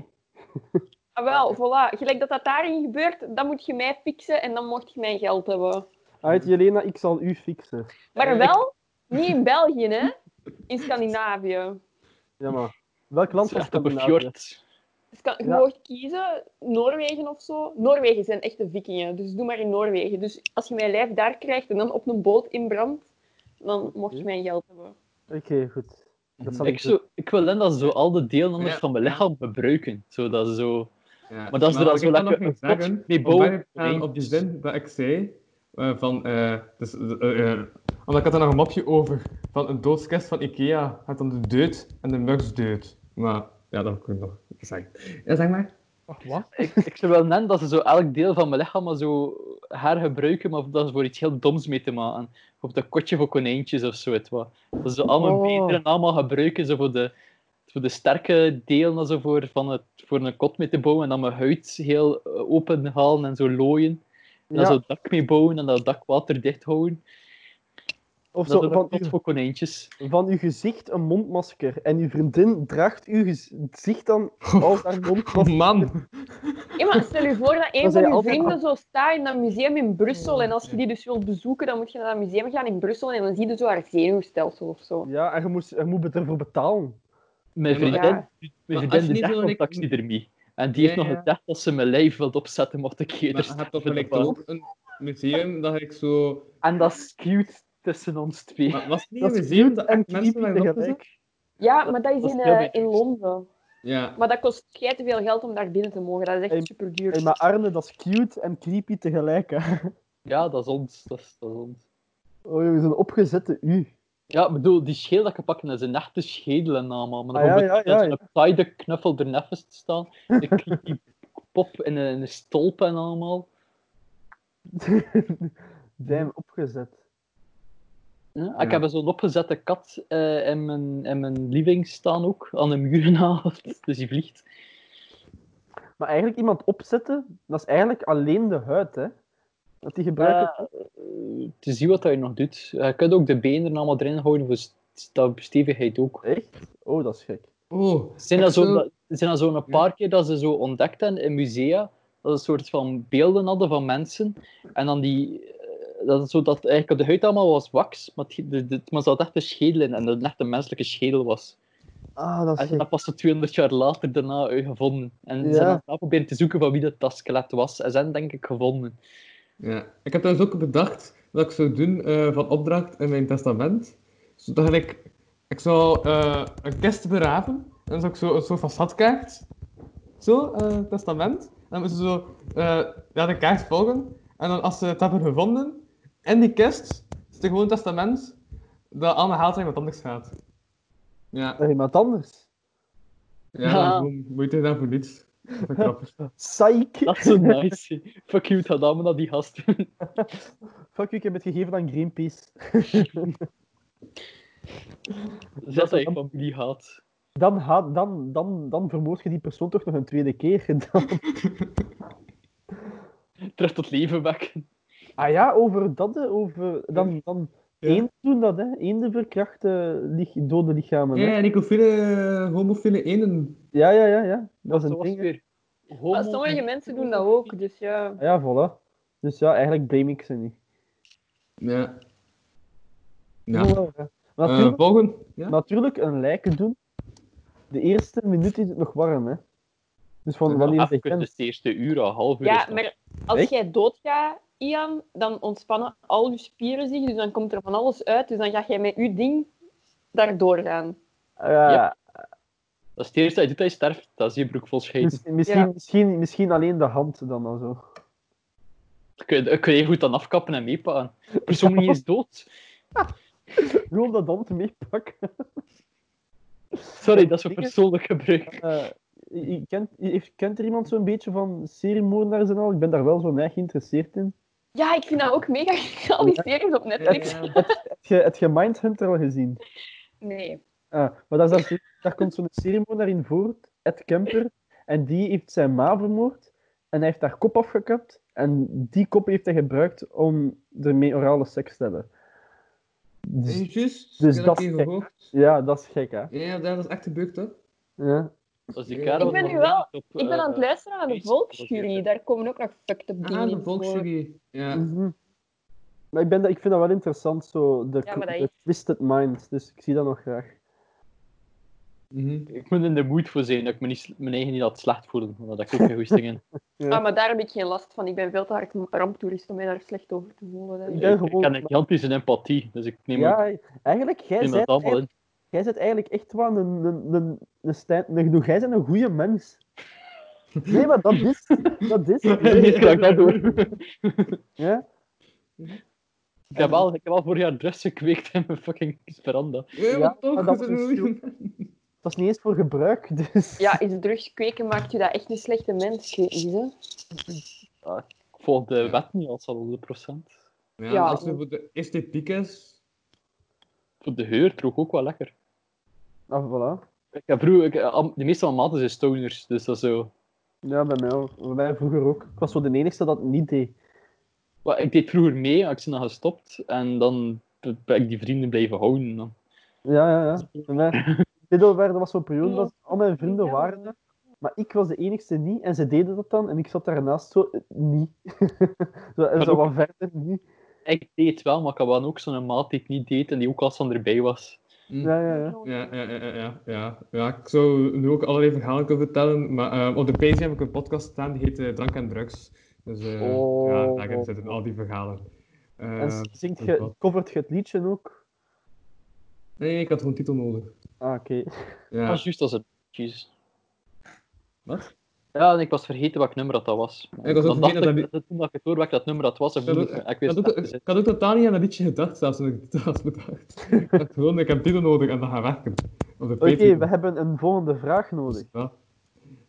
Speaker 6: Ah, wel, voilà. Gelijk dat dat daarin gebeurt, dan moet je mij fixen en dan mocht je mijn geld hebben.
Speaker 5: Uit, Jelena, ik zal u fixen.
Speaker 6: Maar
Speaker 3: Eh,
Speaker 6: wel niet in België, hè? In Scandinavië.
Speaker 5: Ja, maar... Welk land
Speaker 3: Het is
Speaker 5: was
Speaker 3: echt op een
Speaker 5: Scandinavië?
Speaker 3: fjord.
Speaker 6: Dus kan, je
Speaker 5: Ja.
Speaker 6: mag kiezen, Noorwegen of zo. Noorwegen zijn echte vikingen, dus doe maar in Noorwegen. Dus als je mijn lijf daar krijgt en dan op een boot inbrandt, dan mocht je mijn geld hebben.
Speaker 5: Oké, goed. Dat zal ik,
Speaker 3: Ik, zou- ik wil hen dat ze zo al de delen anders
Speaker 4: Ja.
Speaker 3: van mijn lichaam gebruiken. Zodat ze zo...
Speaker 4: Ja,
Speaker 3: Maar dat is er al
Speaker 4: wat
Speaker 3: zo
Speaker 4: ik kan
Speaker 3: lekker
Speaker 4: nog niet
Speaker 3: een pot
Speaker 4: zeggen,
Speaker 3: mee
Speaker 4: om
Speaker 3: bouwen.
Speaker 4: verder te gaan eh, op die zin dat ik zei, eh, van, eh, dus, eh, eh, omdat ik had daar nog een mapje over, van een doodskist van Ikea gaat dan de deut en de mugs deut. Maar ja, dat kan ik nog zeggen. Ja, zeg maar.
Speaker 3: Ik, ik zou wel nemen dat ze zo elk deel van mijn lichaam maar zo hergebruiken, maar dat ze voor iets heel doms mee te maken. Op dat kotje voor konijntjes of zo. Het, wat. Dat ze allemaal
Speaker 5: Oh.
Speaker 3: beter en allemaal gebruiken zo voor, de, voor de sterke delen en zo voor, van het, voor een kot mee te bouwen. En dan mijn huid heel eh, open halen en zo looien. En dan
Speaker 5: Ja.
Speaker 3: zo het dak mee bouwen en dat dak waterdicht houden.
Speaker 5: Of
Speaker 3: Dat
Speaker 5: zo,
Speaker 3: is een
Speaker 5: van,
Speaker 3: kot voor konijntjes.
Speaker 5: van uw gezicht een mondmasker. En uw vriendin draagt uw gez- gezicht dan als haar
Speaker 4: Oh
Speaker 5: mondmasker.
Speaker 4: man!
Speaker 6: Ja, maar stel je voor dat een
Speaker 5: Dat
Speaker 6: van
Speaker 5: zijn
Speaker 6: je
Speaker 5: altijd- Oh,
Speaker 6: vrienden zo staat in dat museum in Brussel. En als je die dus wilt bezoeken, dan moet je naar dat museum gaan in Brussel. En dan zie je zo haar zenuwstelsel of zo.
Speaker 5: Ja, en je moet, je moet ervoor betalen.
Speaker 3: Mijn
Speaker 4: Ja, maar-
Speaker 3: vriendin,
Speaker 6: Ja.
Speaker 3: mijn
Speaker 4: Maar als je
Speaker 3: vriendin
Speaker 4: niet
Speaker 3: de
Speaker 4: wil,
Speaker 3: dagcontact
Speaker 4: ik-
Speaker 3: niet ermee. En die heeft
Speaker 4: Ja,
Speaker 3: nog
Speaker 4: ja.
Speaker 3: gezegd dat ze mijn lijf wil opzetten mocht ik eerder
Speaker 4: Maar je hebt toch
Speaker 3: sterven
Speaker 4: gelijk
Speaker 3: dan-
Speaker 4: ook een museum dat ik zo...
Speaker 3: En dat is cute tussen ons twee.
Speaker 4: Maar
Speaker 3: Ja,
Speaker 4: was het niet
Speaker 5: Dat
Speaker 4: een
Speaker 5: is
Speaker 4: museum dat
Speaker 5: en
Speaker 4: mensen
Speaker 5: creepy
Speaker 4: waren opgezet?
Speaker 5: tegelijk.
Speaker 6: Ja, maar dat
Speaker 3: Dat
Speaker 6: is
Speaker 3: is
Speaker 6: in,
Speaker 3: heel
Speaker 6: eh,
Speaker 3: beetje
Speaker 6: in
Speaker 3: juist.
Speaker 6: Londen.
Speaker 4: Ja.
Speaker 6: Maar dat kost jij te veel geld om daar binnen te mogen. Dat is echt
Speaker 5: Hey,
Speaker 6: super duur.
Speaker 5: Hey, maar Arne, dat is cute en creepy tegelijk. Hè.
Speaker 3: Ja, dat is ons. Dat is, dat is ons.
Speaker 5: Oh, jongens, een opgezette U.
Speaker 3: Ja, ik bedoel, die schedel dat ik pak, dat is een echte schedel en allemaal. Maar dan
Speaker 5: Ah, ja,
Speaker 3: komt
Speaker 5: ja,
Speaker 3: met- met
Speaker 5: ja.
Speaker 3: zo'n taaide knuffel er neffens te staan. Ik kreeg die pop in een, in een stolp en allemaal.
Speaker 5: Damn, opgezet.
Speaker 3: Ja, Ik
Speaker 4: Ja.
Speaker 3: heb zo'n opgezette kat eh, in, mijn, in mijn living staan ook, aan de muren naast. Dus die vliegt.
Speaker 5: Maar eigenlijk iemand opzetten, dat is eigenlijk alleen de huid, hè? Dat die gebruiken.
Speaker 3: Ja, eh, te zien wat hij nog doet. Je kunt ook de benen er allemaal erin houden voor st- stevigheid ook.
Speaker 5: Echt? Oh, dat is gek.
Speaker 4: Oh,
Speaker 3: Zijn dat
Speaker 4: ik zou-
Speaker 3: zo'n zijn dat zo'n paar keer dat ze zo ontdekt hebben in musea, dat ze een soort van beelden hadden van mensen, en dan die, eh, dat het zo dat eigenlijk op de huid allemaal was wax, maar, het, de, de- maar ze had echt een schedel in, en dat het echt een menselijke schedel was.
Speaker 5: Ah, dat is
Speaker 3: En
Speaker 5: gek.
Speaker 3: dat pas zo 200 jaar later daarna uitgevonden. En ze
Speaker 5: Ja.
Speaker 3: hebben daar proberen te zoeken van wie dat, dat skelet was, en zijn denk ik gevonden.
Speaker 4: Ja, ik heb trouwens ook bedacht wat ik zou doen eh, van opdracht in mijn testament. Zodat ik, ik zou eh, een kist beraven, en dan zou ik zo een soort van schatkaart, zo, eh, testament. En dan moeten ze zo eh, ja, de kaart volgen, en dan als ze het hebben gevonden, in die kist zit er gewoon een testament dat allemaal haalt naar iemand anders gaat. Ja,
Speaker 5: Naar iemand anders.
Speaker 4: ja,
Speaker 3: Ja.
Speaker 4: gewoon moeite gedaan voor niets. Dat is een krapper.
Speaker 5: Psych!
Speaker 3: Dat is eh, zo nice. Fuck you, het gaat allemaal naar die gast.
Speaker 5: Fuck, ik heb het gegeven aan Greenpeace.
Speaker 3: Zet dat je van wie die haat.
Speaker 5: Dan, ha- dan, dan, dan vermoord je die persoon toch nog een tweede keer. Dan-
Speaker 3: Terug tot leven wekken.
Speaker 5: Ah ja, over dat, hè, over... Dan, dan
Speaker 4: Ja.
Speaker 5: eenden doen dat, hè. Eenden verkrachten lich- dode lichamen, hè.
Speaker 3: Mm.
Speaker 4: Ja, Nicofiele, homofiele enen.
Speaker 5: Ja, ja, ja, ja. Dat is
Speaker 3: Zo
Speaker 5: een
Speaker 3: was
Speaker 5: ding,
Speaker 3: het
Speaker 5: hè.
Speaker 3: weer.
Speaker 6: Maar
Speaker 3: Homo-
Speaker 6: sommige mensen doen dat ook, dus ja.
Speaker 5: Ah Ja, voilà. Dus ja, eigenlijk blame ik ze niet.
Speaker 4: Ja.
Speaker 5: Ja.
Speaker 4: Ja.
Speaker 5: Maar
Speaker 4: Eh,
Speaker 5: natuurlijk,
Speaker 4: volgende. Ja?
Speaker 5: natuurlijk, een lijken doen. De eerste minuut is het nog warm, hè. Dus van
Speaker 4: Ja,
Speaker 5: wanneer ze
Speaker 3: Even
Speaker 5: kent.
Speaker 3: dus het eerste uur, al half uur. is
Speaker 6: Ja,
Speaker 3: nog-
Speaker 6: maar als
Speaker 5: Echt?
Speaker 6: jij doodgaat, Ian, dan ontspannen al je spieren zich, dus dan komt er van alles uit. Dus dan ga jij met je ding daardoor gaan.
Speaker 5: Ah, Ja,
Speaker 3: Dat is het eerste dat je doet, dat je sterft. Dat is je broek vol scheet.
Speaker 5: mis- misschien,
Speaker 6: Ja.
Speaker 5: misschien, misschien alleen de hand dan al zo.
Speaker 3: Kun je, kun je goed dan afkappen en meepaan. De persoon niet eens dood.
Speaker 5: Gewoon dat hand meepakken.
Speaker 3: Sorry, dat is voor
Speaker 5: Dingen-
Speaker 3: persoonlijk gebruik.
Speaker 5: Eh, i- i- kent, i- heeft- kent er iemand zo'n beetje van seriemoordenaars en al? Ik ben daar wel zo naar geïnteresseerd in.
Speaker 6: Ja, ik vind dat ook mega al die series op
Speaker 5: Eh,
Speaker 6: Netflix.
Speaker 4: Ja.
Speaker 5: Heb je, heb je Mindhunter al gezien?
Speaker 6: Nee.
Speaker 5: Ah, maar daar, is dat- daar komt zo'n ceremonie in voor, Ed Kemper. En die heeft zijn ma vermoord. En hij heeft haar kop afgekapt. En die kop heeft hij gebruikt om ermee orale seks te hebben. Dus,
Speaker 4: Juist,
Speaker 5: dus
Speaker 4: ik heb
Speaker 5: dat
Speaker 4: even
Speaker 5: is-
Speaker 4: gehoord.
Speaker 5: ja, dat is gek, hè?
Speaker 4: Ja, dat is echt gebeurd, hè?
Speaker 5: Ja.
Speaker 3: Dat is die
Speaker 4: Ik
Speaker 3: kerel
Speaker 6: ben
Speaker 3: van
Speaker 6: nu wel-
Speaker 3: op,
Speaker 6: Ik ben
Speaker 3: eh,
Speaker 6: aan het luisteren naar de
Speaker 3: Facebook, dat is
Speaker 6: Volksjury.
Speaker 3: het.
Speaker 6: Daar komen ook nog fucked up dingen
Speaker 4: Ah, de
Speaker 6: in voor.
Speaker 4: volksjury. Ja.
Speaker 5: Mhm. Maar ik, ben, dat- ik vind dat wel interessant, zo, de,
Speaker 6: Ja, maar dat
Speaker 5: de Twisted Minds. Dus ik zie dat nog graag.
Speaker 4: Mhm.
Speaker 3: Ik moet in de moed voor zijn dat ik me niet, mijn eigen niet laat slecht voelen. Want daar heb ik ook geen goesting in.
Speaker 6: Ah, maar daar heb ik geen last van. Ik ben veel te hard een ramptoerist om mij daar slecht over te voelen. Dat
Speaker 5: Ik
Speaker 6: is-
Speaker 3: Ik,
Speaker 5: ben
Speaker 3: ik
Speaker 5: gewoon-
Speaker 3: heb een gigantische empathie, dus ik neem, ook-
Speaker 5: Ja, eigenlijk, jij
Speaker 3: neem
Speaker 5: bent,
Speaker 3: het allemaal
Speaker 5: eigenlijk,
Speaker 3: in.
Speaker 5: jij bent eigenlijk echt wel een... een, een, een, Stijn- een, een jij bent een goede mens. Nee, maar dat is... Dat is...
Speaker 3: Niet dat ik dat doe.
Speaker 5: Ja?
Speaker 3: Ik heb al, ik heb al vorig jaar drugs gekweekt in mijn fucking veranda.
Speaker 4: Ja,
Speaker 5: Ja,
Speaker 4: maar toch,
Speaker 5: maar
Speaker 4: dat
Speaker 5: dat
Speaker 4: is
Speaker 5: is
Speaker 4: een goeie.
Speaker 5: Het was niet eens voor gebruik, dus...
Speaker 6: Ja, is drugs kweken maakt je dat echt een slechte mens, ik weet niet, hè.
Speaker 3: Ik volg de
Speaker 4: Ja.
Speaker 3: wet niet als al 100%.
Speaker 4: Ja,
Speaker 6: Ja.
Speaker 5: oh.
Speaker 4: als het voor de esthetiek is.
Speaker 3: Voor de geur trok ook wel lekker.
Speaker 5: Ah, voilà.
Speaker 3: Ik heb vroeger, ik, am- de meeste van mijn maten zijn stoners, dus dat is zo.
Speaker 5: Ja, bij mij ook. Bij mij vroeger ook. Ik was zo de enigste dat het niet deed.
Speaker 3: Maar ik deed vroeger mee, maar ik ben dan gestopt en dan ben ik die vrienden blijven houden. Dan.
Speaker 5: Ja, ja, ja. Dus Bij mij. Middelbaar, dat was zo'n periode dat al mijn vrienden waren er, maar ik was de enigste niet. En ze deden dat dan, en ik zat daarnaast zo, eh, niet. zo, en zo
Speaker 3: ook-
Speaker 5: wat verder, niet.
Speaker 3: Ik deed het wel, maar ik had wel ook zo'n maat die ik niet deed en die ook als dan erbij was.
Speaker 4: Hm.
Speaker 5: Ja, ja, ja.
Speaker 4: Ja, ja, ja, ja, ja, ja. Ja, ik zou nu ook allerlei verhalen kunnen vertellen, maar eh, op de page heb ik een podcast staan die heet eh, Drank en Drugs. Dus eh,
Speaker 5: Oh.
Speaker 4: ja, daarin zitten al die verhalen. Eh,
Speaker 5: En zingt
Speaker 4: dat
Speaker 5: je,
Speaker 4: wel.
Speaker 5: covert je het liedje ook?
Speaker 4: Nee, ik had gewoon titel nodig.
Speaker 5: Ah, oké.
Speaker 3: Dat
Speaker 4: Ja.
Speaker 3: was juist als het. Jezus. Wat? Ja, en ik was vergeten welk nummer dat, dat was.
Speaker 4: Ik was ook
Speaker 3: Dan dacht
Speaker 4: vergeten dat
Speaker 3: ik, dat... Toen dat ik het hoor welk dat nummer dat was, en
Speaker 4: Ik had
Speaker 3: ik,
Speaker 4: ook-
Speaker 3: ik
Speaker 4: Ik
Speaker 3: wist
Speaker 4: had,
Speaker 3: het
Speaker 4: ook,
Speaker 3: echt niet.
Speaker 4: ik had ook totaal niet aan dat liedje gedacht, zelfs toen ik de titel had bedacht. ik dacht gewoon, ik heb titel nodig en dat gaat werken. Op de
Speaker 5: Oké,
Speaker 4: Patreon.
Speaker 5: we hebben een volgende vraag nodig.
Speaker 4: Ja.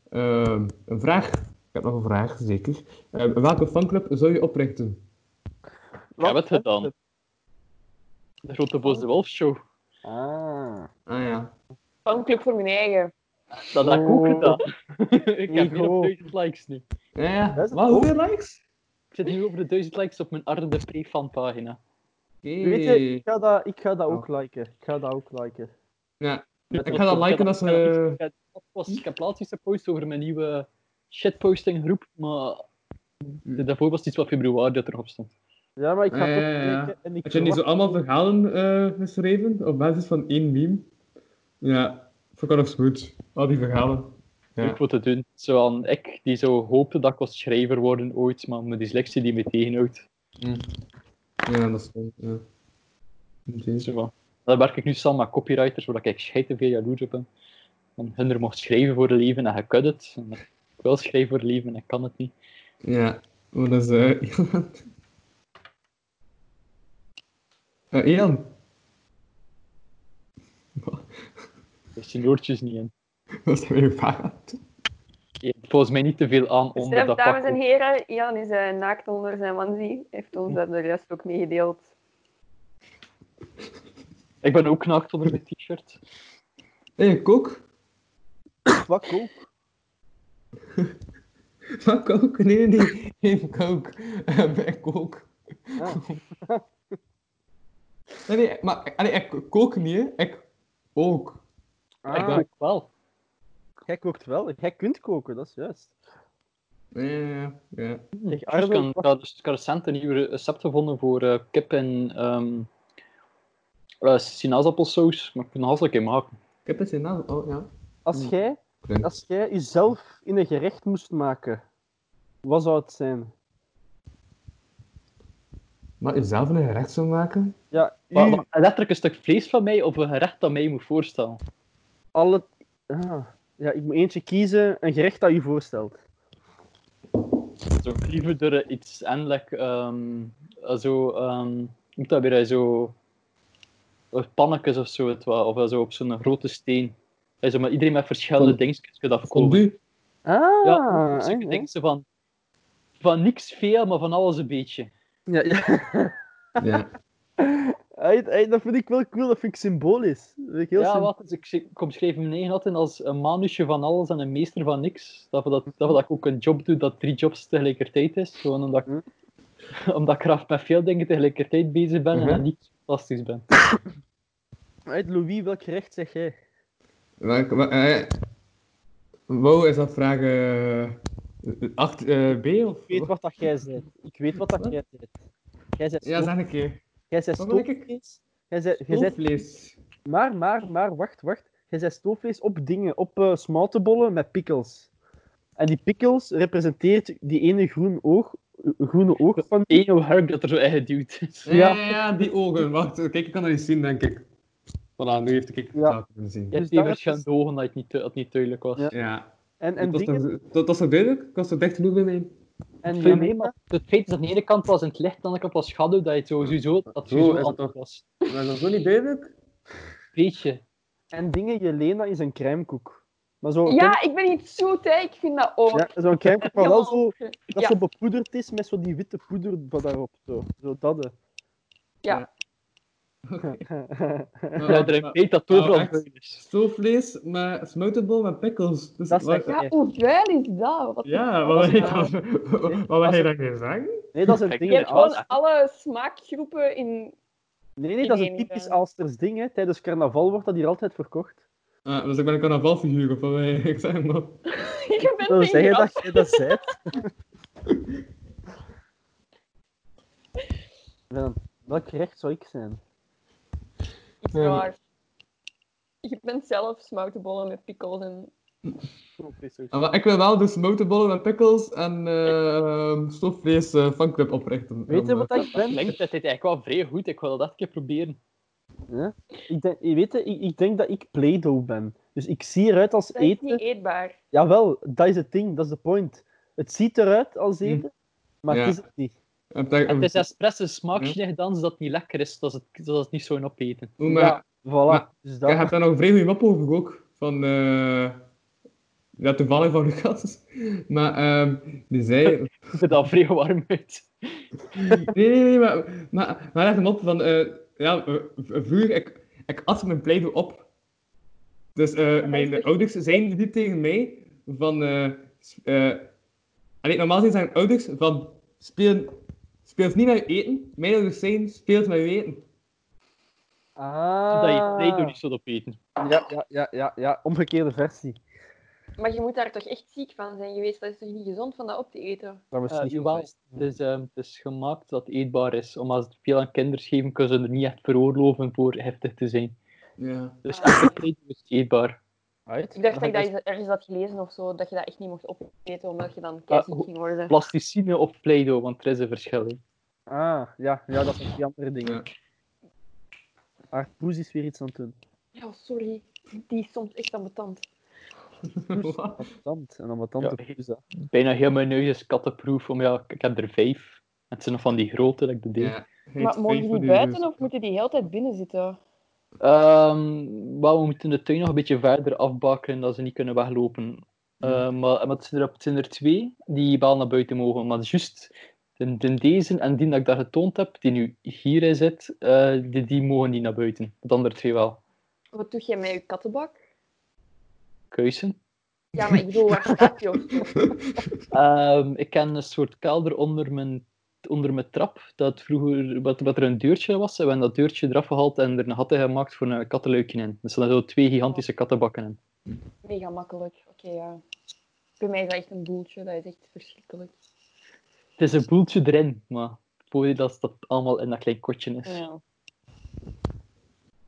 Speaker 4: Ehm, een vraag. Ik heb nog een vraag, zeker. Ehm, welke fanclub zou je oprichten?
Speaker 3: Hebben we het
Speaker 5: Wat?
Speaker 3: gedaan? De Grote Boze Wolf Show.
Speaker 5: Ah.
Speaker 4: Ah ja.
Speaker 6: Fanclub voor mijn eigen.
Speaker 3: Dat had ik ook
Speaker 5: Oh.
Speaker 3: gedaan. ik heb hier
Speaker 5: Ego.
Speaker 3: op 1000 likes nu.
Speaker 4: Ja, ja.
Speaker 5: Dat is
Speaker 4: Wat,
Speaker 5: het ook.
Speaker 4: hoeveel likes?
Speaker 3: Ik zit nu over de 1000 likes op mijn Arde pre pagina.
Speaker 5: Weet je, ik ga dat, ik ga dat ook liken. Ik ga dat ook liken.
Speaker 4: Ja. Ik ga dat liken als... eh
Speaker 3: Ik heb laatst iets gepost over mijn nieuwe shitposting groep, maar
Speaker 4: Hmm.
Speaker 3: daarvoor was het iets wat februari dat erop stond.
Speaker 5: Ja, maar ik ga
Speaker 4: Ja,
Speaker 5: het
Speaker 4: ja, ja,
Speaker 5: ook
Speaker 4: ja.
Speaker 5: liken. En ik
Speaker 4: Had je niet zo
Speaker 5: verwacht-
Speaker 4: allemaal verhalen eh geschreven op basis van één meme? Ja, vond ik nog smooth. Al die verhalen. Ja.
Speaker 3: Leuk wat te doen. Zo aan ik, die zo hoopte dat ik was schrijver worden ooit, maar mijn dyslexie die me tegenhoudt.
Speaker 4: Ja, dat is wel. Ja. Oké.
Speaker 3: Zo van, Daar werk ik nu samen met copywriters, waar ik scheid te veel jaloers op ben. Want hun er mocht schrijven voor leven en je kunt het. En ik wil schrijven voor leven en ik kan het niet.
Speaker 4: Ja, maar dat is eh Ilan. Eh, Ilan.
Speaker 3: Dus die noortjes niet in.
Speaker 4: Wat is dat weer paard?
Speaker 3: Je hebt volgens mij niet te veel aan onder
Speaker 6: Besef,
Speaker 3: dat
Speaker 6: Dus dames en
Speaker 3: pak.
Speaker 6: heren, Ian is eh, naakt onder zijn wansie. Heeft ons dat de rest ook meegedeeld.
Speaker 3: Ik ben ook naakt onder mijn t-shirt.
Speaker 4: Hé, kok?
Speaker 5: Wat cool.
Speaker 4: Wat kook? Nee, nee, nee. Geen kook. Eh, Bij kook.
Speaker 5: Ah.
Speaker 4: Nee, nee, maar allee, ik kook niet, hè. Ik ook.
Speaker 3: Ik
Speaker 5: Ah,
Speaker 3: ook wel.
Speaker 5: jij kookt wel. Jij kunt koken, dat is juist.
Speaker 4: Ja, ja, ja.
Speaker 5: Zeg,
Speaker 3: Hm, Ik
Speaker 5: Arno,
Speaker 3: kan-
Speaker 5: wat-
Speaker 3: ik had dus ik had recent een nieuw recept gevonden voor eh, kip en ehm eh, sinaasappelsaus. Maar ik moet nog altijd een keer maken.
Speaker 4: Ik heb het in naam. Oh, ja.
Speaker 5: als, jij, als jij jezelf in een gerecht moest maken, wat zou het zijn?
Speaker 4: Maar jezelf een gerecht zou maken?
Speaker 5: Ja, u,
Speaker 3: Maar, maar letterlijk een stuk vlees van mij of een gerecht dat mij moet voorstellen.
Speaker 5: alle... Ah, ja, ik moet eentje kiezen, een gerecht dat u voorstelt.
Speaker 3: Zo liever er iets eindelijk, ehm eh, zo, ehm moet dat weer eh, zo, eh, pannetjes of zo, het wel, of eh, zo op zo'n grote steen. Eh, Zo, maar iedereen met verschillende
Speaker 4: Fond-
Speaker 3: dingetjes kunt afkomen.
Speaker 4: Fondue?
Speaker 5: Ah,
Speaker 3: Ja, dus
Speaker 5: hè,
Speaker 3: ik
Speaker 5: hè.
Speaker 3: denk ze van, van niks veel, maar van alles een beetje.
Speaker 5: Ja, ja.
Speaker 4: Ja.
Speaker 5: Hey, hey, dat vind ik wel cool, dat vind ik symbolisch. Dat vind ik heel
Speaker 3: ja,
Speaker 5: symb-
Speaker 3: wat, dus ik, ik omschreef hem negen altijd als een manusje van alles en een meester van niks. Dat, we dat, dat, we dat ik ook een job doe dat drie jobs tegelijkertijd is. Gewoon omdat
Speaker 5: Hm.
Speaker 3: ik, omdat ik graag met veel dingen tegelijkertijd bezig ben
Speaker 5: Hm.
Speaker 4: Mhm.
Speaker 3: en niet fantastisch ben.
Speaker 5: Hey, Louis, welk gerecht zeg jij?
Speaker 4: Welk- wel- eh, Wauw, is dat vraag 8 eh, B of?
Speaker 5: Ik weet wat dat jij bent. Ik weet wat dat
Speaker 4: Wat?
Speaker 5: jij bent. Jij bent
Speaker 4: Ja, zeg een keer.
Speaker 5: Jij zei
Speaker 4: Wat ben ik?
Speaker 5: stoofvlees. Jij zei, jij zei,
Speaker 4: Stoofvlees.
Speaker 5: maar, maar, maar, wacht, wacht. Jij zei stoofvlees op dingen, op eh smaltebollen met pickles. En die pickles representeert die ene groen oog, groene oog van die.
Speaker 3: Eén harp dat er zo eigen duwt
Speaker 5: dus
Speaker 3: is.
Speaker 4: Ja, ja, ja, die ogen. Wacht, kijk, ik kan dat niet zien, denk ik. Voilà, nu heeft ik het
Speaker 5: Ja.
Speaker 4: ja. kunnen zien.
Speaker 3: Je
Speaker 5: Dus
Speaker 3: hebt die
Speaker 5: daar is-
Speaker 3: verschillende ogen dat het niet, dat het niet duidelijk was.
Speaker 5: Ja.
Speaker 4: Ja.
Speaker 5: En, en,
Speaker 4: Dat was
Speaker 5: dingen,
Speaker 4: toch- Dat was toch duidelijk? Ik was toch dicht genoeg bij mij?
Speaker 5: en
Speaker 3: Veel
Speaker 5: Janema-
Speaker 3: meer, maar het feit is dat aan de ene kant was in het licht, aan de andere kant was schaduw, dat je het sowieso, dat het
Speaker 4: Zo
Speaker 3: sowieso
Speaker 4: is het
Speaker 3: anders
Speaker 4: toch.
Speaker 3: was.
Speaker 4: Maar is dat zo niet duidelijk?
Speaker 3: Beetje.
Speaker 5: en dingen, Jelena is een crèmekoek. Maar zo'n
Speaker 6: Ja, ik ben niet zoet, hè. Ik vind dat ook.
Speaker 5: crème- ja, zo'n crèmekoek, maar wel zo,
Speaker 6: Ja.
Speaker 5: dat zo bepoederd is met zo die witte poeder van daarop. Zo, zo dat. eh.
Speaker 6: Ja.
Speaker 4: Eh,
Speaker 3: Ja, er een weet dat het
Speaker 4: nou,
Speaker 3: overal
Speaker 4: echt.
Speaker 3: duidelijk is.
Speaker 4: Stoofvlees met smeltenbol met pickles. Dus
Speaker 5: Dat is
Speaker 4: wat-
Speaker 5: echt-
Speaker 6: Ja, hoe vuil is dat? Wat
Speaker 4: Ja, wat wil je
Speaker 5: Dat
Speaker 4: dan- wat wil je dan gaan zeggen?
Speaker 5: Nee, dat is een
Speaker 3: Ik
Speaker 5: ding.
Speaker 6: Je
Speaker 5: hè,
Speaker 3: ken het
Speaker 6: hebt
Speaker 3: wel.
Speaker 5: Aalst-
Speaker 6: gewoon alle smaakgroepen in...
Speaker 5: Nee, nee, dat is
Speaker 6: Ik
Speaker 5: een
Speaker 6: weet
Speaker 5: typisch
Speaker 6: niet, eh.
Speaker 5: Aalsters ding. Hè. Tijdens carnaval wordt dat hier altijd verkocht.
Speaker 4: Ah, dus ik ben een carnavalfiguur, of wat wil je- ik zeg maar.
Speaker 6: Je bent
Speaker 5: wil
Speaker 6: een
Speaker 5: zeggen
Speaker 6: grap.
Speaker 5: dat je dat zijt. Willem, welk gerecht zou ik zijn?
Speaker 6: Is
Speaker 4: Ja.
Speaker 6: waar. Je bent zelf smoutenbollen met pickles en...
Speaker 4: Ah, maar ik wil wel dus motorbollen met pickles en eh stofvlees eh, fanclub oprichten.
Speaker 5: Weet je wat dat ik
Speaker 3: Dat
Speaker 5: ben?
Speaker 3: klinkt dat dit eigenlijk wel vrij goed, ik wil dat echt een keer proberen.
Speaker 5: Ik denk, je weet het, ik, ik denk dat ik Play-Doh ben. Dus ik zie eruit als
Speaker 6: Dat is
Speaker 5: eten.
Speaker 6: niet eetbaar.
Speaker 5: Jawel, dat is het ding, dat is de point. Het ziet eruit als eten, maar
Speaker 4: Mhm. Ja.
Speaker 5: het is het niet.
Speaker 4: Heb dat-
Speaker 3: Het is expres een smaakje dan, zodat het niet lekker is, zodat het, zodat het niet zo'n opeten.
Speaker 4: Oeh, maar-
Speaker 5: Ja, voilà.
Speaker 4: maar-
Speaker 5: dus
Speaker 4: Je
Speaker 5: dat...
Speaker 4: hebt eh, daar nog een vrij goede map over ook. Van, eh ja, toevallig van Lucas. Maar ehm, die zei...
Speaker 3: ziet er dan vrij warm uit.
Speaker 4: Nee, nee, nee, maar, maar, maar hij had hem op van... eh, ja, eh, vroeger, ik, ik at mijn pleidooi op. Dus eh, mijn ouders zeiden niet tegen mij van... eh s- eh, allee, normaal gezien zijn ouders van... Speel, speel niet met je eten. Mijn ouders zijn speelt met je eten.
Speaker 5: Ah.
Speaker 3: Dat je Play-Doh niet zou opeten.
Speaker 5: ja, ja, ja, ja, ja, omgekeerde versie.
Speaker 6: Maar je moet daar toch echt ziek van zijn geweest? Dat is toch niet gezond van dat op te eten?
Speaker 5: Dat was
Speaker 3: Eh,
Speaker 5: niet
Speaker 3: jawel,
Speaker 5: geweest.
Speaker 3: het is, ehm, het is gemaakt dat het eetbaar is. Omdat als het veel aan kinderen geven, kunnen ze er niet echt veroorloven voor heftig te zijn.
Speaker 4: Ja.
Speaker 3: Dus
Speaker 6: Ah.
Speaker 3: elke Play-Doh is eetbaar.
Speaker 5: Right?
Speaker 6: Ik dacht dat
Speaker 5: Dan
Speaker 6: ik
Speaker 5: ga
Speaker 6: dat
Speaker 5: ik
Speaker 6: eens ergens had gelezen of zo, dat je dat echt niet mocht opeten omdat je
Speaker 5: Ah,
Speaker 6: dan keizer
Speaker 3: hoe-
Speaker 6: ging worden.
Speaker 3: Plasticine op Play-Doh, want er is een verschil. hè.
Speaker 5: Ah, ja, ja, dat zijn die andere dingen.
Speaker 4: Ja.
Speaker 5: Maar Poes is weer iets aan het doen.
Speaker 6: Ja, sorry. Die is soms echt ambetant.
Speaker 4: Wat?
Speaker 5: Ambetant, en ambetant
Speaker 3: Ja.
Speaker 5: ja. Poes, hè.
Speaker 3: Bijna heel mijn neus is kattenproef, om ja, ik- ik heb er vijf. En het zijn nog van die grote, dat ik de deel.
Speaker 4: Ja.
Speaker 6: Maar mogen die buiten of moeten die heel tijd binnen zitten?
Speaker 3: Ehm, wel, we moeten de tuin nog een beetje verder afbakken, dat ze niet kunnen weglopen. Ehm, maar, maar het, zijn er, het zijn er twee die wel naar buiten mogen. Maar juist de, de deze en die dat ik daar getoond heb, die nu hierin zit, eh, die, die mogen niet naar buiten. De andere twee wel.
Speaker 6: Wat doe jij met je kattenbak?
Speaker 3: Kuisen.
Speaker 6: Ja, maar ik bedoel, waar staat je? op?
Speaker 3: Ehm, ik ken een soort kelder onder mijn, onder mijn trap, dat vroeger wat, wat er een deurtje was. En we hebben dat deurtje eraf gehaald en er een gat in gemaakt voor een kattenluikje in. Dus er zijn zo twee gigantische kattenbakken in.
Speaker 6: Mega makkelijk. Oké, ja. Bij mij is dat echt een boeltje. Dat is echt verschrikkelijk.
Speaker 3: Het is een boeltje erin, maar het voordeel dat dat allemaal in dat klein kotje is.
Speaker 4: Oh,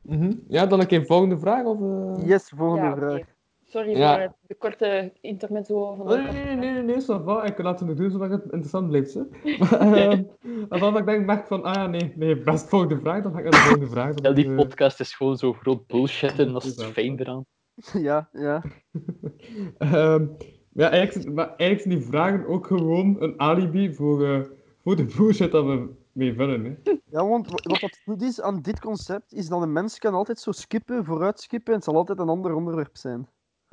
Speaker 6: Ja.
Speaker 4: Ja, dan een keer volgende vraag of... eh?
Speaker 5: Yes, volgende
Speaker 6: Ja, oké.
Speaker 5: vraag.
Speaker 6: Sorry
Speaker 4: Ja.
Speaker 6: voor de korte intermezzo van de
Speaker 4: Nee, nee, nee, nee, nee, ça va. Ik laat het nog doen zodat het interessant blijft. Hè. Maar, ehm, en dan ik denk, merk van, ah ja, nee, nee, best volgende vraag, dan ga ik naar de volgende vraag.
Speaker 3: Ja,
Speaker 4: Dan,
Speaker 3: die
Speaker 4: eh,
Speaker 3: podcast is gewoon zo groot bullshit en dat is het
Speaker 4: Ja.
Speaker 3: fijn eraan.
Speaker 5: Ja, ja.
Speaker 4: ehm, ja, eigenlijk, zijn- maar eigenlijk zijn die vragen ook gewoon een alibi voor, eh, voor de bullshit dat we mee vullen. Hè.
Speaker 5: Ja, want wa- wat dat goed is aan dit concept, is dat een mens kan altijd zo skippen, vooruit skippen, en het zal altijd een ander onderwerp zijn.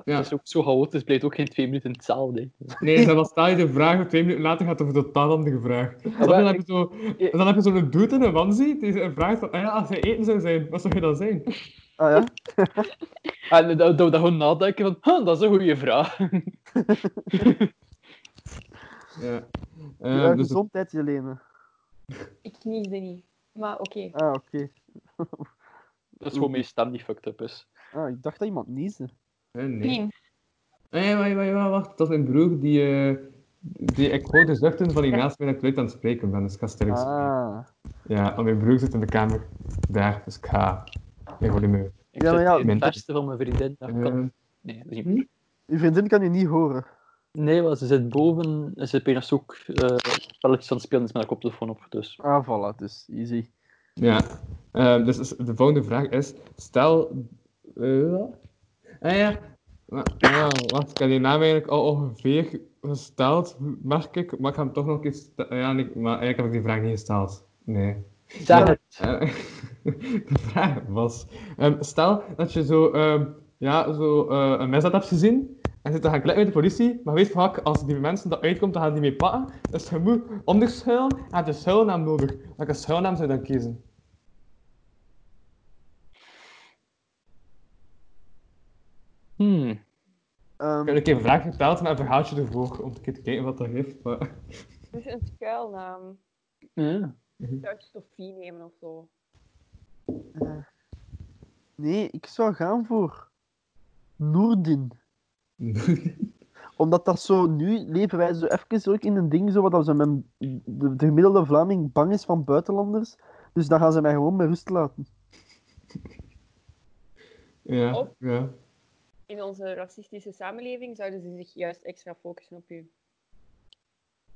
Speaker 4: Ja.
Speaker 3: Dat is ook zo chaotisch, het blijft ook geen twee minuten hetzelfde. hè.
Speaker 4: Nee, dan stel je de vraag, twee minuten later gaat het over een totaal andere vraag. En dan, heb je zo, en dan heb je zo'n dude in een wansie die een vraag van, ah ja, als hij eten zou zijn, wat zou je dan zijn?
Speaker 5: Ah ja?
Speaker 3: En eh, dat dat we dan gewoon nadenken van, huh, dat is een goede vraag.
Speaker 4: Ja. Ehm,
Speaker 5: ja
Speaker 4: dus het-
Speaker 5: gezondheid, Jelene.
Speaker 6: Ik kniesde niet. Maar oké.
Speaker 5: Ah, oké.
Speaker 3: Dat is gewoon mijn stem die fucked up is.
Speaker 5: Ah, ik dacht dat iemand niesde.
Speaker 4: eh, nee.
Speaker 6: Pien.
Speaker 4: Nee, Ah, maar, maar, maar wacht, dat is mijn broer die, eh, die ik hoor de zuchten van die naast mij dat ik luid aan het spreken ben, dus ik ga stil eens-
Speaker 5: Ah.
Speaker 4: Ja, want mijn broer zit in de kamer daar, dus ik ga in volume.
Speaker 3: Ik
Speaker 5: Ja, maar
Speaker 3: zit
Speaker 5: ja,
Speaker 3: in het
Speaker 4: Minder.
Speaker 3: beste van mijn vriendin. Dat kan...
Speaker 4: Eh,
Speaker 3: Nee, dat is niet
Speaker 4: Hm?
Speaker 5: Uw vriendin kan u niet horen.
Speaker 3: Nee, want ze zit boven, ze zit bijna ook eh spelletjes aan het spelen, is met haar koptelefoon op. Dus.
Speaker 5: Ah, voilà, dus easy.
Speaker 4: ja, Ehm, dus is- de volgende vraag is, stel... eh, ah ja, wa- ah, wacht, ik heb die naam eigenlijk al ongeveer gesteld, merk ik, maar ik ga hem toch nog eens... st- Ja, nee, maar eigenlijk heb ik die vraag niet gesteld. Nee.
Speaker 3: Zeg het.
Speaker 4: Eh, de vraag was: ehm, stel dat je zo, ehm, ja, zo eh, een misdaad hebt gezien en zit te gaan klikken met de politie, maar weet vaak als die mensen dat uitkomt, dan gaan die mee pakken. Dus je moet onderschuilen en je hebt een schuilnaam nodig. Welke schuilnaam zou je dan kiezen?
Speaker 3: Hmm.
Speaker 5: Ehm,
Speaker 4: Ik heb een keer een vraag geteld met een verhaaltje ervoor om een keer te kijken wat dat heeft. Maar...
Speaker 6: Dus een schuilnaam.
Speaker 3: Ja.
Speaker 6: Ik zou het Sophie nemen of zo.
Speaker 5: eh, nee, ik zou gaan voor Noerdin. Omdat dat zo, nu leven wij zo even ook in een ding zo, wat dat ze met de, de gemiddelde Vlaming bang is van buitenlanders. Dus dan gaan ze mij gewoon met rust laten.
Speaker 4: ja,
Speaker 6: Op.
Speaker 4: ja.
Speaker 6: In onze racistische samenleving zouden ze zich juist extra focussen op u.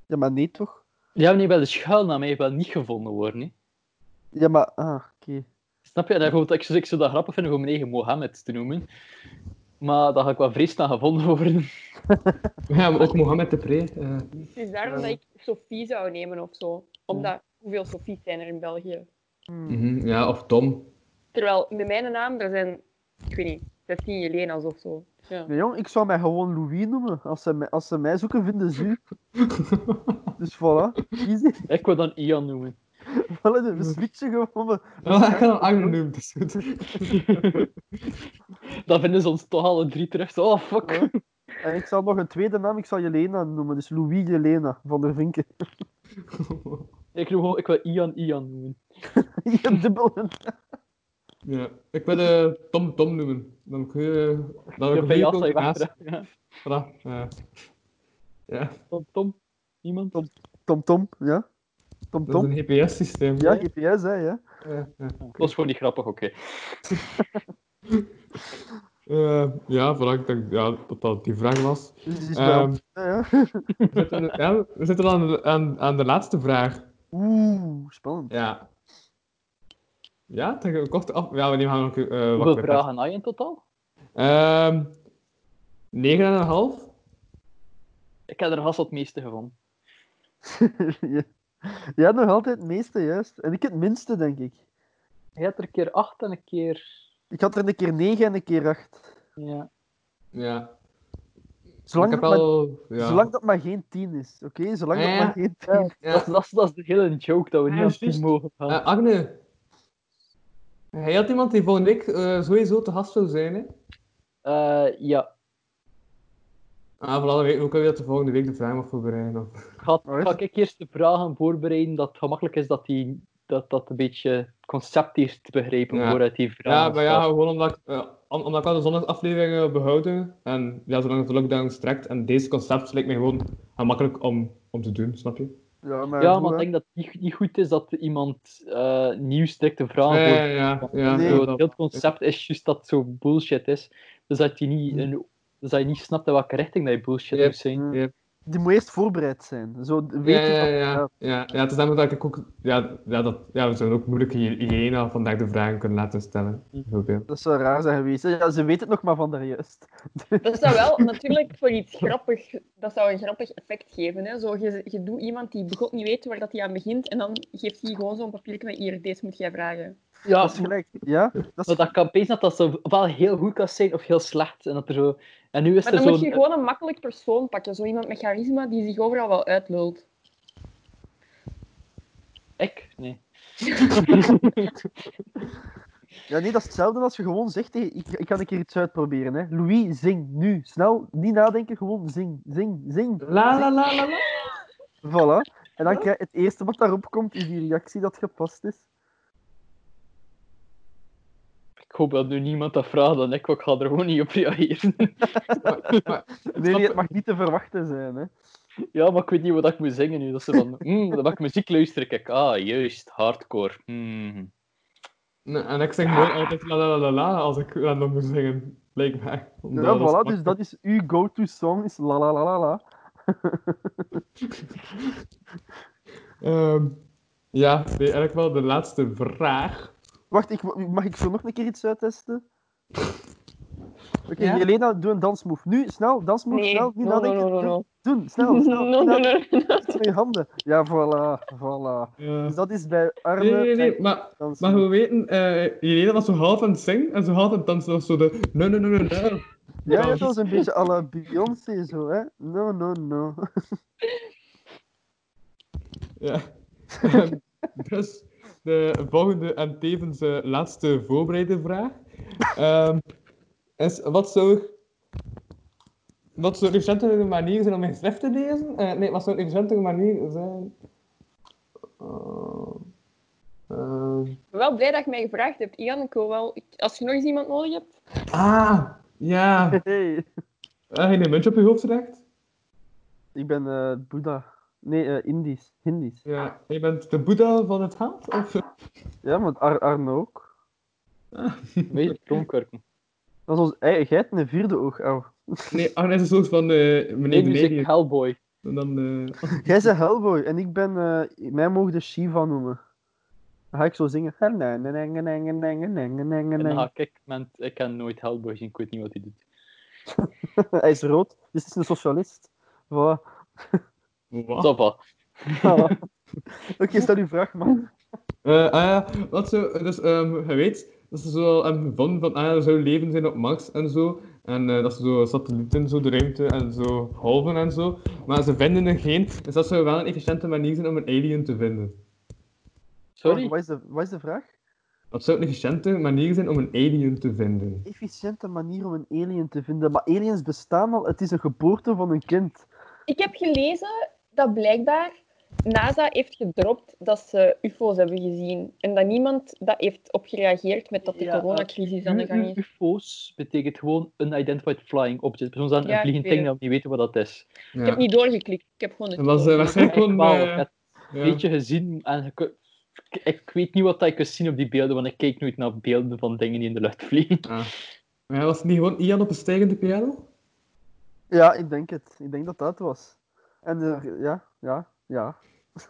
Speaker 5: Ja, maar nee toch?
Speaker 3: Ja, maar nee, wel de schuilnaam heeft wel niet gevonden worden. hè.
Speaker 5: Ja, maar, ah, oké.
Speaker 3: Snap je? En bijvoorbeeld, ik zou, ik zou dat grappig vinden om mijn eigen Mohammed te noemen. Maar daar ga ik wel vrees aan gevonden worden.
Speaker 4: Ja, maar ook Mohammed de Pre. eh.
Speaker 6: Het is daarom dat ik Sophie zou nemen of zo. Omdat, hoeveel Sophie's zijn er in België?
Speaker 4: mhm, Ja, of Tom.
Speaker 6: Terwijl, met mijn naam, er zijn, ik weet niet, 16 Jelena's of zo. Ja.
Speaker 5: Nee, jong, ik zou mij gewoon Louis noemen. Als ze mij, als ze mij zoeken, vinden ze u. dus voilà. Easy.
Speaker 3: Ik wil dan Ian noemen.
Speaker 5: Voilà, dus we switchen gewoon. we-
Speaker 4: Ja, ik kan hem anoniem, dus dat is goed.
Speaker 3: Dan vinden ze ons toch alle drie terug. Zo, Oh, fuck.
Speaker 5: Ja. En ik zal nog een tweede naam, ik zal Jelena noemen. Dus Louis Jelena van der Vinken.
Speaker 3: Ik, noem gewoon, ik wil Ian Ian noemen.
Speaker 5: Je hebt dubbel een
Speaker 4: Ja, ik wil eh, Tom Tom noemen. Dan kun je... Dan
Speaker 3: Ik
Speaker 4: kun
Speaker 3: ben
Speaker 4: je
Speaker 3: je
Speaker 4: ook
Speaker 3: altijd
Speaker 4: naast-
Speaker 3: achter. Ja.
Speaker 4: Voilà, ja. Ja,
Speaker 3: Tom, Tom? Iemand?
Speaker 5: Tom. Tom Tom, ja. Tom
Speaker 4: dat is
Speaker 5: Tom.
Speaker 4: een GPS-systeem.
Speaker 5: Ja, GPS, hè, ja.
Speaker 4: ja. ja.
Speaker 3: Dat was gewoon niet grappig, oké.
Speaker 4: Eh, ja, voilà, ik denk ja, dat dat die vraag was.
Speaker 5: Dus die is
Speaker 4: Ehm,
Speaker 5: wel- ja, ja.
Speaker 4: we zitten, ja, we zitten aan, de- aan, aan de laatste vraag.
Speaker 5: Oeh, spannend.
Speaker 4: Ja. Ja, tegen een korte af... Ja, we nemen gaan ook eh wat
Speaker 3: Hoeveel
Speaker 4: kort
Speaker 3: vragen had je in totaal?
Speaker 4: Ehm, negen en een half.
Speaker 3: Ik heb er vast het meeste van.
Speaker 5: ja. Jij hebt nog altijd het meeste, juist. En ik het minste, denk ik.
Speaker 3: Hij had er een keer acht en een keer...
Speaker 5: Ik had er een keer 9 en een keer 8.
Speaker 3: Ja.
Speaker 4: Ja.
Speaker 5: Zolang,
Speaker 4: ik heb
Speaker 5: dat, maar,
Speaker 4: wel... Ja.
Speaker 5: zolang dat maar geen 10 is, oké? Zolang
Speaker 4: Ja,
Speaker 5: dat
Speaker 4: ja.
Speaker 5: maar geen 10
Speaker 3: Ja,
Speaker 5: is.
Speaker 4: Ja.
Speaker 3: Dat, is- dat, is- dat is de hele joke dat we
Speaker 4: Ja,
Speaker 3: niet aan
Speaker 4: juist.
Speaker 3: tien mogen gaan.
Speaker 4: Eh, Agne. Hij had iemand die volgende week eh, sowieso te gast zou zijn, hè?
Speaker 3: Eh, ja,
Speaker 4: Ah, voilà, dan weten we ook alweer dat de volgende week de vraag mag voorbereiden. Of...
Speaker 3: ga,
Speaker 5: Alright.
Speaker 3: ga ik eerst de vragen voorbereiden dat het gemakkelijk is dat die, dat, dat een beetje het concept eerst te begrijpen
Speaker 4: Ja.
Speaker 3: vooruit die
Speaker 4: Ja,
Speaker 3: vragen
Speaker 4: maar ja,
Speaker 3: staat.
Speaker 4: gewoon omdat ik, eh, om- omdat ik al de zondagsafleveringen wil behouden. En ja, zolang het de lockdown strekt. En deze concept lijkt mij gewoon gemakkelijk om, om te doen, snap je?
Speaker 5: Ja, maar,
Speaker 3: ja,
Speaker 5: goed,
Speaker 3: maar
Speaker 5: hè.
Speaker 3: ik denk dat het niet- niet goed is dat iemand eh nieuw strikt een vraag
Speaker 4: Ja,
Speaker 3: voor
Speaker 4: ja, ja. ja,
Speaker 3: Ja,
Speaker 5: Nee.
Speaker 3: zo,
Speaker 4: dat-
Speaker 3: het hele concept is juist dat het zo bullshit is. Dus dat je niet,
Speaker 4: Hm.
Speaker 3: een, dus dat je niet snapt in welke richting dat je bullshit
Speaker 4: Yep.
Speaker 3: moet zijn.
Speaker 5: Mm.
Speaker 4: Ja.
Speaker 5: Die moet eerst voorbereid zijn. Zo weet
Speaker 4: Ja,
Speaker 5: je
Speaker 4: ja,
Speaker 5: dat-
Speaker 4: ja, ja. Ja, het is namelijk dat ik ook... Ja, ja, dat, ja we zullen ook moeilijk in Irene vandaag de vragen kunnen laten stellen. Bijvoorbeeld.
Speaker 5: Dat zou raar zijn geweest. hè. Ja, ze weet het nog maar van daar juist.
Speaker 6: Dat zou wel natuurlijk voor iets grappig, dat zou een grappig effect geven. Hè? Zo, je, je doet iemand die begot niet weet waar dat hij aan begint en dan geeft hij gewoon zo'n papiertje met hier, deze moet jij vragen.
Speaker 3: Ja,
Speaker 5: Dat is gelijk. Ja? Dat
Speaker 3: maar
Speaker 5: is...
Speaker 3: dat kan opeens dat dat zo wel heel goed kan zijn of heel slecht. En, dat er zo... en nu is
Speaker 6: Maar
Speaker 3: er
Speaker 6: dan
Speaker 3: zo'n...
Speaker 6: moet je gewoon een makkelijk persoon pakken. Zo iemand met charisma die zich overal wel uitlult.
Speaker 3: Ik? Nee.
Speaker 5: Ja, nee, dat is hetzelfde als je gewoon zegt tegen... Ik, ik ga een keer iets uitproberen, hè. Louis, zing, nu. Snel, niet nadenken, gewoon zing, zing, zing.
Speaker 4: La la la la la.
Speaker 5: Voilà. En dan krijg je het eerste wat daarop komt, is die reactie dat gepast is.
Speaker 3: Ik hoop dat nu niemand dat vraagt dan ik, want ik ga er gewoon niet op reageren.
Speaker 5: Nee, nee, het mag niet te verwachten zijn, hè.
Speaker 3: ja, maar ik weet niet wat ik moet zingen nu. Dat ze van, mm, dan welke muziek luister ik? Ah, juist, hardcore. Hmm.
Speaker 4: Nee, En ik zeg gewoon altijd la la la la la als ik random moet zingen. Blijkbaar. Omdat
Speaker 5: Ja,
Speaker 4: dat is
Speaker 5: voilà, dus dat is uw go-to song, is la la la la la.
Speaker 4: Ehm, ja, nee, eigenlijk wel de laatste vraag.
Speaker 5: Wacht, ik, mag ik zo nog een keer iets uittesten? Oké,
Speaker 4: Ja?
Speaker 5: Jelena, doe een dansmove. Nu, snel, dansmove, snel, niet
Speaker 6: no, no,
Speaker 5: nadenken.
Speaker 6: no, no, no.
Speaker 5: Doen, doen, snel, snel,
Speaker 6: No, no,
Speaker 5: snel.
Speaker 6: no.
Speaker 5: Iets met je handen. Ja, voilà, voilà.
Speaker 4: Eh,
Speaker 5: Dus dat eh, is bij armen
Speaker 4: nee, nee, nee,
Speaker 5: en
Speaker 4: maar,
Speaker 5: dansen.
Speaker 4: maar we weten, eh Irene was zo half aan het zingen en zo half aan het dansen. Dat was zo de no, no, no, no, no.
Speaker 5: Ja, ja, dat was een beetje à la Beyoncé zo, hè. No, no, no.
Speaker 4: Ja. Ehm, dus de volgende en tevens eh, laatste voorbereide vraag. Ehm, is, wat zou... Wat zou een efficiëntere manier zijn om mijn schrift te lezen? Eh, nee, wat zou een efficiëntere manier zijn... Eh, ehm,
Speaker 6: Ik ben wel blij dat je mij gevraagd hebt, Ian. Ik wil wel, ik- als je nog eens iemand nodig hebt.
Speaker 4: ah, ja.
Speaker 5: Hey,
Speaker 4: Heb je een muntje op je hoofd terecht?
Speaker 5: ik ben eh Boeddha. Nee, eh, Indisch. Hindisch.
Speaker 4: Ja. Je bent de boeddha van het haat? Of...
Speaker 5: Ja, want Ar Arno ook.
Speaker 3: Weet je, kroonkurken.
Speaker 5: Dat is ons eigen geit in een vierde oog, au.
Speaker 4: Nee, Arne is een soort van eh meneer
Speaker 3: Nee,
Speaker 4: de
Speaker 3: nu zeg ik
Speaker 4: Neger.
Speaker 3: Hellboy.
Speaker 4: En Dan, eh,
Speaker 5: Jij bent Hellboy en ik ben... eh, mij mogen de Shiva noemen. Dan ga ik zo zingen.
Speaker 3: En dan ga ik, man, ik heb nooit Hellboy gezien, ik weet niet wat hij doet.
Speaker 5: Hij is rood, dus het is een socialist. Voilà.
Speaker 4: Wat?
Speaker 3: Zo va.
Speaker 5: Voilà. Oké, stel uw vraag, man.
Speaker 4: Eh, ah ja, wat zo, dus ehm je weet dat ze zo al hebben gevonden van, ah ja, er zou leven zijn op Mars en zo. En eh, dat ze zo satellieten zo de ruimte en zo halven en zo. Maar ze vinden er geen, dus dat zou wel een efficiënte manier zijn om een alien te vinden.
Speaker 3: Sorry?
Speaker 5: Wat is, de, wat is de vraag?
Speaker 4: Dat zou een efficiënte manier zijn om een alien te vinden.
Speaker 5: Efficiënte manier om een alien te vinden. Maar aliens bestaan al. Het is een geboorte van een kind.
Speaker 6: Ik heb gelezen dat blijkbaar NASA heeft gedropt dat ze UFO's hebben gezien. En dat niemand dat heeft op gereageerd met dat de
Speaker 3: Ja,
Speaker 6: coronacrisis aan de gang is.
Speaker 3: UFO's betekent gewoon Unidentified Flying Object. Soms dan
Speaker 6: Ja,
Speaker 3: een
Speaker 6: ik
Speaker 3: vliegend
Speaker 6: weet
Speaker 3: ding dat we niet weten wat dat is.
Speaker 6: Ik heb
Speaker 4: Ja.
Speaker 6: niet doorgeklikt. Ik heb gewoon het
Speaker 4: Dat was eh,
Speaker 6: doorgeklikt.
Speaker 4: waarschijnlijk
Speaker 3: Echt
Speaker 4: gewoon...
Speaker 3: wel,
Speaker 4: eh,
Speaker 3: ik heb
Speaker 4: ja.
Speaker 3: een beetje gezien en je kun- ik- ik weet niet wat dat je kunt zien op die beelden, want ik kijk nooit naar beelden van dingen die in de lucht vliegen.
Speaker 4: Ah. Maar ja, was het niet gewoon Ian op een stijgende piano?
Speaker 5: Ja, ik denk het. Ik denk dat dat het was. En de- ja, ja, ja.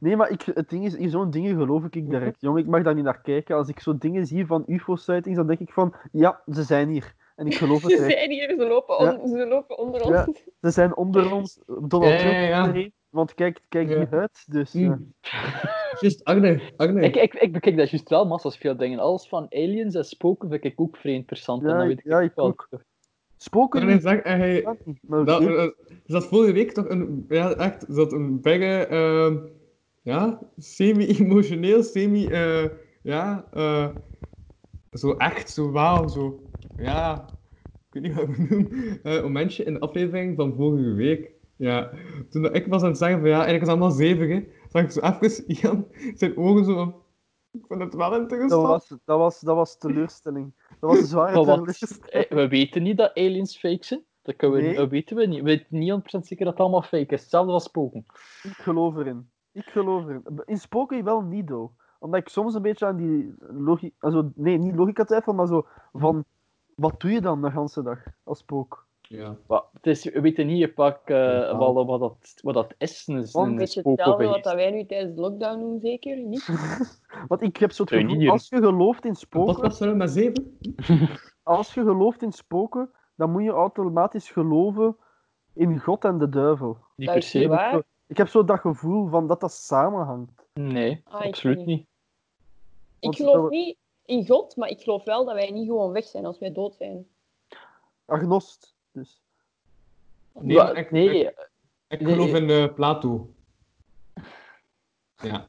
Speaker 5: nee, maar ik, het ding is, in zo'n dingen geloof ik ik direct. Jongen, ik mag daar niet naar kijken. Als ik zo dingen zie van UFO-sightings, dan denk ik van, ja, ze zijn hier. En ik geloof het
Speaker 6: Ze
Speaker 5: direct.
Speaker 6: zijn hier, ze lopen,
Speaker 5: Ja.
Speaker 6: on- ze lopen onder
Speaker 5: Ja.
Speaker 6: ons.
Speaker 5: Ze zijn onder ons, Donald
Speaker 4: Ja, ja,
Speaker 5: Trump
Speaker 4: ja.
Speaker 5: iedereen. Want kijk, kijk
Speaker 4: Ja.
Speaker 5: die huid, dus...
Speaker 4: Mm.
Speaker 5: eh,
Speaker 4: Juist, Agne, Agne.
Speaker 3: Ik, ik, ik bekijk dat juist wel massas veel dingen. Alles van aliens en spoken vind ik ook vrij interessant. en
Speaker 5: Ja,
Speaker 3: dan
Speaker 5: ik-
Speaker 3: weet ik
Speaker 5: ja, ik
Speaker 3: wel.
Speaker 5: ook. spoken
Speaker 4: Agne zegt, eh, hij-
Speaker 5: bestaat niet, maar
Speaker 4: Dat,
Speaker 5: oké.
Speaker 4: eh, er zat vorige week toch een, ja, echt, er zat een bijge, ehm, ja, semi-emotioneel, semi, eh, ja, eh, zo echt, zo wauw, zo, ja, ik weet niet wat ik moet noemen, Eh, een mensje in de aflevering van vorige week, ja, toen dat ik was aan het zeggen van, ja, eigenlijk is het allemaal zeven, hè, zag ik zo even Ian zijn ogen zo van, ik vind het wel
Speaker 5: dat,
Speaker 4: interessant.
Speaker 5: was, dat, was, dat was teleurstelling. Dat was een zware
Speaker 3: Maar wat-
Speaker 5: teleurstelling.
Speaker 3: Eh, We weten niet dat aliens fake zijn. Dat, kunnen we,
Speaker 5: Nee.
Speaker 3: dat weten we niet. We weten niet 100% zeker dat het allemaal fake is. Hetzelfde als spoken.
Speaker 5: Ik geloof erin. Ik geloof erin. In spoken wel niet, though. Omdat ik soms een beetje aan die logica... Also, nee, niet logica twijfel, maar zo van... Wat doe je dan de hele dag als spook?
Speaker 4: Ja.
Speaker 3: Maar het is, we weten niet je pak eh, wat, wat, dat, wat dat is. Een,
Speaker 5: Wel een
Speaker 6: Een
Speaker 3: een
Speaker 6: beetje
Speaker 3: spook of
Speaker 6: hetzelfde
Speaker 3: een
Speaker 6: wat dat
Speaker 3: geest.
Speaker 6: wij nu tijdens de lockdown doen, zeker? Niet?
Speaker 5: Want ik heb zo het
Speaker 3: Zou je niet
Speaker 5: gevoel,
Speaker 3: doen?
Speaker 5: als je gelooft in
Speaker 4: Wat
Speaker 5: spoken,
Speaker 4: was er maar zeven?
Speaker 5: als je gelooft in spoken, dan moet je automatisch geloven in God en de duivel.
Speaker 3: Niet
Speaker 6: Dat
Speaker 3: per
Speaker 6: is niet
Speaker 3: se.
Speaker 6: waar.
Speaker 5: Zo- Ik heb zo dat gevoel van dat dat samenhangt.
Speaker 3: Nee,
Speaker 6: Ah, ik
Speaker 3: absoluut
Speaker 6: niet.
Speaker 3: niet.
Speaker 6: Ik
Speaker 5: Want
Speaker 6: geloof
Speaker 5: dat-
Speaker 6: niet in God, maar ik geloof wel dat wij niet gewoon weg zijn als wij dood zijn.
Speaker 5: Agnost, dus.
Speaker 4: Nee,
Speaker 3: Wa-
Speaker 4: maar ik-
Speaker 3: nee,
Speaker 4: Ik
Speaker 3: Nee.
Speaker 4: geloof in eh, Plato. Ja.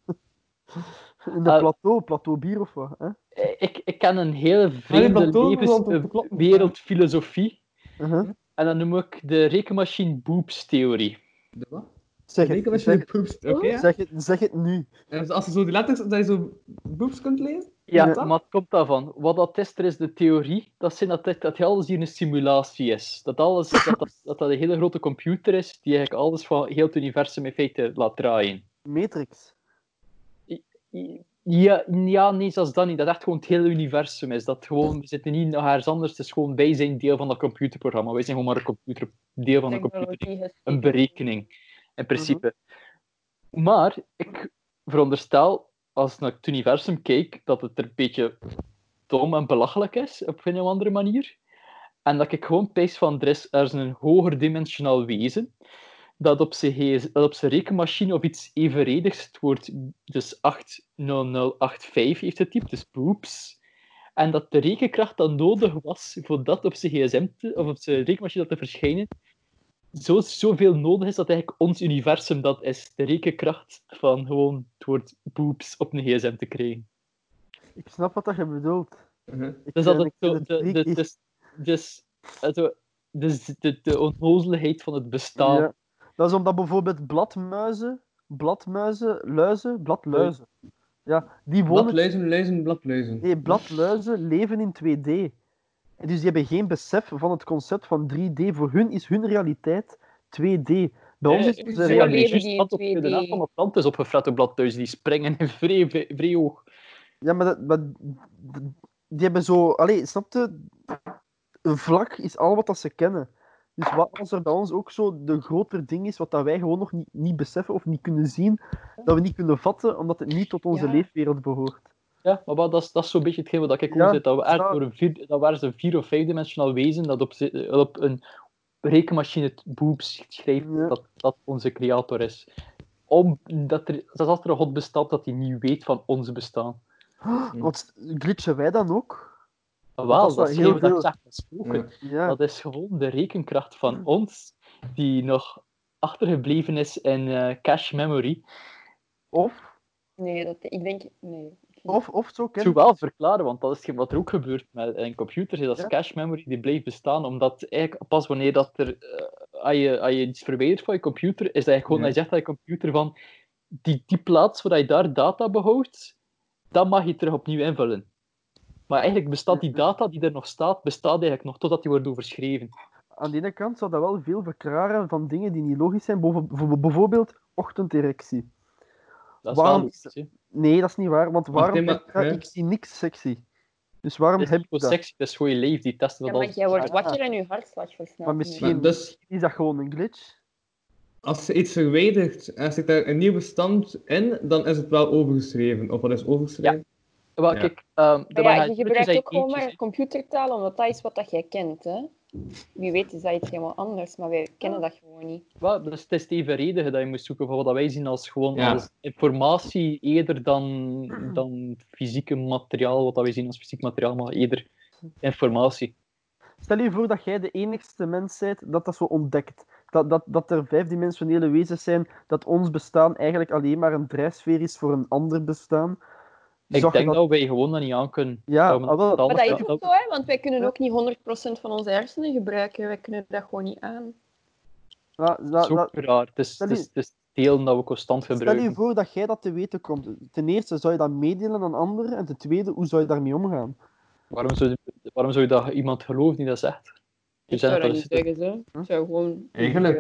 Speaker 5: In de
Speaker 3: Ah.
Speaker 5: plateau, plateau bier of wat, hè?
Speaker 3: eh, ik, ik ken een hele vreemde
Speaker 4: dat tonen we
Speaker 3: levens-
Speaker 4: dan te- te
Speaker 3: eh,
Speaker 4: kloppen.
Speaker 3: wereldfilosofie.
Speaker 5: Uh-huh.
Speaker 3: En dat noem ik de rekenmachine boobs-theorie.
Speaker 4: De wat?
Speaker 5: Zeg
Speaker 4: Ik
Speaker 5: het,
Speaker 4: was je
Speaker 5: zeg,
Speaker 4: de poepst. Oké, ja.
Speaker 5: het, zeg, het, zeg het nu.
Speaker 4: En dus als je zo die letters, dat je zo boeps kunt lezen?
Speaker 3: Ja,
Speaker 5: Ja.
Speaker 3: maar het komt daarvan. Wat dat is, er is de theorie. Dat zijn dat, dit- dat alles hier een simulatie is. Dat alles, dat, dat, dat dat een hele grote computer is die eigenlijk alles van heel het universum in feite laat draaien.
Speaker 5: Matrix.
Speaker 3: Ja, ja, nee, zelfs dat niet. Dat echt gewoon het hele universum is. Dat gewoon, we zitten niet nog ergens anders. Het is gewoon, wij zijn deel van dat computerprogramma. Wij zijn gewoon maar een computer, deel van een computer
Speaker 6: Technologie heeft
Speaker 3: een berekening, in principe. Maar ik veronderstel, als ik naar het universum kijk, dat het er een beetje dom en belachelijk is, op een of andere manier. En dat ik gewoon pijs van, er is, er is een hoger dimensionaal wezen, dat op zijn, he- dat op zijn rekenmachine of iets evenredigs, het woord dus 80085 heeft getypt, dus boeps. En dat de rekenkracht dan nodig was voor dat op zijn gsm te- of op zijn rekenmachine dat te verschijnen, zo, zoveel nodig is dat eigenlijk ons universum dat is. De rekenkracht van gewoon het woord boeps op een gsm te krijgen.
Speaker 5: Ik snap wat dat je bedoelt.
Speaker 4: Uh-huh.
Speaker 5: Ik,
Speaker 3: Dus
Speaker 5: eh,
Speaker 3: dat het
Speaker 5: ik vind
Speaker 3: zo... de- de-
Speaker 5: freaky.
Speaker 3: Dus... dus also, dus de, de onnozelheid van het bestaan.
Speaker 5: Ja. Dat is omdat bijvoorbeeld bladmuizen, bladmuizen, luizen, bladluizen. Ja, die
Speaker 4: Blad
Speaker 5: wonen...
Speaker 4: lezen, lezen, blad lezen.
Speaker 5: Nee, bladluizen leven in 2D. En dus die hebben geen besef van het concept van 3D. Voor hun is hun realiteit 2D. Bij ons is
Speaker 3: Eh,
Speaker 5: onze
Speaker 3: ze hebben
Speaker 6: realiteit-
Speaker 5: realiteit...
Speaker 6: leven
Speaker 3: juist
Speaker 6: die in
Speaker 3: had op de
Speaker 6: 2D.
Speaker 3: naam van de plant is opgefret op bladluis. Die springen vrij, vrij, vrij hoog.
Speaker 5: Ja, maar, dat, maar die hebben zo... Allee, snap je? Een vlak is al wat dat ze kennen. Dus wat als er bij ons ook zo de groter ding is, wat dat wij gewoon nog niet, niet beseffen of niet kunnen zien, dat we niet kunnen vatten, omdat het niet tot onze
Speaker 6: Ja.
Speaker 5: leefwereld behoort.
Speaker 3: Ja, maar wat, dat is, dat is zo'n beetje hetgeen wat ik ook
Speaker 5: Ja,
Speaker 3: zit. Dat we eigenlijk
Speaker 5: dat-
Speaker 3: door een vier, dat waren ze vier of vijfdimensionaal wezen dat op, zi- op een rekenmachine het boep schrijft
Speaker 5: Ja.
Speaker 3: dat, dat onze creator is. Omdat er, dat als er een god bestaat dat hij niet weet van ons bestaan.
Speaker 5: Want glitchen wij dan ook?
Speaker 3: Wel,
Speaker 5: Dat
Speaker 3: dat,
Speaker 5: is wel
Speaker 3: is
Speaker 5: heel
Speaker 3: heel dat
Speaker 5: veel.
Speaker 3: is echt gesproken.
Speaker 5: Ja.
Speaker 3: Dat is gewoon de rekenkracht van ons die nog achtergebleven is in eh, cache memory.
Speaker 5: Of,
Speaker 6: Nee, dat, ik denk... Nee.
Speaker 5: of, of zo,
Speaker 3: Zo
Speaker 5: ken
Speaker 3: wel verklaren, want dat is geen- wat er ook gebeurt met in computers. is Dat
Speaker 5: Ja.
Speaker 3: cache memory die blijft bestaan, omdat eigenlijk pas wanneer dat er, eh, als, je, als je iets verwijdert van je computer, is eigenlijk gewoon
Speaker 4: Ja.
Speaker 3: dat je zegt aan je computer van die, die plaats waar je daar data behoudt, dat mag je terug opnieuw invullen. Maar eigenlijk bestaat die data die er nog staat, bestaat eigenlijk nog totdat die wordt overschreven.
Speaker 5: Aan de ene kant zou dat wel veel verklaren van dingen die niet logisch zijn, boven- bijvoorbeeld- bijvoorbeeld ochtenderectie.
Speaker 3: Dat is
Speaker 5: Waarom
Speaker 3: wel
Speaker 5: is
Speaker 3: logisch, hè.
Speaker 5: Nee, dat is niet waar, want waarom
Speaker 4: nee, maar-
Speaker 5: heb ik dat?
Speaker 4: hè?
Speaker 5: Ik zie niks sexy. Dus waarom
Speaker 3: Dat is
Speaker 5: heb ik
Speaker 3: niet
Speaker 5: dat?
Speaker 3: zo sexy, dat is gewoon je leef, die testen
Speaker 6: Ja,
Speaker 3: dat
Speaker 6: maar
Speaker 3: al.
Speaker 6: jij wordt
Speaker 5: Ah.
Speaker 6: wakker en je hartslag versnelt.
Speaker 5: Maar
Speaker 6: nu.
Speaker 5: misschien-
Speaker 4: Maar dus,
Speaker 5: Is dat gewoon een glitch?
Speaker 4: als ze iets verwijdert en zit daar een nieuw bestand in, dan is het wel overgeschreven. Of wat is overgeschreven?
Speaker 3: Wel,
Speaker 4: Ja.
Speaker 3: kijk, ehm, dat
Speaker 6: Maar
Speaker 3: wij
Speaker 6: ja,
Speaker 3: gaan
Speaker 6: je
Speaker 3: glitches
Speaker 6: gebruikt
Speaker 3: zijn
Speaker 6: ook gewoon
Speaker 3: eentjes,
Speaker 6: maar computertaal, omdat dat is wat dat jij kent. Hè? Wie weet is dat iets helemaal anders, maar wij kennen dat gewoon niet.
Speaker 3: Wel, dus het is het evenredige dat je moet zoeken van wat wij zien als gewoon
Speaker 4: Ja.
Speaker 3: als informatie eerder dan, dan fysieke materiaal, wat dat wij zien als fysiek materiaal, maar eerder informatie.
Speaker 5: Stel je voor dat jij de enigste mens bent dat dat zo ontdekt. Dat, dat, dat er vijfdimensionele wezens zijn, dat ons bestaan eigenlijk alleen maar een drijfsfeer is voor een ander bestaan.
Speaker 3: Ik
Speaker 5: Zag je
Speaker 3: denk dat... wij gewoon dat niet aan kunnen.
Speaker 5: Ja,
Speaker 3: we-
Speaker 5: ah, wel.
Speaker 3: dat we-
Speaker 6: Maar dat is
Speaker 3: dat-
Speaker 6: ook zo, hè? want wij kunnen ook niet 100% van onze hersenen gebruiken. Wij kunnen dat gewoon niet aan.
Speaker 5: Ja,
Speaker 3: dat
Speaker 5: dat-
Speaker 3: is ook
Speaker 5: dat-
Speaker 3: raar. Het is,
Speaker 5: stel
Speaker 3: het is,
Speaker 5: je-
Speaker 3: het is delen dat we constant
Speaker 5: Stel je
Speaker 3: gebruiken.
Speaker 5: voor dat jij dat te weten komt. Ten eerste, zou je dat meedelen aan anderen? En ten tweede, hoe zou je daarmee omgaan?
Speaker 3: Waarom zou, je- waarom zou je dat iemand geloven die dat zegt? Je
Speaker 6: Ik
Speaker 3: zegt
Speaker 6: zou
Speaker 3: dat
Speaker 6: dat
Speaker 3: er
Speaker 6: niet
Speaker 3: zit-
Speaker 6: zeggen, zo. Ik zou gewoon...
Speaker 4: Eigenlijk.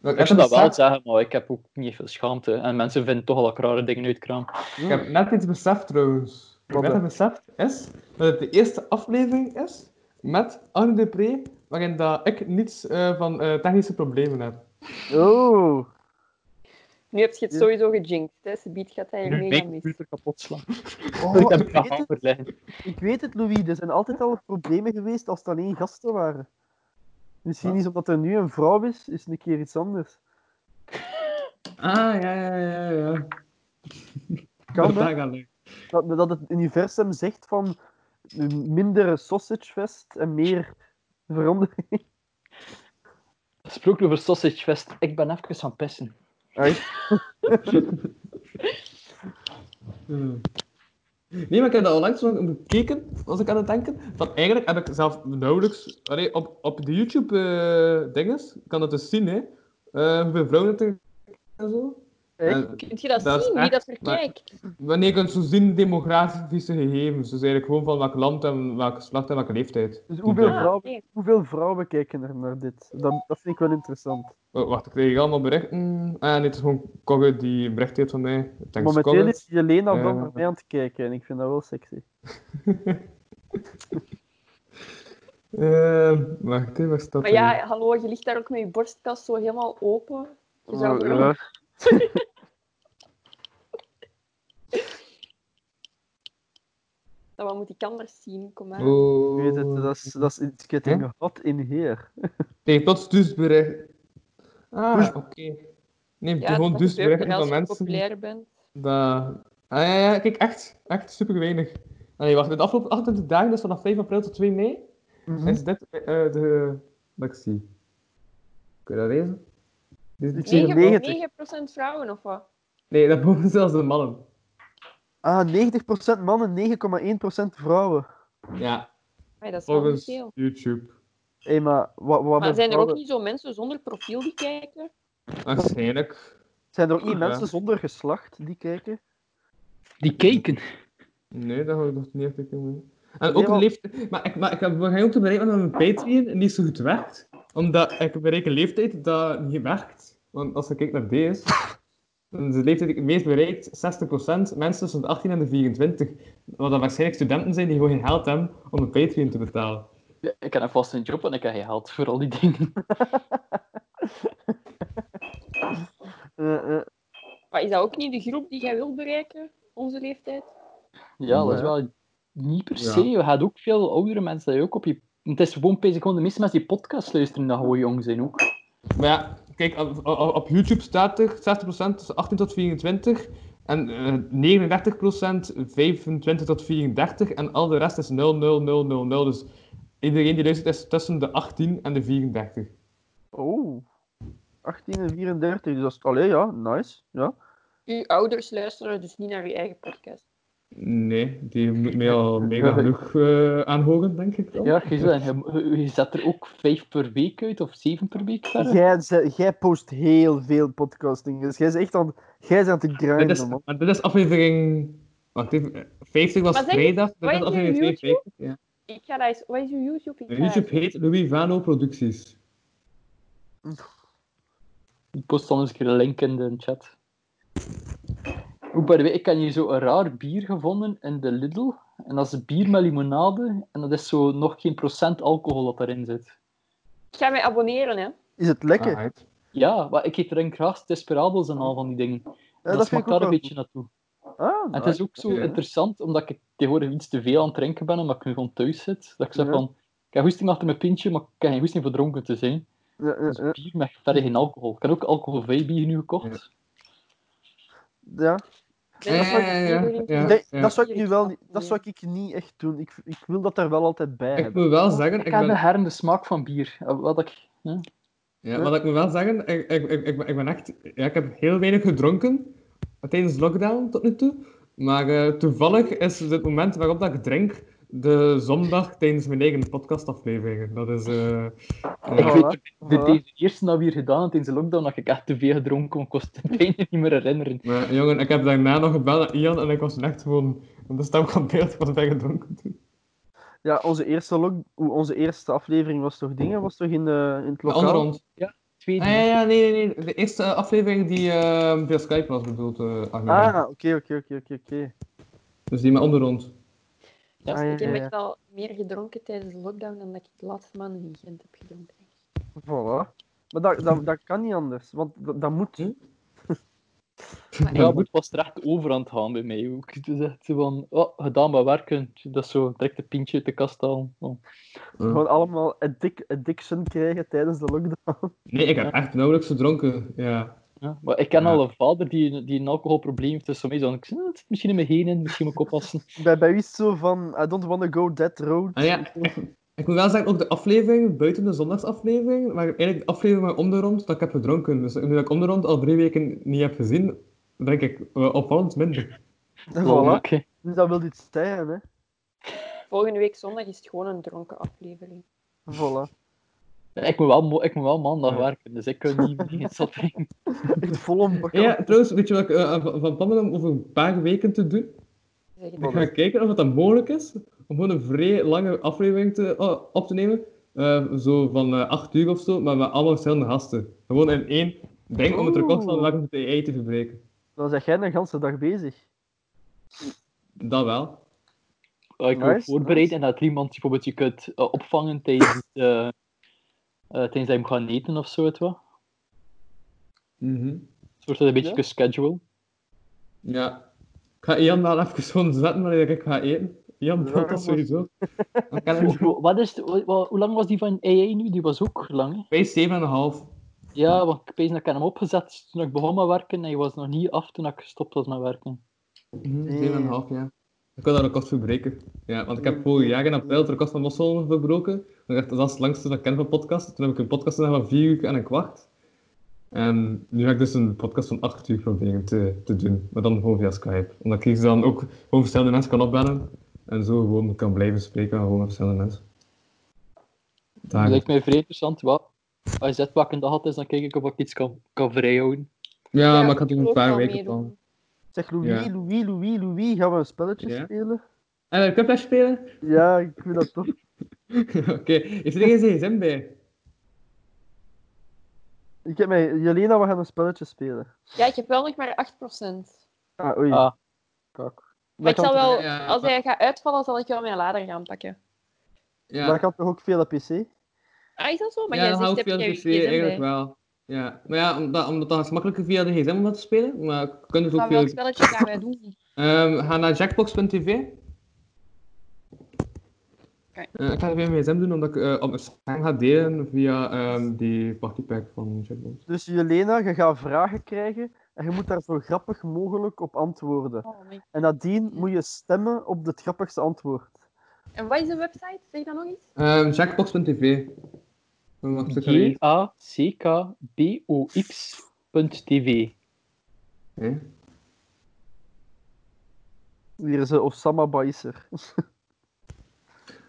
Speaker 3: ik zou dat wel zeggen, maar ik heb ook niet veel schaamte. En mensen vinden toch al dat ik rare dingen uitkraam.
Speaker 4: Ik heb net iets beseft trouwens. Wat
Speaker 5: Wat
Speaker 4: ik net
Speaker 5: dan?
Speaker 4: heb beseft is dat het de eerste aflevering is met Arne Depree, waarin dat ik niets eh, van eh, technische problemen heb.
Speaker 5: Oh,
Speaker 6: Nu heb je het sowieso gejinxed, hè. Ze biedt gaat hij
Speaker 3: Nu
Speaker 6: mega
Speaker 3: mijn
Speaker 6: mis.
Speaker 3: computer kapot slaan.
Speaker 5: Oh,
Speaker 3: ik heb
Speaker 5: ik
Speaker 3: het
Speaker 5: weet het.
Speaker 3: hamer liggen.
Speaker 5: ik weet het, Louis. Er zijn altijd al problemen geweest als het alleen gasten waren. Misschien is omdat er nu een vrouw is, is een keer iets anders.
Speaker 4: Ah, ja, ja, ja, ja.
Speaker 5: Kan hè?
Speaker 4: dat gaat leuk.
Speaker 5: dat, dat het universum zegt van minder sausagefest en meer verandering.
Speaker 3: Gesproken over Sausage Fest, ik ben even gaan pissen.
Speaker 5: Ai.
Speaker 4: Hmm. Nee, maar ik heb dat onlangs nog bekeken, als ik aan het denken. Van eigenlijk heb ik zelf nauwelijks... Allee, op, op de YouTube-dinges kan dat dus zien, hè. Eh, hoeveel vrouwen het er en zo.
Speaker 5: Echt?
Speaker 4: En
Speaker 6: Kunt je dat,
Speaker 4: Dat is
Speaker 6: zien, wie
Speaker 4: echt-
Speaker 6: dat verkijkt?
Speaker 4: Wanneer kun je zo zien demografische gegevens? Dus eigenlijk gewoon van welk land en welk geslacht en welke leeftijd.
Speaker 5: Dus hoeveel,
Speaker 4: Ja.
Speaker 5: vrouwen,
Speaker 6: Ah, nee.
Speaker 5: hoeveel vrouwen kijken er naar dit? Dat, dat vind ik wel interessant.
Speaker 4: Oh, wacht, ik kreeg hier allemaal berichten. Ah, nee, het is gewoon Cogge die een bericht heeft van mij. Thanks,
Speaker 5: Momenteel
Speaker 4: Cogge.
Speaker 5: is Jelena wel
Speaker 4: Eh.
Speaker 5: naar mij aan het kijken en ik vind dat wel sexy.
Speaker 4: Eh, wacht, hè, waar staat
Speaker 6: Maar
Speaker 4: er?
Speaker 6: ja, hallo, je ligt daar ook met je borstkast zo helemaal open. Je
Speaker 4: Oh,
Speaker 6: zou
Speaker 5: Maar,
Speaker 6: gewoon-
Speaker 5: ja.
Speaker 6: Nou, Wat moet ik anders zien? Kom maar.
Speaker 5: Je
Speaker 4: Oh.
Speaker 5: weet het, eh, dat is, dat is iets getting hot in here.
Speaker 4: Nee, tot dusbericht. Ah,
Speaker 5: Dus-
Speaker 4: oké. Neem
Speaker 6: Ja,
Speaker 4: gewoon
Speaker 6: dat
Speaker 4: dusberichten
Speaker 6: als
Speaker 4: van
Speaker 6: je
Speaker 4: mensen.
Speaker 6: populair bent.
Speaker 4: Dat... Ah ja, ja, kijk, echt. Echt super weinig. Allee, wacht, de afgelopen 28 dagen, dus vanaf 5 april tot 2 mei,
Speaker 5: Mhm.
Speaker 4: is dit eh, de... Wat ik zie. Kun je dat lezen? Dit is-
Speaker 5: Ik zie er 90.
Speaker 6: 9% vrouwen of wat?
Speaker 4: Nee, dat boven zelfs de mannen.
Speaker 5: Ah, 90% mannen, 9,1% vrouwen.
Speaker 4: Ja,
Speaker 6: Amai, dat is wel niet
Speaker 4: volgens
Speaker 6: veel.
Speaker 4: YouTube.
Speaker 5: Hé, maar wat, wat
Speaker 6: Maar
Speaker 5: met
Speaker 6: zijn er ook
Speaker 5: vrouwen-
Speaker 6: niet zo mensen zonder profiel die kijken?
Speaker 4: Waarschijnlijk.
Speaker 5: zijn er ook niet
Speaker 4: Ja.
Speaker 5: mensen zonder geslacht die kijken?
Speaker 3: Die keken.
Speaker 4: Nee, dat had ik nog niet echt kunnen doen. En
Speaker 5: Nee,
Speaker 4: ook een
Speaker 5: want-
Speaker 4: leeftijd... Maar ik, maar ik heb waarschijnlijk ook te bereiken dat mijn Patreon niet zo goed werkt. Omdat ik bereik een leeftijd dat niet werkt. Want als je kijkt naar deze... Dan is de leeftijd die ik het meest bereikt 60% mensen tussen de 18 en de 24. Wat dan waarschijnlijk studenten zijn die gewoon geen geld hebben om een Patreon te betalen.
Speaker 3: Ja, Ik heb een vaste job en ik heb geld voor al die dingen.
Speaker 5: Eh, eh.
Speaker 6: Maar is dat ook niet de groep die jij wil bereiken? Onze leeftijd?
Speaker 3: Ja, dat
Speaker 4: Ja.
Speaker 3: is wel niet per
Speaker 4: Ja.
Speaker 3: se. Je gaat ook veel oudere mensen die ook op je... Het is gewoon bezig, gewoon de meeste mensen die podcast luisteren, dat gewoon jong zijn ook.
Speaker 4: Maar ja, kijk, op, op- op YouTube staat er 60% tussen 18 tot 24 en eh 39% 25 tot 34 en al de rest is 0, 0, 0, 0, 0. Dus iedereen die luistert is tussen de 18 en de 34.
Speaker 5: Oh. 18 en 34, dus dat is... Allee, ja, nice. Ja.
Speaker 6: Uw ouders luisteren dus niet naar uw eigen podcast.
Speaker 4: Nee, die moet mij al mega genoeg eh, aanhoren, denk ik. wel.
Speaker 3: Ja, Gisel, en je, je- je zet er ook vijf per week uit, of zeven per week verder.
Speaker 5: Jij, ze- jij post heel veel podcasting, dus jij is echt aan, jij is aan het grinden,
Speaker 4: Dit is,
Speaker 5: man.
Speaker 4: maar dit is aflevering. Wacht even, eh, 50 was
Speaker 6: Wat zeg je?
Speaker 4: vrijdag, dit
Speaker 6: Wat
Speaker 4: is
Speaker 6: is je
Speaker 4: aflevering
Speaker 6: YouTube?
Speaker 4: 52. Ja.
Speaker 6: Ik ga dat eens... Wat is uw YouTube? Ik ga dat
Speaker 4: YouTube heet Louis Vano Producties.
Speaker 3: Ik post dan eens een keer een link in de chat. Ook bij de way, ik heb hier zo een raar bier gevonden in de Lidl. En dat is bier met limonade. En dat is zo nog geen procent alcohol dat daarin zit.
Speaker 6: Ik ga mij abonneren, hè.
Speaker 5: Is het lekker?
Speaker 4: Ah, right.
Speaker 3: Ja, maar ik eet drink graag desperabels en al van die dingen. En
Speaker 5: Ja,
Speaker 3: dat,
Speaker 5: dat vind
Speaker 3: smaakt
Speaker 5: ik
Speaker 3: daar
Speaker 5: ook
Speaker 3: een
Speaker 5: wel
Speaker 3: beetje naartoe.
Speaker 5: goed. Ah,
Speaker 3: En het
Speaker 5: nice.
Speaker 3: is ook zo
Speaker 4: Oké.
Speaker 3: interessant, omdat ik tegenwoordig iets te veel aan het drinken ben, omdat ik nu gewoon thuis zit. Dat ik zeg
Speaker 5: Ja.
Speaker 3: van, ik heb goesting achter mijn pintje, maar ik heb geen goesting voor dronken te zijn.
Speaker 5: Ja, ja,
Speaker 3: Dus
Speaker 5: ja.
Speaker 3: bier met verder geen alcohol. Ik heb ook alcoholvrij bier nu gekocht.
Speaker 5: Ja.
Speaker 6: Nee, dat zou ik niet
Speaker 4: ja,
Speaker 6: doen.
Speaker 4: ja.
Speaker 5: Nee, dat zou ik
Speaker 6: Ja.
Speaker 5: nu wel niet, dat zou ik niet echt doen. Ik, ik wil dat daar wel altijd bij
Speaker 4: Ah, Ik
Speaker 5: hebben.
Speaker 4: moet wel zeggen, ik
Speaker 3: ik heb de
Speaker 4: ben,
Speaker 3: herende smaak van bier. Eh, Wat ik... ja.
Speaker 4: ja, wat ik moet wel zeggen, ik, ik, ik, ik, ben- ik ben echt, ja, ik heb heel weinig gedronken tijdens lockdown tot nu toe. Maar eh, toevallig is het moment waarop dat ik drink de zondag tijdens mijn eigen podcastafleveringen. Dat is. eh,
Speaker 3: Ik
Speaker 4: ja.
Speaker 5: Voilà,
Speaker 3: weet de, de,
Speaker 5: voilà.
Speaker 3: deze eerste dat we hier gedaan hadden in de lockdown, dat ik echt te veel gedronken kon, ik kon het bijna niet meer herinneren.
Speaker 4: Maar jongen, ik heb daarna nog gebeld naar Ian en ik was echt gewoon aan de stem van het beeld, ik was bij gedronken toen.
Speaker 5: Ja, onze eerste, log- oeh, onze eerste aflevering was toch dingen? Was toch in, eh, in het
Speaker 4: De
Speaker 5: lokaal?
Speaker 4: andere rond.
Speaker 3: Tweede.
Speaker 4: Ah, ja, ja, nee, nee, nee. De eerste eh, aflevering die eh, via Skype was bedoeld, eh Ahmed.
Speaker 5: Ah, oké, oké, oké, oké, oké.
Speaker 4: Dus die met onder rond.
Speaker 6: Ja,
Speaker 5: Ah, ja,
Speaker 6: ik heb
Speaker 5: ja, ja.
Speaker 6: echt al meer gedronken tijdens de lockdown dan dat ik de laatste maanden in Gent heb gedronken.
Speaker 5: Voilà. Maar dat, dat, dat kan niet anders, want dat, dat moet.
Speaker 6: Maar
Speaker 3: Ja,
Speaker 6: echt,
Speaker 3: maar het was er echt over aan het gaan bij mij ook. Dus echt zo van, oh, gedaan met werken. Dat is zo, direct een pintje uit de kast halen. Oh.
Speaker 5: Gewoon allemaal addic- addiction krijgen tijdens de lockdown.
Speaker 4: Nee, ik heb echt nauwelijks gedronken. Ja.
Speaker 3: Ja. Maar ik ken
Speaker 4: Ja.
Speaker 3: al een vader die, die een alcoholprobleem heeft, dus soms dan ik zeg, "Ah, het zit misschien in mijn heen en misschien moet ik oppassen.
Speaker 5: Bij, bij wie is het zo van, I don't want to go that road.
Speaker 4: Ah, ja. Ik moet wel zeggen, ook de aflevering, buiten de zondagsaflevering, maar eigenlijk de aflevering met onder rond, dat ik heb gedronken. Dus nu dat ik onder rond al drie weken niet heb gezien, drink ik eh, opvallend minder.
Speaker 3: Lol,
Speaker 5: Voilà.
Speaker 3: oké.
Speaker 5: Dus dat wil iets zeggen, hè.
Speaker 6: volgende week zondag is het gewoon een dronken aflevering.
Speaker 5: Voilà.
Speaker 3: Ik moet wel, mo- ik moet wel maandag
Speaker 4: Ja.
Speaker 3: werken, dus ik kan niet meer zat drinken.
Speaker 5: Echt vol om
Speaker 4: Ja, trouwens, weet je wat ik eh, van- van plan ben om over een paar weken te doen?
Speaker 6: Zeg het
Speaker 5: Wat
Speaker 4: Ik
Speaker 6: maar.
Speaker 4: ga kijken of het dan mogelijk is om gewoon een vrij lange aflevering te, oh, op te nemen. Eh, zo van eh, acht uur of zo, maar met allemaal verschillende gasten. Gewoon in één ding om het record van
Speaker 5: Oeh.
Speaker 4: welke de AI te verbreken.
Speaker 5: Dan zeg jij de ganse dag bezig.
Speaker 4: Dat wel.
Speaker 3: Oh, ik wil
Speaker 5: Nice,
Speaker 3: voorbereid
Speaker 5: nice.
Speaker 3: en dat er iemand bijvoorbeeld je kunt eh, opvangen tijdens, eh eh, tijdens dat je moet gaan eten of zo. Het wel. Dus wordt dat een beetje
Speaker 5: Ja.
Speaker 3: een schedule.
Speaker 4: Ja. Ik ga Ian wel even gewoon zetten wanneer ik ga eten. Ian
Speaker 5: Ja,
Speaker 4: doet
Speaker 5: maar-
Speaker 4: dat sowieso. Ik ken
Speaker 3: Hoe-
Speaker 4: hem
Speaker 3: hoe- Wat is de- hoe- hoe- hoe lang was die van AA nu? Die was ook lang, hè?
Speaker 4: bij 7,5.
Speaker 3: Ja, want ik weet dat ik had hem opgezet toen ik begon met werken en je was nog niet af toen ik gestopt was met werken. Dus
Speaker 4: Mhm,
Speaker 5: Ja.
Speaker 4: 7,5, ja. Ik wil dat record verbreken. Ja, want ik heb vorig jaar in april het record van Mossel verbroken. Dat is echt- dat is het langste dat ik ken van podcast. Toen heb ik een podcast gedaan van 4 uur en een kwart. En nu ga ik dus een podcast van 8 uur proberen te, te doen. Maar dan gewoon via Skype. Omdat ik dan ook gewoon verschillende mensen kan opbellen. En zo gewoon kan blijven spreken aan gewoon met verschillende mensen.
Speaker 3: Dat
Speaker 4: Daar.
Speaker 3: lijkt mij vrij interessant. Wat? Als je zet wat ik een dag had, is, dan kijk ik of ik iets kan, kan vrijhouden.
Speaker 4: Ja,
Speaker 6: Ja,
Speaker 4: maar ik had
Speaker 6: ik
Speaker 4: nog een
Speaker 6: wil
Speaker 4: paar
Speaker 6: wel
Speaker 4: weken
Speaker 6: meedoen.
Speaker 4: van.
Speaker 5: Zeg Louis,
Speaker 4: Ja.
Speaker 5: Louis, Louis, Louis, gaan we een spelletje
Speaker 4: Ja.
Speaker 5: spelen?
Speaker 4: En een Quiplash spelen?
Speaker 5: Ja, ik vind dat tof.
Speaker 4: Oké. Heeft er geen gsm bij?
Speaker 5: Ik heb mij... Jelena, we gaan een spelletje spelen.
Speaker 6: Ja, ik heb wel nog maar 8%.
Speaker 5: Ah, oei.
Speaker 3: Ah.
Speaker 5: Kak.
Speaker 6: Maar
Speaker 5: Dat
Speaker 6: ik zal
Speaker 5: kan toch-
Speaker 6: wel,
Speaker 4: Ja,
Speaker 6: als
Speaker 4: maar-
Speaker 6: hij gaat uitvallen, zal ik wel mijn lader gaan pakken.
Speaker 4: Ja,
Speaker 5: Maar dat gaat toch ook veel op PC?
Speaker 6: Ah, is dat zo? Maar
Speaker 4: ja
Speaker 6: jij
Speaker 4: dan
Speaker 6: zegt,
Speaker 4: hou ik
Speaker 6: heb
Speaker 4: via
Speaker 6: je
Speaker 4: de PC
Speaker 6: je gsm
Speaker 4: eigenlijk
Speaker 6: bij.
Speaker 4: wel. Ja, maar ja, omdat, omdat dat is makkelijker via de gsm om dat te spelen. Maar je kunt het ook
Speaker 6: Maar
Speaker 4: via...
Speaker 6: welk spelletje gaan wij doen?
Speaker 4: Ehm, ga naar jackbox.tv.
Speaker 6: Oké.
Speaker 4: Eh, ik ga het via mijn gsm doen, omdat ik eh, op mijn scherm ga delen via ehm, die partypack van Jackbox.
Speaker 5: Dus Jelena, je gaat vragen krijgen en je moet daar zo grappig mogelijk op antwoorden.
Speaker 6: Oh, nee.
Speaker 5: En nadien moet je stemmen op het grappigste antwoord.
Speaker 6: En wat is de website? Zeg dat nog eens?
Speaker 4: Ehm, Jackbox.tv. Dan mag ik het erin.
Speaker 3: G-A-C-K-B-O-X.tv.
Speaker 4: Oké.
Speaker 5: Hier is eh, Osama Baiser.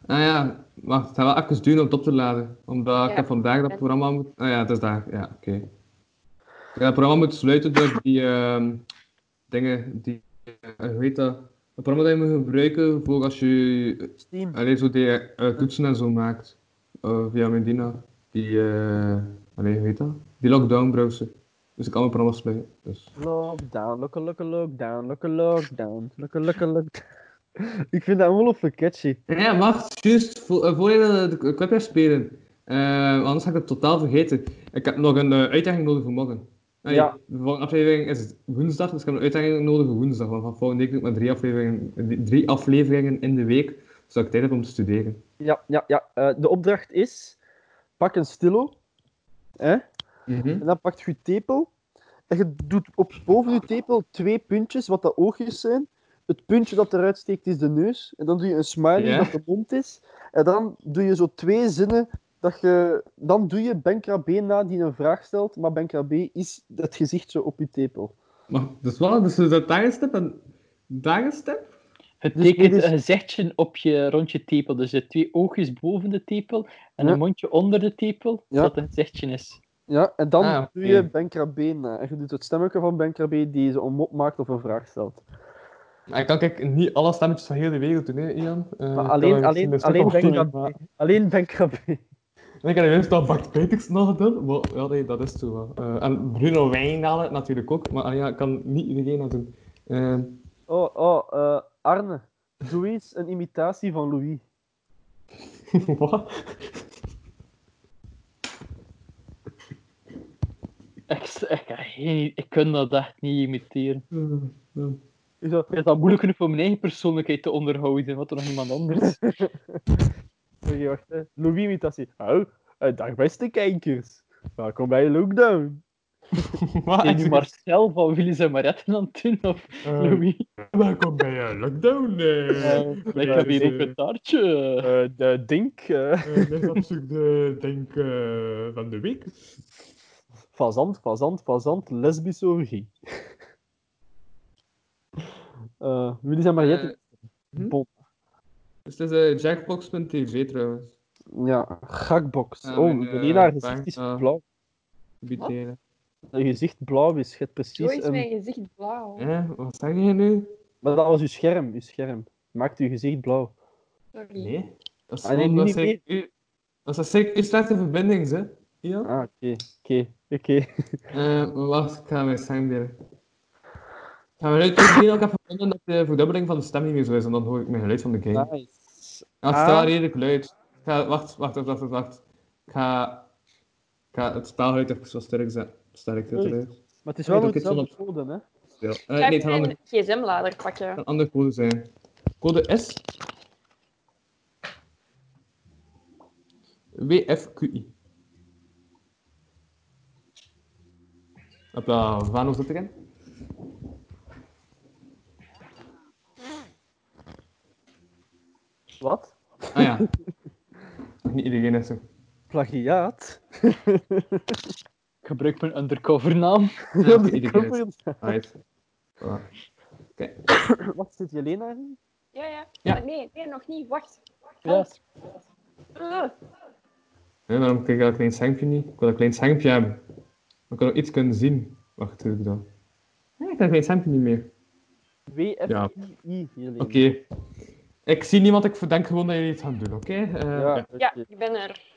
Speaker 4: Ah ja, wacht, het gaat wel even duren om het op te laden. Omdat
Speaker 6: Ja.
Speaker 4: ik heb vandaag dat programma moet... Ah ja, het is daar. Ja, oké. Ik heb dat programma moet sluiten door die ehm, dingen die... eh, hoe heet dat? Het programma dat je moet gebruiken voor als je
Speaker 5: Steam.
Speaker 4: Allee, zo die eh, toetsen en zo maakt. eh, via Medina. Die, eh allee, hoe heet dat? Die lockdown browser. Dus ik kan mijn programma's spelen. Dus.
Speaker 5: Lockdown, lokke lokke lockdown, lokke lockdown, lokke lokke lockdown. Ik vind dat ongelooflijk catchy.
Speaker 4: Ja, wacht, juist. Voor, eh, voor je de, de clip gaat spelen. eh, anders ga ik het totaal vergeten. Ik heb nog een eh, uitdaging nodig voor morgen. Nee,
Speaker 5: Ja.
Speaker 4: De volgende aflevering is woensdag, dus ik heb een uitdaging nodig voor woensdag. Want van volgende week doe ik maar drie afleveringen, eh, drie afleveringen in de week, zodat ik tijd heb om te studeren.
Speaker 5: Ja, ja, ja. eh, de opdracht is: pak een stilo. Hè?
Speaker 4: Mhm.
Speaker 5: En dan pakt je tepel. En je doet op boven je tepel twee puntjes, wat dat oogjes zijn. Het puntje dat eruit steekt is de neus. En dan doe je een smiley
Speaker 4: Ja.
Speaker 5: dat de mond is. En dan doe je zo twee zinnen. Dat je, dan doe je Benkra B na die een vraag stelt. Maar Benkra B is het gezicht zo op je tepel.
Speaker 4: Maar, dus wat? Dus dat dagenstep en dagenstep?
Speaker 3: Het
Speaker 5: Dus
Speaker 3: tekent
Speaker 5: dit is-
Speaker 3: een gezichtje op je rond je tepel. Dus je hebt twee oogjes boven de tepel en
Speaker 5: Ja.
Speaker 3: een mondje onder de tepel,
Speaker 5: Ja.
Speaker 3: dat een gezichtje is.
Speaker 5: Ja, en dan
Speaker 4: Ah,
Speaker 5: doe
Speaker 4: oké.
Speaker 5: je Benkra B na. En je doet het stemmetje van Benkra B die ze een mop maakt of een vraag stelt.
Speaker 4: Ik kan kijk niet alle stemmetjes van heel de wereld doen, hè, Ian. Eh,
Speaker 5: Maar
Speaker 4: ik
Speaker 5: alleen-
Speaker 4: kan er
Speaker 5: alleen-
Speaker 4: misschien een stuk
Speaker 5: alleen
Speaker 4: op
Speaker 5: denk
Speaker 4: doen,
Speaker 5: dat-
Speaker 4: maar-
Speaker 5: Alleen Benkra B.
Speaker 4: Ik heb juist al Bart Peters nog gedaan, maar ja, nee, dat is zo wel. Eh, en Bruno Wijndalen natuurlijk ook, maar ah ja, ik kan niet iedereen dat doen. Eh,
Speaker 5: Oh, oh, eh, Arne. Doe eens een imitatie van Louis.
Speaker 4: wat?
Speaker 3: Ik, s- ik, heb geen- ik kan dat echt niet imiteren.
Speaker 4: Eh,
Speaker 5: Ik zo,
Speaker 3: Ik vind dat moeilijk genoeg om mijn eigen persoonlijkheid te onderhouden, wat er nog iemand anders.
Speaker 5: Oké, wacht. hè. Louis-imitatie. Hallo, eh, dag beste kijkers. Welkom bij Lockdown.
Speaker 4: Wat?
Speaker 3: Zijn nu Marcel van Willy en Maretten aan het doen, of
Speaker 4: Eh,
Speaker 3: Louis?
Speaker 4: welkom bij eh, Lockdown. eh.
Speaker 5: Eh,
Speaker 3: Ik heb hier ook
Speaker 4: eh,
Speaker 3: een taartje.
Speaker 5: eh, de Dink eh
Speaker 4: Eh, dit is op zoek de denk eh, van de week.
Speaker 5: fazant, fazant, fazant, lesbische orgie. Eh Willy zijn Mariette.
Speaker 4: hm?
Speaker 5: Bon.
Speaker 4: Dus het is jackbox.tv trouwens.
Speaker 5: Ja, gakbox.
Speaker 4: Ja,
Speaker 5: oh,
Speaker 4: mijn, eh,
Speaker 5: Jelena, haar gezicht
Speaker 4: bank,
Speaker 5: is
Speaker 4: eh.
Speaker 5: blauw. Je gezicht blauw is, je hebt
Speaker 6: Zo
Speaker 5: precies
Speaker 6: is
Speaker 5: een...
Speaker 6: mijn gezicht blauw.
Speaker 4: Eh, wat zeg je nu?
Speaker 5: Maar dat was uw scherm, uw scherm. Maakt uw gezicht blauw.
Speaker 6: Sorry.
Speaker 4: Nee. Dat is
Speaker 5: Ah, nee,
Speaker 4: gewoon- dat
Speaker 5: niet
Speaker 4: is
Speaker 5: meer.
Speaker 4: eigenlijk- dat is zeker uw slechte verbinding, hè? Ja.
Speaker 5: Ah, oké, oké, oké.
Speaker 4: Eh, wacht, ik ga mijn stem delen. Gaan we uitproberen ook even vinden dat de verdubbeling van de stem niet meer zo is en dan hoor ik mijn geluid van de game.
Speaker 3: Ah.
Speaker 5: Nice.
Speaker 4: Ja, het is wel
Speaker 5: Ah.
Speaker 4: redelijk luid. Ik ga, wacht, wacht, wacht, wacht, wacht. Ik ga, ik ga het spelgeluid even zo sterk zetten. Sterk zetten,
Speaker 5: Oei.
Speaker 4: hè.
Speaker 5: Maar het
Speaker 4: Ik weet
Speaker 5: is wel
Speaker 4: ook
Speaker 5: een
Speaker 4: iets van
Speaker 5: zelfde
Speaker 4: op-
Speaker 5: code, hè.
Speaker 4: Ja. Eh,
Speaker 6: Ik ga
Speaker 4: nee, het
Speaker 6: even
Speaker 4: kan
Speaker 6: mijn
Speaker 4: ander-
Speaker 6: gsm-lader
Speaker 4: het
Speaker 6: pakken.
Speaker 4: kan andere code zijn. Code is... WFQI. Hopla, Vano zit erin.
Speaker 5: Wat?
Speaker 4: Ah ja. Niet iedereen is zo.
Speaker 5: Plagiaat?
Speaker 3: Ik gebruik mijn undercover naam.
Speaker 4: Ja,
Speaker 5: Dat
Speaker 4: iedereen
Speaker 5: kan
Speaker 4: is-
Speaker 5: wel.
Speaker 4: Right. Voilà.
Speaker 5: Wat zit Jelena in?
Speaker 6: Ja, ja.
Speaker 4: Ja.
Speaker 6: Ah, nee, nee, nog niet. Wacht. Ah,
Speaker 3: Ja.
Speaker 6: Ugh.
Speaker 4: Nee, waarom krijg ik dat klein schermpje niet? Ik wil dat klein schermpje hebben. Dan kan ik iets kunnen zien. Wacht, doe ik dat? Nee, ik heb dat klein schermpje niet meer.
Speaker 5: WFII, Jelena.
Speaker 4: Oké. Ik zie niemand, ik verdenk gewoon dat jullie iets gaan doen, oké? Eh,
Speaker 5: Ja,
Speaker 4: ja.
Speaker 6: Ja,
Speaker 5: oké.
Speaker 6: ik ben er.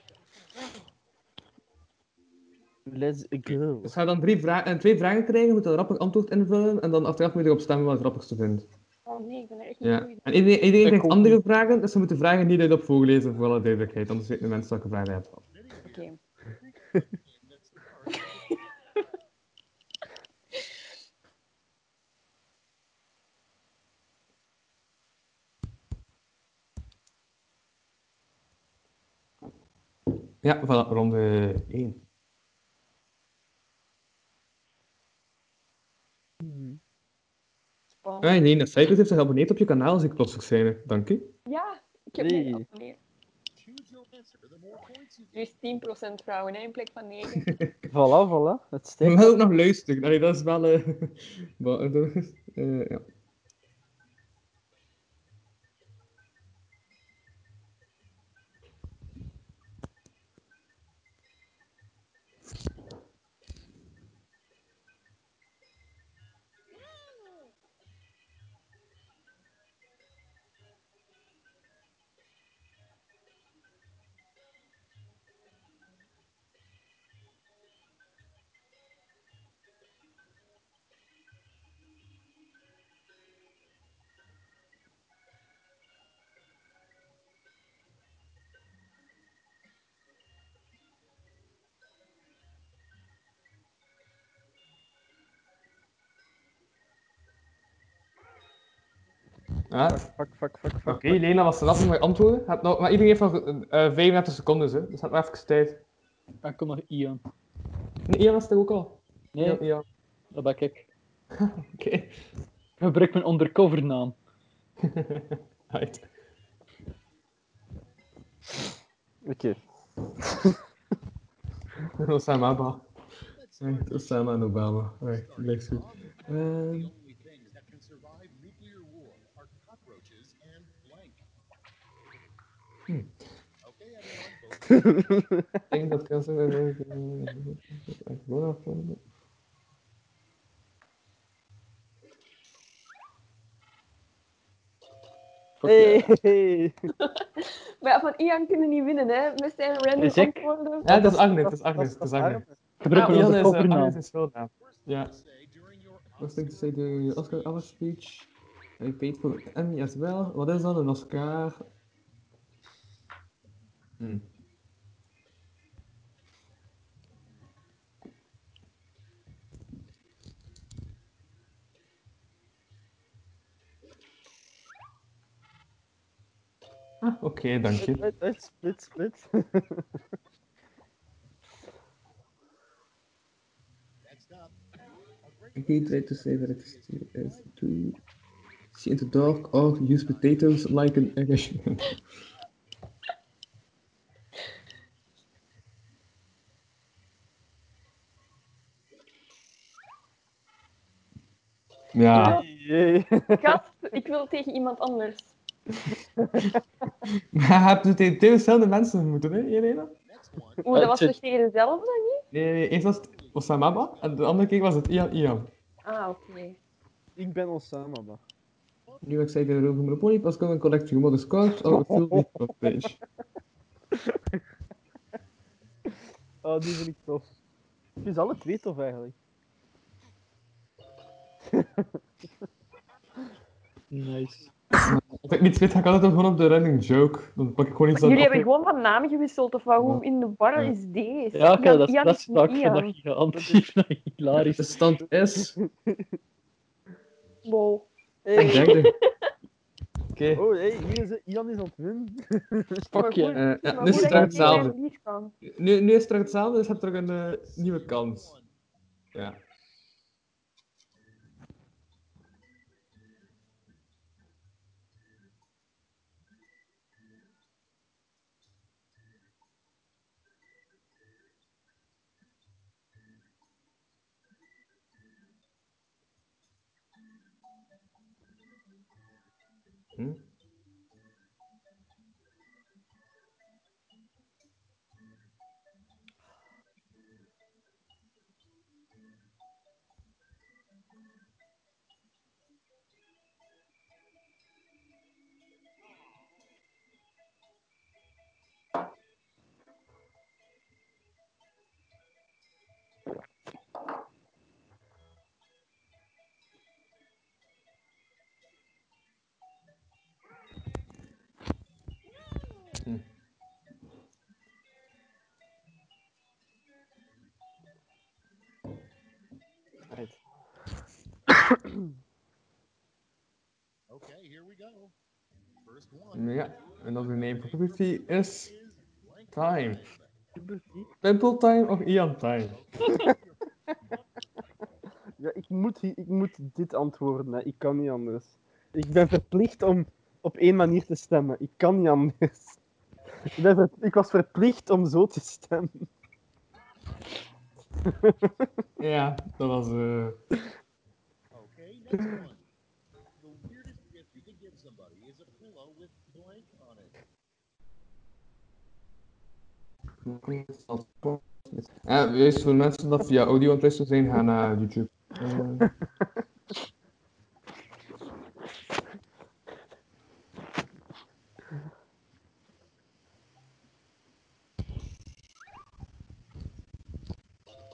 Speaker 5: Let's go.
Speaker 4: Dus ga dan drie vra- eh, twee vragen krijgen, moet een rappig antwoord invullen en dan achteraf moet je erop stemmen wat het rappigste vindt.
Speaker 6: Oh van nee, ik ben er echt niet
Speaker 4: Ja.
Speaker 6: goed in.
Speaker 4: En iedereen, iedereen
Speaker 3: Ik
Speaker 4: krijgt
Speaker 3: ook
Speaker 4: andere vragen, dus ze moeten vragen niet op voorlezen voor alle duidelijkheid. Anders weten de mensen welke vragen je hebt.
Speaker 6: Oké.
Speaker 4: Ja, voilà, ronde 1.
Speaker 6: Spannend.
Speaker 4: Ah, nee, Cyclus heeft zich geabonneerd op je kanaal, als ik plots ook zei. Dank je.
Speaker 6: Ja, ik heb oh,
Speaker 3: Nee.
Speaker 6: nee. geabonneerd. Er is 10% vrouwen hè, in plek van 9.
Speaker 5: Voilà, voilà. Het
Speaker 4: We
Speaker 5: steekt.
Speaker 4: gaan ook nog luisteren. Allee, dat is wel... eh, wel, eh, dat is, eh, ja. Ah,
Speaker 5: Fuck, fuck, fuck,
Speaker 4: Oké,
Speaker 5: fuck.
Speaker 4: Lena was de laatste met antwoorden. Je hebt nog- maar iedereen heeft nog eh, 35 seconden, hè. dus je hebt nog even tijd.
Speaker 3: Dan komt ah, nog Ian.
Speaker 4: Nee, Ian was het ook al.
Speaker 3: Nee,
Speaker 4: Ja, ja. Oké.
Speaker 3: dat ben ik. Gebruik mijn undercovernaam.
Speaker 4: Right.
Speaker 5: Oké.
Speaker 4: Osama Abba. Right, Osama en Obama. Right, lijkt goed. Ehm, ik denk dat kan zo.
Speaker 3: Fuck
Speaker 5: Hey,
Speaker 3: yeah.
Speaker 5: hey.
Speaker 6: maar ja, van Ian kunnen niet winnen, hè? Met zijn random
Speaker 3: Is ik?
Speaker 6: antwoorden.
Speaker 4: Ja, dat is Agnes, dat is Agnes, dat is Agnes.
Speaker 3: Gebruik mijn
Speaker 4: Ian is, eh,
Speaker 3: undercovernaam.
Speaker 4: Agnes is veel naam. Ja. First thing to say during your eh, Oscar Award speech, I paid for the Emmy as well. Wat is dan een Oscar? Hmm. Ah, Oké, dank je.
Speaker 5: Uit, uit, Split, split.
Speaker 4: I need to say that it is to, is to see in the dark or use potatoes like an Irishman. Ja,
Speaker 5: Jee.
Speaker 6: Gast, ik wil tegen iemand anders.
Speaker 4: maar heb je tegen twee verschillende mensen moeten, hè, Jelena?
Speaker 6: Oeh, dat
Speaker 3: Eh,
Speaker 6: was
Speaker 3: tje-
Speaker 6: toch tegen dezelfde niet?
Speaker 4: Nee, nee, eerst was het Osama Abba en de andere keer was het Ian Ian.
Speaker 6: Ah, oké.
Speaker 5: Ik ben Osama, man.
Speaker 4: Nu ik zei de Rome van Monopoly, pas kan een collectie gemodde scouts of a full of page.
Speaker 5: Oh, die vind ik tof. Ik vind ze alle twee tof, eigenlijk.
Speaker 3: Nice.
Speaker 4: Als ik niet weet, ga ik altijd gewoon op de running joke. Dan pak ik gewoon iets
Speaker 6: Jullie
Speaker 4: dat-
Speaker 6: hebben gewoon van naam gewisseld, of wat? Hoe in de war
Speaker 4: Ja.
Speaker 6: is deze?
Speaker 3: Ja, oké, dat
Speaker 6: Ian-
Speaker 3: is
Speaker 6: Nou, Ian
Speaker 3: dat is
Speaker 6: is
Speaker 3: dat ik
Speaker 6: niet
Speaker 3: vandaag
Speaker 6: Ian.
Speaker 3: geantwoord heb. Hilarisch.
Speaker 4: De stand is.
Speaker 6: Wow.
Speaker 4: Ik
Speaker 5: Hey.
Speaker 4: denk dat- Oké.
Speaker 5: Oh, hey, hier is Ian is aan het winnen.
Speaker 3: Fuck yeah.
Speaker 4: Eh, ja,
Speaker 6: Maar
Speaker 4: nu is het
Speaker 6: hoe dat
Speaker 4: terug
Speaker 6: ik tegen
Speaker 4: hetzelfde.
Speaker 6: mijn lief kan.
Speaker 4: Nu, nu is het terug hetzelfde, dus je hebt terug een eh, nieuwe kans. Ja. Hm?
Speaker 7: we go. First one
Speaker 4: Ja, en dat de name van Timothy is Time.
Speaker 5: Timothy?
Speaker 4: Pimple Time of Ian Time?
Speaker 5: Ja, ik moet, hi- ik moet dit antwoorden, hè. ik kan niet anders. Ik ben verplicht om op één manier te stemmen. Ik kan niet anders. Ik, ben ver- ik was verplicht om zo te stemmen.
Speaker 4: Ja, dat was... eh
Speaker 7: Okay, next one. The weirdest gift you could give somebody is a pillow with blank on it.
Speaker 4: Ja, wees voor mensen dat via audio aan het luisteren zijn, gaan naar YouTube. Eh,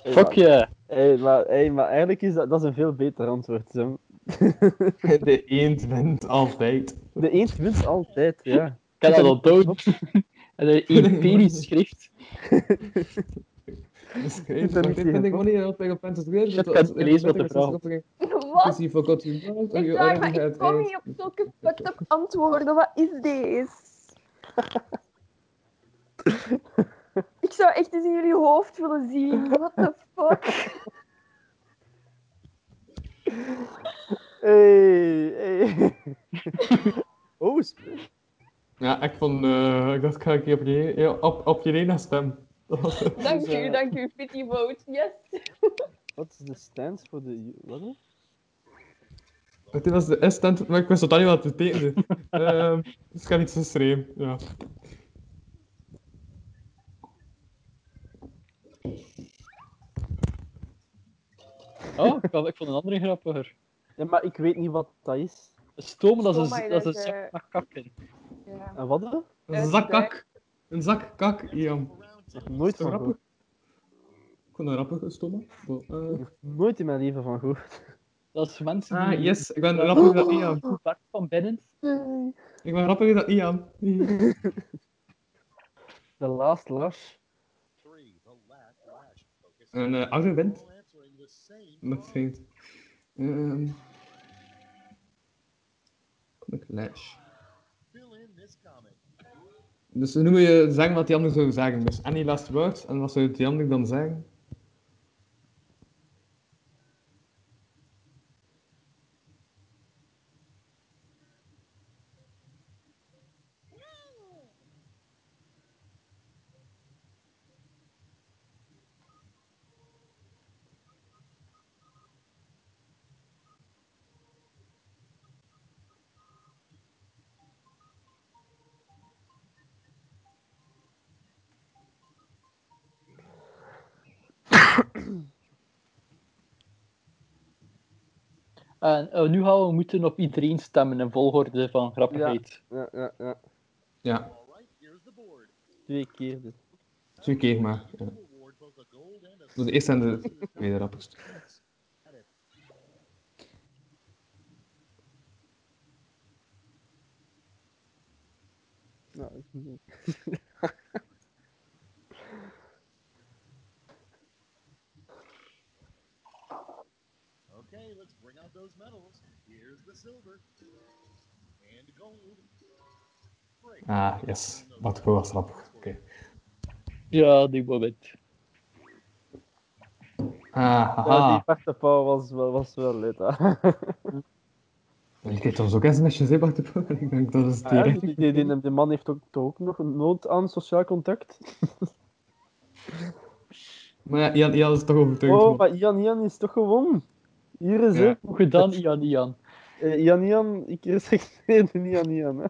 Speaker 3: Fuck je.
Speaker 5: Hey, maar, hey, maar eigenlijk is dat, dat is een veel beter antwoord. Sam.
Speaker 4: de eend wint altijd.
Speaker 5: De eend wint altijd, ja.
Speaker 3: Ik heb dat al dood. En een empirisch schrift.
Speaker 4: Dus ik
Speaker 5: Ik ben
Speaker 4: weet- ik
Speaker 5: niet
Speaker 4: vind ik
Speaker 5: tegen,
Speaker 4: wanneer dat ik op mensen schrijf.
Speaker 3: Shit, kan lezen wat de vraag-
Speaker 6: Wat?
Speaker 4: Is forgot you about or
Speaker 6: Ik
Speaker 4: you already
Speaker 6: dacht, maar ik
Speaker 4: had
Speaker 6: kom
Speaker 4: a-
Speaker 6: niet op zulke fucked up antwoorden. Wat is deze? Ik zou echt eens in jullie hoofd willen zien. What the fuck?
Speaker 5: Hey, hey. oh, sp-
Speaker 4: Ja, ik vond... eh, ik dacht, ik ga een keer op, je, ja, op, op Jelena stemmen. Dat was-
Speaker 6: Dank
Speaker 5: Dus, eh,
Speaker 6: u, dank u. Pity vote. Yes.
Speaker 5: wat is de stance voor de... Wat? hè?
Speaker 4: Het was de S-stand, maar ik wist totaal niet wat het betekende. Ehm, dus ik heb iets geschreven, ja.
Speaker 3: Oh, ik, had- ik vond een andere grappiger.
Speaker 5: Ja, maar ik weet niet wat dat is.
Speaker 3: Stomen, dat is
Speaker 6: Stomen,
Speaker 3: een, dat
Speaker 6: dat
Speaker 3: is
Speaker 6: is,
Speaker 3: een
Speaker 6: eh,
Speaker 3: zak naar kakken.
Speaker 6: Ja.
Speaker 5: En wat? hè?
Speaker 4: Een zak kak. Een zak kak, Ian.
Speaker 5: Ik heb nooit
Speaker 4: Is dat
Speaker 5: van
Speaker 4: grappig?
Speaker 5: gehoord.
Speaker 4: Ik vond een rappige stomme. eh.
Speaker 5: Ik heb nooit in mijn leven van gehoord.
Speaker 3: Dat is mensen die...
Speaker 4: ah, yes, ik ben rappiger dan Ian.
Speaker 3: Goed werk van binnen.
Speaker 4: Ik ben rappiger dan Ian.
Speaker 5: The Last Lash.
Speaker 7: Three, the last lash. Focus
Speaker 4: Een uh, oude
Speaker 7: on
Speaker 4: wind.
Speaker 7: all answering the same
Speaker 4: Dat
Speaker 7: prompt.
Speaker 4: is vreemd. Ehm. Comic Lash.
Speaker 7: Fill in this comment.
Speaker 4: Dus nu moet je zeggen wat die ander zou zeggen. Dus any last words, en wat zou die ander dan zeggen?
Speaker 3: En eh, nu gaan we moeten op iedereen stemmen in volgorde van grappigheid.
Speaker 5: Ja, ja, ja.
Speaker 4: Ja,
Speaker 7: All right, here's the board.
Speaker 5: Twee keer dus. dit.
Speaker 4: twee keer maar. Ja.
Speaker 7: You award both a gold and a
Speaker 4: Dus de eerste en de tweede rappigste.
Speaker 5: Nou, ik moet niet.
Speaker 7: Okay, let's bring out those medals. Here's the silver and gold. Great.
Speaker 4: Ah, yes. Wat goed was rappig. Oké.
Speaker 3: Ja, die moment.
Speaker 4: Ah,
Speaker 5: Ja, die
Speaker 4: haha.
Speaker 5: Bart de Pauw was wel, was wel leuk. hè.
Speaker 4: Ik deed ons ook eens met je Bart de Pauw. Ik denk dat is
Speaker 5: Ah, ja,
Speaker 4: direct.
Speaker 5: die, die, die, die man heeft ook, toch ook nog een nood aan sociaal contact.
Speaker 4: Maar ja, Ian, Ian is toch overtuigd.
Speaker 5: Oh,
Speaker 4: man.
Speaker 5: maar Ian Ian is toch gewoon. Hier is
Speaker 4: Ja.
Speaker 5: het.
Speaker 3: Goed gedaan, Ian, Ian.
Speaker 5: Eh, Ian Ian, ik zeg nee, doe niet aan Ian. Hè.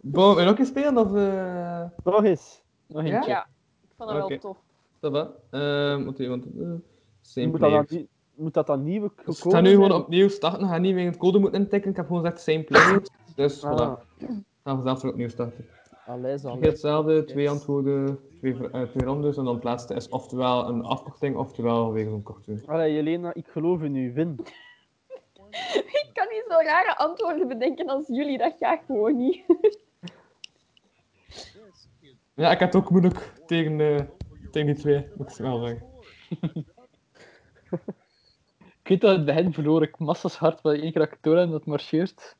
Speaker 4: Bon, wil je ook eens spelen? Of, eh,
Speaker 5: Nog eens. Nog
Speaker 4: Ja?
Speaker 5: eentje.
Speaker 6: Ja, ik vond dat
Speaker 4: Oké.
Speaker 6: wel tof.
Speaker 4: Ça va? Ehm, Oké, want... eh, same
Speaker 5: moet, dat dan,
Speaker 4: players.
Speaker 5: die- moet dat dan nieuw gekomen
Speaker 4: Dus ik ga nu gewoon
Speaker 5: zijn?
Speaker 4: opnieuw starten. Ik ga niet meer het code moeten intikken. Ik heb gewoon gezegd same players. Dus voilà.
Speaker 5: Ah,
Speaker 4: Ik ga vanzelf weer opnieuw starten.
Speaker 5: allee, zal
Speaker 4: Ongeveer hetzelfde, twee antwoorden, twee, ver- eh, twee rondes. En dan het laatste is oftewel een afkorting, oftewel weer zo'n korte.
Speaker 5: Allee, Jelena, ik geloof in u. Win.
Speaker 6: Ik kan niet zo rare antwoorden bedenken als jullie. Dat ga ik gewoon niet.
Speaker 7: This is
Speaker 4: Ja, ik had het ook moeilijk tegen, eh, tegen die twee, moet ik wel zeggen.
Speaker 3: Ik weet dat in het begin verloor ik massas hard, maar de enige keer dat ik het door heb, dat marcheert.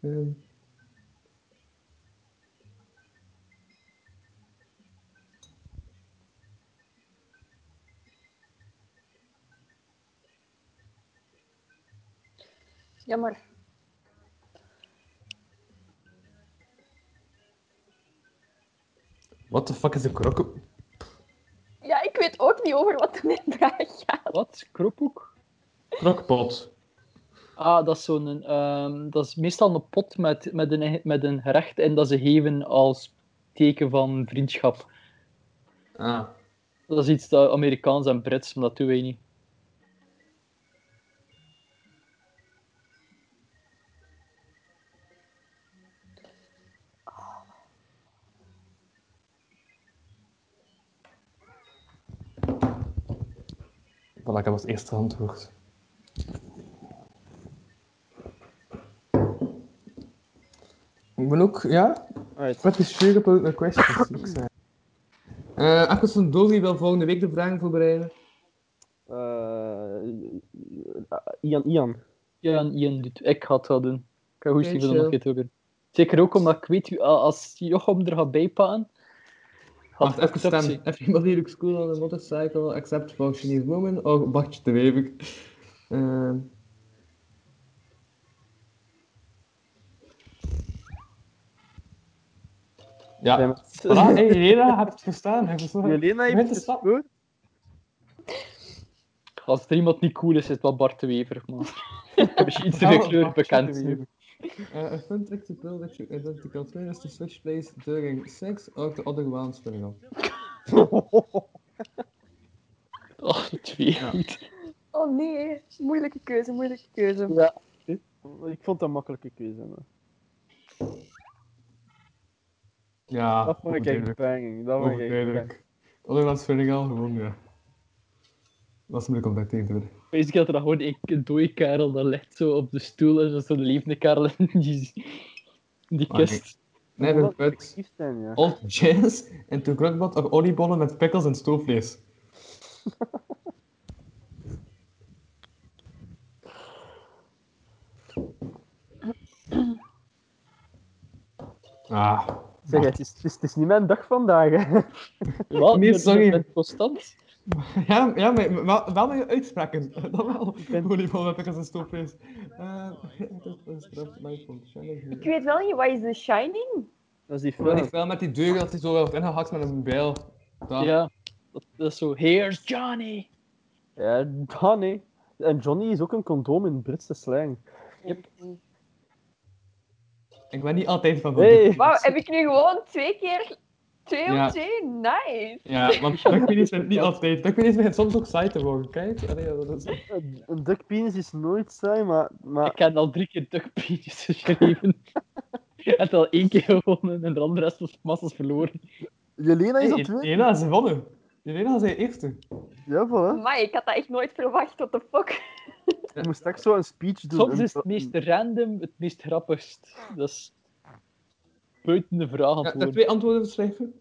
Speaker 4: Ehm.
Speaker 6: Jammer.
Speaker 4: What the fuck is een krok?
Speaker 6: Ja, ik weet ook niet over wat de vraag gaat.
Speaker 3: Wat? Kropoek?
Speaker 4: Krokpot.
Speaker 3: Ah, dat is zo'n... ehm, dat is meestal een pot met, met, een, met een gerecht en dat ze geven als teken van vriendschap.
Speaker 4: Ah.
Speaker 3: Dat is iets dat Amerikaans en Brits, maar dat doen wij niet.
Speaker 4: Voilà, dat was het eerste antwoord. Ik ben ook, ja?
Speaker 5: Alright.
Speaker 4: Wat is sure about the questions? moet ik zeggen. Eh Akkus van Dovi wil volgende week de vragen voorbereiden.
Speaker 5: Eh, Ian, Ian.
Speaker 3: Ja, en Ian doet... Ik ga het wel doen. Ik ga goed zien
Speaker 4: Oké,
Speaker 3: om dat nog
Speaker 4: chill.
Speaker 3: een keer te proberen. Zeker ook omdat ik weet, ah, als Jochem er gaat bijpakken... gaat
Speaker 4: Wacht,
Speaker 3: het
Speaker 4: even
Speaker 3: fucked up
Speaker 4: stemmen.
Speaker 3: zijn.
Speaker 4: Everybody looks cool on a motorcycle, except for Chinese woman. Oh, Bartje de Wever. Eh, Ja.
Speaker 5: Ja, maar-
Speaker 4: Voilà, Ah, hey, Jelena, heb het verstaan. Heb
Speaker 5: Jelena heeft
Speaker 4: het
Speaker 5: het
Speaker 4: stap.
Speaker 5: gehoord.
Speaker 3: Als er iemand niet cool is, is het wel Bart de Wever. Maar... Misschien
Speaker 4: Ah,
Speaker 3: iets in de kleur bekend. zijn.
Speaker 4: Uh, a fun trick to build that you identical twin is to switch place during sex or the other one spinning off.
Speaker 3: Oh, twee. Goed.
Speaker 6: Oh nee, moeilijke keuze, moeilijke keuze.
Speaker 5: Ik vond dat een makkelijke keuze. maar.
Speaker 4: Ja,
Speaker 5: Dat vond ik echt
Speaker 4: overduidelijk.
Speaker 5: banging. Dat vond ik echt banging.
Speaker 4: Overduidelijk. Other one spinning off, gewoon ja. Dat is moeilijk om dat tegen te winnen.
Speaker 3: Weet je dat er dan gewoon een een dode kerel dat ligt zo op de stoel en dat is zo'n levende kerel in die, die
Speaker 4: Maar nee.
Speaker 3: kist.
Speaker 4: Ah, Nee,
Speaker 5: Dat
Speaker 4: dat
Speaker 5: Oh. moet
Speaker 4: is
Speaker 5: effectief zijn, ja.
Speaker 4: Old jazz en toen krookbot of oliebollen met pickles en stoofvlees. Ah.
Speaker 5: Zeg, het is, het, is, het is niet mijn dag vandaag. hè.
Speaker 3: Wat?
Speaker 4: Nee,
Speaker 3: Je- je
Speaker 4: sorry.
Speaker 3: bent constant?
Speaker 4: Ja, ja maar wel, wel met je uitspraken. Dat wel.
Speaker 5: ben-
Speaker 4: Oliebollen met pickles en stoofvlees. Eh, dat is straf, maar ik vond het
Speaker 6: Ik
Speaker 4: challenging.
Speaker 6: weet wel niet, wat is The Shining?
Speaker 5: Dat is die
Speaker 4: Maar die
Speaker 5: film.
Speaker 4: film met die deur dat hij zo wordt ingehakt met een bijl. Dat.
Speaker 3: Ja. Dat, dat is zo, here's Johnny.
Speaker 5: Ja, dat nee. En Johnny is ook een condoom in Britse slang.
Speaker 4: Ik ben niet altijd van dat
Speaker 5: Hey.
Speaker 4: boek.
Speaker 6: Wauw, heb ik nu gewoon twee keer twee
Speaker 4: Ja.
Speaker 6: op twee? Nice.
Speaker 4: Ja, want duckpenies zijn niet altijd. Duckpenies begint soms ook saai te worden, kijk. Allee, ja, dat is...
Speaker 5: Een- Een duckpenis eh, is nooit saai, maar... maar...
Speaker 3: Ik heb al drie keer duckpenis geschreven. Je hebt al één keer gewonnen en de andere rest was massas verloren.
Speaker 5: Jelena is op
Speaker 4: Hey,
Speaker 5: twee.
Speaker 4: Jelena is gewonnen. Jelena is de eerste.
Speaker 5: Ja, voilà.
Speaker 6: Maar ik had dat echt nooit verwacht, what the fuck.
Speaker 5: Ik moest straks zo een speech doen.
Speaker 3: Soms
Speaker 5: Een-
Speaker 3: is het meest random het meest grappigst. Dat is buiten de vraag
Speaker 4: Ja, de
Speaker 3: antwoorden.
Speaker 4: twee antwoorden beschrijven.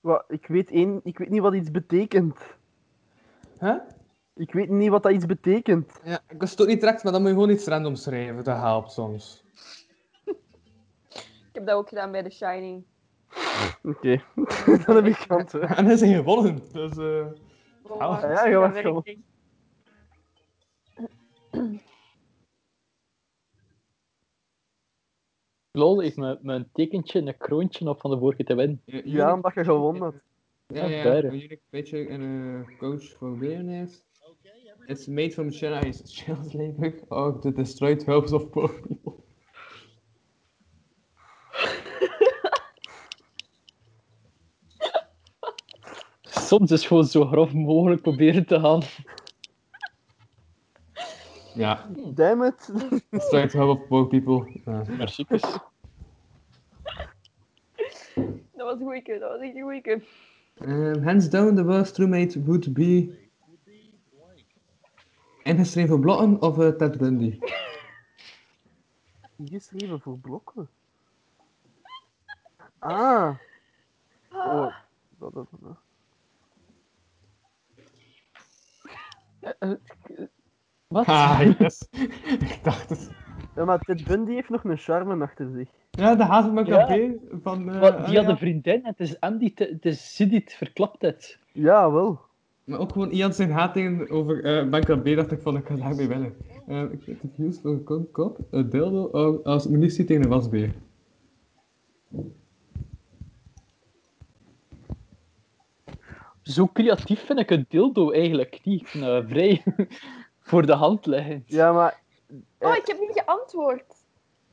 Speaker 5: Wa- ik, weet één, ik weet niet wat iets betekent.
Speaker 4: Hè?
Speaker 5: Ik weet niet wat dat iets betekent.
Speaker 4: Ja, ik was het ook niet direct, maar dan moet je gewoon iets random schrijven. Dat helpt soms.
Speaker 6: Ik heb dat ook gedaan bij The Shining.
Speaker 5: Oké, dan heb ik kanten.
Speaker 4: En hij is gewonnen, dus... eh,
Speaker 6: Voilà,
Speaker 5: ja, je
Speaker 6: dat
Speaker 5: was
Speaker 6: werkt
Speaker 5: gewoon-
Speaker 6: niet.
Speaker 3: Lol heeft mijn, mijn tekentje en een kroontje op van de vorige te winnen.
Speaker 5: Ja, omdat je gewonnen had.
Speaker 4: Ja,
Speaker 3: Ja,
Speaker 4: ja,
Speaker 3: beide.
Speaker 4: een unique paycheck en een eh, coach voor billionaires.
Speaker 7: Okay, everybody.
Speaker 4: Oh, It's made from China's China's labor or the destroyed hopes of poor people.
Speaker 3: soms is gewoon zo grof mogelijk proberen te gaan.
Speaker 4: Ja,
Speaker 5: Damn it.
Speaker 4: strike to help poor people. Ja.
Speaker 3: Maar ziekes.
Speaker 6: Dat was een goeie keer, dat was echt een goeie keer.
Speaker 4: Um, hands down, the worst roommate would be. Ingeschreven voor Blokken of eh, Ted Bundy?
Speaker 5: Ingeschreven voor blokken. Ah. Oh.
Speaker 6: Ah.
Speaker 5: Dat, dat, dat. Eh, eh,
Speaker 3: Wat?
Speaker 4: Ah, yes. Ik dacht het.
Speaker 5: Ja, maar Ted Bundy heeft nog een charme achter zich.
Speaker 4: Ja, de haat van mijn
Speaker 3: Ja.
Speaker 4: café van... eh,
Speaker 3: Wat,
Speaker 4: ah,
Speaker 3: die had
Speaker 4: ja.
Speaker 3: een vriendin en het is hem die, te- het is ze die het verklapt heeft.
Speaker 5: Ja, wel.
Speaker 4: Maar ook gewoon Ian zijn haat tegen over eh Ben Krabbe dacht ik van, ik ga daarmee winnen. Eh, ik heb het nieuws voor een kon- kop, een dildo oh, als munitie tegen een wasbeer.
Speaker 3: Zo creatief vind ik een dildo eigenlijk niet. Ik vind dat vrij voor de hand liggend.
Speaker 5: Ja, maar...
Speaker 6: Oh, ik heb niet geantwoord.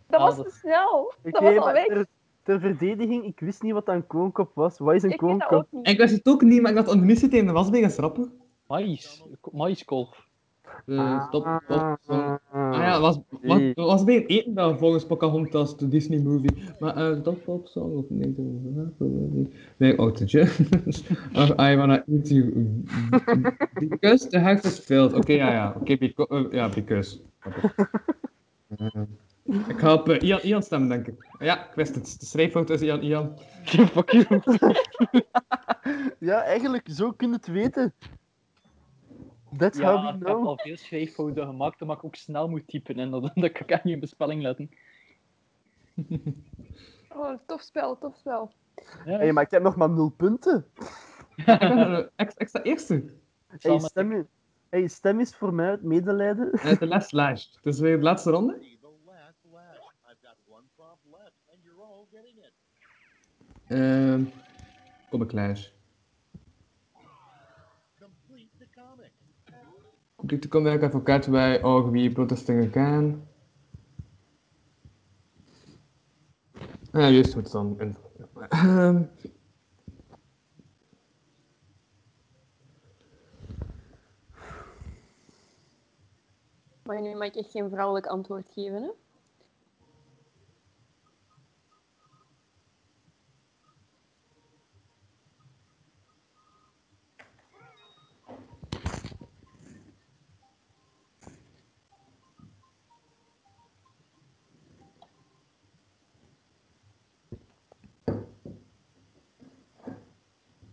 Speaker 6: Dat
Speaker 3: Ah,
Speaker 6: was
Speaker 3: dat-
Speaker 6: te snel. Dat
Speaker 5: oké,
Speaker 6: was al
Speaker 5: maar
Speaker 6: weg.
Speaker 5: ter, ter verdediging, ik wist niet wat een koonkop was. Wat is een
Speaker 6: Ik weet dat
Speaker 5: koonkop?
Speaker 6: ook niet.
Speaker 4: Ik wist het ook niet, maar ik dacht, een munitie tegen een wasbeer is rapper.
Speaker 3: Mais, maiskolf.
Speaker 4: Eh,
Speaker 5: Ah,
Speaker 4: stop, stop, stop.
Speaker 5: ah,
Speaker 4: Ah ja, was, was,
Speaker 5: Jee.
Speaker 4: wasbeer eten dan volgens Pocahontas, de Disney movie. Maar eh, stop, pop song of nee, dat is een rapper, weet ik. nee, autootje. Of I wanna eat you. Because the house is filled. Oké, ja, ja. Oké, beco- eh, ja, because. Oké. Eh, Ik ga op eh, Ian, Ian stemmen, denk ik. Ja, ik wist het. De schrijffout is Ian, Ian.
Speaker 3: Fuck you.
Speaker 5: Ja, eigenlijk, zo kun je het weten. That's
Speaker 3: Ja,
Speaker 5: how
Speaker 3: ik
Speaker 5: we
Speaker 3: heb
Speaker 5: know.
Speaker 3: al veel schrijffouten gemaakt, omdat ik ook snel moet typen. En dat, dat kan ik niet in bespelling letten.
Speaker 6: Oh, tof spel, tof spel.
Speaker 3: Ja,
Speaker 5: hey, maar ik heb nog maar nul punten.
Speaker 4: Ik ben er, eh, ex- extra eerste.
Speaker 5: Hey, stem, je- hey, stem is voor mij uit medelijden.
Speaker 4: Eh, De last lash. Het is weer de laatste ronde.
Speaker 7: Be the last laugh. I've got one prompt left, and you're all getting it.
Speaker 4: Ehm, kom ik lash.
Speaker 7: Complete the comic.
Speaker 4: Dit komt eigenlijk advocaat bij ook wie protesteren kan. Ja, Ah, juist goed dan. En- Ehm.
Speaker 6: Maar nu mag ik echt geen vrouwelijk antwoord geven, hè?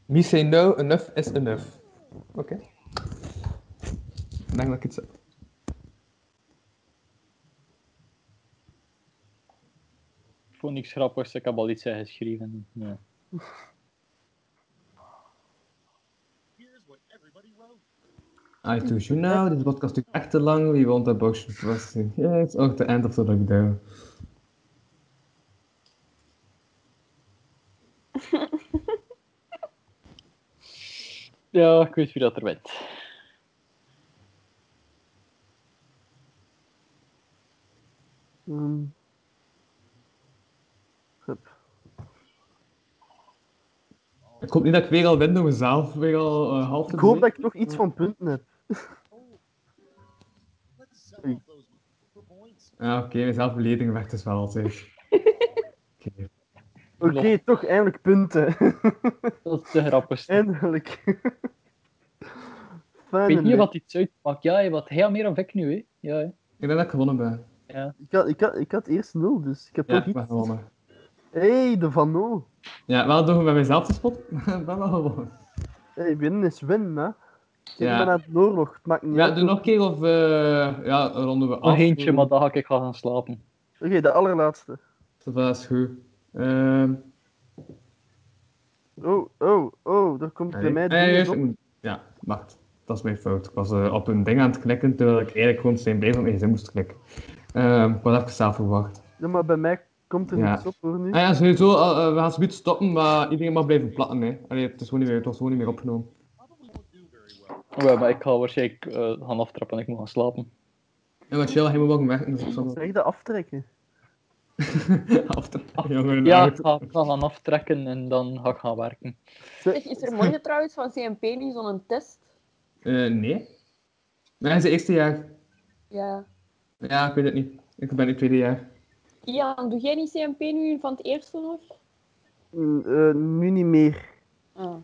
Speaker 4: Me say no, enough is enough. Oké. Ik denk dat ik het zeg.
Speaker 3: Ik vond niks grappigs, ik heb al iets eh, geschreven. Ja.
Speaker 7: Here's what everybody wrote.
Speaker 4: I choose you now. Dit podcast duurt echt te lang. Wie want dat box was Ja, it's ook the end Oh, of the lockdown.
Speaker 3: ja, ik weet wie dat er bent.
Speaker 5: Ehm. Hup.
Speaker 4: Ik hoop niet dat ik weer al win door mezelf. Weer al eh, half te
Speaker 5: Ik hoop
Speaker 4: doen.
Speaker 5: dat ik nog iets van punten heb.
Speaker 7: Let's sell off those for points.
Speaker 4: Ja, Ah, oké. mezelf beledigen werkt dus wel altijd. Oké.
Speaker 5: Oké, toch eindelijk punten.
Speaker 3: Dat is de grappigste.
Speaker 5: eindelijk.
Speaker 3: Ik
Speaker 5: Fijn.
Speaker 3: weet niet
Speaker 5: hè.
Speaker 3: wat iets uitmaakt. Ja, hè, wat hij al meer of ik nu, hè? Ja, hè.
Speaker 4: Ik denk dat ik gewonnen ben.
Speaker 5: Ik, had, ik, had, ik had eerst nul, dus ik heb
Speaker 4: Ja,
Speaker 5: toch
Speaker 4: ik ben
Speaker 5: iets.
Speaker 4: gewonnen.
Speaker 5: hey, de Van O.
Speaker 4: Ja, wel door bij mezelf te spotten, maar ik ben wel gewonnen.
Speaker 5: Hey, winnen is winnen, hè. Kijk
Speaker 4: Ja.
Speaker 5: maar naar het oorlog, het maakt niet
Speaker 4: Ja,
Speaker 5: uit.
Speaker 4: doe nog een keer of eh, ja, ronden we af.
Speaker 3: Nog eentje, maar dan ga ik gaan gaan slapen.
Speaker 5: Oké, de allerlaatste.
Speaker 4: Dat is goed. Ehm,
Speaker 5: Oh, oh, oh, er komt bij
Speaker 4: nee.
Speaker 5: mij
Speaker 4: Ah, ja,
Speaker 5: dingen
Speaker 4: juist,
Speaker 5: op.
Speaker 4: ik moet- Ja, wacht. Dat is mijn fout. Ik was eh, op een ding aan het klikken, terwijl ik eigenlijk gewoon zijn bezig op mijn gsm moest klikken. Ehm, ik was even zelf verwacht.
Speaker 5: Ja, maar bij mij komt er
Speaker 4: Ja.
Speaker 5: niks op hoor nu.
Speaker 4: Ah ja, sowieso, eh, eh, we gaan zoiets stoppen, maar iedereen mag blijven platten. Hè. Allee, het, is gewoon niet meer, het was gewoon niet meer opgenomen.
Speaker 7: Probably won't do very well.
Speaker 3: Ja, maar ik ga waarschijnlijk eh, gaan aftrappen en ik moet gaan slapen.
Speaker 4: En wat chill, helemaal welkom weg. Dus ik zal-
Speaker 5: Zeg de aftrekken.
Speaker 4: Af te jongen. nou,
Speaker 3: Ja,
Speaker 4: uit.
Speaker 3: ik ga, ik ga gaan aftrekken en dan ga ik gaan werken.
Speaker 6: Zeg, is er morgen trouwens van CMP niet zo'n test?
Speaker 4: Eh, nee. Nee, zijn eerste jaar.
Speaker 6: Ja.
Speaker 4: Ja, ik weet het niet. Ik ben in het tweede jaar.
Speaker 6: Ian, doe jij niet CMP nu van het eerste nog?
Speaker 5: Mm, eh, nu niet meer.
Speaker 6: Ah.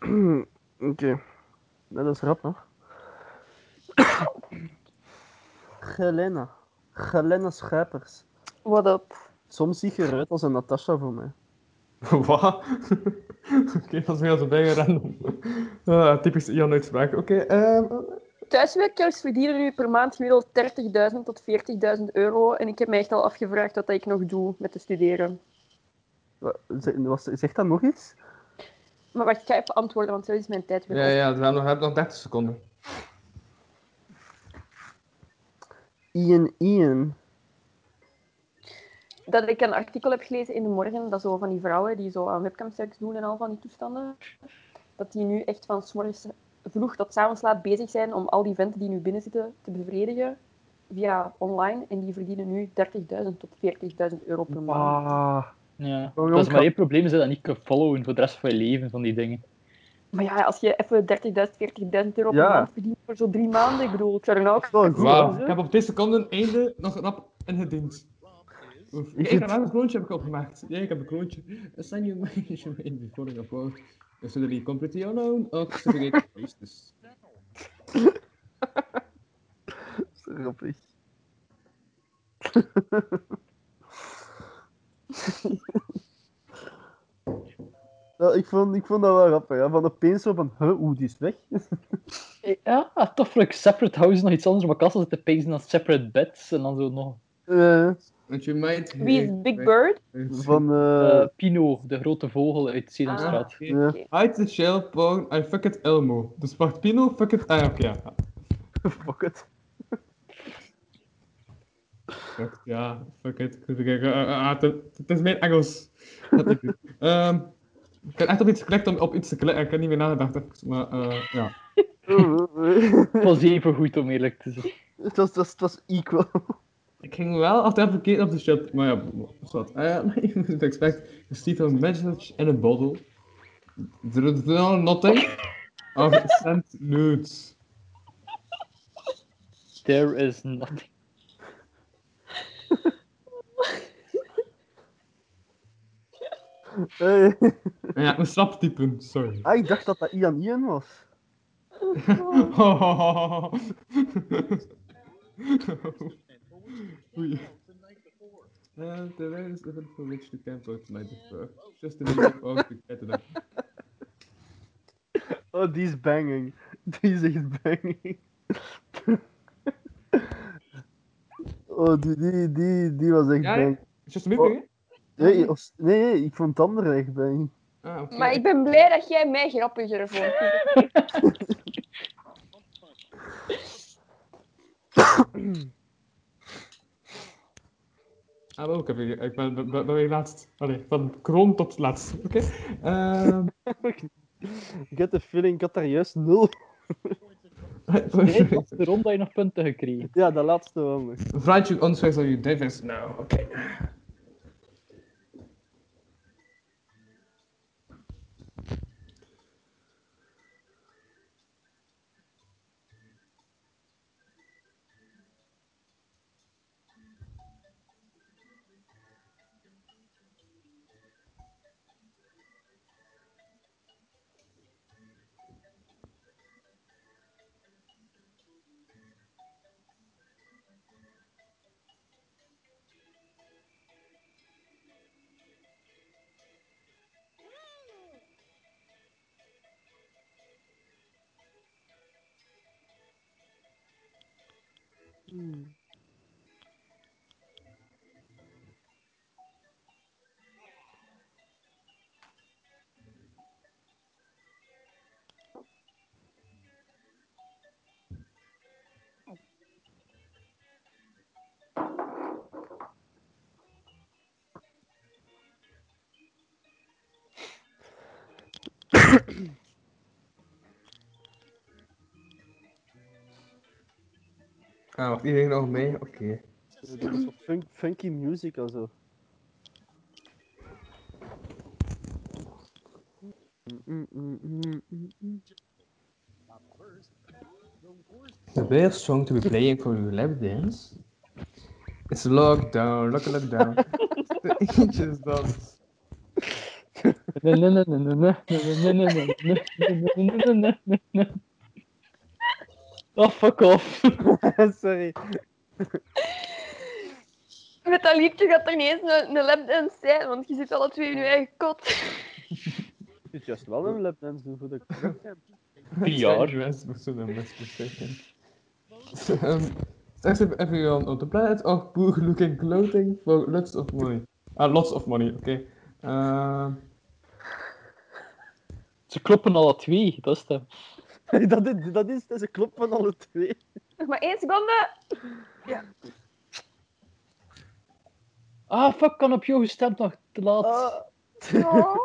Speaker 5: Oké. Dat is rap, nog. Gelena. Gelena Schepers.
Speaker 6: What up?
Speaker 5: Soms zie je eruit als een Natasha voor mij.
Speaker 4: Wat? Oké, dat is meer als een bijna random. Ah, typisch Ian-uitspraak. Oké, ehm,
Speaker 6: Thuiswerkers verdienen nu per maand gemiddeld 30.000 tot 40.000 euro. En ik heb mij echt al afgevraagd wat dat ik nog doe met te studeren.
Speaker 5: Wa- ze- was- Zegt dat nog iets?
Speaker 6: Maar wacht, ik ga even antwoorden, want zo is mijn tijd weer
Speaker 4: ja,
Speaker 6: op.
Speaker 4: ja, we hebben nog, we hebben nog 30 seconden.
Speaker 5: Ian Ian.
Speaker 6: Dat ik een artikel heb gelezen in de morgen, dat zo van die vrouwen die zo aan webcamseks doen en al van die toestanden, dat die nu echt van 's morgens vroeg tot 's avonds laat bezig zijn om al die venten die nu binnen zitten te bevredigen via online. En die verdienen nu 30.000 tot 40.000 euro per maand.
Speaker 5: Ah.
Speaker 3: Ja.
Speaker 5: Oh,
Speaker 3: Dat is
Speaker 5: ja,
Speaker 3: maar
Speaker 5: ik-
Speaker 3: één probleem, is dat je dat niet kunt followen voor de rest van je leven, van die dingen.
Speaker 6: Maar ja, als je even 30.000, 40.000 euro
Speaker 5: Ja.
Speaker 6: per maand verdient voor zo'n drie maanden, ik bedoel, ik zou er nou ook
Speaker 5: Wel goed,
Speaker 4: Wauw,
Speaker 6: hè?
Speaker 4: ik heb op 10 seconden einde nog rap ingediend. Oef. Kijk, een raar kroontje heb ik opgemaakt. Ja, ik heb een kroontje. A sign you mention in the following upload. Is really completely unknown. Oh, certificate useless.
Speaker 5: Grappig. Wel, ik, vond, ik vond dat wel grappig. Hè? Van opeens zo van, huh, oeh, die is weg.
Speaker 3: Ja, tof voor ik separate houses nog iets anders op mijn kast zitten pezen dan separate beds en dan zo nog.
Speaker 5: Eh,
Speaker 4: Want je might...
Speaker 6: Wie is Big Bird?
Speaker 5: van, eh,
Speaker 3: Eh, Pino, de grote vogel uit Sesamstraat.
Speaker 4: Ah.
Speaker 5: ja.
Speaker 4: Hide the shell, porn, I fuck it Elmo. Dus wacht, Pino, fuck it... Ah, ja, oké, ja.
Speaker 5: fuck it.
Speaker 4: Fuck it, ja, fuck it. Ik moet even kijken. Ah, ah, ah, het- Het is mijn Engels. Dat ik doe. Ehm, ik heb echt op iets geklikt om op iets te klikken. Ik heb niet meer nagedacht, even, maar eh, ja.
Speaker 5: Mm-hmm.
Speaker 3: Het was even goed om eerlijk te zijn.
Speaker 5: het, was, het, was, het was equal.
Speaker 4: Ik ging wel af en toe verkeerd op de shop, maar ja, wat. Uh, you would expect to see a message in a bottle. There is no nothing of sent nudes.
Speaker 3: There is nothing.
Speaker 5: Eh,
Speaker 4: Ja, een slap typen, sorry.
Speaker 5: ah, ik dacht dat dat Ian Ian was.
Speaker 4: Eh, Oei. And the rain is even for which you can't vote tonight before. Just a minute of to get it up.
Speaker 5: Oh, die is banging. Die is echt banging. oh, die, die, die, die was echt
Speaker 4: Ja, ja.
Speaker 5: banging.
Speaker 4: Just a minute, eh? hè?
Speaker 5: Nee, als- nee, nee, ik vond het andere echt banging.
Speaker 4: Ah, oké.
Speaker 6: Maar ik ben blij dat jij mij grappiger vond.
Speaker 4: Ah, wel, ik, heb hier, ik ben, ben, ben weer laatst. Allee, van kroon tot laatst. Oké. Ehm,
Speaker 5: Ik had de feeling, ik had daar juist nul.
Speaker 3: Nee, dat is de ronde dat je nog punten gekregen.
Speaker 5: Ja, dat laatste wel nog.
Speaker 4: Write your answers on your device now. Nou, Oké. Ah, wacht, iedereen nog mee? Oké.
Speaker 5: Dat is zo fun- funky music en zo. Mm,
Speaker 4: The best song to be playing for your lap dance is Lockdown, Lock Lockdown. the Angels Dance.
Speaker 3: Nee, nee, nee, nee, nee, nee, nee, nee, nee, nee, nee, nee, nee, nee, nee, nee. Oh, fuck off.
Speaker 5: Sorry.
Speaker 6: Met dat liedje gaat er niet eens een, een lapdance zijn, want je zit alle twee in je eigen kot.
Speaker 5: Het is juist wel een lapdance doen voor de
Speaker 3: jaar.
Speaker 4: Dress was zo dan best mistaken. Um, Thanks to everyone on the planet of poor looking clothing for lots of money. Ah, lots of money, oké. Ehm,
Speaker 3: Ze kloppen alle twee, dat is het.
Speaker 5: dat, is, dat, is, dat is een klop van alle twee.
Speaker 6: Nog maar één seconde.
Speaker 3: Ah, fuck, kan op jou gestemd nog te laat.
Speaker 6: Oh. Oh.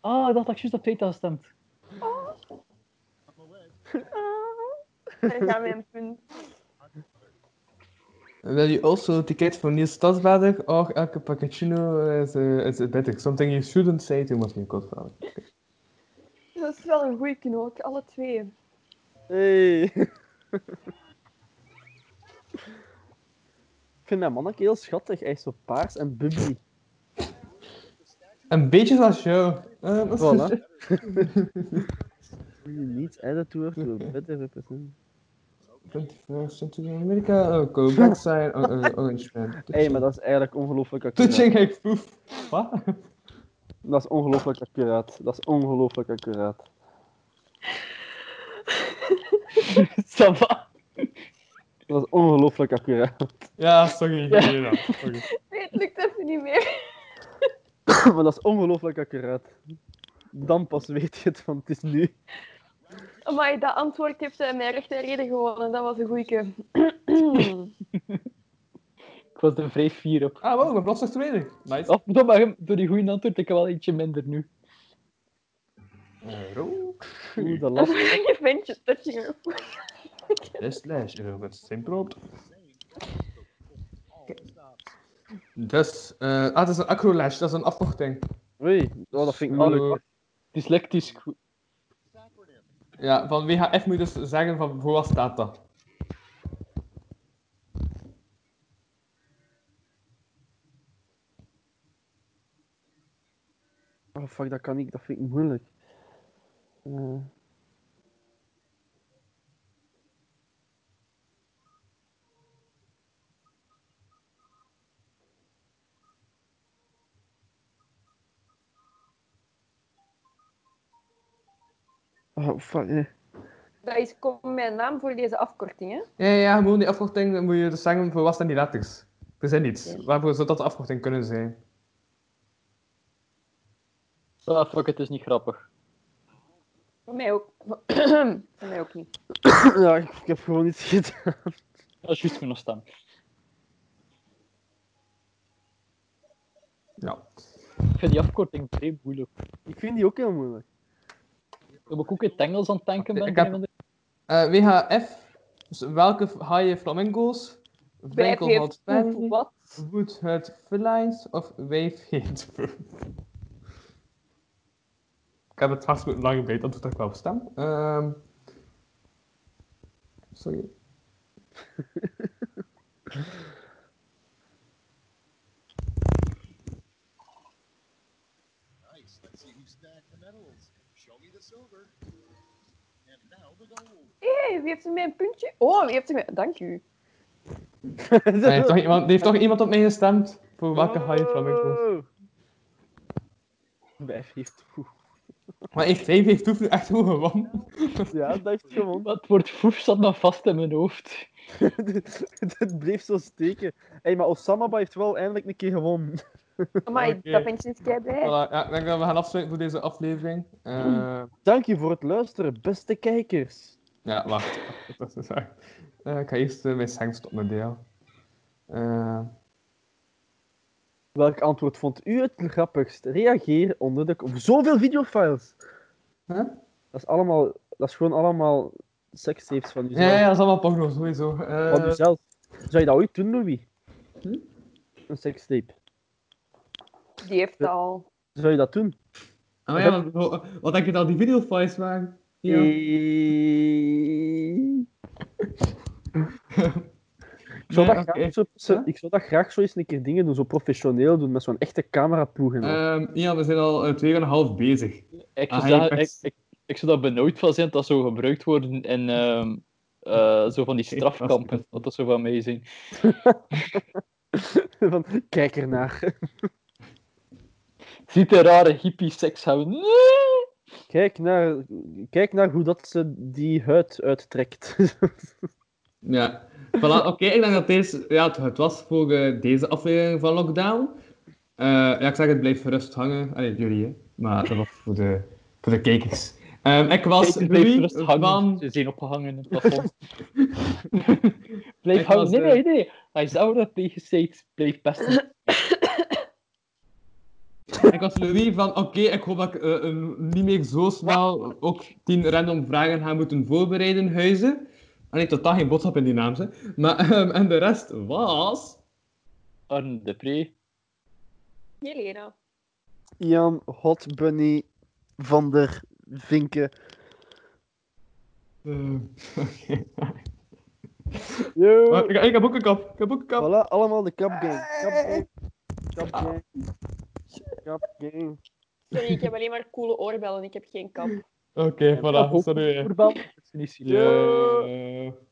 Speaker 3: Ah, ik dacht dat ik juist op Teta gestemd.
Speaker 6: Ah. Daar gaan we een punt.
Speaker 4: Will you also ticket for Niels Stadsbader or El Cappuccino is, eh, is better? Something you shouldn't say to Martin Godfather.
Speaker 6: Dat is wel een goeie knook, alle twee.
Speaker 5: Hey. ik vind dat mannetje heel schattig. Hij is zo paars en bubbly.
Speaker 4: Een beetje zoals jou. Ehm, dat is-
Speaker 5: Voilà. You need attitude to a better represent.
Speaker 4: 21st century America, oh, go black sign, oh, oh, orange man.
Speaker 5: Hé, maar dat is eigenlijk ongelooflijk accuraat.
Speaker 4: Touching a poof. Wat?
Speaker 5: Dat is ongelooflijk accuraat. Dat is ongelooflijk accuraat.
Speaker 3: Ça va.
Speaker 5: Dat is ongelooflijk accuraat.
Speaker 4: Ja, sorry. nee, ja, sorry.
Speaker 6: Nee, het lukt even niet meer.
Speaker 5: maar dat is ongelooflijk accuraat. Dan pas weet je het, want het is nu.
Speaker 6: Maar dat antwoord heeft eh, mijn recht en reden gewonnen. Dat was een goeie.
Speaker 3: Ik was er vrij fier op.
Speaker 4: Ah, wow, ik ben plots nog tweede. Nice.
Speaker 3: Of, maar door die goede antwoord ik wel ietsje minder nu.
Speaker 5: Oh.
Speaker 4: Euro.
Speaker 5: Oeh, dat
Speaker 6: Dat
Speaker 5: last.
Speaker 6: is een ventje touching her.
Speaker 4: Slash. Euro met simpel. Dus, eh, ah, dat is een acrolash, dat is een afkorting.
Speaker 5: Oei, oh, dat vind ik moeilijk.
Speaker 3: Dyslectisch. goed.
Speaker 4: Ja, van WHF moet je dus zeggen van voor wat staat dat.
Speaker 5: Oh fuck, dat kan ik, dat vind ik moeilijk. Eh. Oh fuck, eh.
Speaker 6: Dat is kom mijn naam voor deze afkorting, hè.
Speaker 4: Ja, ja, ja, gewoon die afkorting dan moet je dus zeggen voor wat staan die letters. Er zijn niets. Waarvoor zou dat de afkorting kunnen zijn?
Speaker 3: Ah, fuck, het is niet grappig.
Speaker 6: Voor mij ook. voor mij ook niet.
Speaker 5: ja, ik, ik heb gewoon iets gedaan.
Speaker 3: Dat is juist genoeg stem.
Speaker 4: Ja.
Speaker 3: Ik vind die afkorting vrij moeilijk.
Speaker 5: Ik vind die ook heel moeilijk.
Speaker 3: Dat ik ook in het Engels aan het denken ben.
Speaker 4: Ik heb-
Speaker 3: ben ik-
Speaker 4: Eh, WHF, dus welke v- haaien flamingo's?
Speaker 6: Wijf
Speaker 4: Winkel
Speaker 6: heeft
Speaker 4: had
Speaker 6: poep, wat?
Speaker 4: Wood het felines of wave heet. ik heb het vast moeten langer beter, dat doet ik wel stem. Ehm sorry.
Speaker 7: Nice. Let's see who stacked the medals. Show me the silver. And now the gold.
Speaker 6: Hé, wie heeft er mij een puntje? Oh, wie heeft er mij... Dank u.
Speaker 4: Er heeft toch iemand, er heeft toch iemand op mij gestemd? Voor welke haaien flamingo's?
Speaker 5: Wijf heeft poep.
Speaker 4: Maar echt, wave heeft toen echt hoe gewonnen.
Speaker 5: Oh, Ja, dat heeft gewoon.
Speaker 3: Maar het woord foef zat nog vast in mijn hoofd.
Speaker 5: Het bleef zo steken. Hey, maar Osamaba heeft wel eindelijk een keer gewonnen.
Speaker 6: Amai,
Speaker 4: Oké.
Speaker 6: dat ventje is kei blij.
Speaker 4: Voilà, ja, ik denk dat we gaan afsluiten voor deze aflevering. Eh,
Speaker 5: Dank je voor het luisteren, beste kijkers.
Speaker 4: Ja, wacht. Dat is waar. Eh, ik ga eerst eh, mijn stem stoppen met deel. Eh,
Speaker 5: Welk antwoord vond u het grappigst? Reageer onder de... Zoveel videofiles!
Speaker 4: Huh?
Speaker 5: Dat is, allemaal, dat is gewoon allemaal sekstapes van jezelf.
Speaker 4: Ja, ja, dat is allemaal porno, sowieso. Eh,
Speaker 5: Van jezelf. Zou je dat ooit doen, Louis?
Speaker 4: Hm?
Speaker 5: Een sekstape.
Speaker 6: Die heeft het al.
Speaker 5: Zou je dat doen?
Speaker 4: ah, maar ja, want- wat, denk je dat die videofiles waren? Ja.
Speaker 5: Eh, Ik
Speaker 4: Nee,
Speaker 5: zou, dat
Speaker 4: oké.
Speaker 5: graag zo, zo-
Speaker 4: Ja?
Speaker 5: ik zou dat graag zo eens een keer dingen doen, zo professioneel doen, met zo'n echte cameraploeg en al.
Speaker 4: Ehm, Ian, we zijn al eh, twee en een half bezig.
Speaker 3: Ik
Speaker 4: Ah,
Speaker 3: zou,
Speaker 4: ja,
Speaker 3: zeggen,
Speaker 4: ik-
Speaker 3: ik, ik, ik zou daar benauwd van zijn dat zou gebruikt worden in ehm, eh, zo van die
Speaker 4: Ik was-
Speaker 3: strafkampen. Dat is zo van mij zien.
Speaker 5: Van, kijk ernaar.
Speaker 3: Ziet de rare hippie seks hebben. Nee!
Speaker 5: Kijk naar, kijk naar hoe dat ze die huid uittrekt.
Speaker 4: Ja. Voilà, oké, ik denk dat deze, ja, het, het was voor eh, deze aflevering van Lockdown. Eh, ja, ik zeg, het blijft gerust hangen. Allee, jullie, hè. Maar dat was voor de, voor de kijkers. Ehm, ik was
Speaker 3: Kijk, blijf
Speaker 4: Louis
Speaker 3: rustig hangen.
Speaker 4: van...
Speaker 3: Ze zijn opgehangen in het plafond. blijf
Speaker 4: Ik
Speaker 3: hangen.
Speaker 4: was,
Speaker 3: Nee,
Speaker 4: eh,
Speaker 3: nee, nee. Hij zou dat tegenzet. Blijf best.
Speaker 4: Ik was Louis van, oké, ik hoop dat ik eh, een- niet meer zo snel ook tien random vragen ga moeten voorbereiden, huizen. Allee, totaal geen boodschap in die naam, hè. Maar, ehm, en de rest was...
Speaker 3: Arne de Pre.
Speaker 6: Jelena.
Speaker 5: Jan Hot Bunny van der Vinken.
Speaker 4: Eh, oké.
Speaker 5: Yo!
Speaker 4: Maar Ik, ik heb ook een kap, ik heb ook een kap.
Speaker 5: Voilà, allemaal de Cup Gang. Cup Gang. Cup Gang. Cup Gang.
Speaker 6: Sorry, ik heb alleen maar coole oorbellen. Ik heb geen kap.
Speaker 4: Oké, voilà,
Speaker 3: ook
Speaker 4: sorry. Eh,
Speaker 3: Voorbal. Dat is niet zielig.
Speaker 4: Yo.